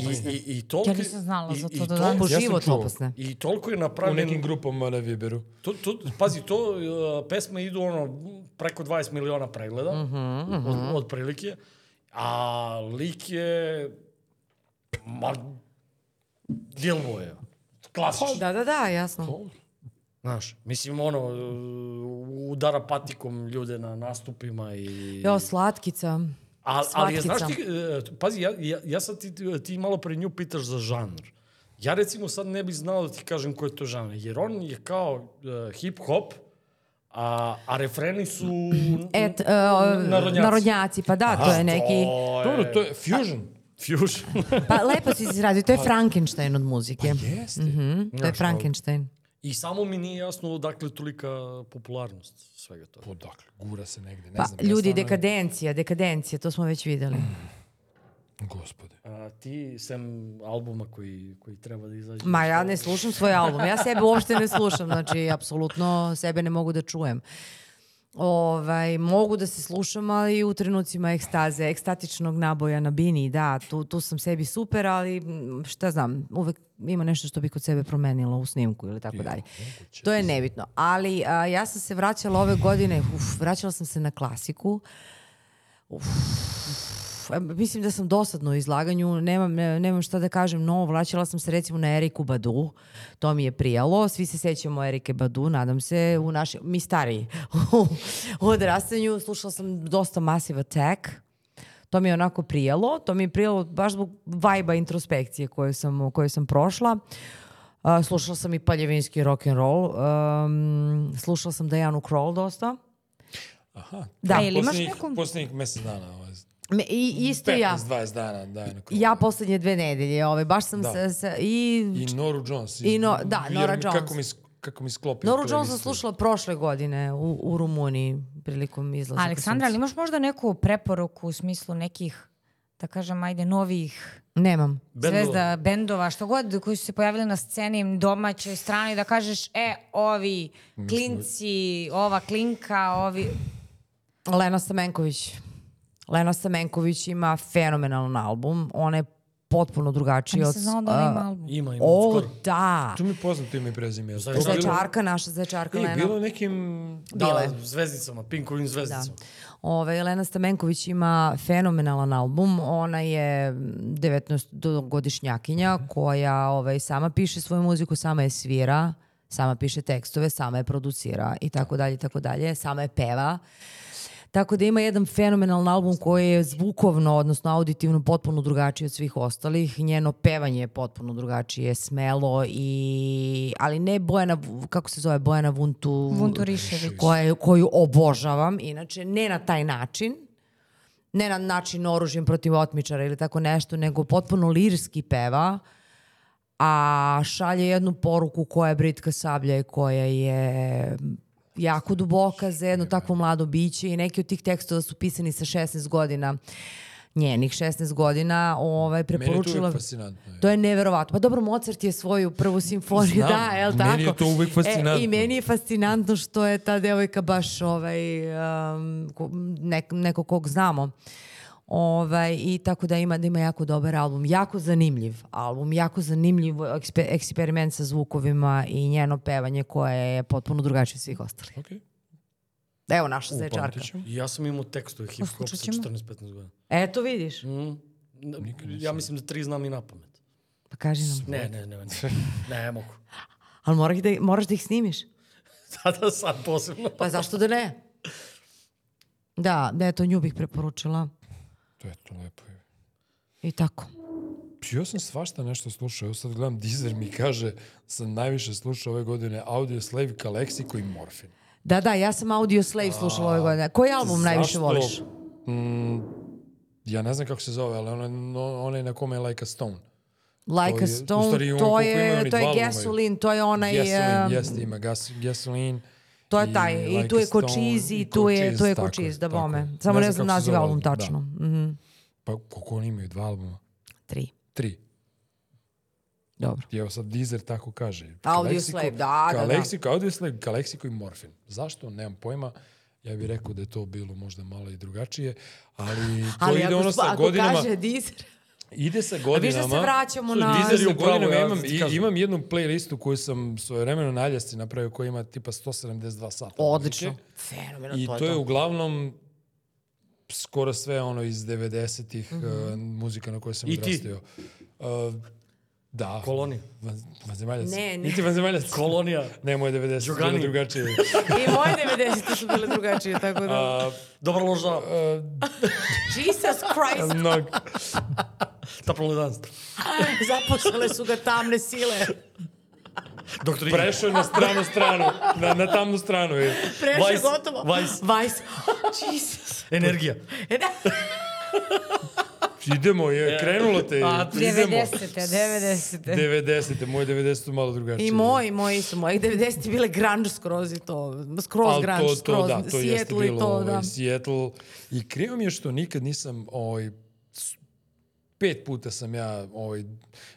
Speaker 2: I, i, i toliki,
Speaker 3: Ja nisam znala
Speaker 2: i-
Speaker 3: za
Speaker 2: i
Speaker 3: to da
Speaker 2: tol-
Speaker 1: Po
Speaker 4: sam
Speaker 1: život
Speaker 4: čuo.
Speaker 1: opasne.
Speaker 2: I toliko je
Speaker 4: U nekim
Speaker 2: napravljen...
Speaker 4: grupama na Viberu.
Speaker 2: To, to, pazi, to uh, pesme idu ono, preko 20 miliona pregleda, mm -hmm, od, otprilike, a lik je... Ma, djelvo je. Klasično.
Speaker 1: Da, da, da, jasno.
Speaker 2: Znaš, mislim ono, uh, udara patikom ljude na nastupima i...
Speaker 1: Jo, slatkica.
Speaker 2: Al, ali je, znaš
Speaker 1: Svatkica.
Speaker 2: ti, e, pazi, ja, ja, ja sad ti, ti malo pre nju pitaš za žanr. Ja recimo sad ne bi znao da ti kažem koji je to žanr, jer on je kao e, hip-hop, a, a refreni su
Speaker 1: Et, e,
Speaker 2: narodnjaci.
Speaker 1: narodnjaci, pa da, to je neki...
Speaker 2: O,
Speaker 4: Dobro, to je fusion.
Speaker 2: Pa fusion.
Speaker 1: Pa lepo si izrazio, to je Frankenstein od muzike.
Speaker 4: Jeste.
Speaker 1: Mhm, to je Frankenstein.
Speaker 2: I samo mi nije jasno odakle tolika popularnost svega toga.
Speaker 4: Odakle, dakle, gura se negde, ne
Speaker 1: Pa,
Speaker 4: znam. ja
Speaker 1: ljudi,
Speaker 4: stvarno-
Speaker 1: dekadencija, dekadencija, to smo već videli.
Speaker 4: Gospode.
Speaker 2: A ti, sem albuma koji, koji treba da izađe...
Speaker 1: Ma ja ne slušam svoj album, ja sebe uopšte ne slušam, znači apsolutno sebe ne mogu da čujem. Ovaj, mogu da se slušam, ali u trenucima ekstaze, ekstatičnog naboja na bini, da, tu, tu sam sebi super, ali m, šta znam, uvek ima nešto što bi kod sebe promenila u snimku ili tako dalje. To je nebitno. Ali a, ja sam se vraćala ove godine, uf, vraćala sam se na klasiku, F- mislim da sam dosadno u izlaganju, nemam, ne- nemam šta da kažem novo, vraćala sam se recimo na Eriku Badu, to mi je prijalo, svi se sećamo Erike Badu, nadam se, u naši, mi stariji, u odrastanju, slušala sam dosta Massive Attack, to mi je onako prijalo, to mi je prijalo baš zbog vajba introspekcije koju sam, koju sam prošla. A, slušala sam i paljevinski rock and roll. Um, slušala sam Dajanu Kroll dosta.
Speaker 4: Aha.
Speaker 1: Da.
Speaker 3: E, ili imaš
Speaker 4: Poslednjih-
Speaker 3: neku-
Speaker 4: Poslednjih mesec dana, ovaj,
Speaker 1: Me- I, isto ja.
Speaker 4: 15-20 dana, da, je na krugu.
Speaker 1: Ja poslednje dve nedelje, ovaj, baš sam
Speaker 4: Da.
Speaker 1: se, se- i,
Speaker 4: I Noru Jones.
Speaker 1: I no- da,
Speaker 4: jer
Speaker 1: Nora
Speaker 4: mi-
Speaker 1: Jones.
Speaker 4: Kako mi, sk- kako mi sklopi.
Speaker 1: Noru Jones sam slušala prošle godine u, u Rumuniji prilikom izlaza.
Speaker 3: Aleksandra, ali imaš možda neku preporuku u smislu nekih, da kažem, ajde, novih
Speaker 1: Nemam.
Speaker 2: Bendova.
Speaker 3: zvezda, bendova, što god, koji su se pojavili na sceni domaćoj strani, da kažeš, e, ovi klinci, ova klinka, ovi...
Speaker 1: Lena Stamenković. Lena Stamenković ima fenomenalan album. Ona je potpuno
Speaker 3: Ja
Speaker 1: drugačija od...
Speaker 3: nisam znala da ona ima
Speaker 1: a,
Speaker 3: album.
Speaker 2: Ima, ima,
Speaker 1: O,
Speaker 2: skoro.
Speaker 1: da.
Speaker 4: Tu mi je poznato ime i prezime.
Speaker 2: Znaš,
Speaker 4: Znači,
Speaker 1: Zaječarka, naša zaječarka
Speaker 4: I
Speaker 1: Lena.
Speaker 4: bilo je nekim...
Speaker 1: Bila je.
Speaker 2: Da, zvezdicama, Pinkovim zvezdicama.
Speaker 1: Da. Ove, Elena Stamenković ima fenomenalan album. Ona je 19-godišnjakinja koja ovaj, sama piše svoju muziku, sama je svira, sama piše tekstove, sama je producira i tako dalje, i tako dalje. Sama je peva. Tako da ima jedan fenomenalan album koji je zvukovno, odnosno auditivno potpuno drugačiji od svih ostalih. Njeno pevanje je potpuno drugačije, smelo i... Ali ne Bojana, Vu- kako se zove, Bojana Vuntu...
Speaker 3: Vunturišević.
Speaker 1: Koja, koju obožavam, inače, ne na taj način, ne na način oružjem protiv otmičara ili tako nešto, nego potpuno lirski peva, a šalje jednu poruku koja je Britka Sablja i koja je jako duboka za jedno takvo mlado biće i neki od tih tekstova su pisani sa 16 godina njenih 16 godina
Speaker 4: Meni
Speaker 1: ovaj,
Speaker 4: je to
Speaker 1: preporučila...
Speaker 4: uvijek fascinantno. je.
Speaker 1: To je neverovatno. Pa dobro, Mozart je svoju prvu simfoniju,
Speaker 4: Znam,
Speaker 1: da, je li tako?
Speaker 4: meni je to uvek fascinantno.
Speaker 1: E, I meni je fascinantno što je ta devojka baš ovaj, um, ko- nek, neko kog znamo. Ovaj, I tako da ima, da ima jako dobar album. Jako zanimljiv album, jako zanimljiv ekspe- eksperiment sa zvukovima i njeno pevanje koje je potpuno drugačije od svih ostalih.
Speaker 4: Okej.
Speaker 1: Evo naša zaječarka.
Speaker 4: Upamtit ću.
Speaker 2: I Ja sam imao tekstove hip-hop
Speaker 3: Poslušat
Speaker 2: sa
Speaker 3: ćemo.
Speaker 2: 14-15 godina.
Speaker 1: Eto vidiš.
Speaker 2: Mm. Ne, Ja mislim da tri znam i na pamet.
Speaker 1: Pa kaži nam.
Speaker 2: Ne, ne, ne, ne, ne mogu.
Speaker 1: Ali moraš da, moraš da ih snimiš.
Speaker 2: Sada sad posebno.
Speaker 1: Pa zašto da ne? Da, da, eto, nju bih preporučila.
Speaker 4: To je to lepo. je.
Speaker 1: I tako.
Speaker 4: Pš, Ja sam svašta nešto slušao. Evo sad gledam, Deezer mi kaže sam najviše slušao ove godine Audio Slave, Kalexico i Morfin.
Speaker 1: Da, da, ja sam Audio Slave slušala ove godine. Koji album najviše voliš?
Speaker 4: Mm, ja ne znam kako se zove, ali onaj no, on na kome je Like a Stone.
Speaker 1: Like
Speaker 4: To je-
Speaker 1: a
Speaker 4: u
Speaker 1: Stone,
Speaker 4: stvari on
Speaker 1: to,
Speaker 4: koliko ima,
Speaker 1: je,
Speaker 4: oni
Speaker 1: to
Speaker 4: dva
Speaker 1: je
Speaker 4: albuma
Speaker 1: Gasoline, to je onaj...
Speaker 4: Gasoline,
Speaker 1: em,
Speaker 4: jeste, ima gas, Gasoline.
Speaker 1: To je taj, i, tu je
Speaker 4: a Stone
Speaker 1: Kočiz i
Speaker 4: i
Speaker 1: tu je,
Speaker 4: Cochise,
Speaker 1: tu je
Speaker 4: tako
Speaker 1: Kočiz, da
Speaker 4: tako
Speaker 1: bome.
Speaker 4: je.
Speaker 1: Samo ne
Speaker 4: kako se
Speaker 1: znam
Speaker 4: da.
Speaker 1: naziv
Speaker 4: zove
Speaker 1: album
Speaker 4: da.
Speaker 1: tačno. Mhm.
Speaker 4: Pa koliko oni imaju, dva albuma?
Speaker 1: Tri.
Speaker 4: Tri.
Speaker 1: Dobro.
Speaker 4: I evo sad Deezer tako kaže.
Speaker 1: Audio
Speaker 4: Ka
Speaker 1: slave,
Speaker 4: leksiku-
Speaker 1: da, da,
Speaker 4: ka
Speaker 1: da.
Speaker 4: leksiku, Audio slave, ka leksiku i morfin. Zašto? Nemam pojma. Ja bih rekao da je to bilo možda malo i drugačije, ali to
Speaker 1: Ali
Speaker 4: ide
Speaker 1: ako,
Speaker 4: ono
Speaker 1: spa-
Speaker 4: sa
Speaker 1: ako
Speaker 4: godinama.
Speaker 1: kaže Deezer,
Speaker 4: Ide sa
Speaker 1: da
Speaker 4: godinama.
Speaker 1: vraćamo na-
Speaker 4: Deezer je
Speaker 2: Deezer je
Speaker 4: u
Speaker 2: upravo,
Speaker 4: godinama,
Speaker 2: ja
Speaker 4: imam,
Speaker 2: ti
Speaker 4: i-
Speaker 2: kažem.
Speaker 4: imam jednu playlistu koju sam svoje vremeno na Aljasci napravio koja ima tipa 172 sata.
Speaker 1: odlično.
Speaker 4: muzike.
Speaker 1: Fenomenalno,
Speaker 4: I to je uglavnom skoro sve ono iz 90-ih uh, muzika na kojoj sam
Speaker 2: I ti?
Speaker 4: odrastio. Uh, da.
Speaker 2: Kolonija.
Speaker 4: Van, vanzemaljac.
Speaker 1: Ne, ne.
Speaker 4: Niti vanzemaljac.
Speaker 2: Kolonija.
Speaker 4: Ne, moje 90 su bile
Speaker 2: Đugani.
Speaker 4: drugačije.
Speaker 5: I moje 90 su bile drugačije, tako da...
Speaker 4: Uh,
Speaker 2: Dobra loža,
Speaker 1: Jesus Christ,
Speaker 4: mnog,
Speaker 2: ta prolidanstva.
Speaker 1: zaposlele su ga tamne sile.
Speaker 2: Doktor Igor.
Speaker 4: prešao je na stranu stranu. Na, na tamnu stranu je.
Speaker 1: Prešao je
Speaker 2: Vice,
Speaker 1: gotovo.
Speaker 2: Vice.
Speaker 1: Vice. Jesus.
Speaker 2: Energija.
Speaker 1: E da.
Speaker 4: Idemo, je, krenulo te. je,
Speaker 2: A,
Speaker 4: idemo.
Speaker 3: 90-te, 90-te.
Speaker 4: 90. Moje 90 su malo drugačije.
Speaker 5: I moji, moji su moji. 90 bile grunge skroz i to. Skroz
Speaker 4: Ali
Speaker 5: grunge, skroz.
Speaker 4: da, to jeste
Speaker 5: Seattle i
Speaker 4: bilo
Speaker 5: to, da.
Speaker 4: ovaj, Seattle. I krivo mi je što nikad nisam ovaj, s- pet puta sam ja ovaj,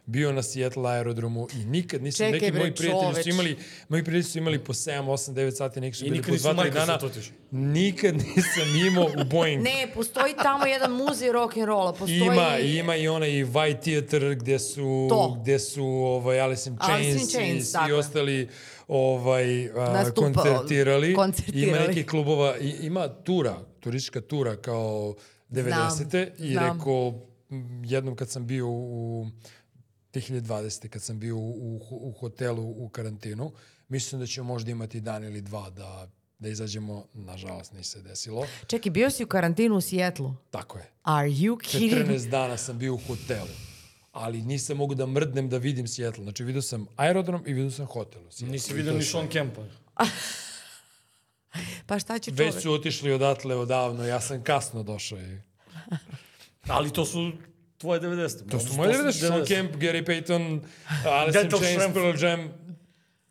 Speaker 4: bio na Seattle aerodromu i nikad nisam,
Speaker 5: Čekaj,
Speaker 4: neki
Speaker 5: bre,
Speaker 4: moji prijatelji
Speaker 5: čoveč.
Speaker 4: su imali, moji prijatelji su imali po 7, 8, 9 sati, neki su
Speaker 2: I
Speaker 4: bili
Speaker 2: nikad
Speaker 4: po
Speaker 2: nisu u
Speaker 4: 2, 3
Speaker 2: Microsoft
Speaker 4: dana.
Speaker 2: otišli.
Speaker 4: Nikad nisam imao u Boeing.
Speaker 1: Ne, postoji tamo jedan muzej rock'n'rolla. Postoji...
Speaker 4: Ima, ima i onaj Vaj Theater gde su,
Speaker 1: To.
Speaker 4: gde su ovaj, Alice in
Speaker 1: Alice in
Speaker 4: Chains, i
Speaker 1: Chains, tako
Speaker 4: svi
Speaker 1: je.
Speaker 4: ostali ovaj, a,
Speaker 1: Nastupao-
Speaker 4: koncertirali.
Speaker 1: koncertirali.
Speaker 4: Ima nekih klubova, i, ima tura, turistička tura kao 90. I
Speaker 1: znam.
Speaker 4: rekao, m, jednom kad sam bio u 2020. kad sam bio u, u, u hotelu u karantinu, mislim da ćemo možda imati dan ili dva da, da izađemo. Nažalost, nije se desilo.
Speaker 1: Čekaj, bio si u karantinu u Sijetlu.
Speaker 4: Tako je.
Speaker 1: Are you kidding?
Speaker 4: 14 dana sam bio u hotelu, ali nisam mogu da mrdnem da vidim Seattle. Znači, vidio sam aerodrom i vidio sam hotel. u Seattleu.
Speaker 2: Nisi
Speaker 4: I
Speaker 2: vidio
Speaker 4: to je
Speaker 2: ni
Speaker 4: sve.
Speaker 2: Sean Kempa.
Speaker 1: Pa šta će čovjek?
Speaker 4: Već su otišli odatle odavno, ja sam kasno došao. I...
Speaker 2: Ali to su tvoje 90.
Speaker 4: To su moje 90. Sean Kemp, Gary Payton, Alice in
Speaker 2: Detlef
Speaker 4: Chains,
Speaker 2: Schrempf.
Speaker 4: Pearl Jam,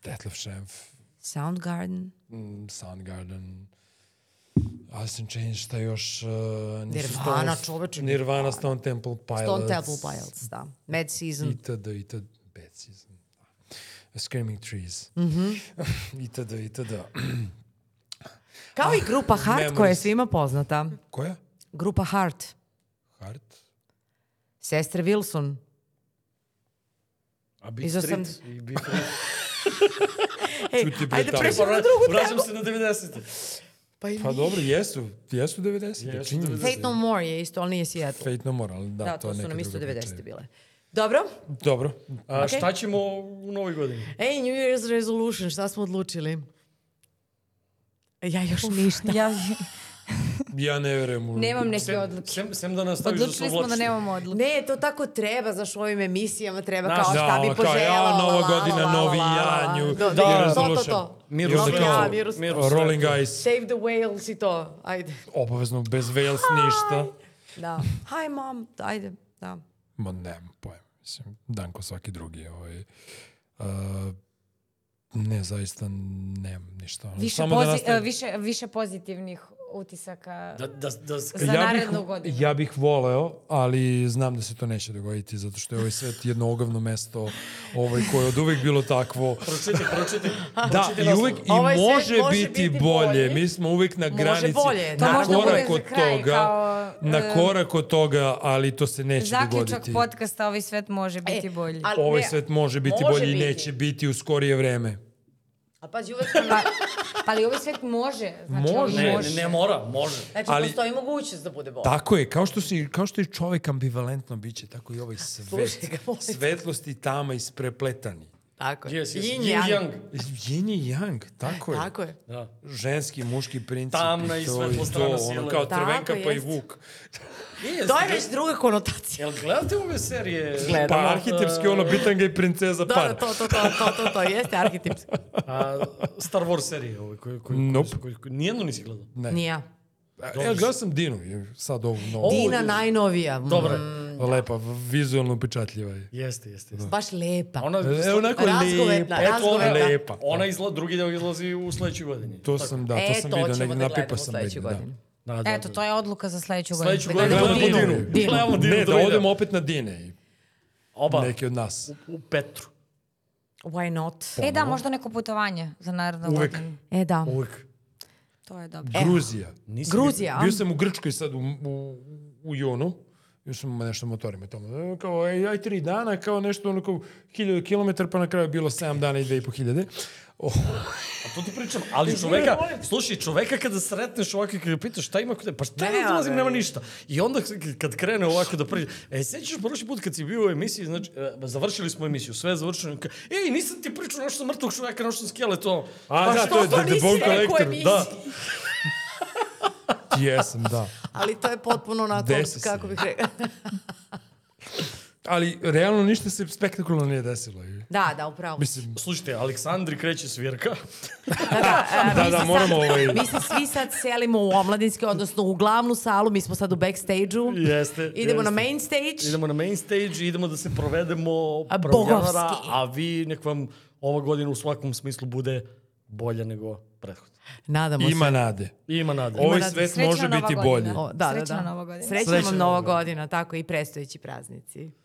Speaker 4: Detlef Schrempf,
Speaker 1: Soundgarden.
Speaker 4: mm, Soundgarden, Alice in Chains, šta još? Uh, nisu
Speaker 1: Nirvana,
Speaker 4: Stones-
Speaker 1: čoveče,
Speaker 4: Nirvana, Stone Temple Pilots.
Speaker 1: Stone Temple Pilots, da. Mad Season.
Speaker 4: itd., itd., bad season. Screaming Trees. itd., itd.
Speaker 1: Kao i grupa Heart
Speaker 4: memories.
Speaker 1: koja je svima poznata.
Speaker 4: Koja?
Speaker 1: Grupa Heart.
Speaker 4: Hart?
Speaker 1: Sestre Wilson.
Speaker 2: A Big
Speaker 1: Iz osam-
Speaker 2: Street. I Big Street.
Speaker 1: Ej,
Speaker 4: Čuti, bre, da.
Speaker 1: ajde
Speaker 4: tamo.
Speaker 1: prešemo na
Speaker 2: Vra-
Speaker 1: drugu
Speaker 2: Vraćam
Speaker 1: temu.
Speaker 2: se na 90.
Speaker 4: Pa dobro, jesu. Jesu 90.
Speaker 2: Jesu
Speaker 4: činjenica je.
Speaker 1: Fate No More je isto, ali nije Seattle.
Speaker 4: Fate No More, ali da,
Speaker 1: Da,
Speaker 4: to, je
Speaker 1: to su
Speaker 4: neka
Speaker 1: nam isto
Speaker 4: druga
Speaker 1: 90.
Speaker 4: priča.
Speaker 1: bile. Dobro.
Speaker 4: Dobro.
Speaker 2: A šta ćemo u novoj godini?
Speaker 5: Ej, New Year's Resolution, šta smo odlučili? Ja još ništa.
Speaker 3: Ja,
Speaker 4: Ja ne verujem u...
Speaker 3: nemam neke odluke.
Speaker 2: Sem, sem da nastaviš
Speaker 3: Odlučili
Speaker 2: da se
Speaker 3: smo da
Speaker 2: oblačiš.
Speaker 3: nemamo odluke.
Speaker 5: Ne, to tako treba, znaš, u ovim emisijama treba
Speaker 2: Znaš,
Speaker 5: kao
Speaker 4: da,
Speaker 5: šta bi
Speaker 4: ono kao, ja,
Speaker 5: poželao.
Speaker 4: nova
Speaker 5: la, la,
Speaker 4: godina,
Speaker 5: la, la,
Speaker 4: novi
Speaker 5: la, la.
Speaker 4: ja, new-
Speaker 5: Do-
Speaker 4: new
Speaker 5: da, To,
Speaker 4: resolution.
Speaker 5: to, to.
Speaker 2: Mir
Speaker 4: I
Speaker 2: u
Speaker 4: onda
Speaker 2: svetu.
Speaker 5: kao-
Speaker 2: Mir u svetu.
Speaker 4: Да, Rolling Eyes,
Speaker 5: Save the whales i to, ajde.
Speaker 4: obavezno, bez Wales ništa.
Speaker 1: Da. Hi mom, ajde. Da.
Speaker 4: Ma nemam pojma, mislim, dan ko svaki drugi. Ovaj. Uh, ne, zaista nemam ništa. ono,
Speaker 3: Više,
Speaker 4: Samo da
Speaker 3: pozi, e,
Speaker 4: nastavim.
Speaker 3: više, više pozitivnih utisaka.
Speaker 2: Da, da, da, s-
Speaker 3: Za narednu
Speaker 4: bih,
Speaker 3: godinu.
Speaker 4: Ja bih voleo, ali znam da se to neće dogoditi, zato što je ovaj svet jedno ogavno mesto ovaj, koje je od uvek bilo takvo.
Speaker 2: Pročitaj, pročitaj.
Speaker 4: Da,
Speaker 2: pročitaj
Speaker 4: i
Speaker 2: naslov.
Speaker 4: uvek i
Speaker 5: Ovaj svet
Speaker 4: može,
Speaker 5: može
Speaker 4: biti,
Speaker 5: biti
Speaker 4: bolje.
Speaker 5: bolji.
Speaker 4: Mi smo uvek na granici.
Speaker 5: bolje,
Speaker 4: na
Speaker 3: naravno.
Speaker 4: korak
Speaker 3: To da, možda
Speaker 4: od
Speaker 3: bude za kraj,
Speaker 4: toga,
Speaker 3: kao,
Speaker 4: na
Speaker 3: e,
Speaker 4: korak od toga, ali to se neće
Speaker 3: Zaključak
Speaker 4: dogoditi.
Speaker 3: podcasta, ovaj svet može biti bolji.
Speaker 5: ali-
Speaker 4: Ovaj
Speaker 5: Ne,
Speaker 4: svet može biti
Speaker 5: može
Speaker 4: bolji i
Speaker 5: biti.
Speaker 4: neće biti u skorije vreme.
Speaker 5: A pazi, uvek smo na-
Speaker 3: Pa, pa ali ovaj svet može. Znači,
Speaker 4: Može.
Speaker 3: Ovaj
Speaker 2: Ne,
Speaker 3: može.
Speaker 2: ne, ne mora, može.
Speaker 5: Znači,
Speaker 4: Ali-
Speaker 5: postoji mogućnost da bude bolje.
Speaker 4: Tako je, kao što, si, kao što je čovek ambivalentno biće, tako i ovaj svet.
Speaker 5: Slušaj ga, molim te.
Speaker 4: Svetlost i tama isprepletani.
Speaker 5: Tako je.
Speaker 2: Yes, yes.
Speaker 5: Yin
Speaker 2: Yin
Speaker 5: yang.
Speaker 2: yang.
Speaker 4: Yin i yang, tako je.
Speaker 5: Tako je.
Speaker 2: Da.
Speaker 4: ženski, muški princip.
Speaker 2: Tamna i
Speaker 4: to
Speaker 2: svetla
Speaker 4: to,
Speaker 2: strana
Speaker 4: Ono
Speaker 2: sile.
Speaker 4: kao
Speaker 5: Tako
Speaker 4: trvenka pa i
Speaker 5: jest.
Speaker 4: vuk.
Speaker 2: Nije,
Speaker 5: To je već druga konotacija.
Speaker 2: E, Jel gledate ove serije?
Speaker 5: Gledam.
Speaker 4: Pa arhitepski ono, bitanga i princeza
Speaker 5: Da,
Speaker 4: par.
Speaker 5: da, to, to, to, to, to, to, jeste arhetipski.
Speaker 2: A, Star Wars serije ove koje... koje,
Speaker 4: Nope.
Speaker 2: koje, koje, koje nijednu nisi gledao.
Speaker 4: Ne.
Speaker 1: Nije ja.
Speaker 4: Ja E, gledao sam Dinu, je sad ovu novu.
Speaker 2: Ovo
Speaker 5: Dina
Speaker 2: je-
Speaker 5: najnovija. Mm,
Speaker 2: Dobre.
Speaker 4: Lepa, vizualno upečatljiva je.
Speaker 2: Jeste, jeste. jeste.
Speaker 5: Baš lepa.
Speaker 2: Ona,
Speaker 4: Da. E, onako
Speaker 5: Razgovetna,
Speaker 3: da,
Speaker 4: lepa.
Speaker 2: Eto, ona,
Speaker 5: razgovetna.
Speaker 4: lepa.
Speaker 2: ona izla, drugi deo izlazi u sledećoj godini.
Speaker 4: To sam, da, to
Speaker 5: E,
Speaker 4: sam
Speaker 5: to
Speaker 4: vidio,
Speaker 5: ćemo
Speaker 4: negdje
Speaker 5: da
Speaker 4: napipao
Speaker 5: gledamo
Speaker 4: sam
Speaker 5: sledeću
Speaker 4: negdje. Da.
Speaker 5: godinu.
Speaker 2: Da, da,
Speaker 3: Eto,
Speaker 2: da.
Speaker 3: to je odluka za sledeću godinu.
Speaker 2: Sledeću
Speaker 3: Da
Speaker 2: godinu
Speaker 3: gledamo
Speaker 2: gledamo
Speaker 4: Dinu.
Speaker 2: Dinu. Pa. Gledamo Dinu.
Speaker 4: Ne, da
Speaker 2: to ide.
Speaker 4: odemo opet na Dine.
Speaker 2: Oba,
Speaker 4: neki od nas.
Speaker 2: u, u Petru.
Speaker 1: Why not?
Speaker 3: E da, možda neko putovanje za narednu
Speaker 4: Uvek.
Speaker 3: godinu.
Speaker 1: E da.
Speaker 2: Uvijek.
Speaker 3: To je dobro.
Speaker 4: Gruzija.
Speaker 2: Nisam
Speaker 1: Gruzija.
Speaker 4: Bio sam u Grčkoj sad u, u, u junu, još sam nešto motorima i tamo. E, Kao, ej, aj tri dana, kao nešto ono kao hiljada kilometara, pa na kraju je bilo 7 dana i dve i po hiljade. O,
Speaker 2: To ti pričam, ali čoveka, slušaj, čoveka kada sretneš ovako i kada pitaš šta ima kod tebe, pa šta ne,
Speaker 1: Nema,
Speaker 2: da dolazim,
Speaker 1: bre.
Speaker 2: nema ništa. I onda k- kad krene ovako da priđe, e, sećaš prošli put kad si bio u emisiji, znači, e, završili smo emisiju, sve je završeno, ka, ej, nisam ti pričao nešto sam mrtvog čoveka, nešto "Pa sam skelet, ono.
Speaker 4: a da, to je The, the Bone Collector.
Speaker 2: Da,
Speaker 4: Jesam, da.
Speaker 5: Ali to je potpuno onako,
Speaker 4: Desi se.
Speaker 5: kako bih rekla.
Speaker 4: Ali realno ništa se spektakularno nije desilo.
Speaker 1: Da, da, upravo.
Speaker 4: Mislim,
Speaker 2: slušajte, Aleksandri kreće svirka.
Speaker 4: da, da, moramo ovaj...
Speaker 1: Mi se svi sad selimo u omladinski, odnosno u glavnu salu, mi smo sad u backstage-u.
Speaker 2: Jeste.
Speaker 1: Idemo
Speaker 2: jeste.
Speaker 1: na main stage.
Speaker 2: Idemo na main stage i idemo da se provedemo
Speaker 1: A,
Speaker 2: prvog januara,
Speaker 1: bogovski.
Speaker 2: a vi nek vam ova godina u svakom smislu bude bolja nego prethodna.
Speaker 1: Nadamo
Speaker 4: Ima
Speaker 1: se.
Speaker 4: nade.
Speaker 2: Ima nade.
Speaker 4: Ovaj
Speaker 1: nade.
Speaker 4: svet
Speaker 3: Srećna
Speaker 4: može
Speaker 3: Nova
Speaker 4: biti
Speaker 3: godina.
Speaker 4: bolji.
Speaker 1: O, da, da,
Speaker 3: Srećna
Speaker 1: da.
Speaker 3: Nova godina.
Speaker 1: Srećna
Speaker 2: Srećna
Speaker 1: vam
Speaker 2: Nova
Speaker 1: Nova
Speaker 2: godina.
Speaker 1: godina, tako i prestojeći praznici.